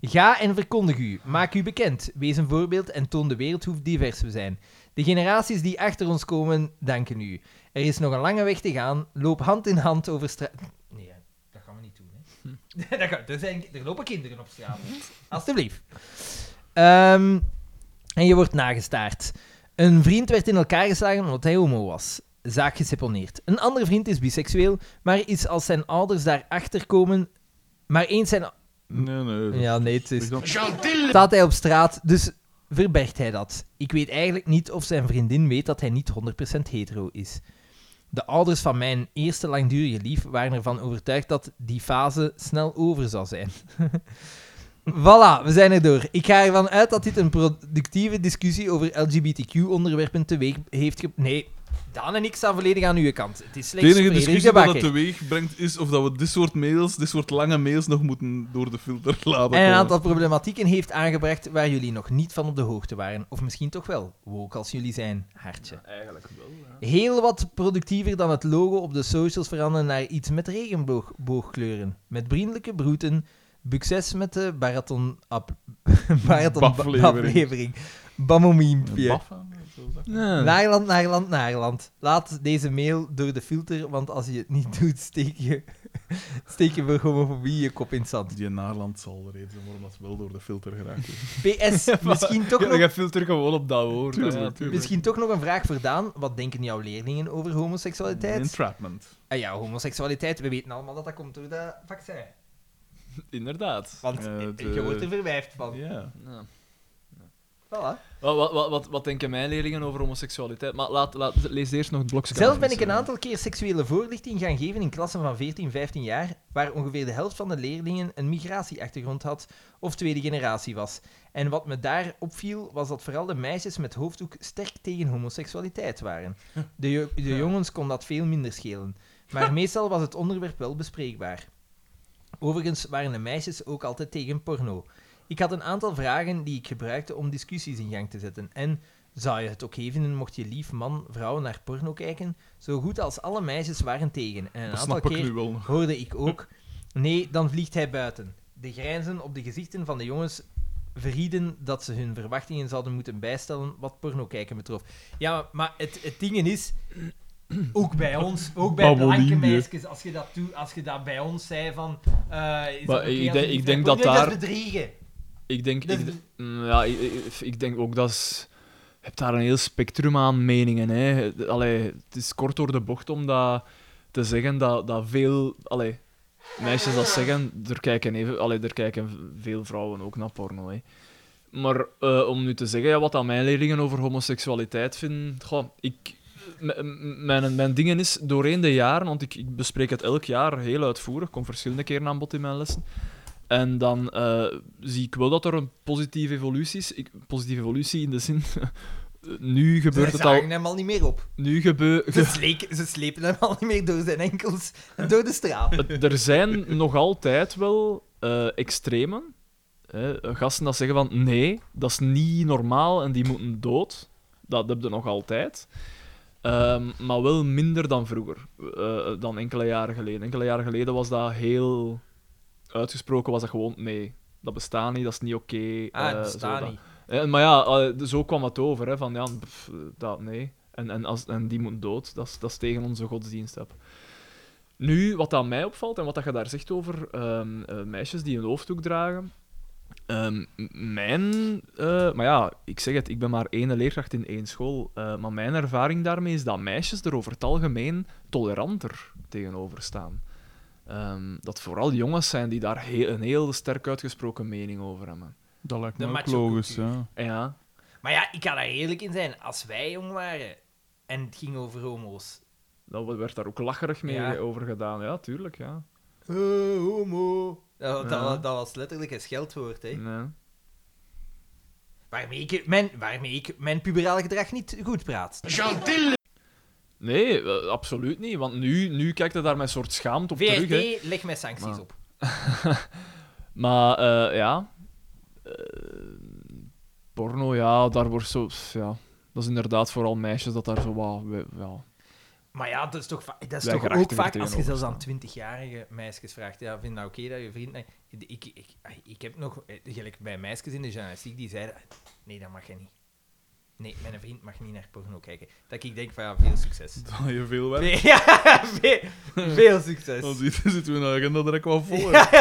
D: Ga en verkondig u. Maak u bekend. Wees een voorbeeld en toon de wereld hoe divers we zijn. De generaties die achter ons komen, danken u. Er is nog een lange weg te gaan. Loop hand in hand over straat. Nee, hè, dat gaan we niet doen. Hè. dat gaan, er, zijn, er lopen kinderen op straat. hè. Alsjeblieft. Ehm, en je wordt nagestaard. Een vriend werd in elkaar geslagen omdat hij homo was.
B: zaak geseponeerd. Een andere vriend is biseksueel, maar is als zijn ouders daarachter komen... Maar eens zijn...
C: Nee, nee. dat-
B: Ja, nee, het is...
C: dat-
B: Staat hij op straat, dus verbergt hij dat. Ik weet eigenlijk niet of zijn vriendin weet dat hij niet 100% hetero is. De ouders van mijn eerste langdurige lief waren ervan overtuigd dat die fase snel over zou zijn. voilà, we zijn erdoor. Ik ga ervan uit dat dit een productieve discussie over LGBTQ-onderwerpen teweeg heeft ge... Nee, Daan en ik staan volledig aan uw kant. Het is
C: De
B: slechts
C: enige
B: Frederik
C: discussie
B: de
C: dat het
B: Bakker.
C: teweeg brengt is of dat we dit soort mails, dit soort lange mails, nog moeten door de filter laten
B: En een
C: komen.
B: aantal problematieken heeft aangebracht waar jullie nog niet van op de hoogte waren. Of misschien toch wel, woke als jullie zijn, hartje.
D: Eigenlijk wel. Ja.
B: Heel wat productiever dan het logo op de socials veranderen naar iets met regenboogkleuren. Met vriendelijke broeten. Succes met de marathon... Ap, marathon
C: Baflevering.
B: aflevering. Bamomiempje.
C: Baf aan, zo zeg.
B: Naarland, Naarland, Naarland. Laat deze mail door de filter, want als je het niet doet, steek je, steek je voor homofobie je kop in het zand.
C: Die Naarland zal de reden zijn waarom dat wel door de filter geraakt is.
B: PS, misschien toch nog...
D: Je filter gewoon op dat woord.
C: Tuurlijk,
D: ja.
C: tuurlijk.
B: Misschien toch nog een vraag voor Daan. Wat denken jouw leerlingen over homoseksualiteit?
C: Entrapment.
B: Ah ja, homoseksualiteit. We weten allemaal dat dat komt door dat vaccin.
D: Inderdaad.
B: Want
C: Eh,
B: eh,
C: de-
B: je wordt er verwijfd van.
C: Ja.
A: Ja.
B: Voilà.
D: Wat, wat, wat, wat, wat denken mijn leerlingen over homoseksualiteit? Maar laat, laat, lees eerst nog het blokje.
B: Zelf ben ik een aantal keer seksuele voorlichting gaan geven in klassen van 14, 15 jaar, waar ongeveer de helft van de leerlingen een migratieachtergrond had of tweede generatie was. En wat me daar opviel, was dat vooral de meisjes met hoofddoek sterk tegen homoseksualiteit waren. De, jo- de jongens kon dat veel minder schelen. Maar meestal was het onderwerp wel bespreekbaar. Overigens waren de meisjes ook altijd tegen porno. Ik had een aantal vragen die ik gebruikte om discussies in gang te zetten. En zou je het oké vinden mocht je lief man, vrouw naar porno kijken? Zo goed als alle meisjes waren tegen. En een
C: Dat
B: aantal
C: snap ik
B: keer
C: nu wel nog.
B: hoorde ik ook. Nee, dan vliegt hij buiten. De grijnzen op de gezichten van de jongens verrieden dat ze hun verwachtingen zouden moeten bijstellen wat porno kijken betrof. Ja, maar het, het ding is, ook bij ons, ook bij blanke
C: Babbeling, hè.
B: meisjes, als je dat, toe, als je dat bij ons zei van... eh, is het
A: Maar
B: oké
A: ik
B: als
A: denk-
B: je
A: ik
B: vrij-
A: denk
B: Oh,
A: dat
B: nee, Dat
A: daar-
B: is bedriegen.
A: Ik denk,
B: Dat
A: ik,
B: is-
A: d- mm, ja, ik, ik- ik denk ook dat is, je hebt daar een heel spectrum aan meningen. Hè. Allee, het is kort door de bocht om dat te zeggen dat, dat veel allee, meisjes dat zeggen. Er kijken, even, allee, er kijken veel vrouwen ook naar porno. Hè. Maar eh, om nu te zeggen ja, wat aan mijn leerlingen over homoseksualiteit vinden, goh, ik, m- m- mijn, mijn dingen is doorheen de jaren, want ik, ik bespreek het elk jaar heel uitvoerig, kom verschillende keren aan bod in mijn lessen. En dan eh, zie ik wel dat er een positieve evolutie is. Ik, positieve evolutie in de zin. nu gebeurt
B: ze
A: het al.
B: zagen hem al niet meer op.
A: Nu gebeurt.
B: Ze, sleek- ze slepen hem al niet meer door zijn enkels en door de straat.
A: Het- Eh, er zijn nog altijd wel eh, extremen. Hè, gasten dat zeggen van nee, dat is niet normaal en die moeten dood. Dat heb je nog altijd. Ehm, maar wel minder dan vroeger, eh, dan enkele jaren geleden. Enkele jaren geleden was dat heel uitgesproken, was dat gewoon nee. Dat bestaat niet, dat is niet oké.
B: Ah,
A: eh,
B: dat
A: zo
B: staat
A: dat.
B: niet.
A: Eh, maar ja, eh, zo kwam het over, hè, van ja, pff, dat nee. En, en, als, en die moet dood, dat is, dat is tegen onze godsdienst. Heb. Nu, wat aan mij opvalt en wat dat je daar zegt over ehm, eh, meisjes die een hoofddoek dragen. ehm, m- mijn, eh, maar ja, ik zeg het, ik ben maar één leerkracht in één school. eh, maar mijn ervaring daarmee is dat meisjes er over het algemeen toleranter tegenover staan. Ehm, dat vooral jongens zijn die daar heel, een heel sterk uitgesproken mening over hebben.
C: Dat lijkt
B: De
C: me ook
B: macho-cultuur.
C: logisch, ja.
A: Ja,
B: Maar ja, ik kan daar eerlijk in zijn. Als wij jong waren en het ging over homo's.
A: Dan werd daar ook lacherig mee
B: Ja.
A: over gedaan. Ja, tuurlijk, ja.
B: Eh, homo. Dat, dat,
A: Ja.
B: wa- dat was letterlijk een scheldwoord, hè.
A: Nee.
B: Waarmee ik mijn, waarmee ik mijn puberale gedrag niet goed praat.
A: Nee, eh, absoluut niet. Want nu, nu kijkt hij daar met een soort schaamte op terug. Hè.
B: VRT, leg mij sancties
A: Maar-
B: op.
A: Maar eh, ja... Eh, porno, ja, daar wordt zo... pff, Ja. Dat is inderdaad vooral meisjes dat daar zo wat... we- Ja.
B: Maar ja, dat is toch, va- dat is
A: Wij
B: toch
A: graag
B: ook
A: tegen
B: vaak als je zelfs
A: tegenoverstaan.
B: aan 20-jarige meisjes vraagt: ja, vind je dat oké dat je vriend. Ik, ik, ik, ik heb nog, eh, gelijk bij meisjes in de journalistiek, die zeiden: ah, nee, dat mag je niet. Nee, mijn vriend mag niet naar porno kijken. Dat ik denk van ja, veel succes.
C: Dan heb je veel werk.
B: Nee, ja, veel, veel succes.
C: Dan zit- zitten we in de agenda direct wel vol.
B: Ja.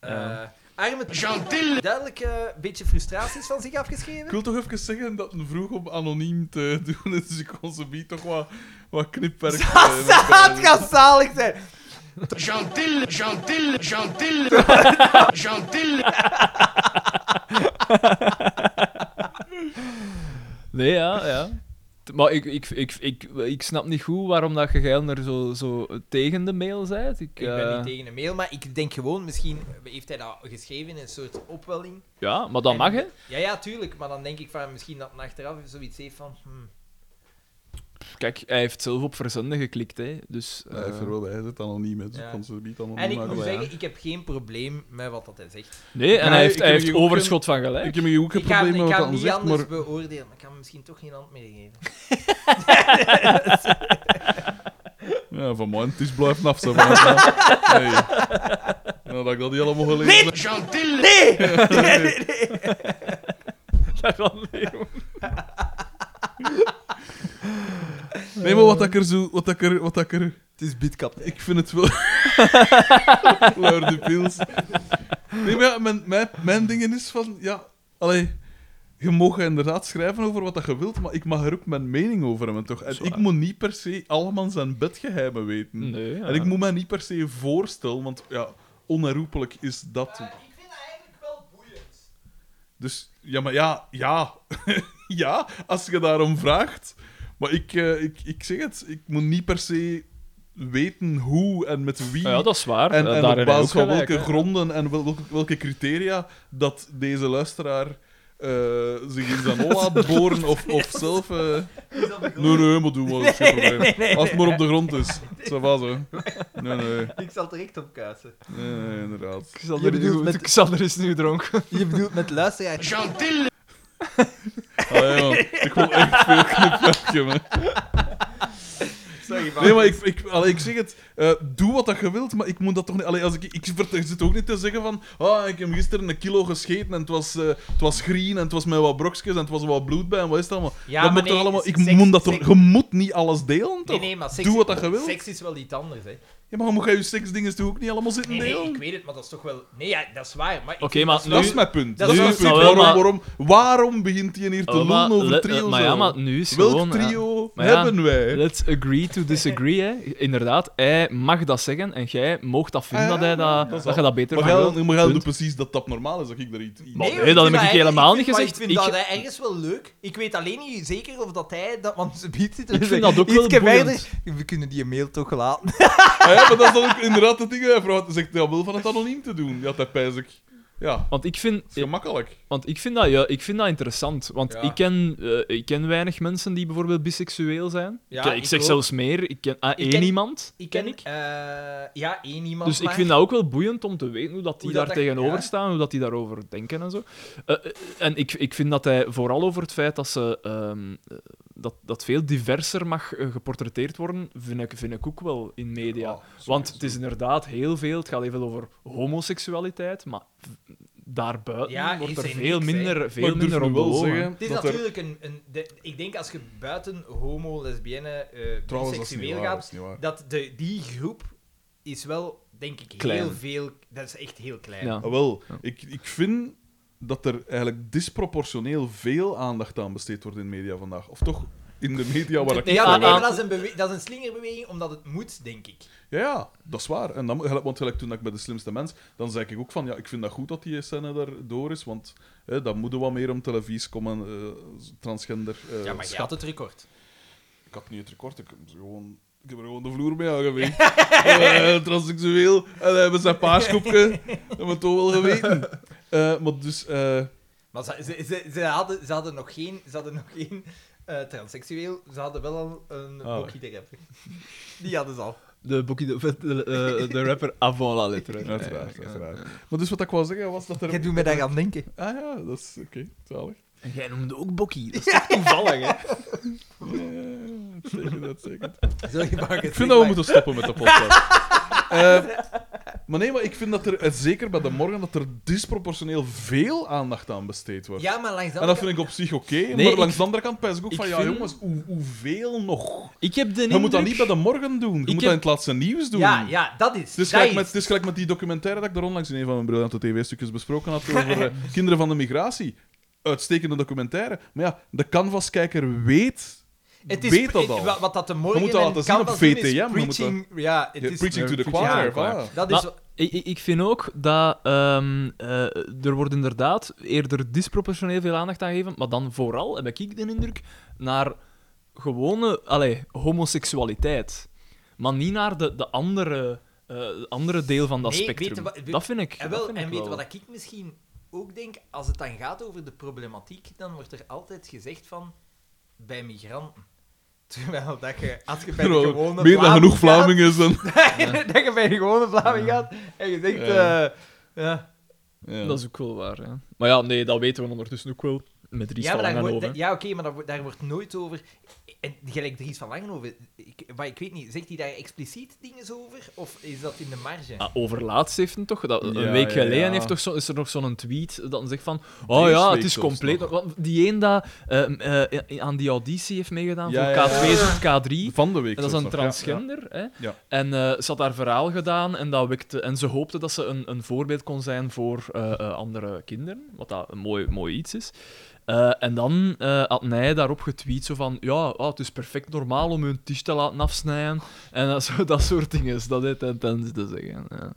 B: Eh, Armin met duidelijk eh, een beetje frustraties van zich
C: Ik
B: afgeschreven.
C: wil toch even zeggen dat hij vroeg om anoniem te doen, dus ik kon ze niet toch wat, wat knipwerk... eh, met-
B: Het gaat zalig zijn.
G: Gentil, gentil, gentil, gentil.
A: Nee, ja, ja. T- Maar ik, ik, ik, ik, ik snap niet goed waarom dat je geil er zo, zo tegen de mail bent. Ik,
B: Ik ben
A: eh,
B: niet tegen een mail, maar ik denk gewoon, misschien heeft hij dat geschreven in een soort opwelling.
A: Ja, maar dat
B: En-
A: mag, hè.
B: Ja, ja, tuurlijk, maar dan denk ik van misschien dat men achteraf zoiets heeft van. hmm.
A: Kijk, hij heeft zelf op verzenden geklikt, hè. Dus...
C: Hij heeft
A: eh,
C: er wel, hij zit anoniem, hè, dus ik
B: Ja.
C: kon ze niet anoniem
B: En ik
C: maken.
B: moet
C: Maar ja.
B: zeggen, ik heb geen probleem met wat dat hij zegt.
A: Nee, en
C: Nee,
A: hij heeft,
C: ik
A: hij
C: heb
A: heeft
C: hier ook
A: overschot van
C: Ik
A: gelijk.
C: heb hier ook geen
B: Ik ga, ik
C: probleem
B: ga
C: met wat
B: hem
C: hij
B: niet
C: zegt,
B: anders
C: maar...
B: beoordelen, maar ik kan hem misschien toch geen hand meer geven.
C: Ja, van mijn het is blijven af, zo, van mij. Nee. Nou, dat ik dat niet allemaal gelezen heb.
G: Gentil,
B: Nee! nee, nee, nee.
C: Nee, maar wat ik er zo... Wat ik er... Wat ik er...
B: Het is bitcap.
C: Ik vind het wel. Laura de Pils. Nee, maar ja, mijn, mijn, mijn ding is van. Ja, allee, je mag inderdaad schrijven over wat dat je wilt, maar ik mag er ook mijn mening over hebben, toch? En ik moet niet per se allemaal zijn bedgeheimen weten.
A: Nee, ja.
C: En ik moet mij niet per se voorstellen, want ja, onherroepelijk is dat.
B: ik vind dat eigenlijk wel boeiend.
C: Dus ja, maar ja, ja. ja, als je daarom vraagt. Maar ik, eh, ik, ik zeg het, ik moet niet per se weten hoe en met wie.
A: Ja, dat is waar.
C: En,
A: Eh,
C: en
A: daarin
C: op basis
A: ook
C: van
A: gelijk,
C: welke
A: hè.
C: gronden en wel- welke, welke criteria dat deze luisteraar eh, zich in zijn hol laat boren of, of zelf... eh, Nee, nee, maar doe maar, dat is geen probleem. Als het maar op de grond is. Ça va, zo. Nee, nee,
B: Ik zal direct op kuisen.
C: nee, nee, inderdaad.
B: Je
A: Xander,
B: bedoelt
A: is-
B: met-
A: Xander is nu dronken.
B: Je bedoelt met luisteraar.
G: gentil.
C: Allee, man, Ah, ik wil echt veel knipwerken, man.
B: Sorry,
C: Nee, maar ik, ik, allee, ik zeg het. eh, doe wat dat je wilt, maar ik moet dat toch niet... Allee, als ik, ik, vert- ik zit ook niet te zeggen van... Ah, ik heb gisteren een kilo gescheten en het was, eh, het was green en het was met wat brokjes en het was wat bloed bij en wat is het allemaal.
B: Ja, maar
C: dat moet toch
B: nee,
C: allemaal... Ik
B: seks-
C: moet dat toch...
B: seks-
C: Je moet niet alles delen, toch?
B: Nee, nee, maar seks,
C: Doe wat dat je wilt.
B: seks is wel iets anders, hè.
C: Ja, maar moet jij je seksdingen toch ook niet allemaal zitten
B: Nee, nee,
C: delen?
B: ik weet het, maar dat is toch wel... Nee, ja, dat is waar, maar... ik
A: Oké,
B: vind
A: maar
B: dat is
A: nu-
C: dat
B: wel-
C: is mijn punt.
B: dat
C: Dat is
B: is
C: mijn
B: wel-
C: punt.
A: Nou, wel,
C: waarom, waarom,
A: maar-
C: waarom begint hij hier te
A: Oh, maar
C: lullen over
A: let-
C: trio's?
A: Maar ja,
C: al?
A: maar nu is
C: Welk
A: gewoon... eh,
C: trio
A: maar ja,
C: hebben wij?
A: Let's agree to disagree, hè. Inderdaad, hij mag dat zeggen en jij mocht dat vinden
C: Ah,
A: dat, hij dat,
C: dat is
A: dat je dat beter
C: Maar
A: vindt.
C: jij- maar jij
A: Punt.
C: doet precies dat dat normaal is, dat ik daar iets... iets-
A: Maar-
B: Nee,
A: nee,
B: ik
A: dat
B: vind
A: heb ik
B: hij-
A: helemaal niet
B: vind- maar
A: gezegd.
B: Ik vind
A: Ik-
B: dat hij ergens wel leuk. Ik weet alleen niet zeker of dat hij dat... Want ze biedt het er
A: Ik vind
B: weer
A: dat ook wel
B: ietsje
A: boeiend.
B: verder. We kunnen die mail toch laten.
C: Ah ja, maar dat is dan ook inderdaad het ding. Hij vraagt, hij zegt, ja, wil van het anoniem te doen. Ja, dat pijs ik. Ja, dat
A: Want ik vind,
C: is gemakkelijk.
A: want ik vind, dat, ja, ik vind dat interessant. Want
B: Ja.
A: ik, ken, eh, ik ken weinig mensen die bijvoorbeeld biseksueel zijn.
B: Ja,
A: ik, ik
B: ik
A: zeg
B: ook.
A: zelfs meer. Ik ken ah, één
B: ken-
A: iemand.
B: Ik ken ik. ja, één iemand
A: Dus ik
B: maar.
A: vind dat ook wel boeiend om te weten hoe dat die
B: Hoe dat
A: daar
B: dat-
A: tegenover
B: ja.
A: staan, hoe dat die daarover denken en zo. Eh, eh, en ik, ik vind dat hij vooral over het feit dat ze ehm, eh, dat, dat veel diverser mag eh, geportretteerd worden, vind ik, vind ik ook wel in media.
C: Ah,
A: Want het is inderdaad heel veel. Het gaat even over homoseksualiteit, maar v- daarbuiten
B: Ja,
A: wordt
B: is
A: er
B: er
A: veel
B: niks, hè.
A: minder,
C: Maar
A: veel
C: ik durf
A: minder
C: nu
A: om
C: wel
A: belogen.
C: zeggen
B: Het is
C: dat er...
B: natuurlijk een... een de- ik denk als je buiten homo, lesbienne, eh
C: Trouwens, dat is niet
B: seksueel
C: waar, dat
B: gaat,
C: is niet waar.
B: dat de, die groep is wel, denk ik, heel
A: Klein.
B: veel... Dat is echt heel klein.
A: Ja.
C: Ah, wel, ik, ik vind dat er eigenlijk disproportioneel veel aandacht aan besteed wordt in media vandaag. Of toch in de media waar ik...
B: ja,
A: aan-
B: maar nee, maar
A: aan-
B: dat, is een bewe- dat is een slingerbeweging, omdat het moet, denk ik.
C: Ja, ja, dat is waar. En dan, gelijk- want gelijk toen ik bij de slimste mens, dan zei ik ook van, ja, ik vind dat goed dat die scène daar door is, want hè, dan moet er wat meer om televisie komen, eh, transgender. eh,
B: ja, maar je
C: schap.
B: had het record.
C: Ik had niet het record, ik heb, ze gewoon, ik heb er gewoon de vloer mee aangeweegd. Eh transseksueel, en hij heeft zijn paarskoepje, dat moet toch wel geweten. Eh, maar dus, eh,
B: Maar ze, ze, ze, ze hadden, ze hadden nog geen, ze hadden nog geen eh, transseksueel, ze hadden wel al een
C: Ah.
B: boekje te rappen. Die hadden ze al.
D: De, boekie- de, de, eh, de rapper avant la lettre.
C: uiteraard, uiteraard. Maar dus wat ik wou zeggen was dat er...
B: Jij doet me daar aan denken.
C: Ah ja, dat is oké, zalig.
A: En jij noemde ook Bokkie. Dat is
D: Toevallig, hè?
C: Ja, ja, ja, zeker dat, zeker dat.
B: Sorry, Marcus,
C: Ik vind dat we moeten stoppen met de podcast. Eh, Maar nee, maar ik vind dat er, eh, zeker bij de morgen, dat er disproportioneel veel aandacht aan besteed wordt.
D: Ja, maar langs de
C: En
D: andere
C: dat vind ik op zich oké,
A: Nee,
C: maar
A: ik-
C: langs de andere kant pijs ik ook
A: ik
C: van, ja
A: vind-
C: jongens, hoe, hoeveel nog?
A: Ik heb de
C: Je moet dat niet bij de morgen doen, je moet
A: heb-
C: dat in het laatste nieuws doen.
D: Ja, ja, dat is.
C: Het is,
D: dat
C: gelijk
D: is.
C: met, het is gelijk met die documentaire dat ik er onlangs in een van mijn briljante tv-stukjes besproken had over eh, kinderen van de migratie. Uitstekende documentaire. Maar ja, de canvaskijker weet,
D: Het is
C: weet dat
D: het-
C: al.
D: wa- Wat dat de morgen
C: We moeten laten
D: en
C: zien op
D: Canvas doen, is
C: VTM, we
D: Preaching, ja, het
C: Ja,
D: is,
C: preaching to
H: Ja,
C: the choir.
H: ja,
C: voilà. Nou,
D: dat
A: Maar-
D: is...
A: Ik, ik- ik vind ook dat ehm, eh, er wordt inderdaad eerder disproportioneel veel aandacht aan gegeven, maar dan vooral, heb ik de indruk, naar gewone allee, homoseksualiteit. Maar niet naar de, de andere, eh, andere deel van dat
D: Nee,
A: spectrum.
D: weet je wat- weet-
A: dat vind ik.
D: En,
A: dat
D: wel,
A: vind
D: en
A: ik
D: weet
A: wel.
D: wat ik misschien ook denk? Als het dan gaat over de problematiek, dan wordt er altijd gezegd van bij migranten. Terwijl dat je, als je bij de
C: Terwijl
D: gewone
C: meer dan
D: Vlaming
C: genoeg
D: gaat-
C: Vlamingen is dan...
D: dat je bij de gewone Vlaming gaat en je zegt...
C: Ja.
D: eh, ja.
C: Ja.
A: Dat is ook wel waar, ja. Maar ja, nee, dat weten we ondertussen ook wel. Met Dries
D: Ja, maar
A: van
D: daar wordt,
A: Langenhoven.
D: ja, oké, maar daar, wordt- daar wordt nooit over... En gelijk Dries van Langenhoven, ik, maar ik weet niet, zegt hij daar expliciet dingen over? Of is dat in de marge?
A: Ah, overlaatst heeft hem toch? Dat,
C: Ja,
A: een week
C: ja,
A: geleden
C: ja.
A: heeft toch zo, is er nog zo'n tweet dat zegt van... Oh
C: Deze
A: ja,
C: week
A: het is
C: zelfs
A: compleet...
C: nog.
A: want die een dat eh, eh, aan die auditie heeft meegedaan
C: Ja, ja,
A: voor
C: ja.
A: K2 tot K3.
C: Van de week.
A: En dat is
C: zelfs
A: een
C: nog, ja, ja.
A: transgender. Hè?
C: Ja.
A: En eh, ze had haar verhaal gedaan en, dat wekte, en ze hoopte dat ze een, een voorbeeld kon zijn voor eh, eh, andere kinderen. Wat dat een mooi, mooi iets is. Eh, en dan eh, had hij daarop getweet zo van... Ja, ah, het is perfect normaal om hun tisch te laten afsnijden. En dat, zo, dat soort dingen is dat hij ten ten te zeggen. Ja.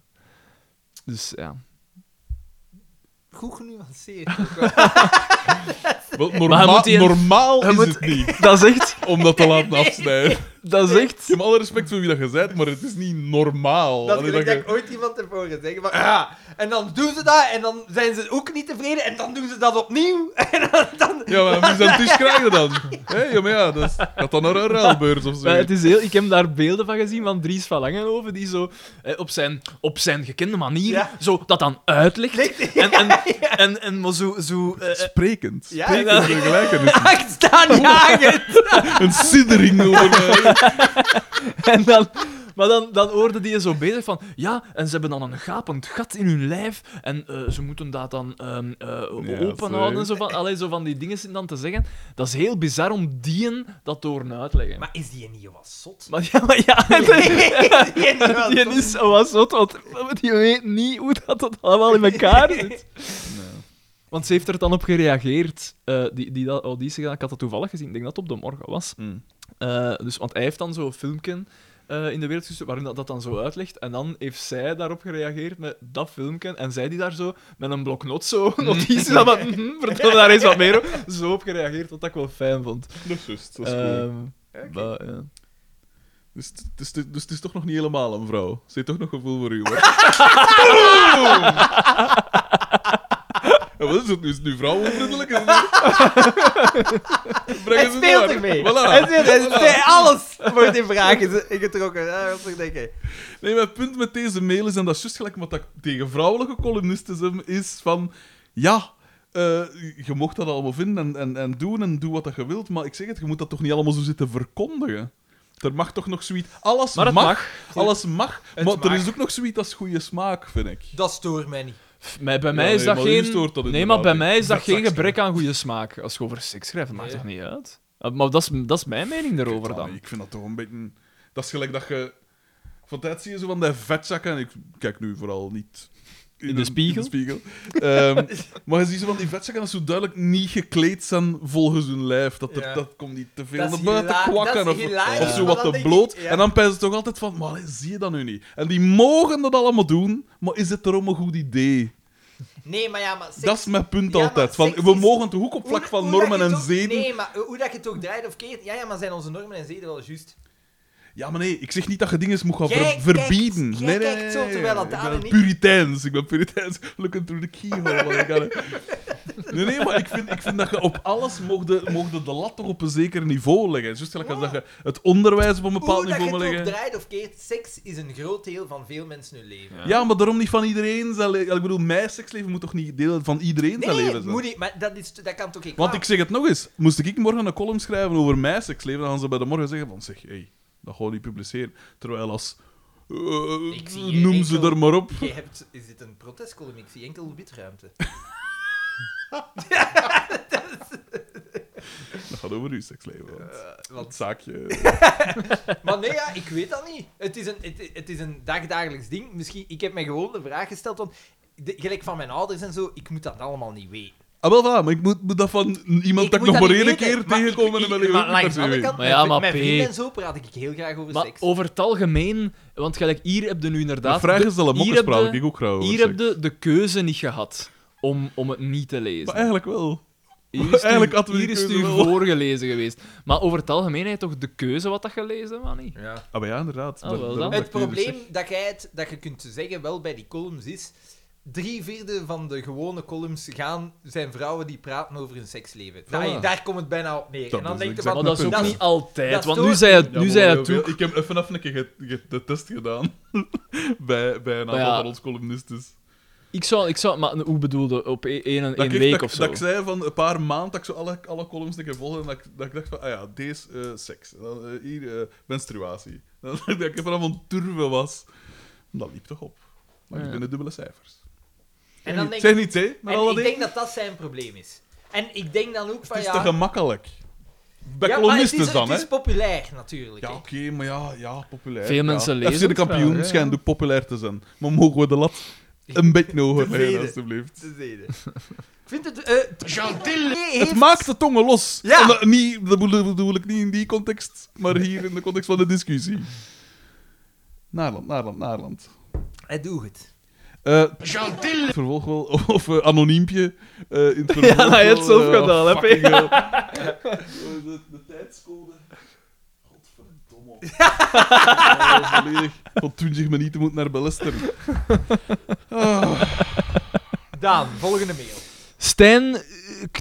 A: Dus ja.
D: Goed
C: Oh,
D: genuanceerd. ook wel.
C: Wel,
A: Maar hij
C: norma
A: moet die-
C: Normaal
A: hij
C: is
A: moet-
C: het niet
A: Dat is echt...
C: om dat te laten afsnijden.
A: Dat is echt...
C: Ik heb alle respect voor wie dat je bent, maar het is niet normaal.
D: Dat
C: Allee,
D: gelijk dat
C: je-
D: ik ooit iemand heb horen zeggen van, ja, en dan doen ze dat, en dan zijn ze ook niet tevreden, en dan doen ze dat opnieuw. En dan, dan-
C: Ja, maar dan moet je aan tisch krijgen dan. Hé, ja, maar ja, dat is- gaat dan naar een ruilbeurs of zo.
A: Maar het is heel, ik heb daar beelden van gezien van Dries van Langenhoven, die zo eh, op, zijn, op zijn gekende manier
D: Ja.
A: zo dat dan uitlegt. En, en, en, en maar zo... zo eh, eh,
C: Sprekend.
D: Ja,
C: Sprekend
D: dat-
C: vergelijken.
D: Ik sta niet jagen.
C: Een siddering over eh, mij.
A: en dan, maar dan, dan hoorde die zo bezig van... Ja, en ze hebben dan een gapend gat in hun lijf en eh, ze moeten dat dan ehm, eh, open
C: sorry.
A: houden. Zo van, allee, zo van die dingen zitten dan te zeggen. Dat is heel bizar om dieën dat door te uitleggen. Maar,
D: Maar is die niet wat zot?
A: ja, maar ja...
D: Is die niet wat
A: Die
D: zot?
A: is zo wat zot, want die weet niet hoe dat, dat allemaal in elkaar zit. Want ze heeft er dan op gereageerd, eh, die, die dat auditie gedaan. Ik had dat toevallig gezien, ik denk dat het op de morgen was.
C: Mm.
A: Eh, dus, want hij heeft dan zo'n filmpje eh, in de wereld gestuurd waarin dat, dat dan zo uitlegt. En dan heeft zij daarop gereageerd met dat filmpje. En zij die daar zo met een bloknot zo, een notitie, dan van, "Mhm, vertel me daar eens wat meer op. Zo op gereageerd, wat ik wel fijn vond.
C: Dat is juist, dat is cool.
A: Ehm, maar, ja.
C: Eh, dus, het- het is- dus het is toch nog niet helemaal een vrouw. Ze heeft toch nog gevoel voor u, hoor. En wat is het nu? Is het nu vrouwenvriendelijk? Is het nu- Brengen
D: Het
C: ze
D: speelt
C: daar.
D: ermee.
C: Voilà.
D: Het speelt- het speelt- Alles wordt in vraag gez- getrokken. Ja, dat is toch denk ik.
C: Nee, mijn punt met deze mail is, en dat is juist gelijk wat ik tegen vrouwelijke columnisten zeg, is van... Ja, eh, je mocht dat allemaal vinden en, en, en doen en doe wat dat je wilt, maar ik zeg het, je moet dat toch niet allemaal zo zitten verkondigen? Er mag toch nog zoiets... Alles
A: Maar het
C: mag,
A: mag.
C: Alles mag,
D: Het
C: maar er
D: mag.
C: is ook nog zoiets als goede smaak, vind ik.
D: Dat stoort mij niet.
A: Maar bij
C: Ja,
A: mij is
C: nee,
A: dat
C: maar u
A: geen...
C: stoort dat
A: nee,
C: inderdaad
A: maar
C: niet.
A: bij mij is dat
C: Dat
A: geen
C: zakt
A: gebrek aan goede smaak. Als je over seks schrijft, dat maakt
D: Nee.
A: toch niet uit? Eh, Maar dat is, dat is mijn mening daarover
C: Ja,
A: dan.
C: Ik vind dat toch een beetje... Dat is gelijk dat je... Van tijd zie je zo van die vetzakken... En ik kijk nu vooral niet...
A: de
C: een-
A: spiegel?
C: spiegel. Ehm, maar je ziet zo van die vetzakken dat zo duidelijk niet gekleed zijn volgens hun lijf. Dat, er,
D: Ja.
C: dat komt niet te veel
D: Dat is
C: naar buiten
D: hila-
C: kwakken.
D: dat is
C: Of,
D: hilarisch,
C: of zo
D: maar
C: wat
D: dan
C: te
D: denk
C: bloot.
D: ik- ja.
C: En dan pijzen ze toch altijd van... Maar allee, zie je dat nu niet? En die mogen dat allemaal doen, maar is het erom een goed idee?
D: Nee, maar ja, maar... seks-
C: Dat is mijn punt
D: Ja, maar
C: altijd. Van,
D: seks
C: we
D: is-
C: mogen toch ook op vlak
D: Hoe-
C: van
D: hoe dat
C: normen
D: je het
C: en
D: ook-
C: zeden...
D: Nee, maar hoe dat je het ook draait of keert... Ja, ja, maar zijn onze normen en zeden wel juist?
C: Ja, maar nee, ik zeg niet dat je dingen moet gaan ver-
D: Jij
C: verbieden.
D: kijkt- jij
C: nee, nee,
D: kijkt
C: nee,
D: zo, terwijl dat
C: nee.
D: daar
C: Ik ben
D: niet-
C: puriteins. Ik ben puriteins. Looking through the keyhole. wat ik had. Nee, nee, maar ik vind, ik vind dat je op alles mocht de, mocht de lat toch op een zeker niveau leggen. Juist gelijk als dat je het onderwijs op een bepaald
D: Hoe dat je
C: niveau moet
D: het ook
C: leggen.
D: draait of keert, seks is een groot deel van veel mensen hun leven.
C: Ja, maar daarom niet van iedereen zijn leven. Ik bedoel, mijn seksleven moet toch niet deel van iedereen zijn
D: Nee,
C: leven zijn?
D: moet niet, maar dat, is, dat kan toch ik
C: Want ik zeg het nog eens. Moest ik morgen een column schrijven over mijn seksleven, dan gaan ze bij de morgen zeggen van zeg, hé, dat gewoon niet publiceren. Terwijl als eh,
B: Ik zie hier
C: noem ze
B: enkel-
C: er maar op.
B: Je hebt, is dit een protestcolumn? Ik zie enkel witruimte.
C: Dat gaat over uw seksleven. Want dat
B: Want,
C: zaakje.
B: maar nee, ja, ik weet dat niet. Het is, een, het, het is een dagdagelijks ding. Misschien, ik heb mij gewoon de vraag gesteld, want de- gelijk van mijn ouders en zo, ik moet dat allemaal niet weten.
C: Ah, wel, voilà, maar ik moet, moet dat van iemand
B: Ik
C: dat ik
B: moet
C: nog
B: dat
C: maar
B: niet
C: één
B: weten,
C: keer
B: maar
C: tegenkomen
B: ik-
C: in mijn
B: ik-
C: leven.
B: Maar langs
C: dat
B: de
C: ik
B: andere
C: weet.
B: kant,
A: Maar ja,
B: met-
A: maar
B: met
A: P.
B: vrienden en zo praat ik heel graag over
A: Maar
B: seks.
A: over het algemeen, want gelijk hier heb je nu inderdaad...
C: Maar vragen
A: de-
C: stellen,
A: hier
C: mokken
A: heb
C: praat
A: je-
C: ik ook graag over
A: Hier
C: seks.
A: heb je de keuze niet gehad om, om het niet te lezen.
C: Maar eigenlijk wel.
A: Hier is het u-
C: eigenlijk hadden we
A: hier
C: die
A: is het
C: keuze
A: u
C: wel.
A: voorgelezen geweest. Maar over het algemeen heb je toch de keuze wat dat gelezen, man niet?
B: Ja.
C: Ah, maar ja, inderdaad.
B: Oh,
A: Ah,
C: Daar-
A: wel,
C: daarom
A: dan.
C: dat
B: Het
C: ik nu dus
B: probleem
C: zeg.
B: dat, jij het, dat je kunt zeggen wel bij die columns is... Drie vierde van de gewone columns gaan, zijn vrouwen die praten over hun seksleven. Daar,
C: Voilà.
B: daar komt het bijna op neer.
C: Dat
B: en dan
C: is
B: denk je
C: exact
B: van...
A: Ah. Maar dat is ook
C: Dat is-
A: niet altijd,
B: dat is
A: want
B: toch-
A: nu zei het, nu
C: Ja,
A: zei
C: maar
A: het
C: wel,
A: ook.
C: Ik heb even af een keer ge- ge- de test gedaan. bij, bij een aantal
A: Maar ja.
C: van ons columnisten.
A: Ik zou, ik zou, maar hoe bedoelde op één, één,
C: Dat
A: één
C: ik-
A: week
C: dat,
A: of zo?
C: Dat ik zei van een paar maanden dat ik zo alle, alle columns een keer volgde en dat ik, dat ik dacht van, ah ja, deze eh, seks. En dan, eh, hier eh, menstruatie. En dat ik even aan het turven was. Dat liep toch op. Maar
A: Ja.
C: ik ben de dubbele cijfers.
B: En dan denk
C: Zijn niet, hè? Maar
B: En
C: alle
B: ik
C: dingen.
B: denk dat dat zijn probleem is. En ik denk dan ook
C: Het
B: van
C: is
B: ja...
C: te gemakkelijk. Bij
B: ja, maar het
C: columnisten
B: is,
C: dan, hè?
B: Het is populair, natuurlijk.
C: Ja,
B: hè.
C: oké, maar ja, ja, populair.
A: Veel
C: ja.
A: mensen lezen
C: FC de
A: het
C: kampioen
A: wel, hè,
C: schijnt ook populair te zijn. Maar mogen we de lat een beetje hoger leggen,
B: Tevreden.
C: alstublieft.
B: Tevreden. Ik vind het... eh, t-
G: Gentil,
B: nee,
C: Het
B: heeft-
C: maakt de tongen los.
B: Ja.
C: En dat, niet, dat bedoel, bedoel ik niet in die context, maar hier in de context van de discussie. Naarland, Naarland, Naarland.
B: Hij doet het.
C: Eh,
G: gentil,
C: in het vervolg wel, of eh, anoniempje. eh, in het vervolg
A: Ja, dat
C: wel,
A: hij het zelf
C: eh,
A: gedaan, hè,
C: fucking
A: P.
C: hell. Eh, de, de tijdscode. Godverdomme. Dat is Eh, volledig Tot 20 minuten moet naar Belester. Ah,
B: Daan, volgende mail.
A: Stijn eh,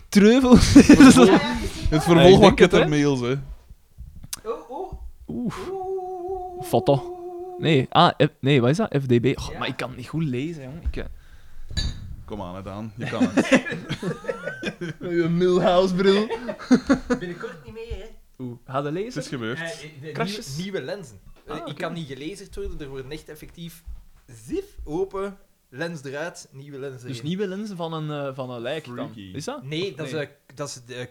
A: Treuvel.
C: het
A: Ja, ik
C: vervolg
A: denk
C: van
A: het, hè.
C: kettermails, hè.
B: Oh, oh.
A: Oeh,
B: Oeh.
A: foto. Nee, ah, F- nee, wat is dat? FDB. God, Maar ik kan het niet goed lezen, jong. Ik, eh,
C: Kom aan, hè, Daan. Je kan het.
D: Een Milhouse-bril.
B: Binnenkort niet meer, hè.
A: Oeh, ga je
C: Het
A: lezen?
C: is gebeurd.
B: Eh, eh, de
A: Krasjes?
B: nieuwe- Nieuwe lenzen. Eh,
A: oké.
B: Ik kan niet gelezerd worden, er worden echt effectief... Zif, open, lens eruit, nieuwe lens erin.
A: Dus nieuwe lenzen van een, eh, van een lijk dan.
C: Freaky.
A: Is dat?
B: Nee, dat is,
A: Nee.
B: eh, dat is eh, kunstmatig.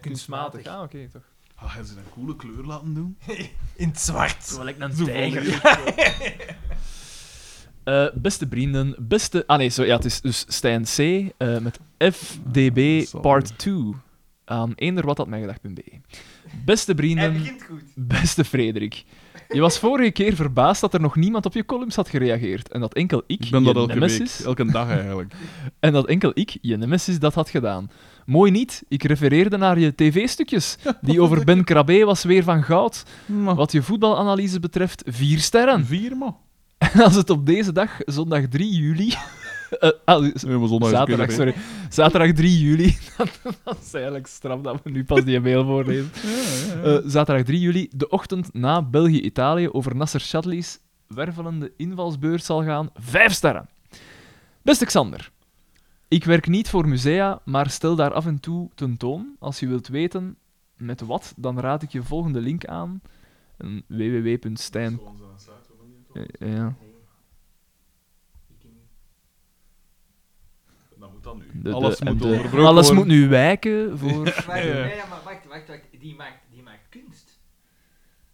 A: Kunstmatig. Ah, oké, toch.
C: Ah, hebben ze een coole kleur laten doen?
B: In het zwart.
A: Zo lijkt
C: Zo
A: een
C: volledig.
A: tijger. Eh, beste vrienden, beste... Ah nee, zo, ja, het is dus Stijn C. eh, met FDB
C: Ah, sorry.
A: Part 2. Aan eender wat dat mij Beste
B: Hij
A: vrienden,
B: begint goed.
A: beste Frederik. Je was vorige keer verbaasd dat er nog niemand op je columns had gereagereerd. En dat enkel ik,
C: Ik ben dat
A: je
C: elke
A: nemesis,
C: week. Elke dag eigenlijk.
A: en dat enkel ik, je nemesis, dat had gedaan. Mooi niet, ik refereerde naar je tv-stukjes. Die over Ben Krabbe was weer van goud.
C: Oh.
A: Wat je voetbalanalyse betreft, vier sterren.
C: Vier, man.
A: Als het op deze dag, zondag 3 juli. eh, ah, z-
C: Nee, maar zondag is ook
A: zaterdag,
C: weer
A: sorry. Zaterdag 3 juli. dat is eigenlijk straf dat we nu pas die mail voorlezen. Eh, zaterdag 3 juli, de ochtend na België-Italië over Nasser Chadli's wervelende invalsbeurt zal gaan. Vijf sterren. Beste Xander, ik werk niet voor musea, maar stel daar af en toe tentoon. Als je wilt weten met wat, dan raad ik je volgende link aan. En www.stijn... Ja, eh, ja.
C: Dat moet dan nu.
A: De- de-
C: Alles
A: en
C: moet
A: de-
C: onderbroken
A: alles
C: worden.
A: moet nu wijken voor...
B: Wacht,
C: Ja, ja.
B: nee, ja, maar wacht, wacht, wacht. Die maakt, die maakt kunst.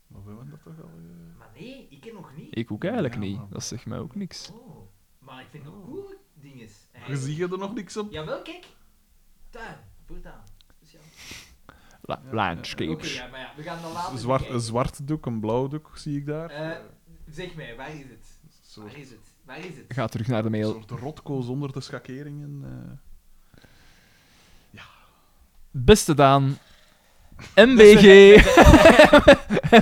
C: Maar we hebben dat toch al... eh,
B: Maar nee, ik ken nog niet.
A: Ik ook eigenlijk
C: Ja,
A: niet.
C: man.
A: Dat zegt mij ook niks.
B: Oh, maar ik vind nog coole dingen.
C: eh? Je ziet er nog niks op?
B: Jawel, kijk. Tuin, voortaan. Speciaal.
A: La
B: Oké,
A: landscapes.
B: ja, maar ja, we gaan dat later
C: Een zwart, een
B: bekijken.
C: zwart doek, een blauw doek, zie ik daar.
B: Eh, zeg mij, waar is het?
C: Een soort,
B: Waar is het? Waar is het?
A: Ga terug naar de mail.
C: soort rotko zonder de schakeringen. eh.
A: Beste Daan. MBG.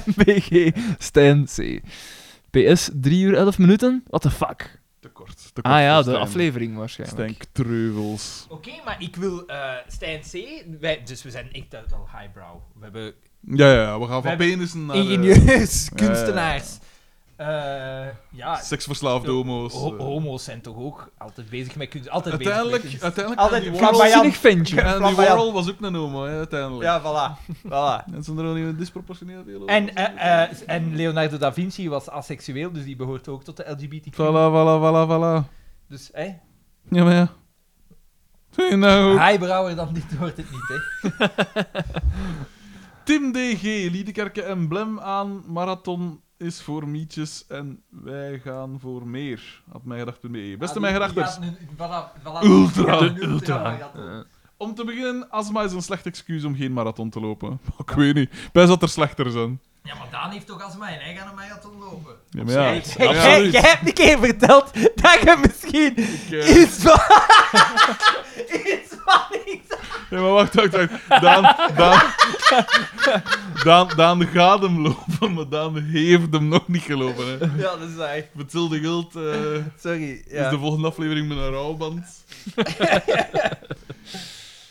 A: MBG. Stijn C. PS 3 uur 11 minuten? What the fuck?
C: te kort. te kort
A: Ah ja,
C: voor
A: de
C: Stijn.
A: aflevering waarschijnlijk.
C: Stijn Treuvels.
B: Oké, maar ik wil eh, Stijn C. Wij, dus we zijn echt eh, wel highbrow. We hebben
C: Ja, ja, ja, we gaan van
B: hebben
C: penissen naar... eh,
B: ingenieurs, kunstenaars, Eh, ja,
C: Seksverslaafde
B: Ho-
C: homo's.
B: ho-
C: eh.
B: homo's zijn toch ook altijd bezig met kunst. Altijd bezig met
C: Uiteindelijk,
B: kunst.
C: uiteindelijk
B: Altijd
C: Andy
B: vlak bij
C: Warhol,
B: Flamboyant.
D: Waanzinnig ventje.
C: Andy
B: flamboyant.
C: Warhol was ook een homo, hè, uiteindelijk.
B: Ja, voilà. voilà.
C: En zijn er al niet disproportioneel veel
B: En,
C: homo's?
B: eh, eh, en Leonardo da Vinci was asexueel, dus die behoort ook tot de LGBTQ.
C: Voilà, voilà, voilà, voilà.
B: Dus, hè?
C: Ja, maar ja. Vind je nou ook?
B: Highbrower dan dit wordt het niet, hè?
C: Tim DG, Liedekerke Emblem aan. Marathon is voor mietjes en wij gaan voor meer. Had
B: Ah,
C: mijgedacht.be. Beste mijgedachters. Ultra,
B: ultra.
C: Om te beginnen, astma is een slecht excuus om geen marathon te lopen. Ik weet niet. Wij zat er slechter zijn.
B: Ja, maar Daan heeft toch als mij en hij gaat een marathon lopen.
C: Ja, maar ja.
B: Jij- jij, jij hebt een keer verteld dat je misschien
C: eh,
B: iets van... iets van iets...
C: Ja, maar wacht, wacht, wacht. Daan, Daan, Daan, Daan gaat hem lopen, maar Daan heeft hem nog niet gelopen. Hè.
B: Ja, dat is waar.
C: Mathilde Gult eh,
B: Sorry.
C: is
B: Ja.
C: de volgende aflevering met een rouwband.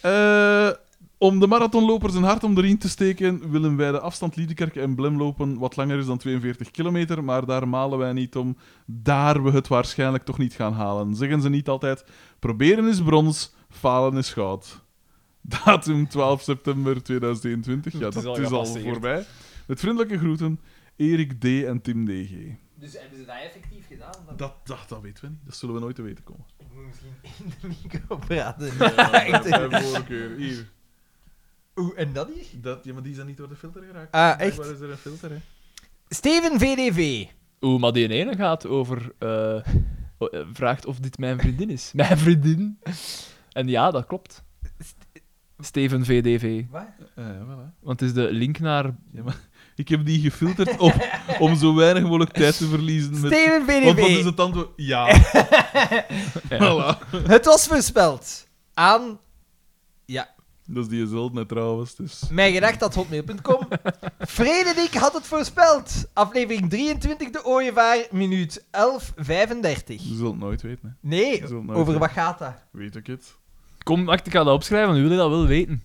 C: Eh, om de marathonlopers een hart om de riem te steken, willen wij de afstand Liedekerk en Blem lopen, wat langer is dan 42 kilometer, maar daar malen wij niet om, daar we het waarschijnlijk toch niet gaan halen. Zeggen ze niet altijd, proberen is brons, falen is goud. Datum 12 september 2021, ja,
A: Het is
C: dat
A: al
C: is al
A: gepasseerd.
C: voorbij. Met vriendelijke groeten, Erik D. en Tim DG.
B: Dus hebben ze dat effectief gedaan? Dan
C: Dat, dat, dat weten we niet, dat zullen we nooit te weten komen.
B: Ik moet misschien in de micro praten.
C: Dat
B: Echt.
C: hebben we vorige keer. Hier.
B: Oeh, en dat hier?
C: Dat, ja, maar die zijn niet door de filter geraakt.
B: Ah,
C: Blijkbaar
B: echt?
C: is er een filter, hè.
B: Steven VDV.
A: Oeh, maar die ene gaat over... eh, oh, eh, vraagt of dit mijn vriendin is. Mijn vriendin. En ja, dat klopt. Steven VDV.
B: Wat?
C: Eh, ja, voilà.
A: Want het is de link naar...
C: Ik heb die gefilterd om, om zo weinig mogelijk tijd te verliezen. Met...
B: Steven
C: Want wat is
B: VDV.
C: het antwoord? Ja. Voilà.
B: Het was voorspeld aan
C: Dat is die zeldne trouwens. Dus.
B: mijngedacht.hotmail.com. Frederik had het voorspeld. Aflevering 23, de ooievaar, minuut 11.35.
C: Je zult het nooit weten. Hè.
B: Nee,
C: Je zult nooit
B: over
C: weten.
B: wat gaat dat?
C: Weet ik het.
A: Kom, wacht, ik ga dat opschrijven, want jullie dat wel weten.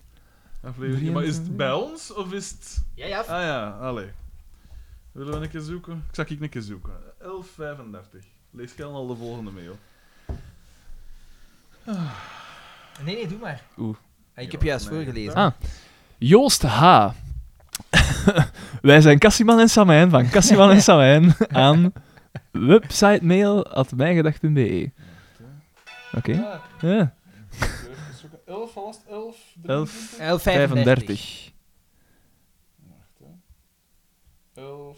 C: Aflevering. Ja, maar is het bij ons of is het.
B: Ja, ja.
C: Ah ja, allee. Willen we een keer zoeken? Ik zag ik een keer zoeken. 11.35. Lees Kellen al de volgende mail.
B: Nee, nee, doe maar.
A: Oeh.
B: Ah, Ik
C: Ja,
B: heb juist
C: nee.
B: voorgelezen.
A: Ah. Joost H. Wij zijn Cassiman en Samijn van Cassiman en Samijn aan websitemail.mijgedacht.be. E. Oké.
C: Ja,
A: Ja,
C: ik ga even zoeken. 11, alvast 11.
A: 11.
B: 11.35.
A: 35.
C: 11,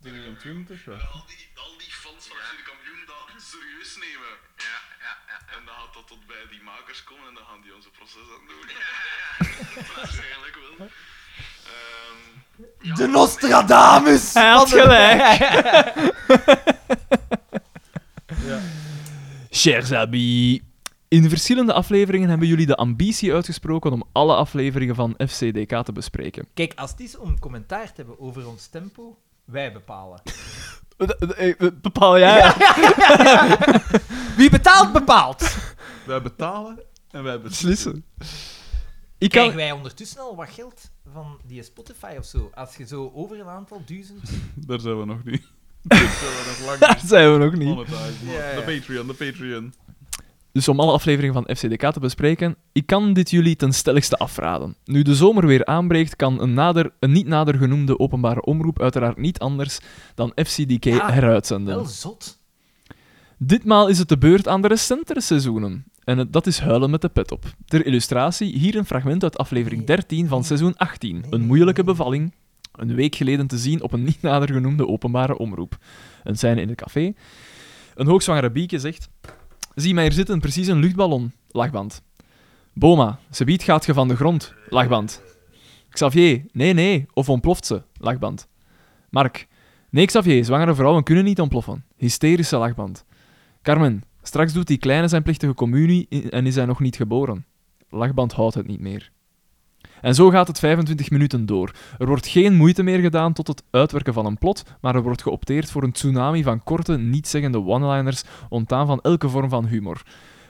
C: 23,
I: Al die, al die fans van de kampioen dat serieus nemen. Ja, ja, ja. En dan gaat dat tot bij die makers komen en dan gaan die onze proces aan doen. Waarschijnlijk wel. Ehm
B: De Nostradamus!
A: Hij had
B: van de-
A: gelijk.
C: Ja.
A: Chers amis. In verschillende afleveringen hebben jullie de ambitie uitgesproken om alle afleveringen van FCDK te bespreken.
B: Kijk, als het is om commentaar te hebben over ons tempo, wij bepalen.
A: Eh, Bepaal jij?
B: Wie betaalt, bepaalt.
C: Wij betalen en wij beslissen.
A: Beslissen. Ik
B: Krijgen
A: kan...
B: wij ondertussen al wat geld van die Spotify of zo? Als je zo over een aantal duizend...
C: Daar zijn we nog niet. Daar zijn we nog lang
A: Daar
C: niet.
A: zijn we nog niet.
C: Monetize, man.
B: Ja, ja.
C: De Patreon, de Patreon.
A: Dus om alle afleveringen van FCDK te bespreken, ik kan dit jullie ten stelligste afraden. Nu de zomer weer aanbreekt, kan een, nader, een niet nader genoemde openbare omroep uiteraard niet anders dan FCDK
B: Ja,
A: heruitzenden.
B: Wel zot.
A: Ditmaal is het de beurt aan de recentere seizoenen. En het- dat is huilen met de pet op. Ter illustratie, hier een fragment uit aflevering
B: Nee.
A: 13 van seizoen 18. Een moeilijke bevalling. Een week geleden te zien op een niet nader genoemde openbare omroep. Een scène in het café. Een hoogzwangere Bieke zegt... Zie mij hier zitten, precies een luchtballon. Lachband. Boma, ze biedt gaat ge van de grond. Lachband. Xavier, nee, nee, of ontploft ze. Lachband. Mark, nee Xavier, zwangere vrouwen kunnen niet ontploffen. Hysterische lachband. Carmen, straks doet die kleine zijn plichtige communie i- en is hij nog niet geboren. Lachband houdt het niet meer. En zo gaat het 25 minuten door. Er wordt geen moeite meer gedaan tot het uitwerken van een plot, maar er wordt geopteerd voor een tsunami van korte, nietzeggende one-liners, ontdaan van elke vorm van humor.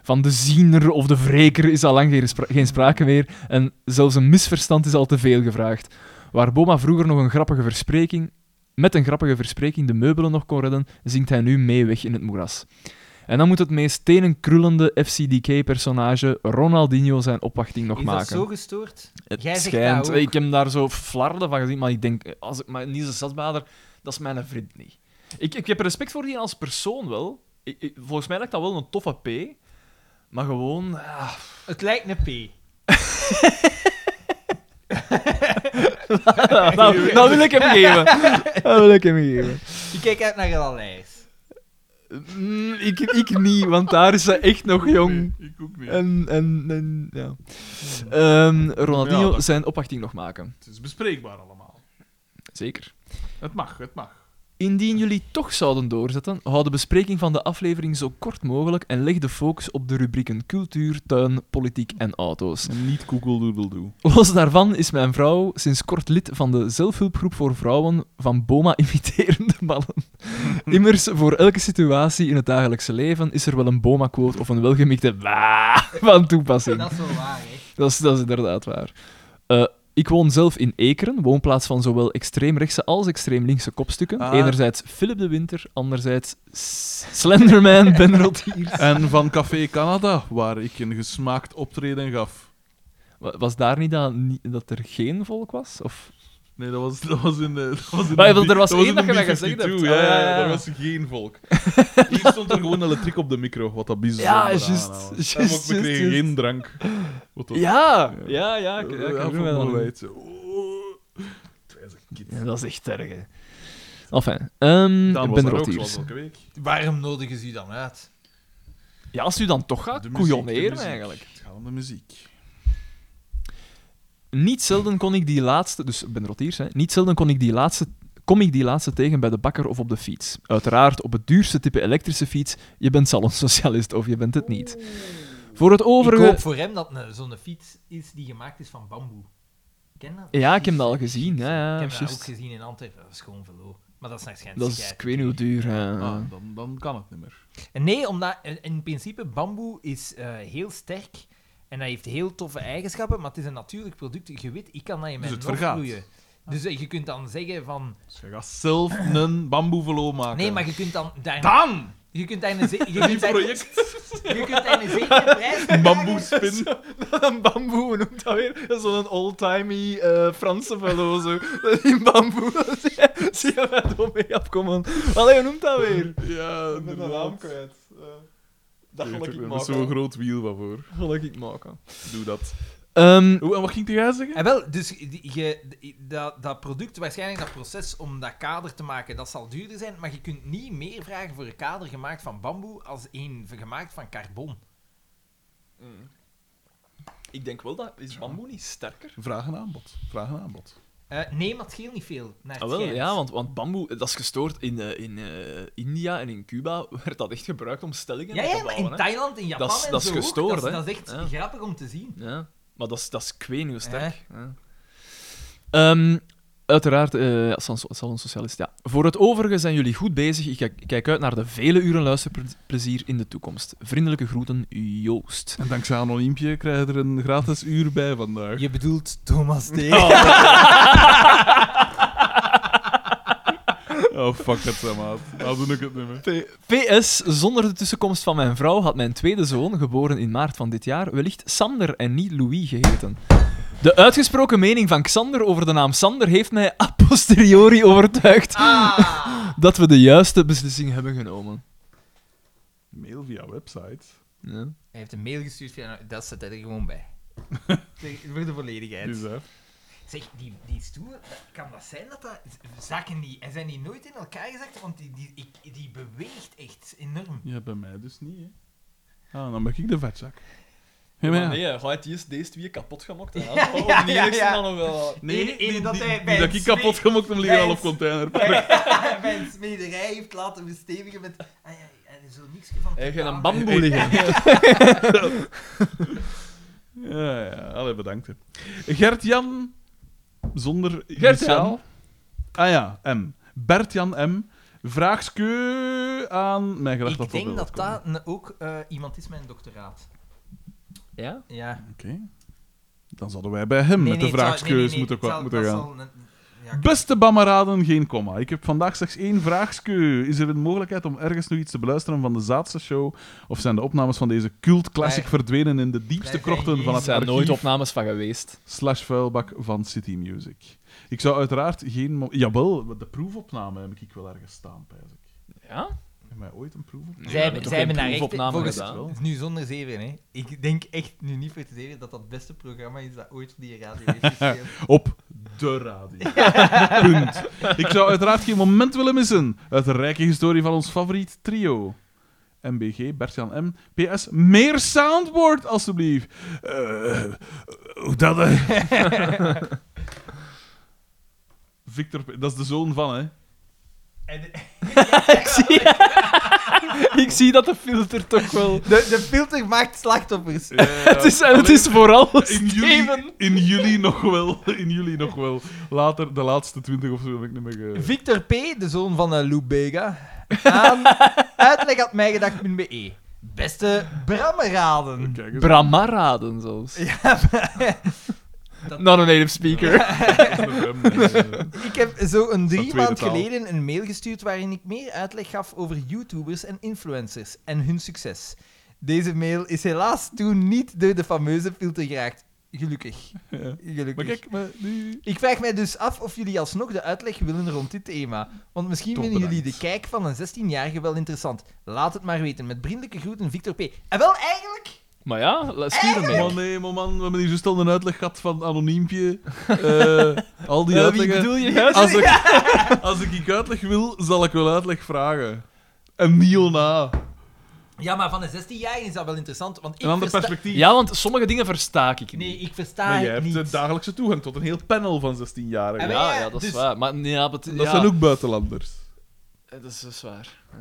A: Van de ziener of de wreker is al lang geen, spra- geen sprake meer en zelfs een misverstand is al te veel gevraagd. Waar Boma vroeger nog een grappige verspreking met een grappige verspreking de meubelen nog kon redden, zinkt hij nu mee weg in het moeras. En dan moet het meest tenenkrullende FCDK-personage Ronaldinho zijn opwachting nog
B: Is
A: maken.
B: dat zo gestoord?
A: Het
B: Jij zegt
A: schijnt.
B: dat ook.
A: Ik heb daar zo flarden van gezien, maar ik denk, eh, als ik maar niet zo zatbader, dat is mijn vriend niet. Ik, ik heb respect voor die als persoon wel. Ik- ik- volgens mij lijkt dat wel een toffe P, maar gewoon. ah,
B: Het lijkt een P.
A: dat, dat wil ik hem geven. Dat wil ik hem geven.
B: Je kijkt uit naar een lijst.
A: Mm, ik, ik niet, want daar is ze echt nog jong.
C: Ik ook niet.
A: En, en, en ja. Ehm, Ronaldinho
C: Ja, dat-
A: zijn opwachting nog maken.
C: Het is bespreekbaar allemaal.
A: Zeker.
C: Het mag, het mag.
A: Indien jullie toch zouden doorzetten, hou de bespreking van de aflevering zo kort mogelijk en leg de focus op de rubrieken cultuur, tuin, politiek en auto's.
C: Niet Google Doodle Doo.
A: Los daarvan is mijn vrouw sinds kort lid van de zelfhulpgroep voor vrouwen van Boma-imiterende mannen. Immers, voor elke situatie in het dagelijkse leven is er wel een Boma-quote of een welgemikte wa van toepassing.
B: Dat is wel waar, hè.
A: Dat is, dat is inderdaad waar. Eh, ik woon zelf in Ekeren, woonplaats van zowel extreemrechtse als extreemlinkse kopstukken.
C: Ah.
A: Enerzijds Philip de Winter, anderzijds S- Slenderman, Ben Rotiers.
C: En van Café Canada, waar ik een gesmaakt optreden gaf.
A: Wa- Was daar niet dat, niet dat er geen volk was? Of...
C: Nee, dat was, dat was in de. Dat was in
A: Maar
C: de
A: er was
C: B-
A: één
C: in
A: dat
C: de
A: je mij
C: B52,
A: gezegd hebt.
C: Ja,
A: Ah,
C: ja,
A: ja, ja.
C: daar was geen volk. Hier stond er gewoon elektriek op de micro, wat dat bizar
A: Ja,
C: is.
A: juist, juist,
C: We kregen
A: juist, juist.
C: geen drank. Wat dat-
A: Ja, ja, ja. ik-
C: Ja,
A: ja,
C: ja,
A: ik
C: van
A: herinner me dat nog.
C: Marleid. Oeh. Het was een kind.
A: Ja, dat is echt erg. hè. Enfin,
C: Daan was
A: ehm, Ben Ah,
C: daar ook,
A: Rotiers.
C: zoals elke week.
B: Waarom nodigen ze u dan uit?
A: Ja, als u dan toch gaat
C: De muziek, de
A: couilloneren
C: muziek.
A: eigenlijk.
C: Het gaat om de muziek.
A: Niet zelden kon ik die laatste, dus ik ben rotiers, hè, niet zelden kon ik die laatste, kom ik die laatste tegen bij de bakker of op de fiets. Uiteraard op het duurste type elektrische fiets. Je bent salonsocialist of je bent het niet. Voor het
B: Ik
A: overige.
B: hoop voor hem dat een- zo'n fiets is die gemaakt is van bamboe. Ken dat?
A: Ja, ik heb
B: Fiets,
A: dat al
B: eh,
A: gezien,
B: fiets,
A: ja,
B: eh.
A: ja,
B: Ik heb dat
A: juist.
B: ook gezien in Antwerpen. Dat is gewoon verloren. Maar dat is waarschijnlijk
A: Dat is, ik weet niet hoe duur. eh, hè.
C: Ah, dan, dan kan het niet meer.
B: En Nee, omdat eh, in principe bamboe is eh, heel sterk en dat heeft heel toffe eigenschappen, maar het is een natuurlijk product. Je weet, ik kan dat in mijn
C: het
B: nog
C: vergaat.
B: vloeien. Dus eh, je kunt dan zeggen van...
C: Dus je gaat zelf een bamboevelo maken.
B: Nee, maar je kunt dan... Daar,
C: Dan!
B: Je kunt daar een, ze- je
C: Die
B: kunt daar-
C: project.
B: je kunt daar een zekere prijs...
C: Een bamboespin.
A: Een bamboe, hoe noemt dat weer? Dat is Zo'n oldtimey eh Franse fellow zo. In bamboe. Zie je wat om mee afkomen? Allee, hoe noemt dat weer?
C: Ja,
A: Ik ben de naam kwijt. Eh, dat ga ik
C: Met zo'n
A: maken.
C: groot wiel van voor.
A: Dat ga ik maken. Eh,
C: Doe dat.
A: Ehm,
C: Hoe, en wat ging jij zeggen?
B: En wel, dus die- je, die- dat, dat product, waarschijnlijk dat proces om dat kader te maken, dat zal duurder zijn, maar je kunt niet meer vragen voor een kader gemaakt van bamboe als een gemaakt van carbon.
A: ik denk wel dat is bamboe niet sterker.
C: Vraag en aanbod. Vraag en aanbod.
B: Eh, nee, maar het scheelt niet veel. Naar het
A: Ah, wel,
B: schijnt.
A: ja, want, want bamboe, dat is gestoord in, eh, in eh, India en in Cuba, werd dat echt gebruikt om stellingen
B: Ja,
A: te
B: ja, maar
A: bouwen.
B: in
A: hè.
B: Thailand, in Japan
A: Dat is-
B: en
A: dat is
B: zo ook.
A: gestoord,
B: dat, is-
A: hè?
B: dat is echt
A: Ja.
B: grappig om te zien.
A: Ja, maar dat is, dat is kween hoe sterk. Ja. Ehm, uiteraard, eh salonsocialist, ja. Voor het overige zijn jullie goed bezig. Ik kijk, ik kijk uit naar de vele uren luisterplezier in de toekomst. Vriendelijke groeten, Joost.
C: En dankzij Anoniempje krijg je er een gratis uur bij vandaag.
B: Je bedoelt Thomas D.
C: Oh, fuck dat, zeg maar. Nou doe ik het niet meer.
A: PS, zonder de tussenkomst van mijn vrouw had mijn tweede zoon, geboren in maart van dit jaar, wellicht Sander en niet Louis geheten. De uitgesproken mening van Xander over de naam Sander heeft mij a posteriori overtuigd dat we de juiste beslissing hebben genomen.
C: Mail via website.
A: Ja.
B: Hij heeft een mail gestuurd, via, dat zet hij er gewoon bij. Zeg, Voor de volledigheid.
C: Dus, hè.
B: Zeg, die, die stoelen, dat- kan dat zijn dat dat... Zakken die, en zijn die nooit in elkaar gezakt? Want die, die, ik- die beweegt echt enorm.
C: Ja, bij mij dus niet, hè. Ah, dan ben ik de vetzak. Ja, maar
A: Maar
C: ja.
A: nee, hij had eerst deze twee kapot gemaakt. hè.
B: Ja,
A: Oh,
B: ja,
A: die
B: ja,
A: eerste
B: ja.
A: dan nog wel.
B: Nee, Eén- één
C: die,
B: dat
C: die-
B: hij
C: die
B: bij
C: dat
B: een
C: ik kapot
B: smee-
C: gemokt heb liggen
B: bij
C: al
B: een
C: op container.
B: Bij een smederij heeft laten bestedigen met... Ah, ja, en zo niks van...
A: Hij ging
B: teflon.
A: een bamboe liggen.
C: Ja, ja. Allee, bedankt. hè. Gert-Jan... Zonder...
A: Gert-Jan.
C: initiaal. Ah ja, M. Bert-Jan M. Vraagske aan... Mijn gedacht
B: Ik denk
C: wel
B: dat
C: komt.
B: dat een- ook eh, iemand is met een doctoraat.
A: Ja?
B: Ja.
C: Oké. Dan zouden wij bij hem
B: Nee,
C: met
B: nee,
C: de
B: het zou-
C: vraagskeus
B: nee, nee, nee,
C: moeten,
B: het zal-
C: moeten
B: dat
C: gaan.
B: zal een- ja.
C: Beste Bamaraden, geen komma. Ik heb vandaag slechts één vraagsku. Is er een mogelijkheid om ergens nog iets te beluisteren van de Zaadse show? Of zijn de opnames van deze cult classic
B: Nee.
C: verdwenen in de diepste
B: Nee,
C: krochten
B: nee,
C: van
A: Er
C: het
A: zijn nooit
C: archief
A: opnames van geweest.
C: slash vuilbak van City Music? Ik zou uiteraard geen... mo- Jawel, de proefopname heb ik wel ergens staan, pijs ik.
A: Ja?
C: Heb mij ooit een proefopname?
B: Zij hebben
A: toch
B: zij hebben
A: geen
B: daar echt...
A: proefopname
B: Volgens,
A: gedaan?
B: het is nu zonder zeven, hè. Ik denk echt nu niet voor te zeven dat dat het beste programma is dat ooit op die radio heeft gespeeld.
C: Op de radio. Punt. Ik zou uiteraard geen moment willen missen uit de rijke historie van ons favoriet trio. MBG, Bertjan M. PS, meer soundboard, alstublieft. Eh, Hoe dat... eh. Victor, P- dat is de zoon van, hè?
B: En de,
A: ik, zie... ik zie dat de filter toch wel...
B: de, de filter maakt slachtoffers.
A: Het is, en het is vooral
C: Eh, In juli,
A: Steven.
C: in juli nog wel. In juli nog wel. Later, de laatste twintig of zo, heb ik niet meer... eh, ge-
B: Victor P., de zoon van eh, Lou Bega, aan uitleg.mijgedacht.be. E. Beste brammeraden.
C: Kijk eens.
A: Bramaraden zelfs. Not a native speaker.
C: eh,
B: Ik heb zo een drie
C: tweede
B: maand
C: taal.
B: geleden een mail gestuurd waarin ik meer uitleg gaf over YouTubers en influencers en hun succes. Deze mail is helaas toen niet door de fameuze filter geraakt. Gelukkig.
C: Ja.
B: Gelukkig.
C: Maar kijk, maar nu...
B: Ik vraag mij dus af of jullie alsnog de uitleg willen rond dit thema. Want misschien
C: Toch
B: vinden jullie de
C: bedankt.
B: kijk van een 16-jarige wel interessant. Laat het maar weten. Met vriendelijke groeten, Victor P. En wel, eigenlijk...
A: Maar ja, la- stuur hem
C: Man,
A: mee.
C: nee, maar man, we hebben hier zo snel een uitleg gehad van Anoniempje. Eh, al die
A: Eh, wie
C: uitleggen.
A: bedoel je juist?
C: Als ik, als ik ik uitleg wil, zal ik wel uitleg vragen. En niet na.
B: Ja, maar van een 16-jarige is dat wel interessant, want ik
C: Een ander
B: versta...
C: perspectief.
A: Ja, want sommige dingen verstaak ik niet.
B: Nee, ik versta
C: maar jij
B: het
C: hebt
B: niet.
C: de dagelijkse toegang tot een heel panel van
B: En wij-
C: 16-jarigen.
B: Ja,
A: Ja, ja, dat is
B: dus-
A: waar. Maar, nee, ja, Dus dat,
C: Dat zijn ook buitenlanders.
A: Eh, Dat is, dat is waar. Ja.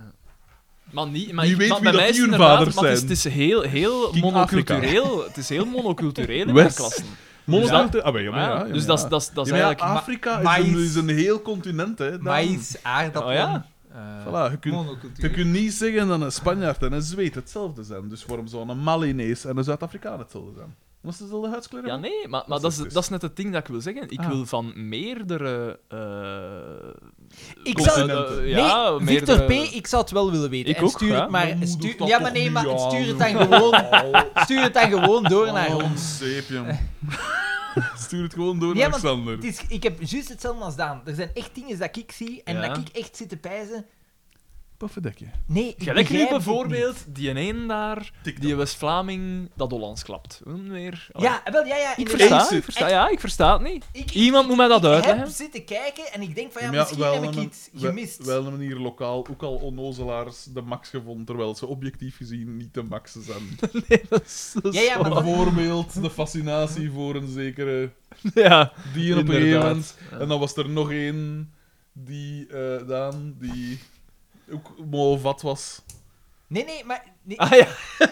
A: Maar niet, maar
C: Wie
A: ik-
C: weet
A: maar
C: wie
A: bij
C: dat
A: mij is
C: die
A: het
C: hun
A: inderdaad-
C: vaders
A: maar het is-
C: zijn.
A: Het is heel, heel
C: King
A: monocultureel. Het is heel monocultureel in mijn
C: West.
A: klassen.
C: Monocultuur. Ah, maar ja, maar ja, ja,
A: dus
C: maar
A: dat
C: ja.
A: is- dat is dat is
C: Ja, maar ja, ah,
A: eigenlijk...
C: Afrika
B: ma-
C: is een,
B: maïs.
C: is een heel continent, hè. Daarom.
B: Maïs, aardappelen...
A: Oh ja?
B: eh,
C: Voilà, je kunt-
B: monocultuur.
C: Je kunt niet zeggen dat een Spanjaard en een Zweed hetzelfde zijn. Dus waarom zou een Malinees en een Zuid-Afrikaan hetzelfde zijn? Omdat ze dezelfde huidskleur
A: Ja,
C: hebben?
A: nee, maar, maar
C: Dat
A: dat,
C: is
A: is,
C: dus-
A: dat is net het ding dat ik wil zeggen. Ik
C: Ah.
A: wil van meerdere... eh,
B: Ik
A: eh,
B: zal-
A: eh,
C: Nee,
A: ja,
B: nee,
A: meerdere-
B: Victor P., ik zou het wel willen weten.
A: Ik
B: en
A: ook,
B: stuur
A: hè?
B: het maar...
C: Mijn moeder
B: Stuur...
C: staat
B: Ja, maar
C: toch
B: nee,
C: niet
B: maar
C: aan,
B: stuur het
C: joh.
B: dan gewoon... Stuur het dan gewoon door naar
C: Oh,
B: ons.
C: zeep, jong. Stuur het gewoon door
B: Ja,
C: naar
B: want
C: Alexander.
B: Het is, ik heb juist hetzelfde als Daan. Er zijn echt dingen dat ik zie en
A: Ja.
B: dat ik echt zit te pijzen.
C: Paffedekje.
B: Nee, ik
A: Gelijk nu
B: begrijp het
A: bijvoorbeeld die een daar, die West-Vlaming, dat Hollands klapt. Hoe noem je hem weer? Oh,
B: niet. Ja, wel, ja, ja.
A: ik
B: inderdaad.
A: versta,
C: Eens.
A: ik versta, ja, ik versta het niet.
B: Ik- ik-
A: Iemand moet mij dat
B: Ik heb
A: uitleggen.
B: zitten kijken en ik denk van ja, misschien heb ik iets gemist.
C: Wel een manier lokaal, ook al onnozelaars de max gevonden, terwijl ze objectief gezien niet de maxen zijn.
B: ja, ja, maar
C: Bijvoorbeeld de fascinatie voor een zekere
A: Ja.
C: die op een gegeven
A: Inderdaad,
C: moment.
A: ja.
C: En dan was er nog één die, eh, Daan, die ook mooi vat was. Ah,
B: Nee, nee, maar, nee,
A: Ah ja.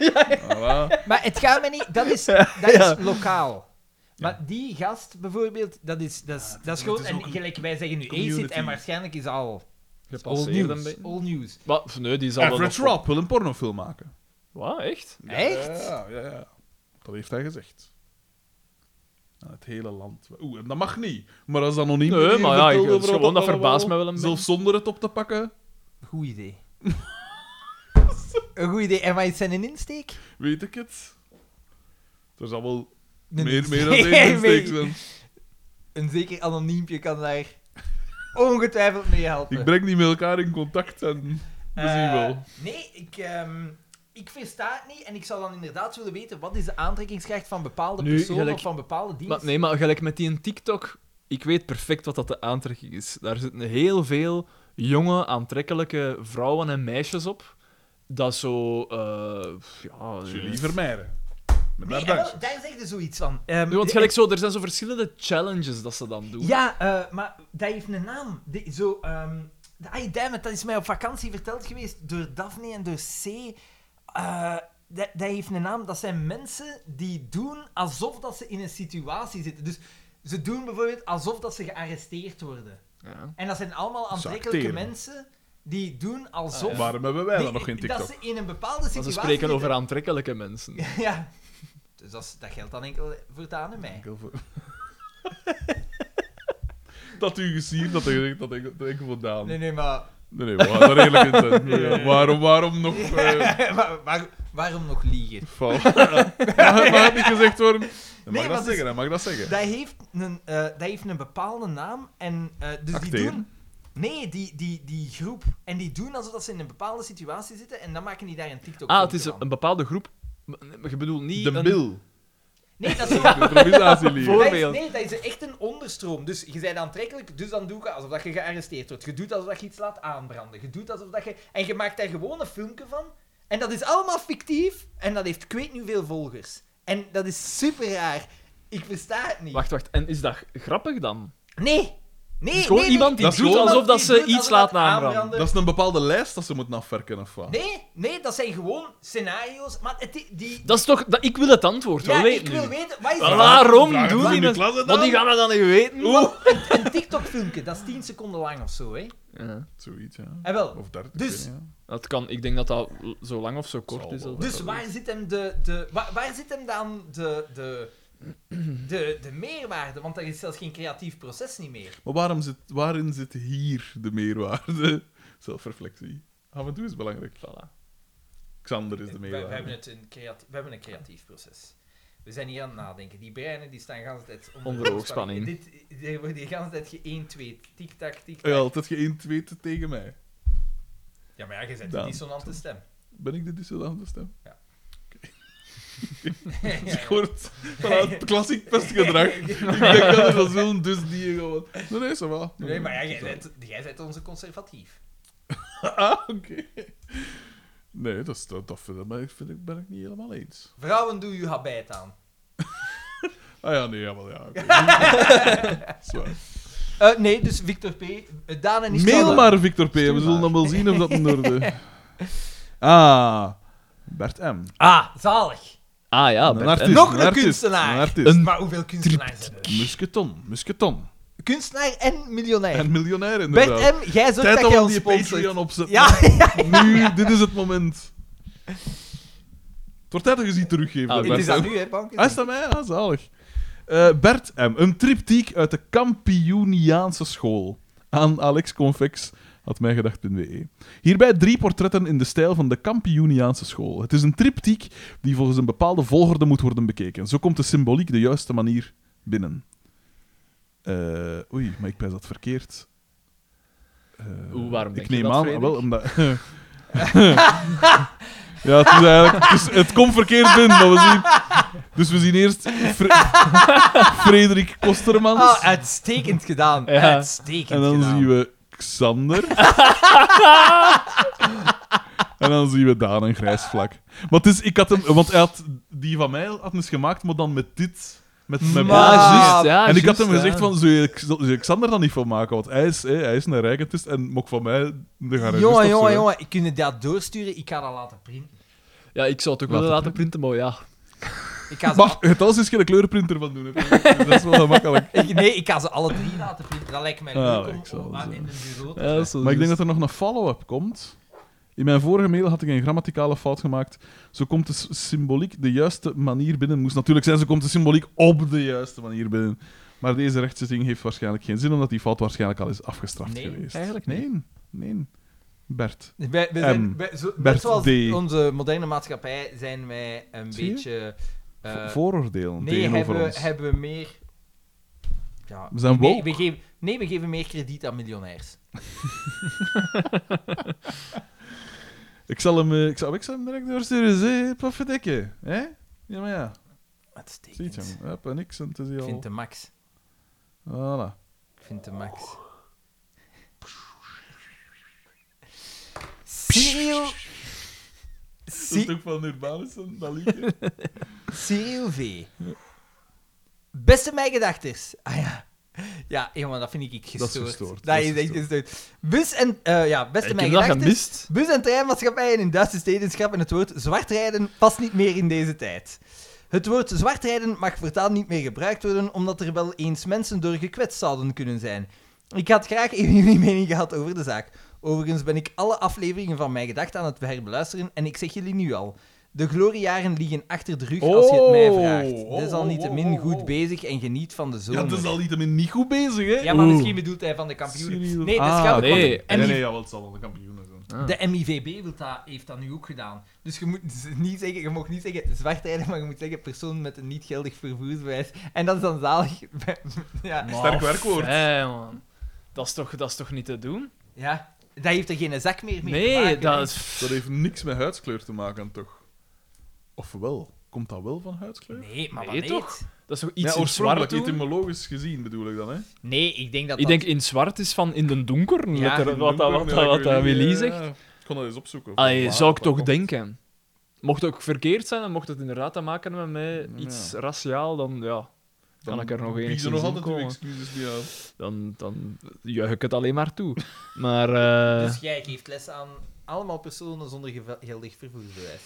C: Voilà.
B: maar het gaat me niet... Dat is, dat
A: Ja.
B: is lokaal. Maar die gast bijvoorbeeld, dat is, dat is, dat is gewoon...
C: is ook
B: en
C: een
B: gelijk, wij zeggen nu
C: community.
B: ACID en waarschijnlijk is al all
A: Gepasseerd een
B: news.
A: beetje.
B: All news.
A: Wat? Nee, die zal wel
C: Average
A: nog-
C: Rob wil een pornofilm maken.
A: Wat? Echt?
B: Echt?
C: Ja, ja, ja. Dat heeft hij gezegd. Aan het hele land. Oeh, en dat mag niet. Maar als anoniem...
A: Nee,
C: hier
A: maar ja,
C: vertelde
A: ik-
C: over
A: gewoon,
C: wat
A: dat
C: allemaal,
A: verbaast mij wel een
C: Zelfs zonder het op te pakken.
B: Goed idee. Een goed idee. En wat is zijn een insteek?
C: Weet ik het. Er zal wel
B: Een
C: meer, meer
B: insteek.
C: dan één insteek
B: Nee.
C: zijn.
B: Een zeker anoniempje kan daar ongetwijfeld mee helpen.
C: Ik breng die met elkaar in contact en we zien
B: Eh,
C: wel.
B: Nee, ik, ehm, ik versta het niet en ik zou dan inderdaad willen weten wat is de aantrekkingskracht van bepaalde
A: Nu,
B: personen
A: gelijk-
B: of van bepaalde diensten.
A: Maar, nee, maar gelijk met die TikTok, ik weet perfect wat dat de aantrekking is. Daar zitten heel veel jonge, aantrekkelijke vrouwen en meisjes op. Dat zo... eh ja,
C: Julie Vermeijden. Met
B: Nee,
C: haar
B: en wel,
C: dansjes.
B: daar zeg je zoiets van. Ehm,
A: Nu, want
B: de-
A: gelijk zo, er zijn zo verschillende challenges dat ze dan doen.
B: Ja, eh, maar dat heeft een naam. Die- zo, ehm ay, damn it, dat is mij op vakantie verteld geweest door Daphne en door C. Eh, dat, dat heeft een naam. Dat zijn mensen die doen alsof dat ze in een situatie zitten. Dus ze doen bijvoorbeeld alsof dat ze gearresteerd worden.
A: Ja.
B: En dat zijn allemaal aantrekkelijke
C: acteren.
B: mensen die doen alsof...
C: Waarom hebben wij dan
B: die-
C: nog geen TikTok?
B: Dat ze in een bepaalde situatie...
A: Maar ze spreken
B: zitten.
A: over aantrekkelijke mensen.
B: ja. Dus dat, is- dat geldt dan enkel voortaan aan mij.
C: Enkel voor- dat u gezien dat ik dat ik dat ik vandaan.
B: Nee, nee, maar,
C: Nee, nee, we gaan daar redelijk in zijn. Ja, Waarom, waarom nog? eh,
B: maar waar- waarom nog liegen?
C: val? mag, mag het niet gezegd worden? Hij mag
B: Nee,
C: dat
B: want
C: zeggen, hij mag dat zeggen.
B: Dat heeft een, eh, dat heeft een bepaalde naam. En, eh, dus die
C: Acteren.
B: doen. Nee, die, die, die groep. En die doen alsof dat ze in een bepaalde situatie zitten. En dan maken die daar een TikTok
A: Ah, het is een,
B: filmpje
A: een
B: van.
A: bepaalde groep. Maar Je bedoelt niet
C: De
A: een...
C: mil.
B: Nee, dat is, zo-
C: Improvisatielied.
B: dat is,
A: Voorbeeld.
B: nee, dat is echt een onderstroom. Dus je bent aantrekkelijk, dus dan doe je alsof dat je gearresteerd wordt. Je doet alsof dat je iets laat aanbranden. Je doet alsof dat je... En je maakt daar gewoon een filmpje van. En dat is allemaal fictief. En dat heeft ik weet niet hoeveel volgers. En dat is super raar. Ik versta het niet.
A: Wacht, wacht. En is dat grappig dan?
B: Nee. Nee,
A: is gewoon
B: nee, nee.
A: iemand die
C: Dat is
A: doet
C: gewoon-
A: alsof dat
B: Die
A: ze
B: doet
A: iets
B: alsof
A: laat
B: dat
A: aanbranden.
B: aanbranden.
C: Dat is een bepaalde lijst dat ze moeten afwerken, of wat?
B: Nee, nee, dat zijn gewoon scenario's. Maar het, i- die...
A: Dat is toch... Dat, ik wil het antwoord wel
B: ja,
A: weten
B: ik wil
A: nu.
B: weten... Wat is
A: Voilà,
B: dat?
A: Waarom
C: Vraag het
A: doen
C: eens
A: die
C: in de
A: mensen...
C: klas en
A: Want die
C: dan.
A: gaan dat dan niet weten.
B: Een, een TikTok-filmpje, dat is 10 seconden lang of zo, hè.
A: Ja.
C: Zoiets, ja.
B: En wel.
C: Of 30.
B: Dus-
C: ik weet niet,
A: Dat kan... Ik denk dat dat zo lang of zo kort
C: Zal
A: is.
C: wel.
A: als-
B: Dus waar zit hem, de, de, waar, waar zit hem dan de, de, de, de meerwaarde? Want er is zelfs geen creatief proces niet meer.
C: ja. Maar waarom zit, waarin zit hier de meerwaarde? Zelfreflectie. Af en toe is belangrijk.
A: Voilà.
C: Xander is Dus
B: We,
C: de
B: we,
C: meerwaarde.
B: hebben het een creati- we hebben een creatief proces. We zijn hier aan het nadenken. Die breinen die staan de hele tijd onder,
A: Onder hoogspanning.
B: Dit, er wordt die hele tijd ge 1-2, tik-tak, tik-tak.
C: Ja, altijd geen tweet tegen mij.
B: Ja, maar ja, je zet die
C: Dan.
B: dissonante stem.
C: Ben ik de dissolante stem?
B: Ja.
C: Oké. ik hoor het vanuit klassiek pestgedrag. ik denk dat we dat zullen, dus die gewoon... Nee, nee, zo wel.
B: Nee, maar ja, jij bent, jij bent onze conservatief.
C: Ah, oké. Nee, dat, is- dat, dat vind, ik- maar ik, vind ik, ben ik niet helemaal eens.
B: Vrouwen, doe je habit aan.
C: Ah ja, nee, ja, wel ja. oké. Zwaar.
B: Eh, nee, dus Victor P. eh, Daan en ik
C: Mail
B: zouden-
C: maar, Victor P. We
B: Stuur
C: zullen
B: maar.
C: dan wel zien of dat in orde... Ah, Bert M.
B: Ah, zalig.
A: Ah ja,
C: Een
A: Bert
C: artiest,
A: M.
B: Nog een
C: artiest,
B: kunstenaar.
C: Een artiest.
B: maar hoeveel kunstenaars zijn er?
C: Musketon, musketon.
B: Kunstenaar en miljonair.
C: En miljonair inderdaad.
B: Bert M., jij zorgt
C: Tijd
B: dat jij
C: om
B: ons
C: die
B: sponsort.
C: Patreon op te
B: Ja,
C: Nu, dit is het moment. Het wordt tijd dat je ze teruggeven.
A: Ah,
B: het
C: Bert
B: is
C: M.
B: aan u, hè, Bank.
C: Hij is aan mij, ah, zalig. Eh, Bert M. Een triptiek uit de Campioniaanse school. Aan Alex Convex, had mij E. Hierbij drie portretten in de stijl van de Campioniaanse school. Het is een triptiek die volgens een bepaalde volgorde moet worden bekeken. Zo komt de symboliek de juiste manier binnen. Eh, oei, maar ik pijs dat verkeerd. Eh,
A: Oeh, waarom
C: ik
A: denk je
C: neem
A: dat,
C: aan,
A: Frederik?
C: wel omdat. ja, het, is eigenlijk, het, is- het komt verkeerd binnen, maar we zien. Dus we zien eerst Fre- Frederik Kostermans.
B: Ah, uitstekend gedaan.
A: Ja.
B: Uitstekend
C: en dan
B: gedaan.
C: zien we Xander. en dan zien we Daan een grijs vlak. Want, het is, ik had hem, want hij had, die van mij had hem eens gemaakt, maar dan met dit. Met, met
B: Maar-
C: blaadjes.
B: juist,
C: en ik had hem gezegd van, zou je, zou je Xander dan niet van maken? Want hij is, hè, hij is een rijkentist en mok van mij de garagist of
B: Jongen,
C: zo,
B: jongen,
C: hè.
B: jongen. Ik kun je dat doorsturen. Ik ga dat laten printen.
A: Ja, ik zou het ook willen
C: Laten
A: laten printen, maar ja.
B: Ik ga ze,
C: Maar het alles is geen kleurenprinter van doen. hè. Dat is wel gemakkelijk.
B: ik- nee, ik ga ze alle drie laten printen. Dat lijkt mij
C: Ah,
B: leuk
C: ik
B: om,
C: zal
B: om
C: ze-
B: aan in een bureau te
A: Ja, dat is wel
C: Maar ik denk
A: juist.
C: dat er nog een follow-up komt. In mijn vorige mail had ik een grammaticale fout gemaakt. Zo komt de s- symboliek de juiste manier binnen. Moest natuurlijk zijn, zo komt de symboliek op de juiste manier binnen. Maar deze rechtszitting heeft waarschijnlijk geen zin, omdat die fout waarschijnlijk al is afgestraft
B: Nee,
C: geweest.
A: eigenlijk niet.
C: Nee, nee. Bert.
B: Wij, wij
C: M.
B: zijn, wij- zo- net
C: Bert
B: zoals
C: D.
B: onze moderne maatschappij zijn wij een
C: Zie je?
B: beetje... eh,
C: Vo- vooroordelen
B: nee,
C: tegenover
B: hebben,
C: ons.
B: hebben we meer... Ja,
C: We zijn
B: nee,
C: woke.
B: we geven, nee, we geven meer krediet aan miljonairs.
C: Ik zal hem, eh, ik zal, ik zal hem direct doorsturen. Zee, pafferdikke. Hè? Ja, maar ja. Ziet
B: Uitstekend.
C: hem. Hup, en niks. En het is hier
B: Ik
C: al...
B: vind de max.
C: Voilà.
B: Ik vind de max. Cyril...
C: Dat is
B: Cy-
C: toch van Urbanissen, dat liedje?
B: Cyril V. Beste mijn gedachters. Ah ja. Ja, jongen, dat vind ik gestoord.
C: Dat is gestoord,
B: Dat
C: dat is
B: is echt gestoord. Bus en... eh, ja, beste
A: Ik
B: mijn
A: heb dat
B: gedachters.
A: gemist.
B: Bus- en treinmaatschappijen in Duitse steden schrappen het woord zwart rijden past niet meer in deze tijd. Het woord zwart rijden mag voortaan niet meer gebruikt worden, omdat er wel eens mensen door gekwetst zouden kunnen zijn. Ik had graag even jullie mening gehad over de zaak. Overigens ben ik alle afleveringen van mijn gedachten aan het herbeluisteren en ik zeg jullie nu al. De gloriejaren liggen achter de rug als je het mij
C: Oh,
B: vraagt.
C: oh,
B: Dat is al
C: oh,
B: niet te
C: oh,
B: min
C: oh,
B: goed
C: oh.
B: bezig en geniet van de
C: Ja, dus
B: zomer.
C: het is al niet niet goed bezig, hè?
B: Ja, maar
A: Oeh.
B: misschien bedoelt hij van de kampioenen.
C: Serieus?
B: Nee, dat is
A: Ah,
B: grappig, want
A: nee.
B: de
C: nee,
B: MIV
C: nee, ja, wel, het zal wel de kampioenen zijn.
B: De MIVB wil dat, heeft dat nu ook gedaan. Dus je, moet z- niet zeggen, je mag niet zeggen zwartrijder, maar je moet zeggen persoon met een niet geldig vervoersbewijs. En dat is dan zalig. ja.
C: Sterk werkwoord.
A: Fijn, man. Dat is, toch, dat is toch niet te doen?
B: ja, dat heeft er geen zak meer mee te
A: nee,
B: maken, hè.
A: dat is...
C: Dat heeft niks met huidskleur te maken, toch? Of wel? Komt dat wel van huidskleur?
B: Nee, maar
A: Nee,
B: wat
A: toch?
B: weet?
A: Dat is toch Ah, iets
C: ja,
A: in zwart
C: oorspronkelijk,
A: doen?
C: etymologisch gezien bedoel ik dan, hè?
B: Nee, ik denk dat
A: Ik
B: dat-
A: denk in zwart is van in de donker.
B: Ja.
A: letter-
C: In
A: wat
C: donker,
A: dat, wat,
C: nee,
A: dat- wat
C: ik
A: dat
C: weet niet,
A: Willy
C: ja,
A: zegt.
C: ja. Ik kon dat eens opzoeken. of
A: Allee,
C: waar
A: zou ik
C: dat
A: toch
C: komt.
A: denken. Mocht het ook verkeerd zijn en mocht het inderdaad te maken hebben met iets raciaal, dan ja,
C: Dan
A: kan ik er nog
C: bieden
A: enigszins
C: nog
A: in
C: altijd uw
A: komen.
C: excuses bij jou.
A: Dan, dan juich ik het alleen maar toe. Maar eh,
B: Dus jij geeft les aan allemaal personen zonder geve- geldig vervoersbewijs.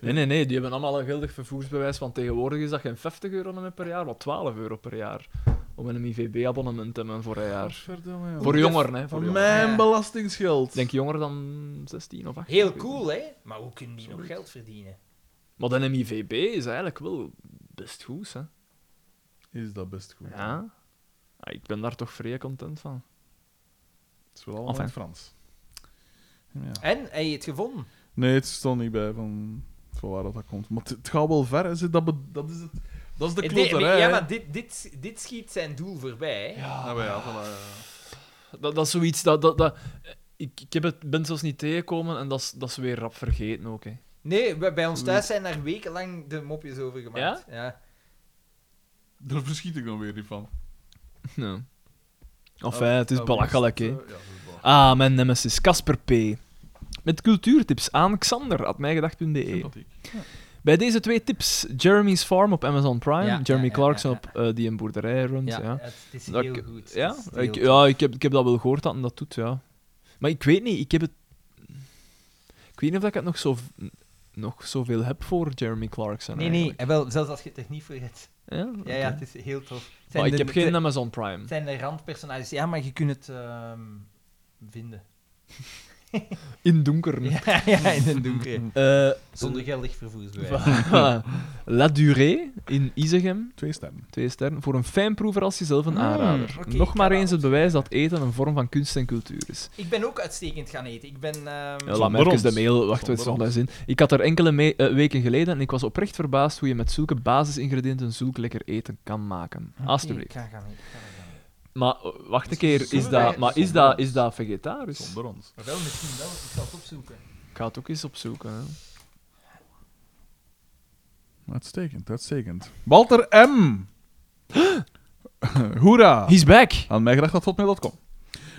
A: nee, nee, nee, die hebben allemaal een geldig vervoersbewijs, want tegenwoordig is dat geen 50 euro meer per jaar, maar 12 euro per jaar. Om een MIVB-abonnement te hebben voor een jaar.
C: Godverdomme, ja.
A: Voor jongeren, hè. Voor
C: Van
A: jongeren.
C: mijn
B: Ja.
C: belastingsgeld.
A: Ik denk jonger dan 16 of 18.
B: Heel cool, hè? Maar hoe kunnen die nog geld verdienen?
A: Maar de MIVB is eigenlijk wel best goed, hè.
C: Is dat best goed.
A: Ja. Ah, Ik ben daar toch vrij content van.
C: Het is wel allemaal in
A: Enfin.
C: het Frans. Ja.
B: En, heb je het gevonden?
C: Nee, het stond niet bij van, van waar dat komt. Maar het, het gaat wel ver, hè. Zit Dat, be- dat, is, het, dat is de
B: Eh, nee,
C: kloterij.
B: ja,
C: hè.
B: maar dit, dit, dit schiet zijn doel voorbij, hè?
C: Ja, maar ja, voilà, ja.
A: Dat, dat is zoiets dat. dat, dat ik ik heb het, ben zelfs niet tegengekomen en dat is, dat is weer rap vergeten ook. Hè.
B: Nee, bij, bij ons thuis zijn daar wekenlang de mopjes over gemaakt. Ja?
C: Daar verschiet ik dan weer niet van. Ah,
A: Ja. Enfin, eh, het is belachelijk.
C: eh, Ja,
A: Hè.
C: dat is eh, belachelijk.
A: Ah, mijn nemesis Casper P. Met cultuurtips aan xander.mijgedacht.be.
C: Sympathiek.
A: e. Bij deze twee tips: Jeremy's Farm op Amazon Prime,
B: Ja,
A: Jeremy
B: ja, ja,
A: Clarkson
B: ja,
A: op eh, die een boerderij runt. Ja.
B: Het is
A: Dat
B: heel
A: ik-
B: goed.
A: Ja,
B: Het is heel
A: ik,
B: goed.
A: ja ik, heb, ik heb dat wel gehoord dat hij dat doet, ja. Maar ik weet niet, ik heb het... Ik weet niet of ik het nog, zo, nog zoveel heb voor Jeremy Clarkson.
B: Nee, nee,
A: eigenlijk.
B: eh, wel, zelfs als je het er niet voor hebt.
A: Ja,
B: Ja,
A: Oké.
B: ja, het is heel tof. Het
A: Maar ik
B: de-
A: heb geen
B: het
A: Amazon Prime.
B: zijn de randpersonages. Ja, maar je kunt het ehm, vinden.
A: In donker.
B: Ja, ja, in den donkere.
A: Eh,
B: Zonder geldig vervoersbewijs.
A: La Durée in Isegem,
C: Twee sterren.
A: twee sterren, voor een fijnproever als jezelf een aanrader.
B: Ah, oké,
A: Nog
B: ik
A: maar
B: ga
A: eens
B: dat
A: het bewijs dat eten een vorm van kunst en cultuur is.
B: Ik ben ook uitstekend gaan eten. Ik ben... ehm,
A: Ja,
C: Zonder
A: laat mij even
C: ons.
A: de mail. Wacht,
C: Zonder
A: wat stond daar zin? Ik had er enkele me- eh, weken geleden en ik was oprecht verbaasd hoe je met zulke basisingrediënten zulk lekker eten kan maken.
B: Ik
A: Alsjeblieft.
B: ga gaan eten. ik ga gaan eten.
A: Maar eh, wacht een keer, is
B: Zonder
A: dat,
B: ons.
A: maar is dat, is dat vegetarisch?
C: Zonder ons.
B: Maar wel, misschien wel. Ik zal het opzoeken.
A: Ik ga het ook eens opzoeken. Hè.
C: Uitstekend, uitstekend. Walter M. Hoera!
A: He's back!
C: Aan mij gedacht dat hotmail.com.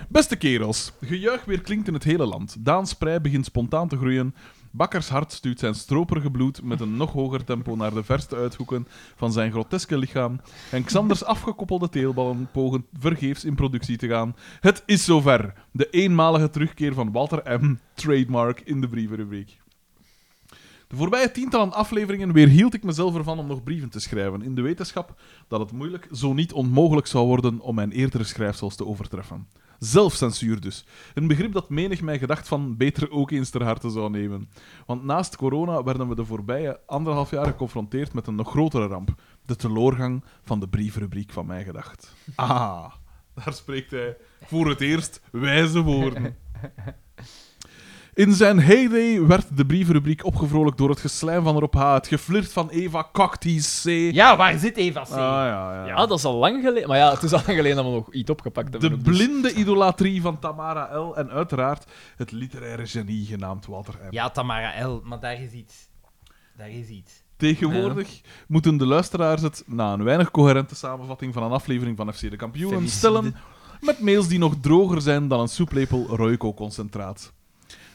C: Beste kerels, gejuich weer klinkt in het hele land. Daan Sprei begint spontaan te groeien. Bakkers hart stuurt zijn stroperige bloed met een nog hoger tempo naar de verste uithoeken van zijn groteske lichaam. En Xanders afgekoppelde teelballen pogen vergeefs in productie te gaan. Het is zover. De eenmalige terugkeer van Walter M. Trademark in de brievenrubriek. De voorbije tientallen afleveringen weerhield ik mezelf ervan om nog brieven te schrijven, in de wetenschap dat het moeilijk, zo niet onmogelijk zou worden om mijn eerdere schrijfsels te overtreffen. Zelfcensuur dus. Een begrip dat menig mij gedacht van beter ook eens ter harte zou nemen. Want naast corona werden we de voorbije anderhalf jaar geconfronteerd met een nog grotere ramp. De teleurgang van de brievenrubriek van mij gedacht. Ah, daar spreekt hij voor het eerst wijze woorden. In zijn heyday werd de brievenrubriek opgevrolijkt door het geslijm van Rob H., het geflirt van Eva Cactus C.
B: Ja, waar zit Eva C?
C: Ah, ja, ja.
A: Ja, dat is al lang geleden. Maar ja, het is al lang geleden dat we nog iets opgepakt hebben.
C: De
A: ook, dus-
C: blinde idolatrie van Tamara L. En uiteraard het literaire genie genaamd Walter M.
B: Ja, Tamara L. Maar daar is iets. Daar is iets.
C: Tegenwoordig moeten de luisteraars het, na een weinig coherente samenvatting van een aflevering van FC De Kampioenen, stellen met mails die nog droger zijn dan een soeplepel Royco-concentraat.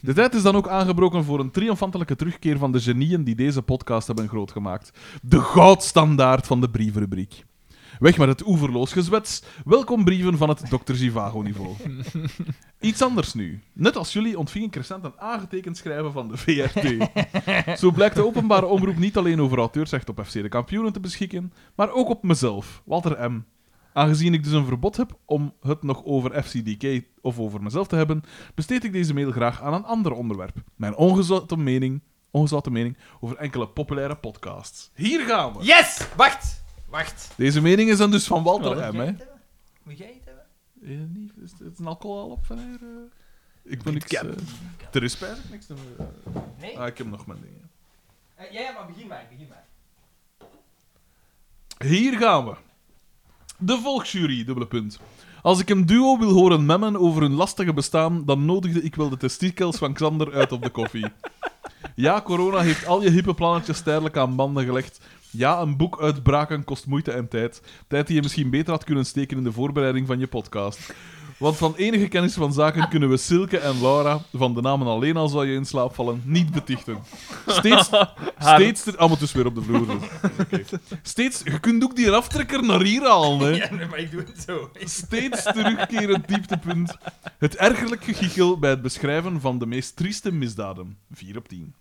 C: De tijd is dan ook aangebroken voor een triomfantelijke terugkeer van de genieën die deze podcast hebben grootgemaakt. De goudstandaard van de brievenrubriek. Weg met het oeverloos gezwets. Welkom brieven van het Dr. Zivago-niveau. Iets anders nu. Net als jullie ontving ik recent een aangetekend schrijven van de VRT. Zo blijkt de openbare omroep niet alleen over auteursrecht op FC de kampioenen te beschikken, maar ook op mezelf, Walter M. Aangezien ik dus een verbod heb om het nog over FCDK of over mezelf te hebben, besteed ik deze mail graag aan een ander onderwerp. Mijn ongezouten mening ongezouten mening over enkele populaire podcasts. Hier gaan we!
B: Yes! Wacht! Wacht.
C: Deze mening is dan dus van Walter
B: Moet
C: M.
B: jij
C: Hè?
B: het hebben? Moet jij het hebben?
C: Is het niet- Is het een alcohol op van hier? eh? Ik ben niks... eh, er is spijs niks te...
B: Nee?
C: Ah, ik heb nog mijn dingen.
B: Eh, ja, ja, maar begin maar. Begin maar.
C: Hier gaan we. De volksjury, dubbele punt. Als ik een duo wil horen memmen over hun lastige bestaan, dan nodigde ik wel de testikels van Xander uit op de koffie. Ja, corona heeft al je hippe plannetjes tijdelijk aan banden gelegd. Ja, een boek uitbraken kost moeite en tijd. Tijd die je misschien beter had kunnen steken in de voorbereiding van je podcast. Want van enige kennis van zaken kunnen we Silke en Laura, van de namen alleen al zou je in slaap vallen, niet betichten. Steeds... steeds ter- ah, maar het is weer op de vloer. dus. Oké. Steeds... Je kunt ook die aftrekker naar hier halen, hè
B: Ja, nee, maar ik doe het zo.
C: steeds terugkerend dieptepunt. Het ergerlijk gegichel bij het beschrijven van de meest trieste misdaden. 4 op 10.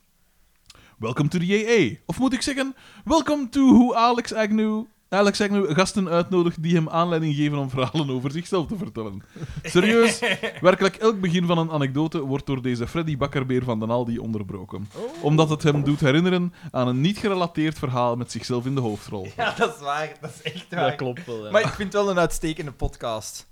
C: Welcome to the JA. Of moet ik zeggen, welcome to hoe Alex Agnew... Alex Agnew gasten uitnodigt die hem aanleiding geven om verhalen over zichzelf te vertellen. Serieus, werkelijk elk begin van een anekdote wordt door deze Freddy Bakkerbeer van den Aldi onderbroken. Omdat het hem doet herinneren aan een niet gerelateerd verhaal met zichzelf in de hoofdrol.
B: Ja, dat is waar. Dat is echt waar.
D: Dat klopt wel, ja.
B: Maar ik vind het wel een uitstekende podcast.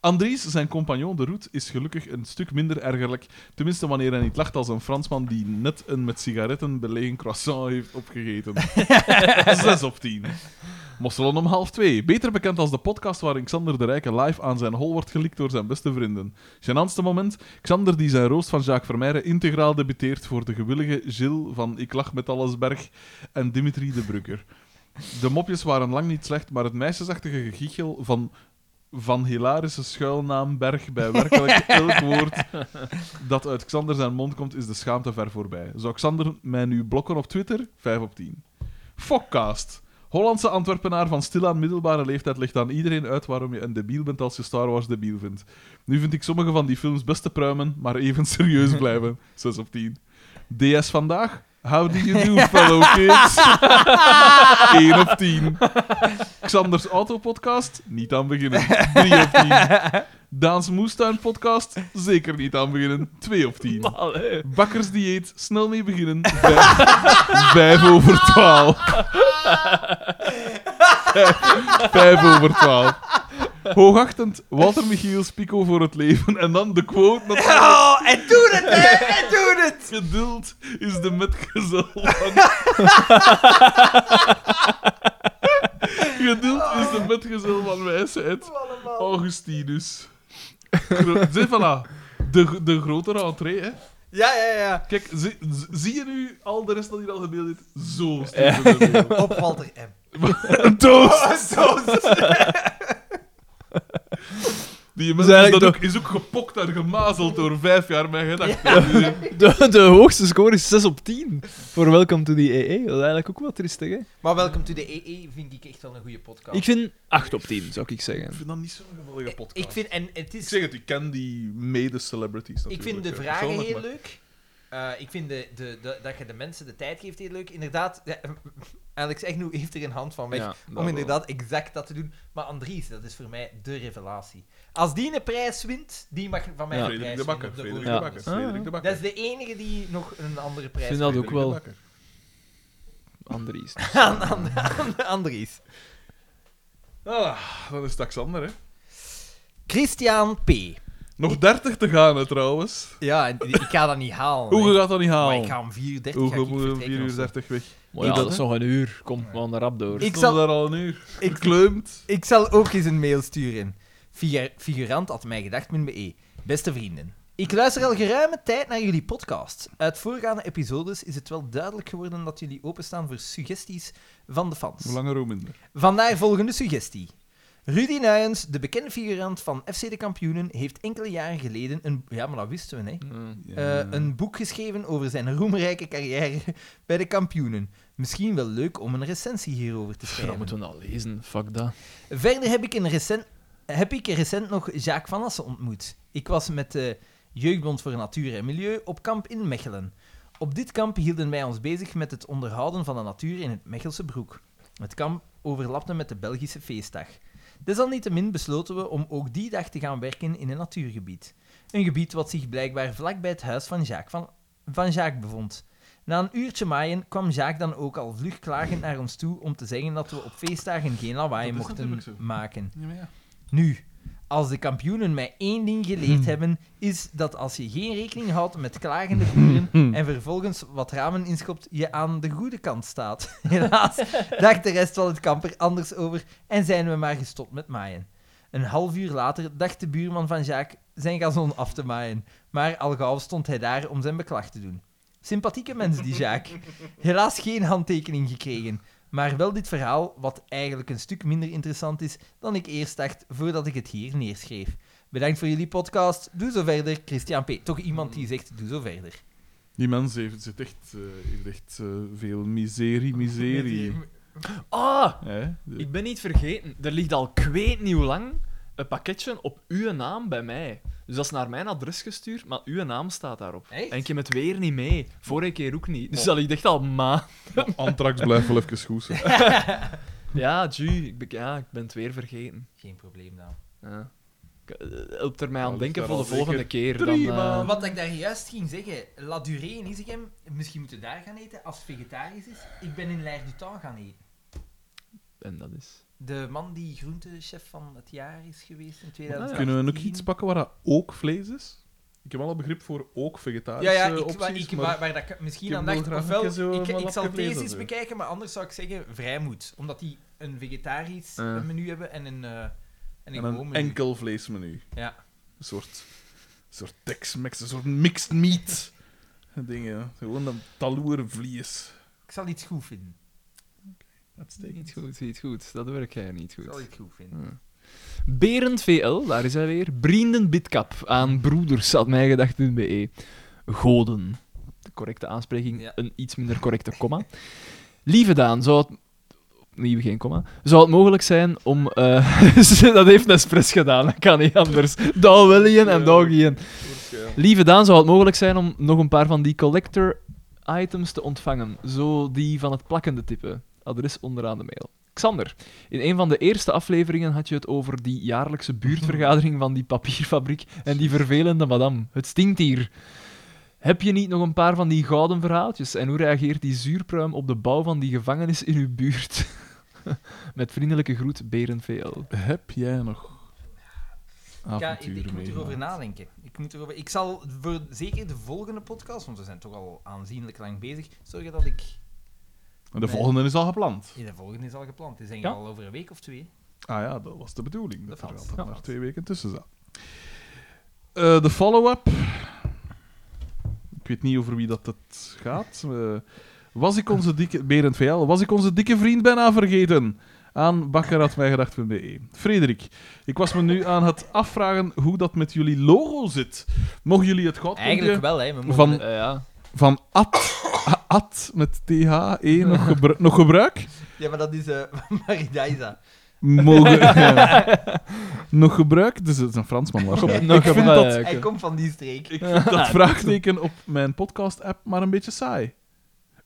C: Andries, zijn compagnon de Roet, is gelukkig een stuk minder ergerlijk. Tenminste, wanneer hij niet lacht als een Fransman die net een met sigaretten belegen croissant heeft opgegeten. 6 op 10. Mosselen om half 2. Beter bekend als de podcast waarin Xander de Rijke live aan zijn hol wordt gelikt door zijn beste vrienden. Genantste moment: Xander die zijn roost van Jacques Vermeijren integraal debuteert voor de gewillige Gilles van Ik Lach met Allesberg en Dimitri de Brugger. De mopjes waren lang niet slecht, maar het meisjesachtige gegichel van van hilarische schuilnaam Berg bij werkelijk elk woord dat uit Xander zijn mond komt, is de schaamte ver voorbij. Zou Xander mij nu blokken op Twitter? 5 op 10. Fokcast. Hollandse Antwerpenaar van stilaan middelbare leeftijd legt aan iedereen uit waarom je een debiel bent als je Star Wars debiel vindt. Nu vind ik sommige van die films best te pruimen, maar even serieus blijven. 6 op 10. DS vandaag? How do you do, fellow kids? 1 op 10. Xanders Autopodcast? Niet aan beginnen. 3 op 10. Daans Moestuin Podcast? Zeker niet aan beginnen. 2 op 10.
D: Allee.
C: Bakkersdieet, snel mee beginnen. Vijf, vijf over twaalf. Vijf, vijf over twaalf. Hoogachtend, Walter Michiels, Pico voor het leven. En dan de quote natuurlijk.
B: Oh, en doe het, hè! En doe het!
C: Geduld is de metgezel van... Geduld is de metgezel van wijsheid. Augustinus. Gro- Zie, voilà. De, de grotere entree, hè.
B: Ja, ja, ja.
C: Kijk, zie, z- zie je nu al de rest dat hier al gebeeld heeft? Zo steken we de wereld.
B: Op Walter M.
C: Een doos!
B: Oh, zo.
C: Die
D: Dus
C: mens is,
D: eigenlijk
C: dat ook, is ook gepokt en gemazeld door vijf jaar mijn gedachten.
D: De, de hoogste score is 6 op 10 voor Welcome to the EE. Dat is eigenlijk ook wel triestig, hè?
B: Maar Welcome to the EE vind ik echt wel een goede podcast. Eh,
D: Ik vind 8 op 10, zou ik zeggen.
C: Ik vind dat niet zo'n geweldige podcast.
B: Ik vind, en het
C: Ik
B: is,
C: zeg het, ik ken die
B: ik
C: mede-celebrities natuurlijk.
B: vind de
C: ja,
B: vragen
C: persoonlijk,
B: heel
C: maar-
B: leuk. Eh, ik vind de, de, de- dat je de mensen de tijd geeft heel leuk. Inderdaad, ja, Alex Agnew heeft er een hand van weg
A: Ja, dat
B: om
A: wel.
B: inderdaad exact dat te doen. Maar Andries, dat is voor mij de revelatie. Als die een prijs wint, die mag van mij een
C: Frederik
B: prijs
C: de Bakker,
B: winnen op de
C: Frederik
B: Oorlog.
C: de
D: Ja.
C: Bakker,
D: Ah,
C: Frederik de
B: Dat is
C: Bakker.
B: de enige die nog een andere prijs
D: vind dat
B: wint.
D: ook wel.
C: Frederik de Bakker.
D: Andries.
B: Aan, aan, aan Andries.
C: Ah, dat is Taxander, hè.
B: Christian P.
C: Nog 30 te gaan, hè, trouwens.
B: Ja, en die- ik ga dat niet halen.
C: Hoe
B: hè.
C: gaat dat niet
B: Maar ik
C: halen?
B: ga om 4.30
C: Hoe
B: ga ik
C: gaan we om
B: vertrekken
C: 4
B: of
C: uur
B: zo.
C: 30 weg?
D: Maar ja,
B: dat,
D: dat is nog een uur. Kom, we gaan er rap door.
B: Ik
C: Ik
B: zal-
C: zal daar al een uur.
B: Ik-
C: Ik kleumt.
B: Ik zal ook eens een mail sturen. Figu- Figurant had mij gedacht, be. Beste vrienden. Ik luister al geruime tijd naar jullie podcast. Uit voorgaande episodes is het wel duidelijk geworden dat jullie openstaan voor suggesties van de fans.
C: Hoe langer, hoe minder.
B: Vandaar volgende suggestie. Rudy Nijens, de bekende figurant van FC de Kampioenen, heeft enkele jaren geleden een... Ja, maar dat wisten we, hè. Eh, een boek geschreven over zijn roemrijke carrière bij de kampioenen. Misschien wel leuk om een recensie hierover te
D: Ja,
B: schrijven.
D: moeten we dat lezen? Fuck dat.
B: Verder heb ik, een recent, heb ik recent nog Jacques Van Assen ontmoet. Ik was met de Jeugdbond voor Natuur en Milieu op kamp in Mechelen. Op dit kamp hielden wij ons bezig met het onderhouden van de natuur in het Mechelse Broek. Het kamp overlapte met de Belgische feestdag. Desalniettemin besloten we om ook die dag te gaan werken in een natuurgebied. Een gebied wat zich blijkbaar vlakbij het huis van Jacques, van, van Jacques bevond. Na een uurtje maaien kwam Jacques dan ook al vlug klagend naar ons toe om te zeggen dat we op feestdagen geen lawaai
C: Dat is
B: mochten
C: natuurlijk zo.
B: maken.
C: Ja, maar ja.
B: Nu, als de kampioenen mij één ding geleerd hebben, is dat als je geen rekening houdt met klagende boeren en vervolgens wat ramen inschopt, je aan de goede kant staat. Helaas dacht de rest van het kamp er anders over en zijn we maar gestopt met maaien. Een half uur later dacht de buurman van Jacques zijn gazon af te maaien, maar al gauw stond hij daar om zijn beklag te doen. Sympathieke mens die Jacques. Helaas geen handtekening gekregen, maar wel dit verhaal, wat eigenlijk een stuk minder interessant is dan ik eerst dacht voordat ik het hier neerschreef. Bedankt voor jullie podcast. Doe zo verder, Christian P. Toch iemand
C: Mm.
B: die zegt, doe zo verder.
C: Die mens heeft, zit echt, eh, heeft echt eh, veel miserie, miserie.
A: Ah,
C: Hè? De-
A: ik ben niet vergeten. Er ligt al ik weet niet hoe lang een pakketje op uw naam bij mij. Dus dat is naar mijn adres gestuurd, maar uw naam staat daarop.
B: Echt?
A: En ik heb het weer niet mee. Vorige keer ook niet.
D: Oh.
A: Dus dat ligt echt al ma.
C: Antrax blijft wel even schoesen.
A: Ja, ju, ik, ben, ja, ik ben het weer vergeten.
B: Geen probleem dan.
A: Ja. Ik- eh, Help er mij aan
C: Dat
A: denken
C: is
A: voor de
C: daar al
A: volgende keer. Dan,
C: drie
A: eh,
C: maanden.
B: Wat ik daar juist ging zeggen, La Durée in Isegem, misschien moeten we daar gaan eten als het vegetarisch is. Ik ben in L'Air du Temps gaan eten.
A: en dat is.
B: De man die groentechef van het jaar is geweest in 2018.
C: Kunnen we ook iets pakken waar dat ook vlees is? Ik heb wel een begrip voor ook vegetarische
B: Ja, ja, ik,
C: opties,
B: waar, ik,
C: maar...
B: waar, waar dat ik misschien
C: ik
B: aan
C: wil
B: dacht,
C: graag een
B: ofwel,
C: keer zo
B: ik,
C: wat
B: ik zal
C: afgelezen
B: deze eens
C: doen.
B: bekijken, maar anders zou ik zeggen vrijmoed. Omdat die een vegetarisch
A: Ja.
B: eh, menu hebben en een, eh en een
C: en
B: gewoon
C: een
B: menu.
C: enkel vleesmenu.
B: Ja.
C: Een soort, een soort Tex-Mex, een soort mixed meat. Dingen, gewoon een taloervlees.
B: Ik zal iets goed vinden.
A: Niet goed, niet goed. Dat werkt jij niet
B: Ik zal
A: goed.
B: iets goed vinden.
A: Berend VL, daar is hij weer. Brienden Bidkap aan broeders, had mij gedacht in BE. Goden. De correcte aanspreking,
B: Ja.
A: een iets minder correcte komma. Lieve Daan, zou het... Opnieuw geen komma. Zou het mogelijk zijn om... eh, dat heeft Nespresso gedaan, dat kan niet anders. Dat wil je en dat geen. Lieve Daan, zou het mogelijk zijn om nog een paar van die collector items te ontvangen? Zo die van het plakkende type. Adres onderaan de mail. Xander, in een van de eerste afleveringen had je het over die jaarlijkse buurtvergadering van die papierfabriek en die vervelende madame. Het stinkt hier. Heb je niet nog een paar van die gouden verhaaltjes? En hoe reageert die zuurpruim op de bouw van die gevangenis in uw buurt? Met vriendelijke groet, Beren VL.
C: Heb jij nog
B: Ja, ik,
C: avonturen
B: ik moet erover
C: meegemaakt?
B: nadenken. Ik, moet erover, ik zal voor zeker de volgende podcast, want we zijn toch al aanzienlijk lang bezig, zorgen dat ik...
C: En De volgende is al gepland.
B: Ja, de volgende is al gepland. Het is denk
A: Ja.
B: ik al over een week of twee.
C: Ah ja, dat was de bedoeling. Dat
B: Dat
C: er
B: was-
C: altijd
B: dat
C: maar
B: was.
C: twee weken tussen zat. Eh, de follow-up. Ik weet niet over wie dat het gaat. Eh, was ik onze dikke... Berend VL. Was ik onze dikke vriend bijna vergeten? Aan bakkeratmijgedacht.be. Frederik, ik was me nu aan het afvragen hoe dat met jullie logo zit. Mogen jullie het goud
B: Eigenlijk wel, hè. We mogen
C: Van-
B: het-
A: Eh, ja.
C: van at, a- at met THE nog, gebru- nog gebruik?
B: Ja, maar dat is eh, van Maridaisa.
C: Mogen... ja. Nog gebruik? Dus het is een Fransman. waarschijnlijk.
A: Nog Ah,
C: ik vind
A: een-
C: dat
B: Hij komt van die streek.
C: Ik vind dat vraagteken op mijn podcast-app maar een beetje saai.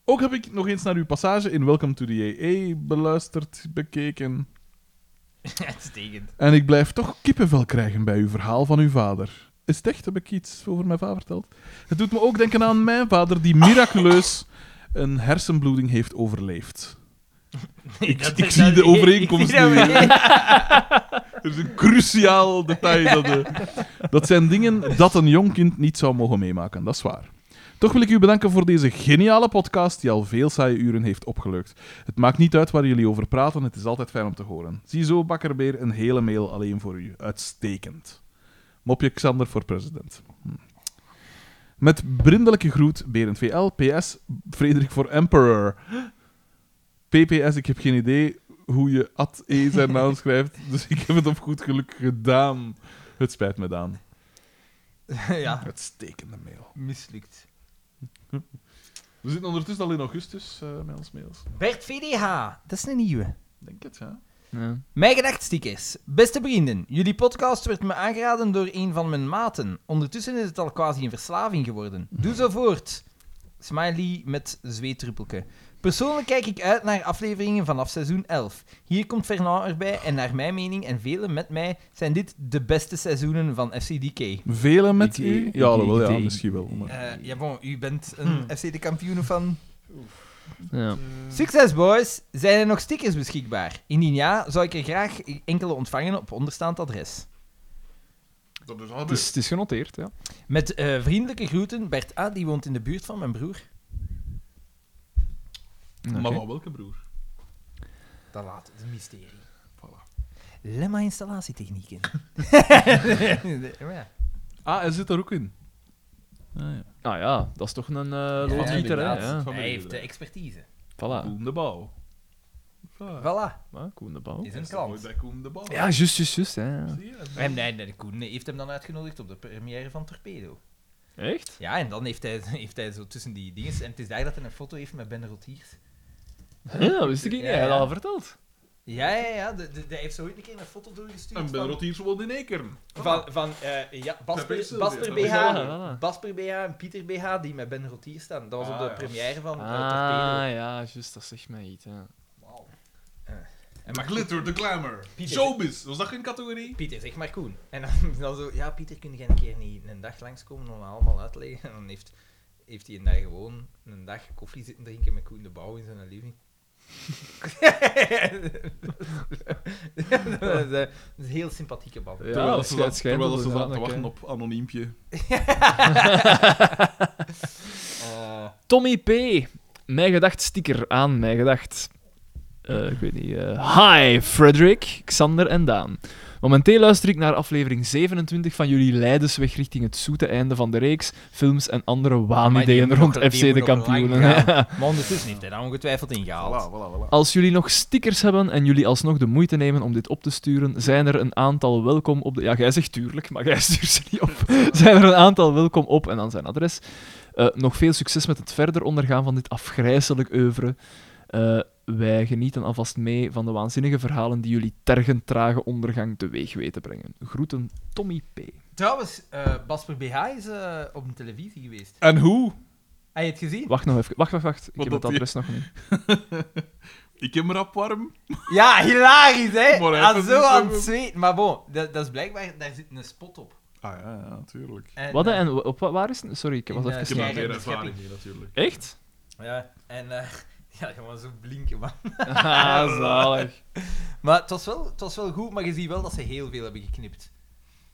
C: Ook heb ik nog eens naar uw passage in Welcome to the EE beluisterd, bekeken.
B: Uitstekend.
C: En ik blijf toch kippenvel krijgen bij uw verhaal van uw vader. Is het echt? Heb ik iets over mijn vader verteld? Het doet me ook denken aan mijn vader, die miraculeus een hersenbloeding heeft overleefd. Ik,
B: Dat-
C: ik
B: dat-
C: zie de
B: ik-
C: overeenkomst
B: ik zie
C: nu.
B: dat
C: hè. Er is een cruciaal detail. Dat, eh, dat zijn dingen dat een jong kind niet zou mogen meemaken, dat is waar. Toch wil ik u bedanken voor deze geniale podcast die al veel saaie uren heeft opgelukt. Het maakt niet uit waar jullie over praten, het is altijd fijn om te horen. Ziezo, Bakkerbeer, een hele mail alleen voor u. Uitstekend. Mopje Xander voor president. Hm. Met brindelijke groet, Berend VL, PS, Frederik voor Emperor. PPS, ik heb geen idee hoe je at E zijn naam schrijft, dus ik heb het op goed geluk gedaan. Het spijt me, Daan.
B: ja,
C: Uitstekende mail.
B: mislukt.
C: We zitten ondertussen al in augustus eh, met ons mails.
B: Bert VDH, dat is een nieuwe.
C: Denk het, ja.
A: ja.
B: Mijn gedachtstickers. Beste vrienden, jullie podcast werd me aangeraden door een van mijn maten. Ondertussen is het al quasi een verslaving geworden. Doe zo voort. Smiley met zweetruppelke. Persoonlijk kijk ik uit naar afleveringen vanaf seizoen 11. Hier komt Fernand erbij en naar mijn mening en velen met mij zijn dit de beste seizoenen van FCDK.
C: Velen met
A: Ik-
C: u?
A: ik-
C: Ja, dat wel, ja,
A: ik-
C: misschien wel. Maar...
B: Eh ja, bon, u bent een FC de kampioenen van.
A: Ja.
B: Succes, boys! Zijn er nog stickers beschikbaar? Indien ja, zou ik er graag enkele ontvangen op onderstaand adres.
C: Dat is
A: Het, is, het is genoteerd, ja.
B: Met eh, vriendelijke groeten, Bert A, die woont in de buurt van mijn broer.
C: Maar van welke broer?
B: Dat laat het een mysterie. Lemma installatietechnieken. ja.
C: Ah, hij zit er ook in.
A: Ah ja, dat is toch een uh,
B: Ja,
A: loodgieter, hè? Ja.
C: inderdaad. Van
B: Hij
C: beneden,
B: heeft de
C: hè.
B: expertise.
A: Voilà.
C: Koen de Bouw. Ah,
B: Voilà,
A: Ja, Koen de Bouw.
B: is een
C: Mooi
B: klant.
C: bij Koen de Bouw.
A: Ja, juist, juist, juist. Hè. ja.
C: Zie je, dat is-
B: En nee, nee, de Koen heeft hem dan uitgenodigd op de première van Torpedo.
A: Echt?
B: Ja, en dan heeft hij, heeft hij zo tussen die dingen... En het is daar dat hij een foto heeft met Ben Rotiers.
A: Ja, dat wist ik niet.
B: Ja,
A: Hij had
B: ja.
A: al verteld.
B: Ja, ja, ja. de- de- Hij heeft zo ooit een keer een foto doorgestuurd
C: En Ben
B: van-
C: Rottiers woont in Ekern.
B: Van, van eh, ja, Basper,
C: Basper
B: Basper
C: BH.
B: BH,
A: Ja, voilà.
B: Basper BH en Pieter BH die met Ben Rotier staan. Dat was op
C: Ah,
B: de
C: ja.
B: première van eh,
A: Ah, ja, juist, dat zegt mij iets. Ja.
B: Torpedo. Wauw. Eh, en
C: Maar
B: maar
C: glitter, de glamour.
B: Pieter.
C: Showbiz, was dat geen categorie?
B: Pieter, zeg maar Koen. En dan, dan zo, ja Pieter, kun jij een keer niet een dag langskomen om dat allemaal uit te leggen? En dan heeft, heeft hij daar gewoon een dag koffie zitten drinken met Koen de Bouw in zijn living. dat, is, eh, een heel sympathieke man.
A: Ja,
C: terwijl
A: dat
C: ze
A: schijnt-
C: zat,
A: schijnt
C: terwijl ze
A: inderdaad,
C: zaten te
A: oké.
C: wachten op anoniempje.
B: Eh,
A: Tommy P. Mijn gedacht sticker aan mijn gedacht. Eh, ik weet niet. eh, hi, Frederik, Xander en Daan. Momenteel luister ik naar aflevering 27 van jullie Leidensweg richting het zoete einde van de reeks, films en andere
B: maar die
A: waanideeën
B: moet
A: rond
B: nog- die
A: FC
B: moet
A: de
B: nog lang
A: kampioenen.
B: gaan.
A: Ja.
B: maar ondertussen heeft hij daar ongetwijfeld in gehaald.
C: voilà, voilà.
A: Als jullie nog stickers hebben en jullie alsnog de moeite nemen om dit op te sturen, zijn er een aantal welkom op de... Ja, jij zegt tuurlijk, maar jij stuurt ze niet op. Zijn er een aantal welkom op en dan zijn adres. Eh, nog veel succes met het verder ondergaan van dit afgrijzelijk oeuvre. Eh, wij genieten alvast mee van de waanzinnige verhalen die jullie tergend trage ondergang teweeg weten brengen. Groeten, Tommy P.
B: Trouwens, eh Basper BH is eh, op de televisie geweest.
C: En hoe?
B: Heb je het gezien?
A: Wacht nog even. Wacht, wacht, wacht. Ik
C: Wat
A: heb het
C: dat hier-
A: adres nog niet.
C: Ik heb me rap warm.
B: Ja, hilarisch, hè?
C: Maar hij
B: Ah,
C: heeft
B: zo
C: het
B: aan
C: niet
B: het zweet. Maar bon, dat, dat is blijkbaar... Daar zit een spot op.
C: Ah ja, ja, natuurlijk.
B: En,
A: Wat? hè?
B: eh,
A: En wa- op, wa- waar is het? Sorry, ik was
B: In, eh,
C: Ik
A: even...
C: heb
B: Ja,
C: daar
B: ik heb
C: meer
B: de
C: ervaring mee, natuurlijk.
A: Echt?
B: Ja, en... eh, ja, gewoon zo blinken, man.
A: Ah, zalig.
B: Maar het was, wel, het was wel goed, maar je ziet wel dat ze heel veel hebben geknipt.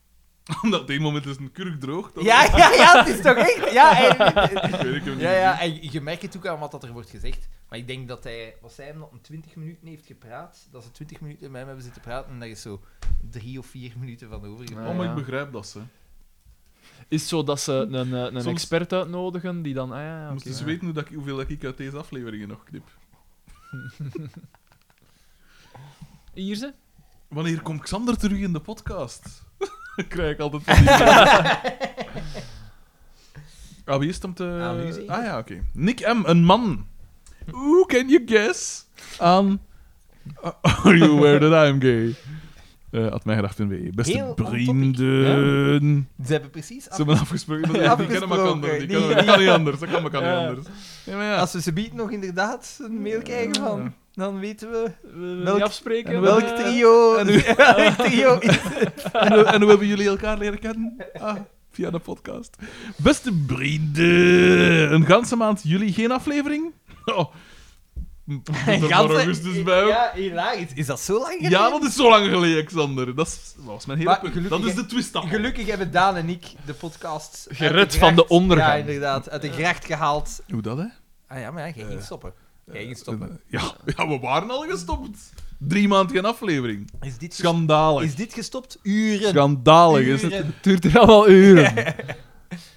C: Omdat op een moment is een kurk droog. dat-
B: Ja, ja, ja, het is toch echt... Ja,
C: Ik
B: en,
C: weet, ik heb niet
B: ja, ja, en je merkt het ook aan wat dat er wordt gezegd. Maar ik denk dat hij... Wat zij hem nog een 20 minuten heeft gepraat, dat ze 20 minuten met hem hebben zitten praten, en daar is zo drie of vier minuten van overgebleven.
C: gezien. Oh, maar
A: Ja.
C: ik begrijp dat, ze.
A: Is het zo dat ze een, een, een
C: Soms-
A: expert uitnodigen die dan. Ah, ja, ja,
C: Moest
A: oké,
C: dus
A: ja.
C: weten hoe dat ik, hoeveel dat ik uit deze afleveringen nog knip.
A: Hier ze?
C: Wanneer komt Xander terug in de podcast? krijg ik altijd van die Ah, wie is het om te...
B: Aan u zeker?
C: ah ja, oké. Nick M., een man. Who can you guess? Aan... Are you aware that I'm gay? Eh had mij gedacht in W. Beste
B: Heel on topic.
C: vrienden.
B: Ze hebben precies...
C: Ze hebben afgesproken. dat- Die kennen elkaar anders. Die kennen, dat kan niet anders. Dat kan elkaar niet anders. Ja, maar ja.
B: Als we ze biedt nog inderdaad een mail krijgen van, dan weten we Welk-
A: Welk afspreken?
C: en
B: welk
A: eh,
B: trio. welk trio is het?
C: En, hoe- en hoe hebben jullie elkaar leren kennen? Ah, via de podcast. Beste vrienden, een ganse maand jullie geen aflevering? Oh. Doet er maar
B: Ganse-
C: augustus dus bij. ook.
B: Eh, Ja, hilarisch. Is dat zo lang geleden?
C: Ja, dat is zo lang geleden, Xander. Dat, is, dat was mijn hele
B: Maar
C: punt.
B: gelukkig-
C: dat is de twist af.
B: Gelukkig hebben Daan en ik de podcast... uit
A: Gered
B: de gracht-
A: van de ondergang.
B: Ja, inderdaad. Uit de gracht gehaald.
C: Hoe dat, hè? Eh,
B: Ah ja, maar ja, jij ging stoppen. Jij ging stoppen.
C: Ja, ja, we waren al gestopt. Drie maanden geen aflevering.
B: Is dit, ges-
C: Schandalig.
B: is dit gestopt? Uren.
C: Schandalig is het.
B: Uren.
A: Het duurt er allemaal uren.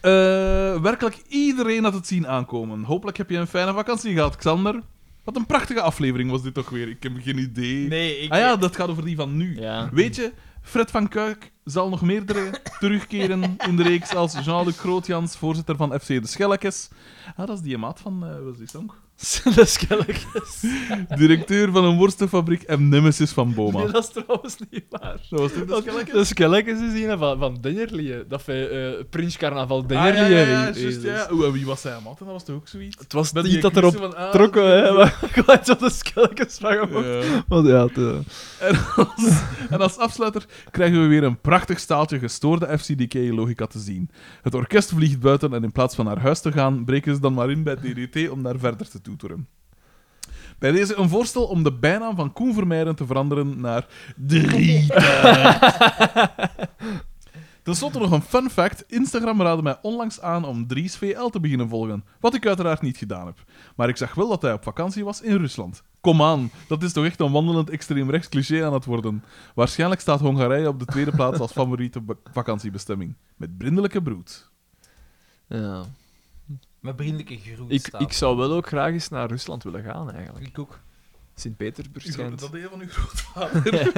C: Eh, werkelijk iedereen had het zien aankomen. Hopelijk heb je een fijne vakantie gehad, Xander. Wat een prachtige aflevering was dit toch weer. Ik heb geen idee.
B: Nee, ik...
C: Ah ja, dat gaat over die van nu.
A: Ja.
C: Weet je, Fred van Kuik zal nog meerdere terugkeren in de reeks als Jean-Luc Grootjans, voorzitter van FC De Schellekes. Ah, dat is die maat van, eh wat is die song?
D: de skelletjes.
C: Directeur van een worstenfabriek en nemesis van Boma.
D: Nee, dat is trouwens niet waar.
C: Dat was toch de
A: Ah,
D: Want
C: skelekken?
D: De skelletjes is een van, van Dingerlie. Dat wij eh Prins Carnaval
C: Ah, ja, ja,
D: Dingerlie
C: ja, juist, ja. Oeh, en wie was zijn mat? Dat was toch ook zoiets?
D: Het was
C: Met
D: niet
C: die
D: dat erop
C: knissen van, ah,
D: trokken, hè. Maar ik had zo de skelletjes vragen mocht.
C: Ja.
D: Want ja, het, eh,
C: En als afsluiter krijgen we weer een prachtig staaltje gestoorde FCDK-logica te zien. Het orkest vliegt buiten en in plaats van naar huis te gaan, breken ze dan maar in bij DDT om daar verder te toeteren. Bij deze een voorstel om de bijnaam van Koen Vermeijden te veranderen naar Drietaard. Ten slotte nog een fun fact. Instagram raadde mij onlangs aan om Dries VL te beginnen volgen. Wat ik uiteraard niet gedaan heb. Maar ik zag wel dat hij op vakantie was in Rusland. Kom aan, dat is toch echt een wandelend extreemrechts cliché aan het worden. Waarschijnlijk staat Hongarije op de tweede plaats als favoriete be- vakantiebestemming. Met brindelijke broed.
D: ja.
B: Mijn vriendelijke groet
A: Ik,
B: staat.
A: ik zou wel ook graag eens naar Rusland willen gaan, eigenlijk.
B: Ik ook.
A: Sint-Petersburg schijnt.
C: deed van uw grootvader.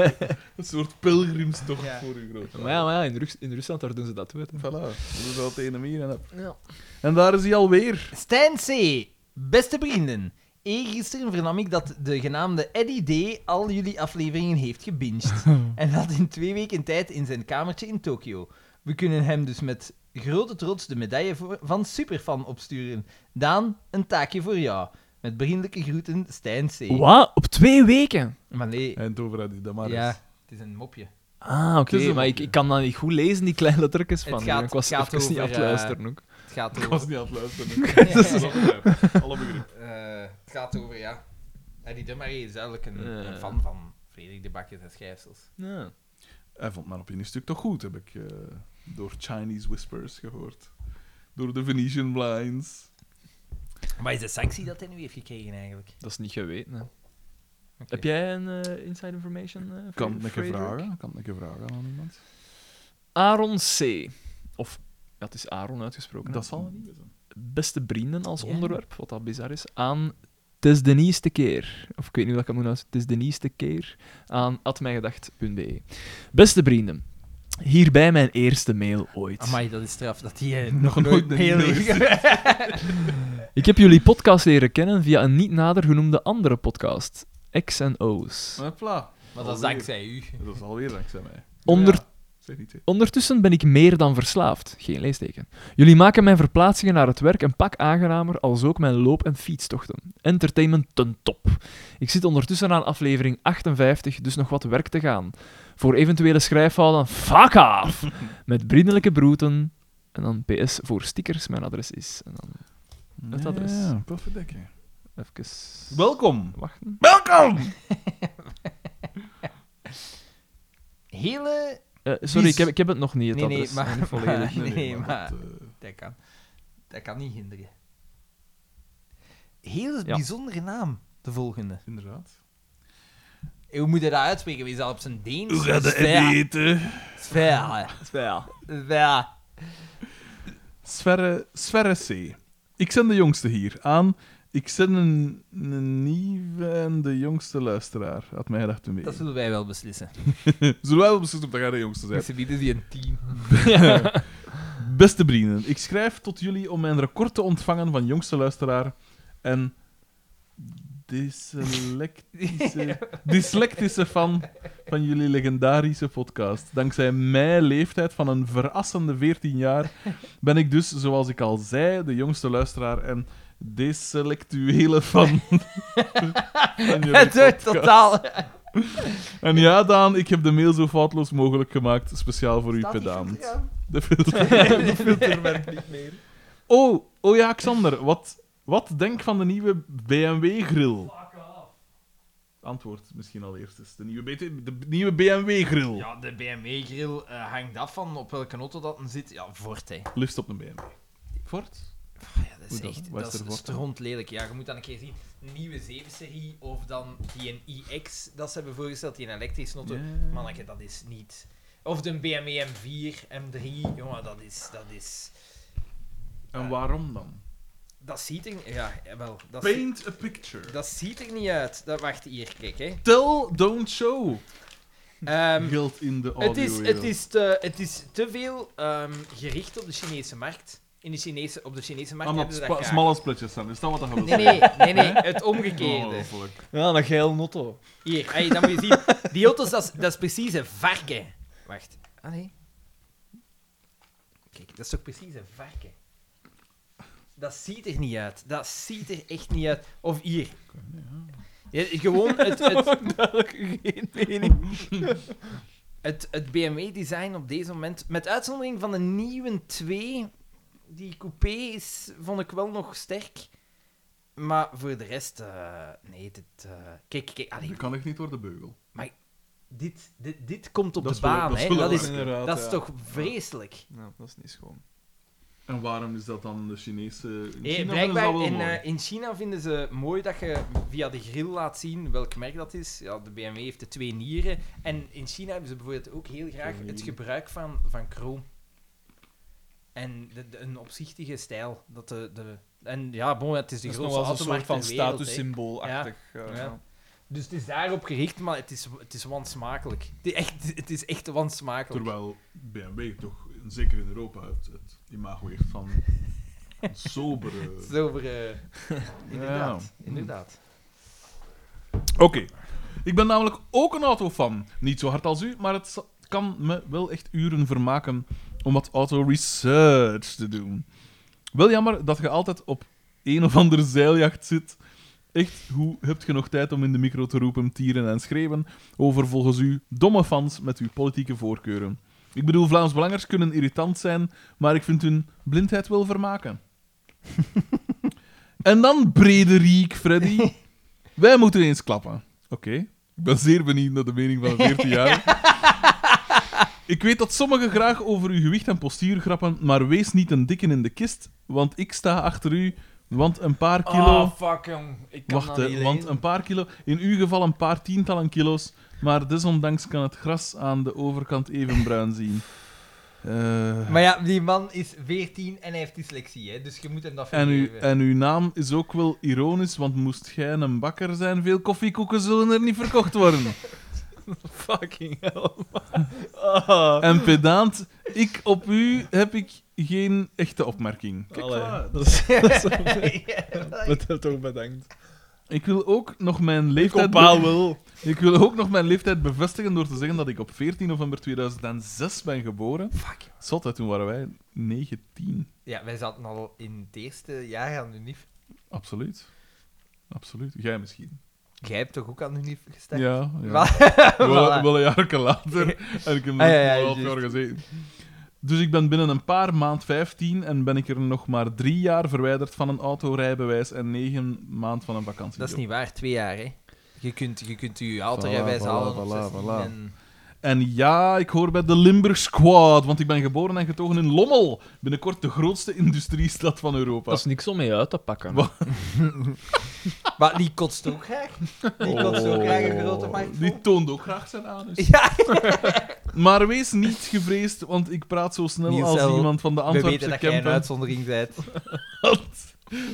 C: een soort pilgrimstocht
B: Ja.
C: voor uw grootvader.
A: Maar ja, maar ja in, Rus- in Rusland daar doen ze dat wel. hè.
C: Voilà, dat is wel het ene meer en dat.
D: Ja.
C: En daar is hij alweer.
B: Stijn C. Beste vrienden. Eergisteren vernam ik dat de genaamde Eddie D. al jullie afleveringen heeft gebinged. en dat in twee weken tijd in zijn kamertje in Tokio. We kunnen hem dus met grote trots de medaille voor- van Superfan opsturen. Daan, een taakje voor jou. Met vriendelijke groeten, Stijn C.
A: Wat? Op twee weken?
B: Maar nee,
C: En toen had hij dat maar
B: ja,
C: eens.
B: het is een mopje.
A: Ah, oké.
C: Het is een
A: maar ik,
C: mopje.
A: ik kan dat niet goed lezen, die kleine lettertjes
B: Dus Het
A: van.
B: gaat-
A: ik was
B: het gaat
A: even niet aan het
B: over, eh,
A: luisteren ook.
B: Het gaat
C: Ik
B: over...
C: was niet aan het luisteren. Dat is wel- Alle begrip.
B: Eh, het gaat over, ja. Eddie Dummerie is duidelijk
D: Eh,
B: een,
A: Ja.
B: een fan eh, van Frederik de Bakker en Schijfsels.
A: Ja.
C: Hij vond mijn opiniestuk toch goed, heb ik eh, door Chinese Whispers gehoord. Door de Venetian Blinds.
B: Maar is de sanctie dat hij nu heeft gekregen eigenlijk?
A: Dat is niet geweten. Hè.
B: Oké.
A: Heb jij een eh, inside information? eh,
C: Kan
A: Fre-
C: het een keer
A: Frederik?
C: vragen? Kan het een keer vragen aan iemand?
A: Aaron C. Of, ja, het is Aaron uitgesproken. hè.
C: Dat zal niet zijn.
A: Beste vrienden als
B: Ja.
A: onderwerp, wat dat bizar is, aan Het is de nieuwste keer. Of ik weet niet hoe dat ik het moet noemen. Het is de nieuwste keer aan atmijgedacht.be. E. Beste vrienden, hierbij mijn eerste mail ooit.
B: Amai, dat is straf dat eh, hij
C: Nog nooit een mail
A: Ik heb jullie podcast leren kennen via een niet nader genoemde andere podcast, X en O's.
C: Hopla.
B: Maar dat is dankzij u.
C: Dat is alweer dankzij mij.
A: Onder
C: Zeg niet, hè.
A: Ondertussen ben ik meer dan verslaafd. Geen leesteken. Jullie maken mijn verplaatsingen naar het werk een pak aangenamer, als ook mijn loop- en fietstochten. Entertainment ten top. Ik zit ondertussen aan aflevering 58, dus nog wat werk te gaan. Voor eventuele schrijffouten, fuck off! Met vriendelijke broeten. En dan PS voor stickers, mijn adres is. En dan Het adres.
C: Ja, pofferdekken.
A: even
C: Welkom.
A: wachten.
C: Welkom!
B: Hele...
A: Eh,
B: Wie
A: sorry,
B: is-
A: ik heb, ik heb het nog niet, het
B: Nee, nee,
A: adres.
B: maar-
A: Niet volledig.
B: Ah, Nee, maar-
C: dat, eh,
B: Dat kan. Dat kan niet hinderen. Heel
A: Ja.
B: bijzondere naam, de volgende.
C: inderdaad.
B: Eh, Hoe moet je dat uitspreken? Wie is dat op zijn Deens?
C: Hoe gaat de
B: Sfera.
C: Eddie eten?
B: Sfera. Sfera.
C: Sverre, Sverre C. Ik zend de jongste hier aan. Ik zend een, een nieuwe en de jongste luisteraar. Had mij gedacht toen mee.
B: Dat zullen wij wel beslissen.
C: Zullen wij wel beslissen of dat jij de jongste bent?
B: Ze bieden die een team.
C: Beste vrienden, ik schrijf tot jullie om mijn record te ontvangen van jongste luisteraar en dyslectische, dyslectische fan van jullie legendarische podcast. Dankzij mijn leeftijd van een verrassende 14 jaar ben ik dus, zoals ik al zei, de jongste luisteraar en deselectuele fan van jullie
B: Het wordt
C: podcast.
B: totaal...
C: En ja, Daan, ik heb de mail zo foutloos mogelijk gemaakt, speciaal voor u,
B: Staat die
C: pedaant.
B: filter aan?
C: De filter, de filter werkt niet meer. Oh, oh ja, Xander, wat, wat denk van de nieuwe BMW-grill? Antwoord misschien al eerst eens. De nieuwe, BT de nieuwe BMW-grill.
B: Ja, de BMW-grill eh, hangt af van op welke auto dat hem zit. Ja, Ford, hè.
C: Liefst op een BMW. Ford?
B: Ja, dat
C: Hoe
B: is
C: dan?
B: echt
C: Wat is
B: dat is
C: er voor?
B: stront lelijk. Ja, je moet dan een keer zien. Nieuwe 7-serie of dan die een iX dat ze hebben voorgesteld, die een elektrische auto.
C: Ja.
B: Manneke, dat is niet... Of de E BMW M4, M3, jongen, dat is... Dat, is,
C: En waarom dan?
B: dat ziet er... Ja, wel. Dat, zie-
C: Paint a picture.
B: dat ziet er niet uit. Dat, wacht, hier, kijk, hè.
C: Tell, don't show.
B: Ehm,
C: Geld in de audio.
B: het, is, het, is te, het is te veel ehm, gericht op de Chinese markt. In de Chinese, op de Chinese markt
C: Omdat
B: hebben ze dat
C: spa-
B: graag.
C: smalle spletjes zijn, is dat wat dat Oh, gaat
B: Nee, nee, nee, nee, het omgekeerde.
C: Oh, volk.
D: Ja, een geil notto.
B: Hier, hey, dan moet je zien. Die auto's, dat is, dat is precies een varken. Wacht. Ah, nee. Kijk, dat is toch precies een varken? Dat ziet er niet uit. Dat ziet er echt niet uit. Of hier. Ja, gewoon het, het,
D: Geen mening.
B: het, het BMW-design op deze moment, met uitzondering van de nieuwe 2, die coupé is, vond ik wel nog sterk. Maar voor de rest, eh, nee, dit... eh, kijk, kijk, allee,
C: Dat kan echt niet door de beugel.
B: dit, dit, dit komt op
C: Dat
B: de
C: is wel-
B: baan,
C: dat is
B: hè.
C: wel
B: Dat
C: waar.
B: is,
D: Inderdaad,
B: dat is
D: ja.
B: toch vreselijk?
D: Nou, dat is niet schoon.
C: En waarom is dat dan de Chinese... In
B: Eh,
C: China
B: blijkbaar
C: vinden ze dat wel
B: in,
C: mooi.
B: eh, in China vinden ze mooi dat je via de grill laat zien welk merk dat is. Ja, de BMW heeft de twee nieren. En in China hebben ze bijvoorbeeld ook heel graag het gebruik van, van kroon. En de, de- een opzichtige stijl. Dat de, de, en ja, bon, het is de
D: Dat is nog
B: grootste
D: wel eens
B: automarkt
D: een soort van
B: ter wereld, hè.
D: statussymboolachtig. eh,
B: Ja. Dus het is daarop gericht, maar het is, het is wansmakelijk. Het is echt, het is echt wansmakelijk.
C: Terwijl BMW toch, en zeker in Europa, het, het imago heeft van een sobere...
B: Zilver, eh, inderdaad. inderdaad.
C: Oké. Ik ben namelijk ook een autofan. Niet zo hard als u, maar het za- kan me wel echt uren vermaken om wat auto-research te doen. Wel jammer dat je altijd op een of andere zeiljacht zit. Echt, hoe hebt je nog tijd om in de micro te roepen, tieren en schreeuwen over volgens u domme fans met uw politieke voorkeuren? Ik bedoel, Vlaams Belangers kunnen irritant zijn, maar ik vind hun blindheid wel vermaken. en dan Brederiek, Freddy. Wij moeten eens klappen. Oké. Ik ben zeer benieuwd naar de mening van een 14-jarige. ik weet dat sommigen graag over uw gewicht en postuur grappen, maar wees niet een dikke in de kist, want ik sta achter u, want een paar kilo...
B: Oh.
D: Ah, fuck, jong. Ik kan
C: Wacht,
D: dat
C: hè,
D: niet
C: want
D: lezen.
C: een paar kilo, in uw geval een paar tientallen kilo's, maar desondanks kan het gras aan de overkant even bruin zien. Eh,
B: Maar ja, die man is 14 en hij heeft dyslexie, hè, dus je moet hem dat
C: en,
B: vergeven.
C: u, en uw naam is ook wel ironisch, want moest jij een bakker zijn, veel koffiekoeken zullen er niet verkocht worden.
D: Fucking hell. Ah.
C: En pedant, ik op u heb ik geen echte opmerking.
D: Allee, dat is, dat is dat heeft toch bedankt.
C: Ik wil ook nog mijn leeftijd...
D: wil.
C: Ik wil ook nog mijn leeftijd bevestigen door te zeggen dat ik op 14 november 2006 ben geboren.
B: Fuck.
C: Zot, hè, toen waren wij 19.
B: Ja, wij zaten al in het eerste jaar aan UNIF.
C: Absoluut. Absoluut. Jij misschien.
B: Jij hebt toch ook aan UNIF gestaan?
C: Ja, ja.
B: Wa-
C: Wel,
B: Voilà.
C: wel een jaar later. En ik heb
B: Ah, ja,
C: nog
B: ja,
C: een half
B: juist.
C: jaar gezeten. Dus ik ben binnen een paar maand 15 en ben ik er nog maar drie jaar verwijderd van een autorijbewijs en negen maand van een vakantie.
B: Dat is niet waar, twee jaar, hè. Je kunt je, kunt je autorijbewijs
C: Voilà,
B: halen
C: voilà,
B: op 16
C: voilà.
B: en...
C: En ja, ik hoor bij de Limburg Squad, want ik ben geboren en getogen in Lommel, binnenkort de grootste industriestad van Europa.
A: Dat is niks om mee uit te pakken.
C: Wat?
B: Maar die kotst ook graag. Die kotst ook graag een grote markt vol.
C: Oh. Die toont ook graag zijn anus.
B: Ja,
C: Maar wees niet gevreesd, want ik praat zo snel
B: Niels,
C: als
B: wel,
C: iemand van de
B: we
C: Antwerpse
B: weten dat jij een
C: camper.
B: uitzondering bent.
C: Want,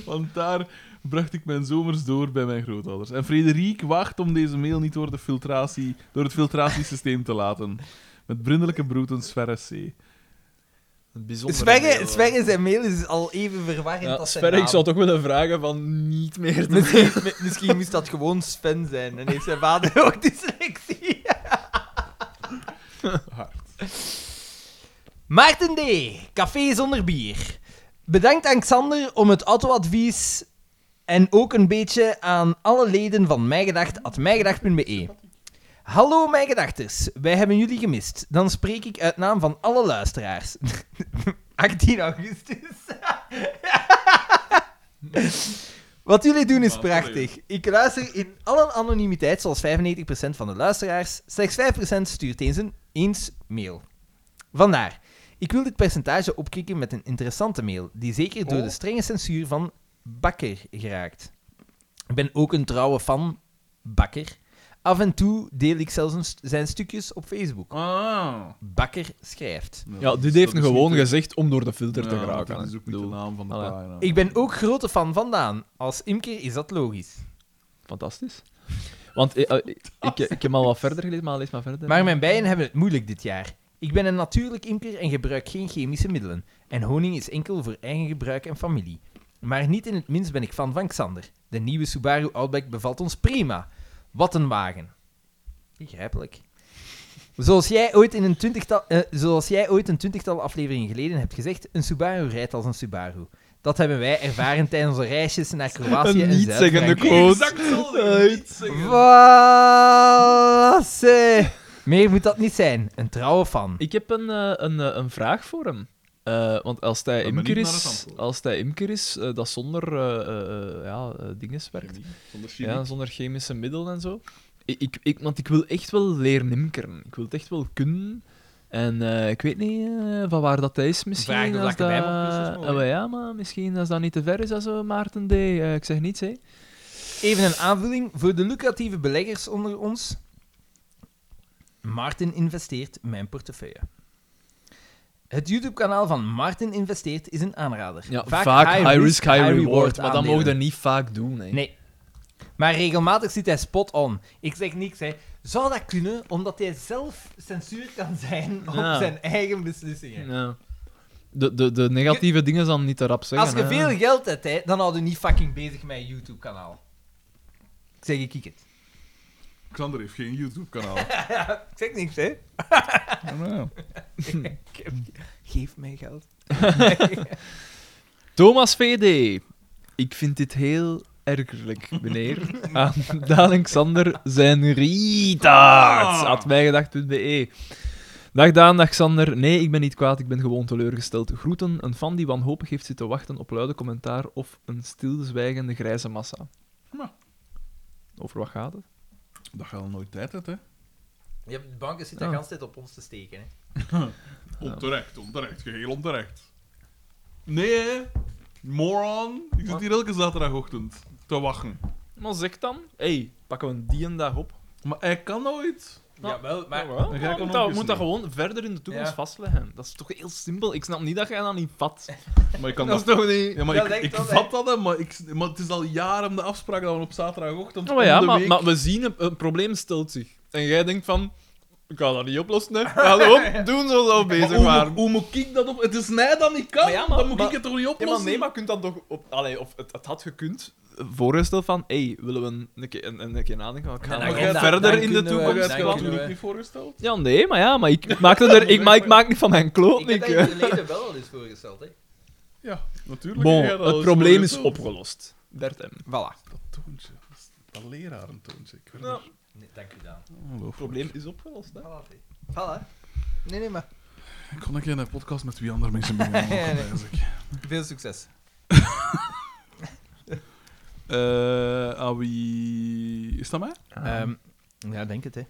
C: want daar bracht ik mijn zomers door bij mijn grootouders. En Frederik waagt om deze mail niet door, de filtratie, door het filtratiesysteem te laten. Met brindelijke broed een zwerre C.
A: Een bijzonder
B: Sverre,
D: eh,
B: Sverre zijn mail is al even verwarrend
D: Ja,
B: als zijn
D: Sverre, ik
B: naam.
D: zou toch willen vragen van niet meer te
B: Misschien, mi- misschien moest dat gewoon Sven zijn. En heeft zijn vader ook dyslexie.
C: Hard.
B: Maarten D. Café zonder bier. Bedankt aan Xander om het autoadvies. En ook een beetje aan alle leden van mijgedacht.mijgedacht.be. E. Hallo mijgedachters, wij hebben jullie gemist. Dan spreek ik uit naam van alle luisteraars. 18 augustus. Wat jullie doen is prachtig. Ik luister in alle anonimiteit, zoals 95% van de luisteraars. Slechts 5% stuurt eens een eens mail. Vandaar. Ik wil dit percentage opkrikken met een interessante mail, die zeker door de strenge censuur van Bakker geraakt. Ik ben ook een trouwe fan Bakker. Af en toe deel ik zelfs een st- zijn stukjes op Facebook.
C: Ah.
B: Bakker schrijft.
D: Ja, dit heeft hem
C: Dat is
D: gewoon
C: niet-
D: gezegd om door de filter te
C: Ja,
D: geraken.
C: Dat
D: hè.
C: is ook niet de
D: Bedoel,
C: naam van de
D: Allee.
C: pagina.
B: Ik ben ook grote fan van Daan. Als imker is dat logisch.
D: Fantastisch. Want eh, eh, ik, ik, ik heb al wat verder gelezen, maar lees maar verder.
B: Maar mijn bijen hebben het moeilijk dit jaar.
D: Ik ben een natuurlijk imker en gebruik geen chemische middelen. En honing is enkel voor eigen gebruik en familie. Maar niet in het minst ben ik fan van Xander. De nieuwe Subaru Outback bevalt ons prima. Wat een wagen. Begrijpelijk. Zoals jij ooit, in een twintigtal, eh, zoals jij ooit een twintigtal afleveringen geleden hebt gezegd, een Subaru rijdt als een Subaru. Dat hebben wij ervaren tijdens onze reisjes naar Kroatië en
A: niet-zeggende
D: Zuid-Frankrijk.
A: quote.
D: Voilà. Meer moet dat niet zijn. Een trouwe fan.
A: Ik heb een, eh, een, eh, een vraag voor hem. Eh, want als hij
C: ben
A: imker
C: benieuwd naar het
A: is,
C: antwoord.
A: als hij imker is eh, dat zonder eh eh, eh, ja, eh, dinges werkt.
C: Zonder chemie.
A: Ja, zonder chemische middelen en zo. Ik, ik, ik- want ik wil echt wel leren imkeren. Ik wil het echt wel kunnen. En eh, ik weet niet eh, van waar dat is misschien.
D: Vraag dat
A: als
D: ik erbij mag, dus dat is
A: dat-
D: mooi.
A: Ah, maar ja, maar misschien als dat niet te ver is, als zo Maarten D. Eh, ik zeg niets, hè.
D: Even een aanvulling voor de lucratieve beleggers onder ons. Martin investeert mijn portefeuille. Het YouTube-kanaal van Martin investeert is een
B: Ah.
D: aanrader.
A: Ja, vaak, high, risk, hig reward. maar dat
D: aandelen.
A: mogen we niet vaak doen, hè.
D: Nee. Maar regelmatig zit hij spot on. Ik zeg niks, hè. Zou dat kunnen omdat hij zelf censuur kan zijn op
A: Ja.
D: zijn eigen beslissingen?
A: Ja. De, de, de negatieve dingen dan niet te rap zeggen.
D: Als je
A: hè.
D: veel geld hebt, hè, dan hou je niet fucking bezig met je YouTube-kanaal. Ik zeg, ik kijk het.
C: Xander heeft geen YouTube-kanaal.
D: Ik zeg niks, hè.
C: Ja, maar ja.
D: Geef mij geld.
A: Thomas VD. Ik vind dit heel ergerlijk, meneer. Aan Daan en Xander zijn retards. At mijgedacht.be. E. Dag Daan, dag Xander. Nee, ik ben niet kwaad, ik ben gewoon teleurgesteld. Groeten, een fan die wanhopig heeft zitten wachten op luide commentaar of een stilzwijgende grijze massa.
C: Nou.
A: Over wat gaat het?
C: Dat gaat nooit tijd uit, hè?
D: Ja, de banken zitten
A: Ah.
D: de hele tijd op ons te steken. Hè.
C: Onterecht, onterecht, geheel onterecht. Nee, hè? moron. Ik zit hier elke zaterdagochtend te wachten.
A: Maar zeg dan, hey, pakken we die en dag op.
C: Maar hij kan nooit.
A: Nou,
D: Jawel, maar...
C: dan ga ik hem
A: moet
C: nog
A: dat,
C: eens
A: moet dat
C: doen.
A: gewoon verder in de toekomst
D: Ja.
A: vastleggen. Dat is toch heel simpel. Ik snap niet dat jij dat niet vat.
C: Maar ik kan
A: Dat is
C: dat...
A: toch niet...
C: Ja, maar
D: Dat
C: ik,
D: lijkt
C: ik
D: wel, hè.
C: vat dat, hè, maar, ik, maar het is al jaren de afspraak dat we op zaterdagochtend
A: Oh, maar ja,
C: om de
A: maar,
C: week...
A: maar we zien, een, een probleem stelt zich. En jij denkt van, ik ga dat niet oplossen, hè. Hallo, doen zoals we
C: Maar
A: bezig
C: hoe,
A: waren.
C: moet- hoe moet ik dat op... Het is mij dat niet kan,
A: Maar ja, maar-
C: dan moet
A: maar-
C: ik het toch niet
A: Ja, maar
C: oplossen?
A: nee, maar kunt dan toch... Op, allee, of het, het had gekund. Voorstel van, hé, hey, willen we een, een, keer, een, een keer nadenken? Ik ga
D: En
A: nog
D: dan
C: gaan
A: verder
C: we-
D: dan
A: in de
D: kunnen we-
C: Maar
A: toekomst.
C: jij hebt dat
D: dan kunnen
A: plannen.
D: we-
C: natuurlijk niet voorgesteld.
A: Ja, nee, maar ja, maar ik maak, dat er, ik, maak, ik maak niet van mijn kloot,
D: Ik
A: Nick.
D: heb dat in het verleden wel al eens voorgesteld, hè.
C: Ja, natuurlijk.
A: Bon,
C: jij hebt dat al
A: het
C: eens
A: probleem is
C: voorgesteld.
A: opgelost. Bert M.
D: Voilà.
C: Dat toontje, dat is dat lerarentoontje. Ik vind
A: Ja.
C: dat
D: Nee, dank u, Daan.
C: ongelooflijk.
A: Het probleem is opgelost, hè.
D: Voilà. Voilà. Nee, nee, maar...
C: Ik kon een keer een podcast met wie andere mensen begonnen.
D: Ja, nee.
C: ja,
D: Veel succes.
C: Eh, aan wie... Is dat mij?
D: Ehm, ja, denk het, hè.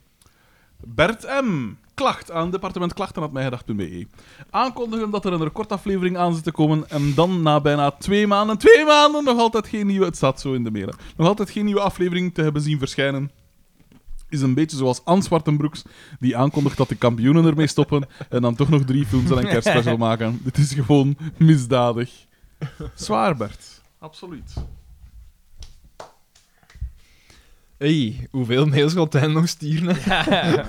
C: Bert M. Klacht aan departement klachten.mijgedacht.be. Aankondigen dat er een recordaflevering aan zit te komen en dan na bijna twee maanden, twee maanden, nog altijd geen nieuwe... Het staat zo in de mailen. Nog altijd geen nieuwe aflevering te hebben zien verschijnen. Is een beetje zoals Anne Zwartenbroeks, die aankondigt dat de kampioenen ermee stoppen en dan toch nog drie films en een kerstspecial maken. Dit is gewoon misdadig. Zwaar, Bert. Absoluut.
A: hey, hoeveel mails gaat hij nog sturen? hè?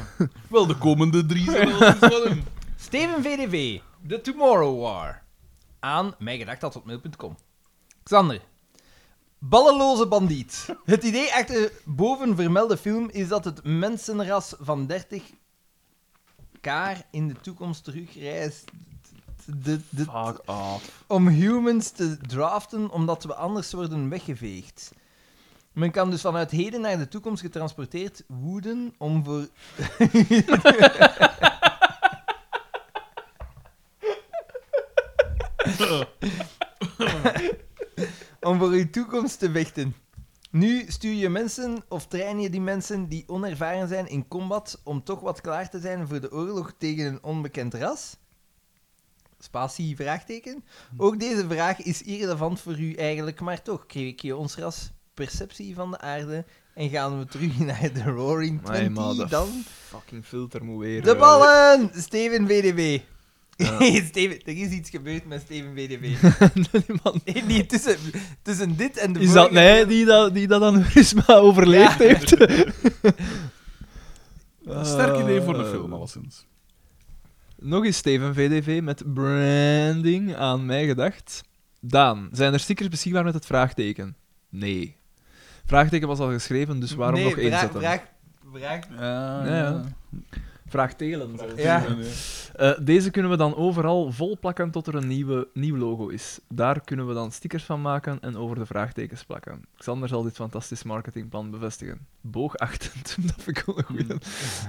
C: Wel, de komende drie zijn wel eens van hem.
D: Steven VDV, The Tomorrow War. Aan mijgedacht.mail.com. Xander. Ballenloze bandiet. Het idee achter de bovenvermelde film is dat het mensenras van 30 kaar in de toekomst terugreist. De, de,
A: Fuck oh, off.
D: om humans te draften, omdat we anders worden weggeveegd. Men kan dus vanuit heden naar de toekomst getransporteerd worden om voor... om voor uw toekomst te vechten. Nu stuur je mensen of train je die mensen die onervaren zijn in combat om toch wat klaar te zijn voor de oorlog tegen een onbekend ras? Spatie vraagteken. Ook deze vraag is irrelevant voor u eigenlijk, maar toch kreeg ik je ons ras perceptie van de aarde en gaan we terug naar de Roaring
A: Nee, maar
D: Twenty
A: de
D: dan?
A: Fucking filter moet weer...
D: De
A: eh,
D: ballen! Steven VDB.
A: Ja.
D: Steven, er is iets gebeurd met Steven VDB. Nee, niet tussen, tussen dit en de
A: Is dat
D: vorige-
A: mij die dat, die dat dan Prisma overleefd heeft? Eh,
C: Sterk idee voor de film, alleszins.
A: Nog eens Steven VDV met branding aan mij gedacht. Daan, zijn er stickers beschikbaar met het vraagteken? Nee. Vraagteken was al geschreven, dus waarom
D: nee,
A: nog één
D: vraag-
A: zetten?
D: Vraag, vraag,
C: Ja,
A: Ja, ja. Vraagtelen. zo.
D: Ja.
A: Eh, deze kunnen we dan overal vol plakken tot er een nieuwe, nieuw logo is. Daar kunnen we dan stickers van maken en over de vraagtekens plakken. Xander zal dit fantastisch marketingplan bevestigen. Boogachtend, dat vind ik wel een goeie.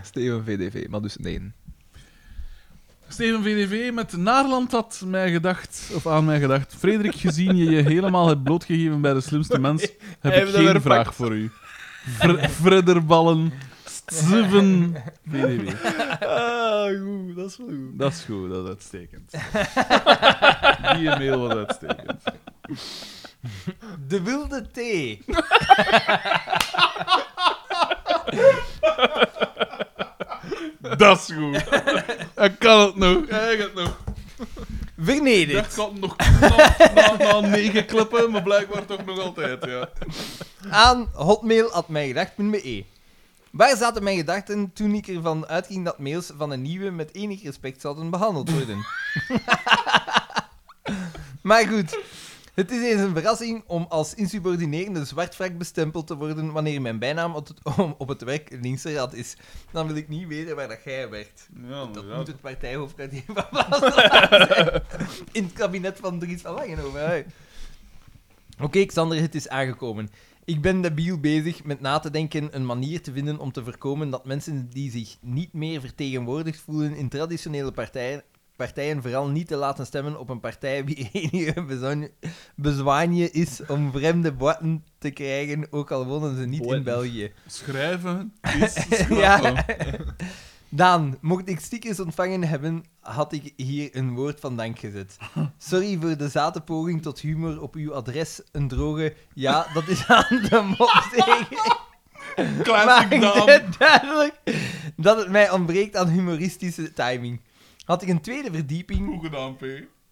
A: Steven VDV, maar dus nee.
C: Steven VDV met Naarland had mij gedacht, of aan mij gedacht. Frederik, gezien je je helemaal hebt blootgegeven bij de slimste mens, heb
A: Hij
C: ik
A: heeft hem
C: geen
A: weer
C: vraag voor u. Fr Fredderballen, Steven VDV.
A: Ah, goed, dat is wel goed.
C: Dat is goed, dat is uitstekend. Die mail was uitstekend.
D: de wilde thee.
C: Dat is goed. Hij kan het nog, hij kan het nog. Ik
D: Vernederd.
C: dacht, ik had hem nog knap na, na negen klippen, maar blijkbaar toch nog altijd, ja.
D: aan hotmail.mijngedacht.be. E. Waar zaten mijn gedachten toen ik ervan uitging dat mails van een nieuwe met enig respect zouden behandeld worden? maar goed, het is eens een verrassing om als insubordinerende zwartvrak bestempeld te worden wanneer mijn bijnaam op het, om- op het werk linksrad is. Dan wil ik niet weten waar dat jij werkt.
C: Ja,
D: Dat
C: inderdaad.
D: moet het partijhoofdkwartier van Vlaanderen zijn. In het kabinet van Dries van Langenhoven. hè. Oké, Xander, het is aangekomen. Ik ben debiel bezig met na te denken een manier te vinden om te voorkomen dat mensen die zich niet meer vertegenwoordigd voelen in traditionele partijen, partijen vooral niet te laten stemmen op een partij wie enige bezwan- bezwaanje is om vreemde botten te krijgen, ook al wonen ze niet in
A: Botten.
D: België.
C: Schrijven is schrappen.
D: Ja. Daan, mocht ik stickers ontvangen hebben, had ik hier een woord van dank gezet. Sorry voor de zate poging tot humor op uw adres. Een droge, ja, dat is aan de mop tegen. Maar
C: Classic
D: ik
C: Daan.
D: zei duidelijk dat het mij ontbreekt aan humoristische timing. Had ik een tweede verdieping,
C: Goed gedaan, P.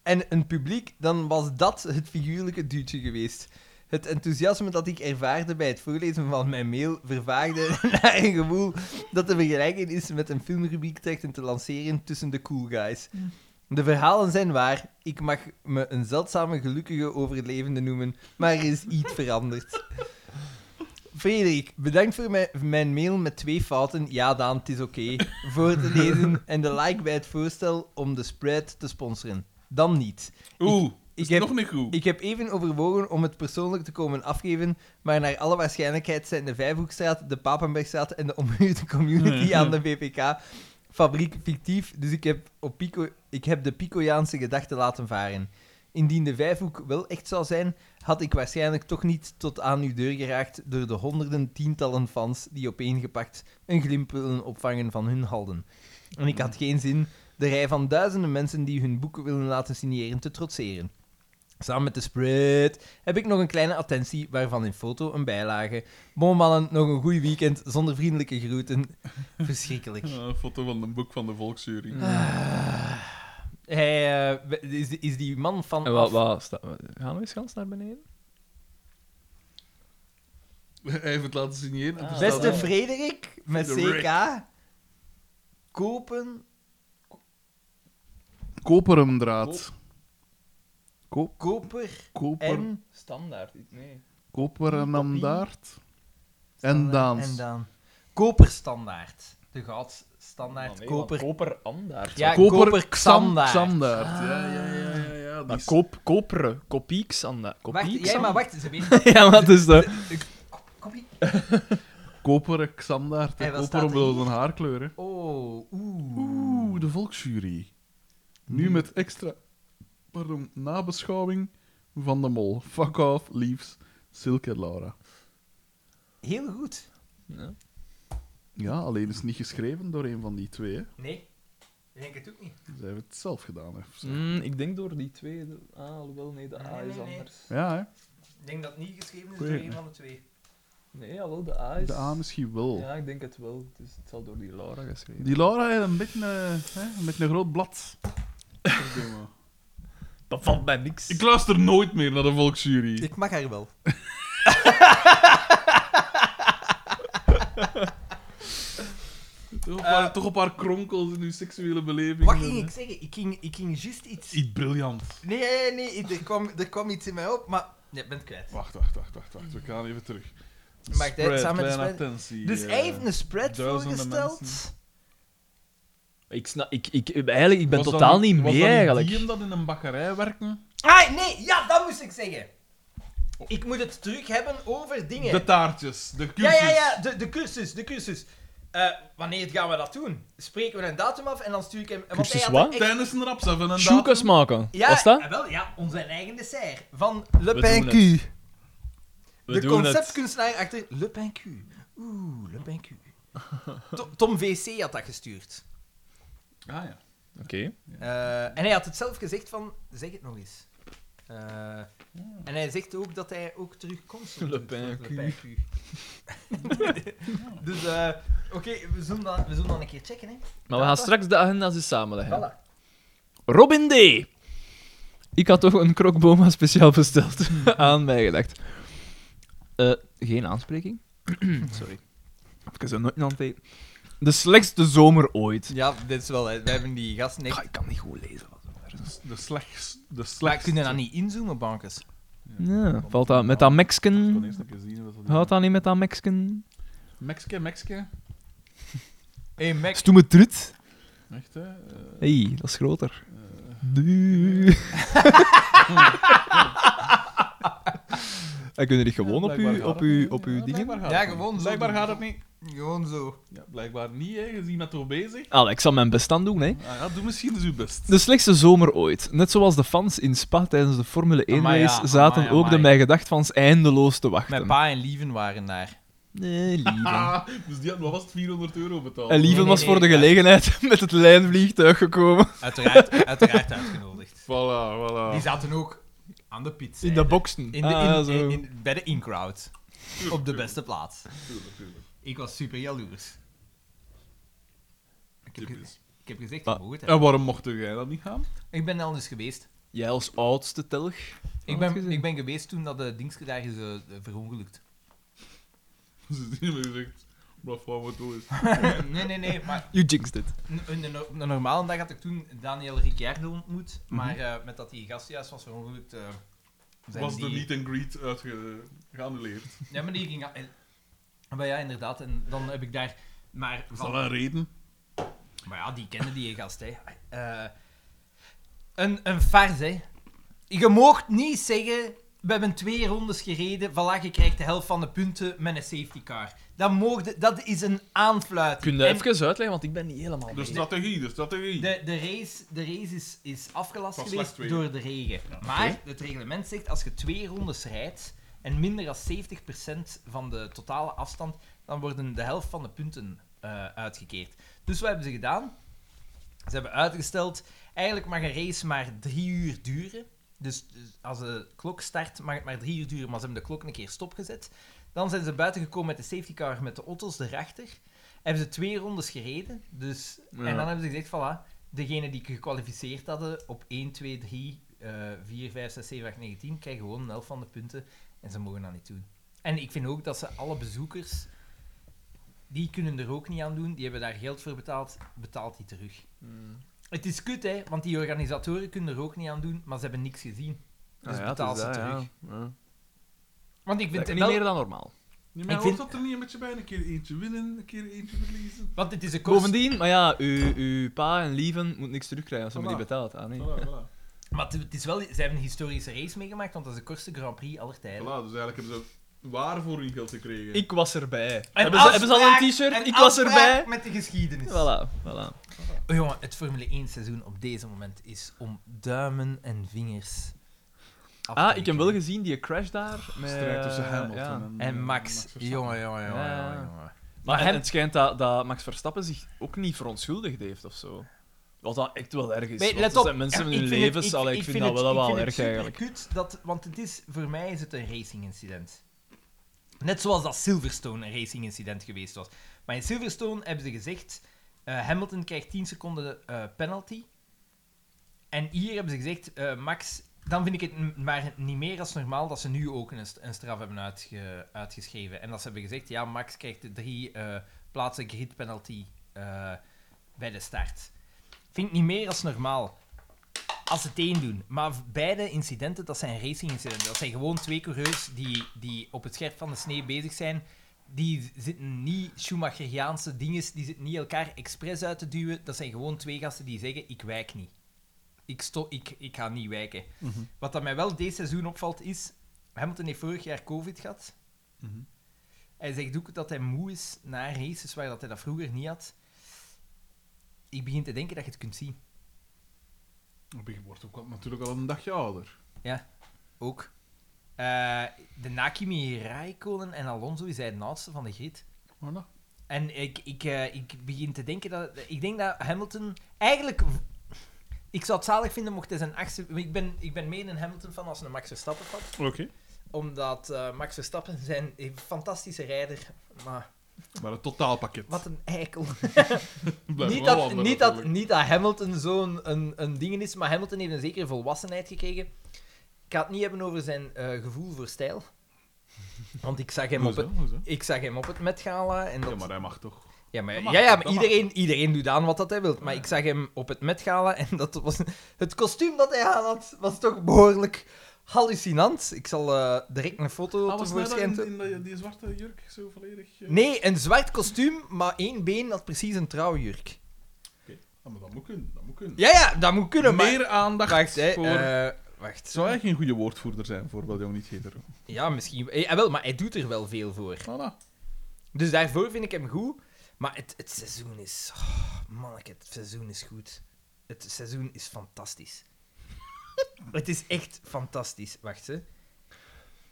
D: en een publiek, dan was dat het figuurlijke duwtje geweest. Het enthousiasme dat ik ervaarde bij het voorlezen van mijn mail vervaagde naar een gevoel dat te vergelijken is met een filmrubriek trekken te lanceren tussen de cool guys. De verhalen zijn waar, ik mag me een zeldzame gelukkige overlevende noemen, maar er is iets veranderd. Frederik, bedankt voor mijn, mijn mail met twee fouten. Ja, Daan, het is oké. Voor te lezen en de like bij het voorstel om de spread te sponsoren. Dan niet.
C: Oeh,
D: ik
C: is
D: heb-
C: nog niet goed.
D: Ik heb even overwogen om het persoonlijk te komen afgeven, maar naar alle waarschijnlijkheid zijn de Vijfhoekstraat, de Papenbergstraat en de omhuurde community aan de VPK fabriek fictief, dus ik heb, op Pico, ik heb de Picojaanse gedachte laten varen. Indien de Vijfhoek wel echt zou zijn, had ik waarschijnlijk toch niet tot aan uw deur geraakt door de honderden tientallen fans die opeengepakt een glimp willen opvangen van hun halden. En ik had geen zin de rij van duizenden mensen die hun boeken willen laten signeren te trotseren. Samen met de spread heb ik nog een kleine attentie, waarvan in foto een bijlage. Bon mannen, nog een goed weekend, zonder vriendelijke groeten. Verschrikkelijk.
C: Ja, een foto van een boek van de Volksjury.
A: Mm. Ah.
D: Hij, eh, we- is, is die man van...
A: En wat,
D: af-
A: wat, sta- gaan we eens gans naar beneden?
C: Hij heeft het laten signeren. en er staat
D: Beste
C: een-
D: Frederik, met
C: Frederik.
D: CK. Kopen...
C: Koperumdraad.
D: Koper
C: Koper,
D: en...
A: Standaard, nee.
C: Koperenamdaard. En
D: En
C: Daans.
D: Daan. Koperstandaard. De goudstandaard. koper...
A: Ah, Koper Andaard.
D: Ja,
C: Oh, Koper
D: Xandaard.
C: Xandaard. Ja, ja, ja, ja. ja. Die
J: Maar
C: is-
J: koop, koperen, kopie Xander. Kopie
D: Wacht, jij maar wacht, ze weten...
A: ja, maar het is dat.
D: Kopie.
C: Koperen Xandaard.
D: Hey, wat
C: Koper
D: staat
C: op
D: er
C: een haarkleur. hè.
D: Oh, oeh.
C: Oeh, de Volksjury. Nu met extra... Pardon, nabeschouwing van de mol. Fuck off, leaves. Silke en Laura.
D: Heel goed.
C: Ja, alleen is niet geschreven door een van die twee. Hè.
D: Nee. Ik denk het ook niet.
C: Zij hebben het zelf gedaan. Hè. of zo.
A: Mm, ik denk door die twee. de- Ah, alhoewel, nee, de A
D: Nee,
A: is
D: nee, nee.
A: anders.
C: Ja, hè.
D: Ik denk dat het niet geschreven is
C: Goeie.
D: door een van de twee.
A: Nee, alhoewel, de A is...
C: De A misschien wel.
A: Ja, ik denk het wel. Het, is, het zal door die Laura geschreven.
C: Die Laura heeft een beetje een, hè, met een groot blad. Verdomme.
J: Dat valt mij niks.
C: Ik luister nooit meer naar de Volksjury.
D: Ik mag haar wel.
C: Toch een paar,
D: Eh,
C: toch een paar kronkels in uw seksuele beleving.
D: Wat ging ik zeggen? Ik ging, ik ging juist iets...
C: Iets briljant.
D: Nee, nee, nee, ik- er kwam, er kwam iets in mij op, maar... Nee, ik ben het kwijt.
C: Wacht, wacht, wacht, wacht, wacht. We gaan even terug.
D: Maar ik deed het samen met de
C: kleine
D: spread.
C: attentie.
D: Dus
C: eh.
D: hij heeft een spread
C: duizenden
D: voorgesteld.
C: mensen.
A: Ik, snap, ik, ik, eigenlijk, ik ben
C: Was dat
A: totaal niet
C: was
A: mee,
C: dat
A: eigenlijk.
C: Die hem dat in een bakkerij werken?
D: Ah, nee, ja, dat moest ik zeggen. Ik moet het terug hebben over dingen.
C: De taartjes, de
D: ja,
C: cursus.
D: ja, ja, de, de cursus, de cursus. Eh, wanneer gaan we dat doen? Spreken we een datum af en dan stuur ik hem... want
A: Cursus
D: hij had
A: wat?
D: een ex-
C: Tijdens een raps hebben een datum.
A: Sjoekes maken.
D: Ja,
A: Was dat?
D: eh, wel, ja, onze eigen dessert. Van Le
A: We
D: Pain
A: doen
D: Q.
A: We
D: de
A: doen
D: conceptkunstenaar achter Le Pain Q. Oeh, Le Pain Q. To- Tom VC had dat gestuurd.
C: Ah ja.
A: het. Oké.
D: Eh, en hij had het zelf gezegd van, zeg het nog eens. Eh, En hij zegt ook dat hij ook terugkomt.
K: Le Pen Q.
D: dus, eh, oké, we, zullen dat- we zullen dat een keer checken, hè.
A: Maar we gaan straks de agenda's eens samenleggen.
D: Voilà.
A: Robin D. Ik had toch een krokboma speciaal besteld. Aan mij gedacht. Eh, geen aanspreking. Sorry. Ik zo nooit aan het eten. De slechtste zomer ooit.
D: Ja, dit is wel... We hebben die gasten
A: Ah, ik kan niet goed lezen. wat er is.
C: De slechts. De
D: Maar
C: slechts.
D: kunnen dan niet inzoomen, bankers?
A: Ja, valt dat met dat
C: Ik
A: Mexican?
C: kon eerst een keer zien wat dat
A: Houdt dat niet met dat Mexican?
C: Mexica, Mexica.
D: Hé, Mac.
A: Stoeme trut.
C: Echt, hè? Eh,
A: hey, dat is groter. Du. En kun je dit gewoon op
C: blijkbaar
A: uw,
C: gaat
A: op
C: het
A: uw,
C: niet.
A: op uw
C: Ja,
A: dingen?
C: blijkbaar gaat
D: Ja,
C: het niet.
D: gewoon zo
C: Blijkbaar
D: doen.
C: gaat het niet.
D: Gewoon zo.
C: Ja, blijkbaar niet, hè. Je ziet met toch bezig.
A: Allee, ik zal mijn best aan doen, hè.
C: Ah ja, doe misschien dus uw best.
A: De slechtste zomer ooit. Net zoals de fans in Spa tijdens de Formule 1
D: Amai, ja,
A: race zaten
D: amai,
A: ook de
D: amai.
A: mij gedachtfans eindeloos te
D: Mijn
A: wachten.
D: pa en Lieven waren daar.
A: Nee, Lieven.
C: Ah, dus die had maar vast 400 euro betaald.
A: En Lieven
D: nee,
A: was
D: nee,
A: voor de
D: ja.
A: gelegenheid met het lijnvliegtuig gekomen.
D: Uiteraard, uiteraard uitgenodigd.
C: Voilà, voilà.
D: Die zaten ook aan de pits.
A: In de boksen.
D: In de,
A: Ah,
D: in-
A: zo.
D: in- in- bij de in-crowd. Op de beste plaats. Ik was super jaloers. Ik heb, ge-
C: Typisch.
D: ik heb gezegd,
A: Maar-
D: je mag het hebben.
C: En waarom mocht jij dat niet gaan?
D: ik ben al eens geweest.
A: Jij als oudste telg.
D: Ik
A: Oh, had
D: ben,
A: gezien.
D: ik ben geweest toen dat de Dingske daar is eh, verongelukt.
C: Ze zien me gezegd, wat voor wat toe is.
D: nee, nee, nee, maar
A: You jinxed it.
D: Een, een, een- een normale dag had ik toen Daniel Ricciardo ontmoet,
C: Mhm.
D: maar eh, met dat die gast juist was verongelukt, eh zijn
C: Was
D: die...
C: de meet and greet uitge- geannuleerd.
D: Ja, maar die ging... eh, Maar ja, inderdaad, en dan heb ik daar... Maar,
C: Is
D: van-
C: dat een reden?
D: maar ja, die kende die gast, hè. Eh, een, een farce, hè. Je moogt niet zeggen, we hebben twee rondes gereden, voilà, je krijgt de helft van de punten met een safety car. Dat, moogde, dat is een aanfluiting.
A: Kun je
D: En
A: even uitleggen, want ik ben niet helemaal...
C: De strategie, de strategie.
D: De, de race, de race is, is afgelast
C: Van slecht
D: geweest
C: weer.
D: door de regen. Maar het reglement zegt als je twee rondes rijdt en minder dan 70% van de totale afstand, dan worden de helft van de punten eh, uitgekeerd. Dus wat hebben ze gedaan? Ze hebben uitgesteld, eigenlijk mag een race maar drie uur duren. Dus, dus als de klok start, mag het maar drie uur duren, maar ze hebben de klok een keer stopgezet. Dan zijn ze buiten gekomen met de safety car met de otto's erachter. Hebben ze twee rondes gereden. Dus, En dan hebben ze gezegd, voilà, degene die gekwalificeerd hadden op 1, 2, 3, eh 4, 5, 6, 7, 8, 9, 10, krijgen gewoon een elf van de punten. En ze mogen dat niet doen. En ik vind ook dat ze alle bezoekers, die kunnen er ook niet aan doen. Die hebben daar geld voor betaald, betaalt die terug. Het is kut, hè, want die organisatoren kunnen er ook niet aan doen, maar ze hebben niks gezien.
A: Ah,
D: Dus betaal ze terug. Want ik vind het
A: Niet
D: wel-
A: meer dan normaal.
C: Nee, maar
D: Ik
C: hoort
D: vind-
C: dat er niet een beetje bij? Een keer eentje winnen, een keer eentje verliezen.
D: Want het is een kost.
A: Bovendien, maar ja, uw, uw pa en Lieven moet niks terugkrijgen als ze me
C: Voilà.
A: niet betaalt. Ah, nee.
C: Voilà, voilà.
D: Maar het- het is wel, ze hebben een historische race meegemaakt, want dat is de kortste Grand Prix aller tijden.
C: Voilà, dus eigenlijk hebben ze waar voor hun geld gekregen.
A: Ik was erbij.
D: Een
A: Hebben ze, hebben ze al
D: afspraak-
A: een t-shirt?
D: een
A: Ik was
D: afspraak
A: erbij.
D: met de geschiedenis.
A: Voilà, voilà.
D: Oh, jongen, het Formule 1 seizoen op deze moment is om duimen en vingers. af te
A: Ah, ik heb
D: wikkelen.
A: wel gezien die crash daar. Met,
C: Strijd tussen
A: eh,
C: Hamilton
A: ja.
C: en, eh,
D: En Max,
C: Verstappen.
D: jongen, jongen, jongen,
A: Ja, ja.
D: jongen, jongen.
A: Maar
D: Maar
A: en
D: hem-
A: het schijnt dat, dat Max Verstappen zich ook niet verontschuldigd heeft of zo. Wat dat echt wel erg is.
D: Nee,
A: want
D: let
A: er
D: op.
A: zijn mensen
D: Ja,
A: met hun
D: vind het-
A: levens. allee, ik, vind, dat
D: het-
A: wel,
D: ik
A: wel
D: vind het
A: erg eigenlijk.
D: superkut dat, want het is, voor mij is het een racing-incident. Net zoals dat Silverstone een racing-incident geweest was. Maar in Silverstone hebben ze gezegd, eh, Hamilton krijgt 10 seconden eh, penalty. En hier hebben ze gezegd, eh, Max, dan vind ik het n- maar niet meer als normaal dat ze nu ook een, st- een straf hebben uitge- uitgeschreven. En dat ze hebben gezegd, ja, Max krijgt de drie eh, plaatsen grid penalty
B: eh, bij de start. Vind ik niet meer als normaal. Als ze het één doen. Maar v- beide incidenten, dat zijn racing-incidenten. Dat zijn gewoon twee coureurs die, die op het scherp van de snee bezig zijn. Die z- zitten niet Schumacheriaanse dingen, die zitten niet elkaar expres uit te duwen. Dat zijn gewoon twee gasten die zeggen, ik wijk niet. Ik, sto ik, ik ga niet wijken.
C: Mhm,
B: Wat dat mij wel dit seizoen opvalt is, Hamilton heeft vorig jaar COVID gehad.
C: mhm.
B: Hij zegt ook dat hij moe is na races waar dat hij dat vroeger niet had. Ik begin te denken dat je het kunt zien.
C: Je wordt ook al- natuurlijk al een dagje ouder.
B: Ook. Eh, de Nakimi Raikkonen en Alonso is hij de oudste van de grid.
C: Voilà.
B: En ik, ik, eh, ik begin te denken dat... Ik denk dat Hamilton... Eigenlijk... v- Ik zou het zalig vinden mocht hij zijn achtste... Ik ben, ik ben meer een Hamilton van als een Max Verstappen van.
C: Oké.
B: Omdat eh, Max Verstappen zijn een fantastische rijder. Maar
C: Maar het totaalpakket.
B: wat een eikel.
C: Blijft
B: niet,
C: wel
B: dat,
C: ander
B: niet, dat,
C: natuurlijk.
B: niet dat Hamilton zo'n een, een ding is, maar Hamilton heeft een zekere volwassenheid gekregen. Ik ga het niet hebben over zijn eh, gevoel voor stijl. Want ik zag hem op het,
C: Hoezo, hoezo?
B: ik zag hem op het Met Gala. En dat,
C: Ja, maar hij mag toch.
B: ja, maar,
C: dat mag
B: ja, ja,
C: toch,
B: maar
C: dat mag
B: iedereen, iedereen doet aan wat dat hij wil. Maar ik zag hem op het Met Gala en dat was, het kostuum dat hij aan had was toch behoorlijk hallucinant. Ik zal eh, direct een foto
C: Ah, was
A: nou
C: hij
B: tevoorschijn
C: dan
B: doen.
C: in, in die, die zwarte jurk zo volledig... eh?
B: Nee, een zwart kostuum, maar één been had precies een trouwjurk.
C: Ah, maar dat moet kunnen, dat moet kunnen.
B: Ja, ja, dat moet kunnen, maar...
C: Meer aandacht
B: Wacht, hè.
C: voor...
B: eh, wacht.
C: Zou hij geen goede woordvoerder zijn voor Wel Jong Niet Hetero?
B: Ja, misschien... eh, jawel, maar hij doet er wel veel voor.
C: Voilà.
B: Dus daarvoor vind ik hem goed. Maar het, het seizoen is... Oh, manneke, het seizoen is goed. Het seizoen is fantastisch. het is echt fantastisch. Wacht, hè.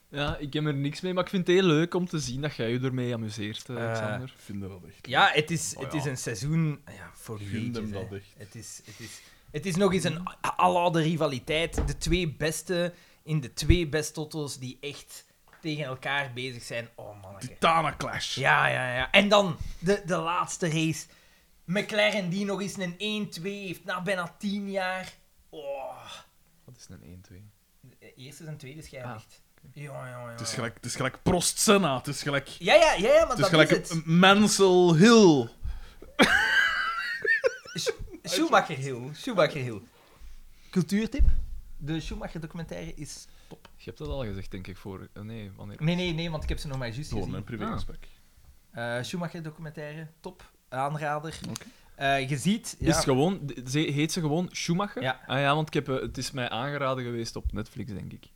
A: Ja, ik heb er niks mee, maar ik vind het heel leuk om te zien dat jij je ermee amuseert, eh,
B: Eh,
A: Alexander.
C: Ik vind dat echt...
B: Ja, het is,
C: Oh,
B: het
C: ja.
B: is een seizoen ja, voor
C: Gun
B: jeetjes,
C: hem dat
B: hè.
C: echt.
B: Het is, het, is, het is nog eens een a- aloude rivaliteit. De twee beste in de twee best totals die echt tegen elkaar bezig zijn. Oh, manneke.
C: Titana Clash.
B: Ja, ja, ja. En dan de, de laatste race. McLaren die nog eens een 1-2 heeft na bijna 10 jaar. Oh.
A: Wat is een 1-2?
B: De Eerste en tweede schijnlicht. Ja, ja, ja.
C: Het is gelijk, het is gelijk Prost Senna, het is gelijk...
B: Ja, ja, ja, ja, maar
C: Het is
B: dat
C: gelijk
B: is het.
C: een Mansell Hill.
B: Schumacher Hill. Schumacher Hill. Cultuurtip? De Schumacher documentaire is...
A: Je hebt dat al gezegd, denk ik, voor... eh, Nee, wanneer...
B: Nee, nee, nee, want ik heb ze nog maar juist
C: Gewoon
B: gezien.
C: mijn privégesprek.
B: Eh, Schumacher documentaire, top. Aanrader.
C: Oké.
B: Eh, je ziet... Ja,
A: Is het gewoon, de- ze- heet ze gewoon Schumacher?
B: Ja.
A: Ah ja, want ik heb, eh, het is mij aangeraden geweest op Netflix, denk ik.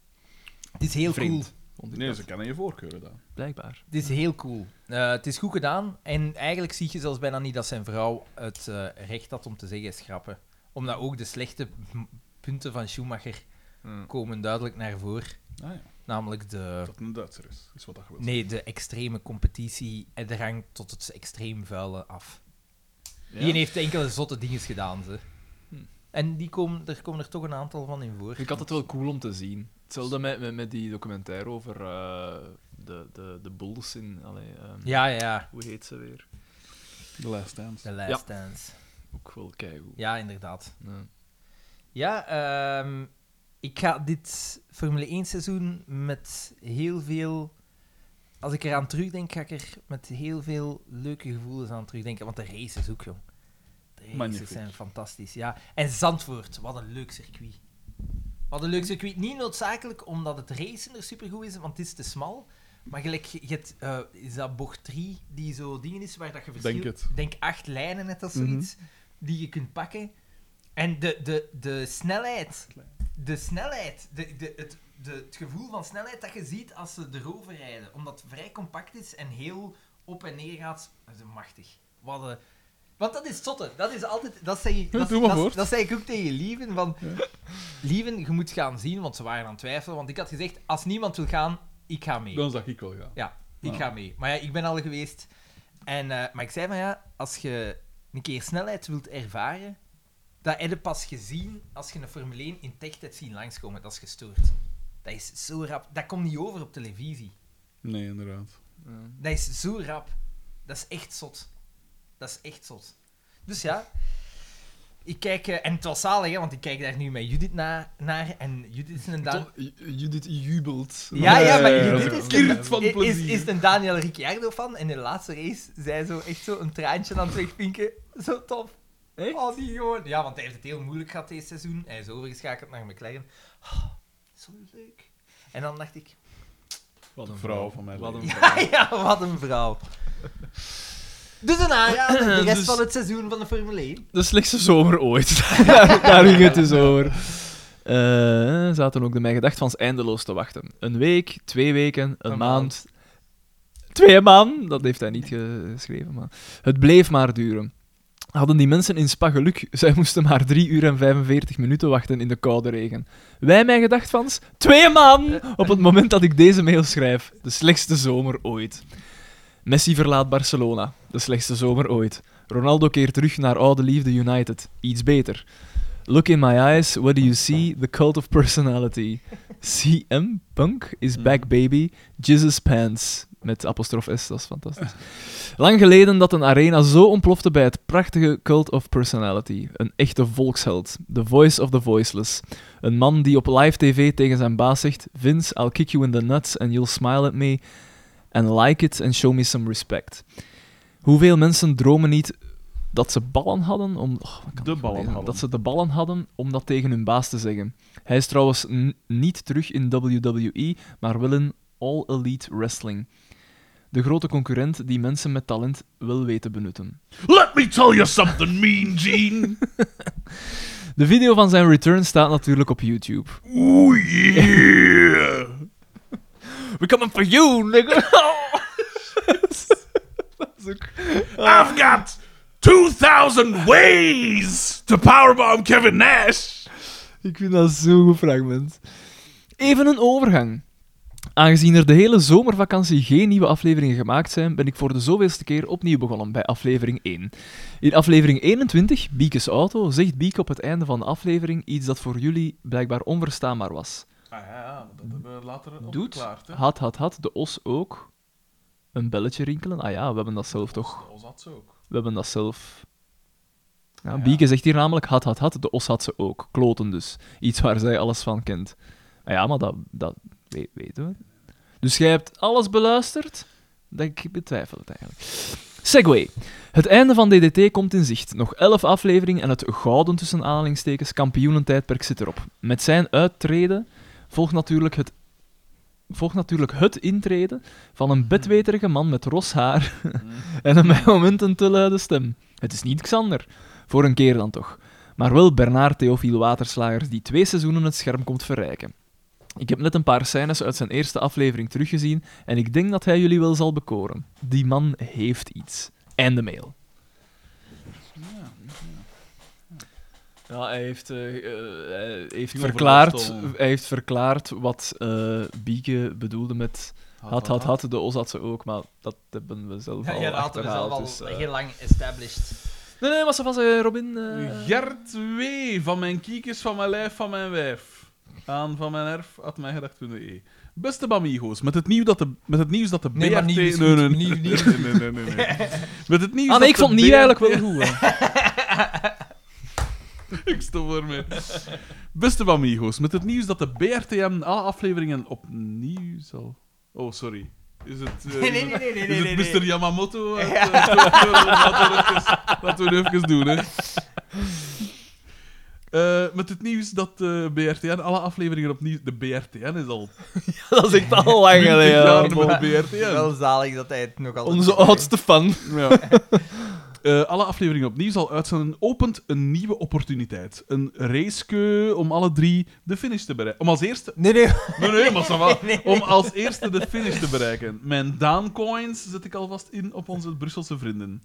B: het is heel
A: Vreemd.
B: cool.
A: Vond ik
C: Nee,
A: dat.
C: ze kennen je voorkeuren dan.
A: Blijkbaar.
B: Het is heel cool. Eh, het is goed gedaan. En eigenlijk zie je zelfs bijna niet dat zijn vrouw het eh, recht had om te zeggen schrappen. Omdat ook de slechte m- punten van Schumacher
A: Hmm.
B: komen duidelijk naar voren.
C: Ah ja,
B: Namelijk de,
C: dat een Duitser is, is wat dat wil
B: nee, de extreme competitie en de rang tot het extreem vuile af. Die heeft enkele zotte dingen gedaan. Ze.
A: Hmm.
B: En die komen, er komen er toch een aantal van in voor.
A: Ik had het wel cool om te zien. Hetzelfde met, met, met die documentaire over eh, de, de, de Bulls in... Allee, ehm,
B: Ja, ja.
A: Hoe heet ze weer?
C: The Last Dance.
B: De last dance.
A: Ook wel keigoed.
B: Ja, inderdaad.
A: Ja.
B: Ja, ehm, ik ga dit Formule 1 seizoen met heel veel. Als ik eraan terugdenk, ga ik er met heel veel leuke gevoelens aan terugdenken. Want de races ook, jong. De races
C: Magnifiek.
B: zijn fantastisch. Ja. En Zandvoort, wat een leuk circuit. Wat een leuk circuit. Niet noodzakelijk omdat het racen er supergoed is, want het is te smal. Maar gelijk, je je hebt, eh, is dat bocht 3 die zo dingen is waar dat je verschil...
C: Denk het.
B: Denk acht lijnen net als zoiets, die je kunt pakken. En de, de, de snelheid, de snelheid, de, de, het, de, het gevoel van snelheid dat je ziet als ze erover rijden. Omdat het vrij compact is en heel op en neer gaat. Dat is machtig. Wat een... Want dat is zotte. Dat is altijd... Dat zei, ik-
C: Ja,
B: dat,
C: doe maar
B: dat-
C: voort.
B: dat zei ik ook tegen Lieven. Van, Lieven, je moet gaan zien, want ze waren aan het twijfelen. Want ik had gezegd, als niemand wil gaan, ik ga mee.
C: Dan zag ik wel gaan.
B: Ja, ik
C: Ah.
B: ga mee. Maar ja, ik ben al geweest. En, eh, maar ik zei van ja, als je een keer snelheid wilt ervaren, dat heb je pas gezien als je een Formule 1 in tech hebt zien langskomen. Dat is gestoord. Dat is zo rap. Dat komt niet over op televisie.
C: Nee, inderdaad.
A: Ja.
B: Dat is zo rap. Dat is echt zot. Dat is echt zot. Dus ja, Ik kijk, eh, en het was zalig, hè, want ik kijk daar nu met Judith na, naar. En Judith is een Daan-
A: Toch, J- Judith jubelt.
B: Ja, ja,
A: Eh,
B: maar
C: Ja, ja, ja.
B: Judith is,
C: Kiert Eh, van
B: is, is,
C: plezier.
B: een Daniel Ricciardo van. En in de laatste race zei zo echt zo een traantje aan het wegpinken. Zo tof. Oh, die gewoon. Ja, want hij heeft het heel moeilijk gehad dit seizoen. Hij is overgeschakeld naar McLaren. Oh, zo leuk. En dan dacht ik,
A: Wat
C: een vrouw van mijn
A: Wat een
C: leven.
A: vrouw.
B: ja, ja, wat een vrouw. Dus een aanrader, de rest
A: Dus-
B: van het seizoen van de Formule 1.
A: De slechtste zomer ooit. daar, daar ging het dus over. Eh, zaten ook de mijn gedacht van eindeloos te wachten. Een week, twee weken, een,
B: Een
A: maand. Twee maanden, dat heeft hij niet geschreven. Maar het bleef maar duren. Hadden die mensen in Spa geluk, zij moesten maar 3 uur en 45 minuten wachten in de koude regen. Wij, mijn gedacht van twee maanden op het moment dat ik deze mail schrijf. De slechtste zomer ooit. Messi verlaat Barcelona. De slechtste zomer ooit. Ronaldo keert terug naar oude liefde United. Iets beter. Look in my eyes, what do you see? The cult of personality. CM Punk is back baby. Jesus Pants. Met apostrof S, dat is fantastisch. Lang geleden dat een arena zo ontplofte bij het prachtige Cult of Personality. Een echte volksheld. The voice of the voiceless. Een man die op live tv tegen zijn baas zegt... Vince, I'll kick you in the nuts and you'll smile at me. And like it and show me some respect. Hoeveel mensen dromen niet dat ze ballen hadden om... oh, wat kan ik
C: De ballen
A: verleden?
C: hadden.
A: Dat ze de ballen hadden om dat tegen hun baas te zeggen. Hij is trouwens n- niet terug in WWE, maar wel in All Elite Wrestling. De grote concurrent die mensen met talent wil weten benutten.
C: Let me tell you something, Mean Gene.
A: De video van zijn return staat natuurlijk op YouTube.
C: Oeh, yeah.
A: We coming for you, nigga!
C: I've got 2000 ways to powerbomb Kevin Nash.
A: Ik vind dat zo'n goed fragment. Even een overgang. Aangezien er de hele zomervakantie geen nieuwe afleveringen gemaakt zijn, ben ik voor de zoveelste keer opnieuw begonnen bij aflevering 1. In aflevering 21, Biekes Auto, zegt Biek op het einde van de aflevering iets dat voor jullie blijkbaar onverstaanbaar was.
C: Ah ja, dat hebben we later
A: Doet,
C: opgeklaard. hè.
A: had, had, had, de os ook een belletje rinkelen? Ah ja, we hebben dat zelf toch.
C: De Os had ze ook.
A: We hebben dat zelf. Ja,
C: Ja.
A: Bieke zegt hier namelijk: had, had, had. De os had ze ook. Kloten dus. Iets waar zij alles van kent. Ah ja, maar dat, dat we- weten we. Dus jij hebt alles beluisterd? Dat ik betwijfel het eigenlijk. Segway. Het einde van DDT komt in zicht. Nog 11 afleveringen en het gouden tussen aanhalingstekens kampioenentijdperk zit erop. Met zijn uittreden volgt natuurlijk het, volgt natuurlijk het intreden van een bedweterige man met ros haar en een bij momenten te luide stem. Het is niet Xander, voor een keer dan toch. Maar wel Bernard Theofiel Waterslagers, die twee seizoenen het scherm komt verrijken. Ik heb net een paar scènes uit zijn eerste aflevering teruggezien en ik denk dat hij jullie wel zal bekoren. Die man heeft iets. En de mail.
D: Ja, hij heeft... eh, eh, hij heeft
A: Verklaard,
D: overlast om-
A: hij heeft verklaard wat eh, Bieke bedoelde met had, had, had. De os had ze ook, maar dat hebben we zelf
B: Ja,
A: al
B: ja, dat hadden we zelf
A: achterhaald.
B: al
A: dus, eh.
B: heel lang established.
A: Nee, nee, maar ze was eh, Robin... eh,
C: Gert W. Van mijn kiekers, van mijn lijf, van mijn wijf. Aan van mijn erf, had mijn gedacht toen de E. Beste Bamigo's, met het, nieuws dat de, met het nieuws dat de BRT...
B: Nee, maar nieuw is
C: nee,
B: goed,
C: nee, nee,
B: nieuw, nieuw
C: nee,
B: is
C: nee, nee, nee, nee, nee. Met het nieuws dat
A: Ah nee, ik
C: de
A: vond het niet
C: BRT
A: eigenlijk wel goed. hè.
C: Ik stop ermee. Beste Bamigo's, met het nieuws dat de BRTM alle afleveringen opnieuw zal... Oh, sorry. Is het... eh,
B: Nee, nee, nee, nee, nee,
C: is
B: nee,
C: het
B: nee.
C: Mr. Yamamoto? uit, eh, Tokyo? Laten we het eens- Laten we het even doen, hè. Eh, met het nieuws dat eh, de BRTN alle afleveringen opnieuw... De BRTN is al
A: Dat is echt al lang
C: 20
A: geleden.
C: jaar
A: ja,
C: met
A: bon.
C: de BRTN.
B: Wel zalig dat hij het nog altijd...
A: Onze oudste fan.
C: Ja. Eh, alle afleveringen opnieuw zal uitzenden. Opent een nieuwe opportuniteit. Een racekeu om alle drie de finish te bereiken. Om als eerste...
B: Nee, nee.
C: Nee, nee, maar ça va. Om als eerste de finish te bereiken. Mijn Daan-coins zet ik alvast in op onze Brusselse vrienden.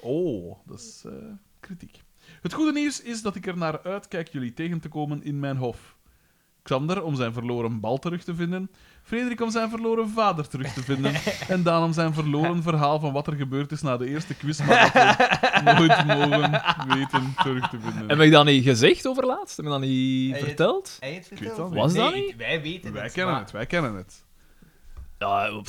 C: Oh, dat is eh, kritiek. Het goede nieuws is dat ik er naar uitkijk jullie tegen te komen in mijn hof. Xander om zijn verloren bal terug te vinden. Frederik om zijn verloren vader terug te vinden. En Daan om zijn verloren verhaal van wat er gebeurd is na de eerste quiz, maar dat we nooit mogen weten terug te vinden.
A: Heb ik dat niet gezegd over laatst? Heb ik dat niet
B: Hey, het-
A: verteld?
B: Hij heeft
C: weet
B: verteld.
C: dat
A: niet. Was
B: nee,
A: dat niet?
B: Wij weten
C: Wij
B: het.
C: kennen
B: maar-
C: het, wij kennen het.
A: Ja,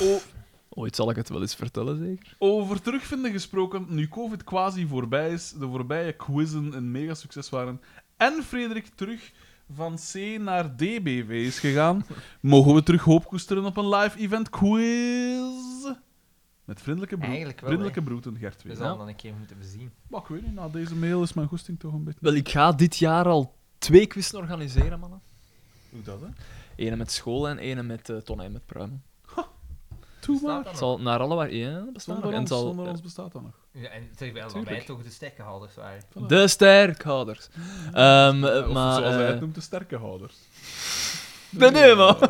A: Ooit zal ik het wel eens vertellen, zeker?
C: Over terugvinden gesproken, nu COVID quasi voorbij is, de voorbije quizzen een mega succes waren en Frederik terug van C naar DBW is gegaan, mogen we terug hoop koesteren op een live event quiz. Met vriendelijke, broe-
D: Eigenlijk wel,
C: vriendelijke broeten, Gert
D: We
C: weer.
D: zullen dan een keer moeten bezien.
C: Maar ik weet niet, na deze mail is mijn goesting toch een beetje...
A: Wel, ik ga dit jaar al twee quizzen organiseren, mannen.
C: Hoe dat, hè?
A: Ene met school en ene met eh Ton en met Pruimen.
C: Toe
D: Bestaat
C: maar.
D: dat
A: Het
D: nog?
A: zal naar alle waar... Ja, bestaan
C: Zonder
A: er. En het
C: ons,
A: zal...
C: zonder ons bestaat dat nog.
D: Ja, en terwijl dat wij
A: Tuurlijk.
D: toch de sterke houders waren.
A: De sterkhouders. Ehm eh,
C: Of
A: maar...
C: zoals hij
A: eh,
C: het noemt, de sterke houder.
A: Nee, nee, man.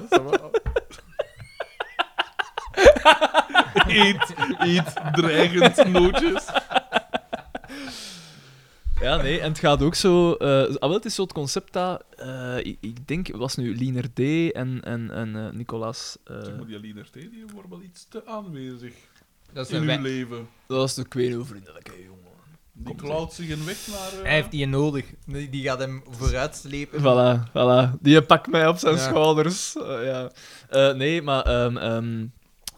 C: Eet, eet, dreigend nootjes.
A: Ja, nee, en het gaat ook zo. eh ah, wel, het is zo het concept dat. eh, ik, ik denk, het was nu Liener D en, en, en eh, Nicolaas. eh,
C: Zeg maar, die Alina T, die wordt wel iets te aanwezig
D: Dat is
C: in
D: een
C: uw
D: wij-
C: leven.
A: dat was de kwee vriendelijke jongen.
C: Die klauwt zich een weg naar... eh,
D: Hij heeft die nodig. Die die gaat hem vooruit slepen.
A: Voilà, voilà. Die pakt mij op zijn
D: Ja.
A: schouders. Eh, ja. Eh, nee, maar ehm ehm,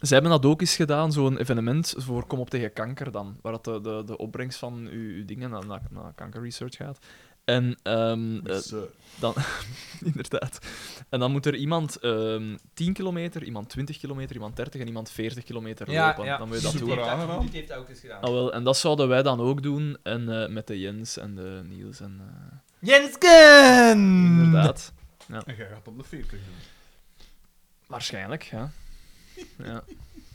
A: ze hebben dat ook eens gedaan, zo'n evenement voor Kom op tegen kanker dan. Waar dat de, de, de opbrengst van uw, uw dingen naar, naar, naar kankerresearch gaat. En ehm, eh,
C: Miss, eh,
A: Dan, inderdaad. En dan moet er iemand ehm 10 kilometer, iemand 20 kilometer, iemand 30 en iemand 40 kilometer
D: Ja,
A: lopen.
D: ja.
A: Dan moet je dat
C: Super
A: doen.
D: Die heeft dat-
C: aangenaam.
D: die heeft dat ook eens gedaan.
A: Ah, wel, en dat zouden wij dan ook doen. En eh, met de Jens en de Niels en eh,
D: Jensken!
A: Hmm. inderdaad.
C: En jij gaat om de 40 doen.
A: Waarschijnlijk, ja. ja.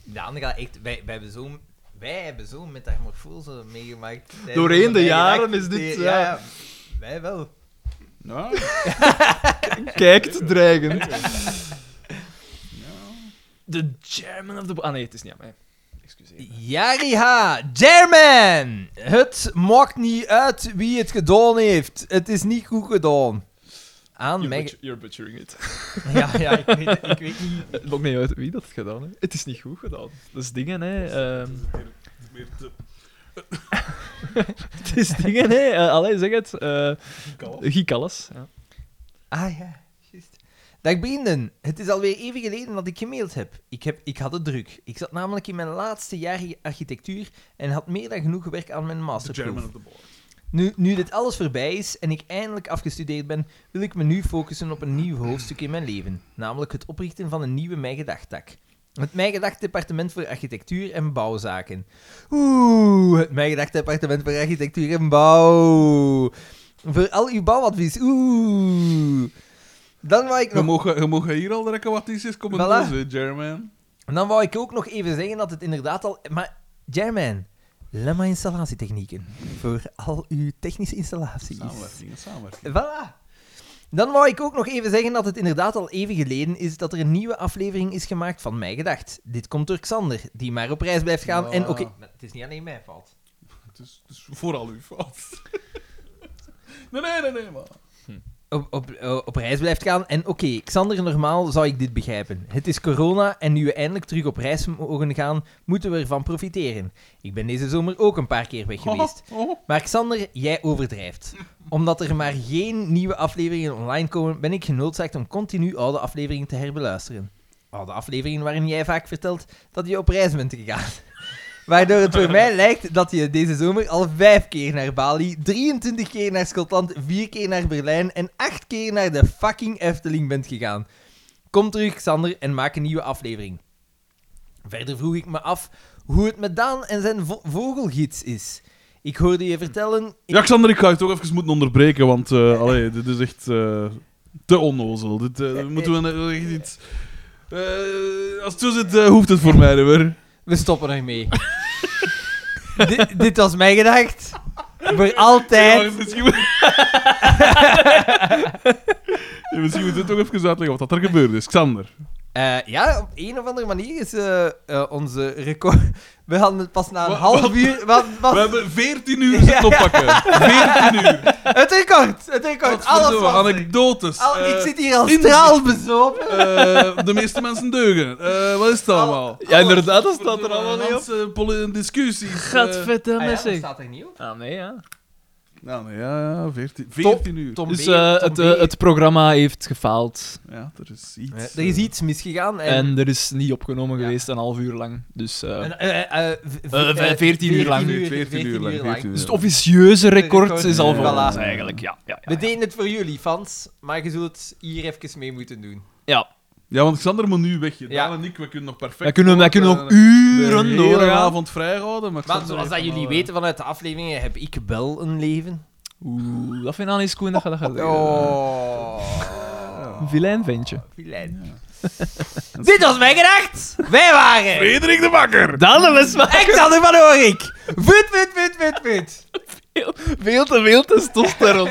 D: Dan gaat echt... Wij, wij hebben zo'n... Wij hebben zo'n metamorfose meegemaakt. Zij
A: Doorheen
D: hebben
A: de
D: wij
A: jaren
D: geraakt.
A: is dit,
D: Die-
A: ja.
D: Wij wel.
C: Nou,
A: Kijkt dreigend.
C: ja.
A: De German of the... Ah nee, het is niet aan mij. Excuseer.
D: Jari H. German! Het maakt niet uit wie het gedaan heeft. Het is niet goed gedaan. Aan
A: You're,
D: Meg...
A: butch- you're butchering it.
D: Ja, ja, ik weet, ik weet niet.
A: Het maakt niet uit wie dat gedaan heeft. Het is niet goed gedaan. Dat is dingen, hè. ehm.
C: Het is meer te
A: het is dingen, hè. Eh, allee, zeg het. eh
C: kalm.
A: Giek alles. Ja.
D: Ah ja, juist. Dag Beenden, het is alweer even geleden dat ik gemaild heb. Ik, heb. ik had het druk. Ik zat namelijk in mijn laatste jaar architectuur en had meer dan genoeg werk aan mijn
C: De German
D: masterproef.
C: of the board.
D: Nu, nu dit alles voorbij is en ik eindelijk afgestudeerd ben, wil ik me nu focussen op een nieuw hoofdstuk in mijn leven. Namelijk het oprichten van een nieuwe Mijn Gedacht tak. Het Mijn Gedacht departement voor architectuur en bouwzaken. Oeh, het Mijn Gedacht departement voor architectuur en bouw. Voor al uw bouwadvies. Oeh. Dan wou ik
C: Je
D: nog
C: mag, je mag hier al rekken wat is, is komen
D: Voilà.
C: voilà. doen, German.
D: En dan wou ik ook nog even zeggen dat het inderdaad al... Maar, Jerman, Lemma installatietechnieken. Voor al uw technische installaties.
C: Samenwerking, samenwerking.
D: Voilà. Dan wou ik ook nog even zeggen dat het inderdaad al even geleden is dat er een nieuwe aflevering is gemaakt van Mij Gedacht. Dit komt door Xander, die maar op reis blijft gaan. En
C: Ah.
D: oké, het is niet alleen mijn fout.
C: Het is, het is vooral uw fout. Nee, nee, nee, nee, man.
D: Op, op, eh, op reis blijft gaan. En oké, Xander, normaal zou ik dit begrijpen. Het is corona en nu we eindelijk terug op reis mogen gaan, moeten we ervan profiteren. Ik ben deze zomer ook een paar keer weg geweest.
C: Oh, oh.
D: Maar Xander, jij overdrijft. Omdat er maar geen nieuwe afleveringen online komen, ben ik genoodzaakt om continu oude afleveringen te herbeluisteren. Oude afleveringen waarin jij vaak vertelt dat je op reis bent gegaan. Waardoor het voor mij lijkt dat je deze zomer al vijf keer naar Bali, 23 keer naar Schotland, vier keer naar Berlijn en acht keer naar de fucking Efteling bent gegaan. Kom terug, Xander, en maak een nieuwe aflevering. Verder vroeg ik me af hoe het met Daan en zijn vo- vogelgids is. Ik hoorde je vertellen...
C: Ja, Xander, ik ga je toch even moeten onderbreken, want eh, allee, dit is echt eh, te onnozel. Dit eh, moeten we eh, echt iets... Eh, als het zo zit, eh, hoeft het voor mij niet meer.
D: We stoppen ermee. dit, dit was mijn gedacht. Voor altijd.
C: Ja, misschien... moet- Ja, misschien moeten we toch even uitleggen wat dat er gebeurd is. Xander.
D: Eh, ja, op een of andere manier is eh, eh, onze record... We hadden het pas na een
C: Wat-
D: half
C: wat-
D: uur... Wat, wat,
C: We hebben 14 uur zitten oppakken. 14 uur.
D: Het record! Het record! Alles
C: Godverdomme,
D: was er.
C: anekdotes.
D: Al- Ik
C: eh,
D: zit hier al
C: inzicht.
D: straalbezopen.
C: eh, de meeste mensen deugen. Eh, wat is het allemaal?
A: Ja, inderdaad, dat staat er
C: Verdomme,
A: allemaal niet op.
C: mensen, poli- discussies. eh,
A: Gadverdamme,
D: Ah ja, dat
A: zeg.
D: staat er niet op.
A: Ah nee, ja.
C: Ja, nee, ja, ja 14, 14 uur.
D: Tom
A: Dus
D: B,
A: eh,
D: Tom
A: het,
D: B.
A: eh, het programma heeft gefaald.
C: Ja, er is iets. Eh,
D: Ja, Eh, er is iets misgegaan. En,
A: En er is niet opgenomen
D: Ja.
A: geweest, een half uur lang. Dus eh,
D: en, eh, eh, v- v-
A: Eh,
D: eh,
A: 14 uur lang.
C: 14 uur lang. 14
A: dus het officieuze record
D: Record,
A: is al voor
D: eh, voilà.
A: ons eigenlijk. Ja, ja, ja,
D: We deden het voor jullie, fans. Maar je zult het hier even mee moeten doen.
A: ja.
C: Ja, want Xander moet nu weg. Daan
D: Ja.
C: en ik, we kunnen nog perfect... Eh,
A: Wij kunnen, wij kunnen nog uren
C: de hele
A: doorgaan.
C: avond vrijhouden, maar
D: Maar
C: Xander
D: zoals
C: heeft
D: dat
C: hem
D: jullie
C: al, eh,
D: weten vanuit de afleveringen, heb ik wel een leven.
A: Oeh, dat vind ik aan eens cool dat je dat gaat doen.
D: Oh.
A: Een vilijn ventje.
D: Filijn. Dit was mijn gedacht. Wij waren...
C: Frederik de Bakker!
A: Dan was maar
D: Alexander van Oorik. Fut, fut, fut, fut, fut.
A: veel te veel testosteron.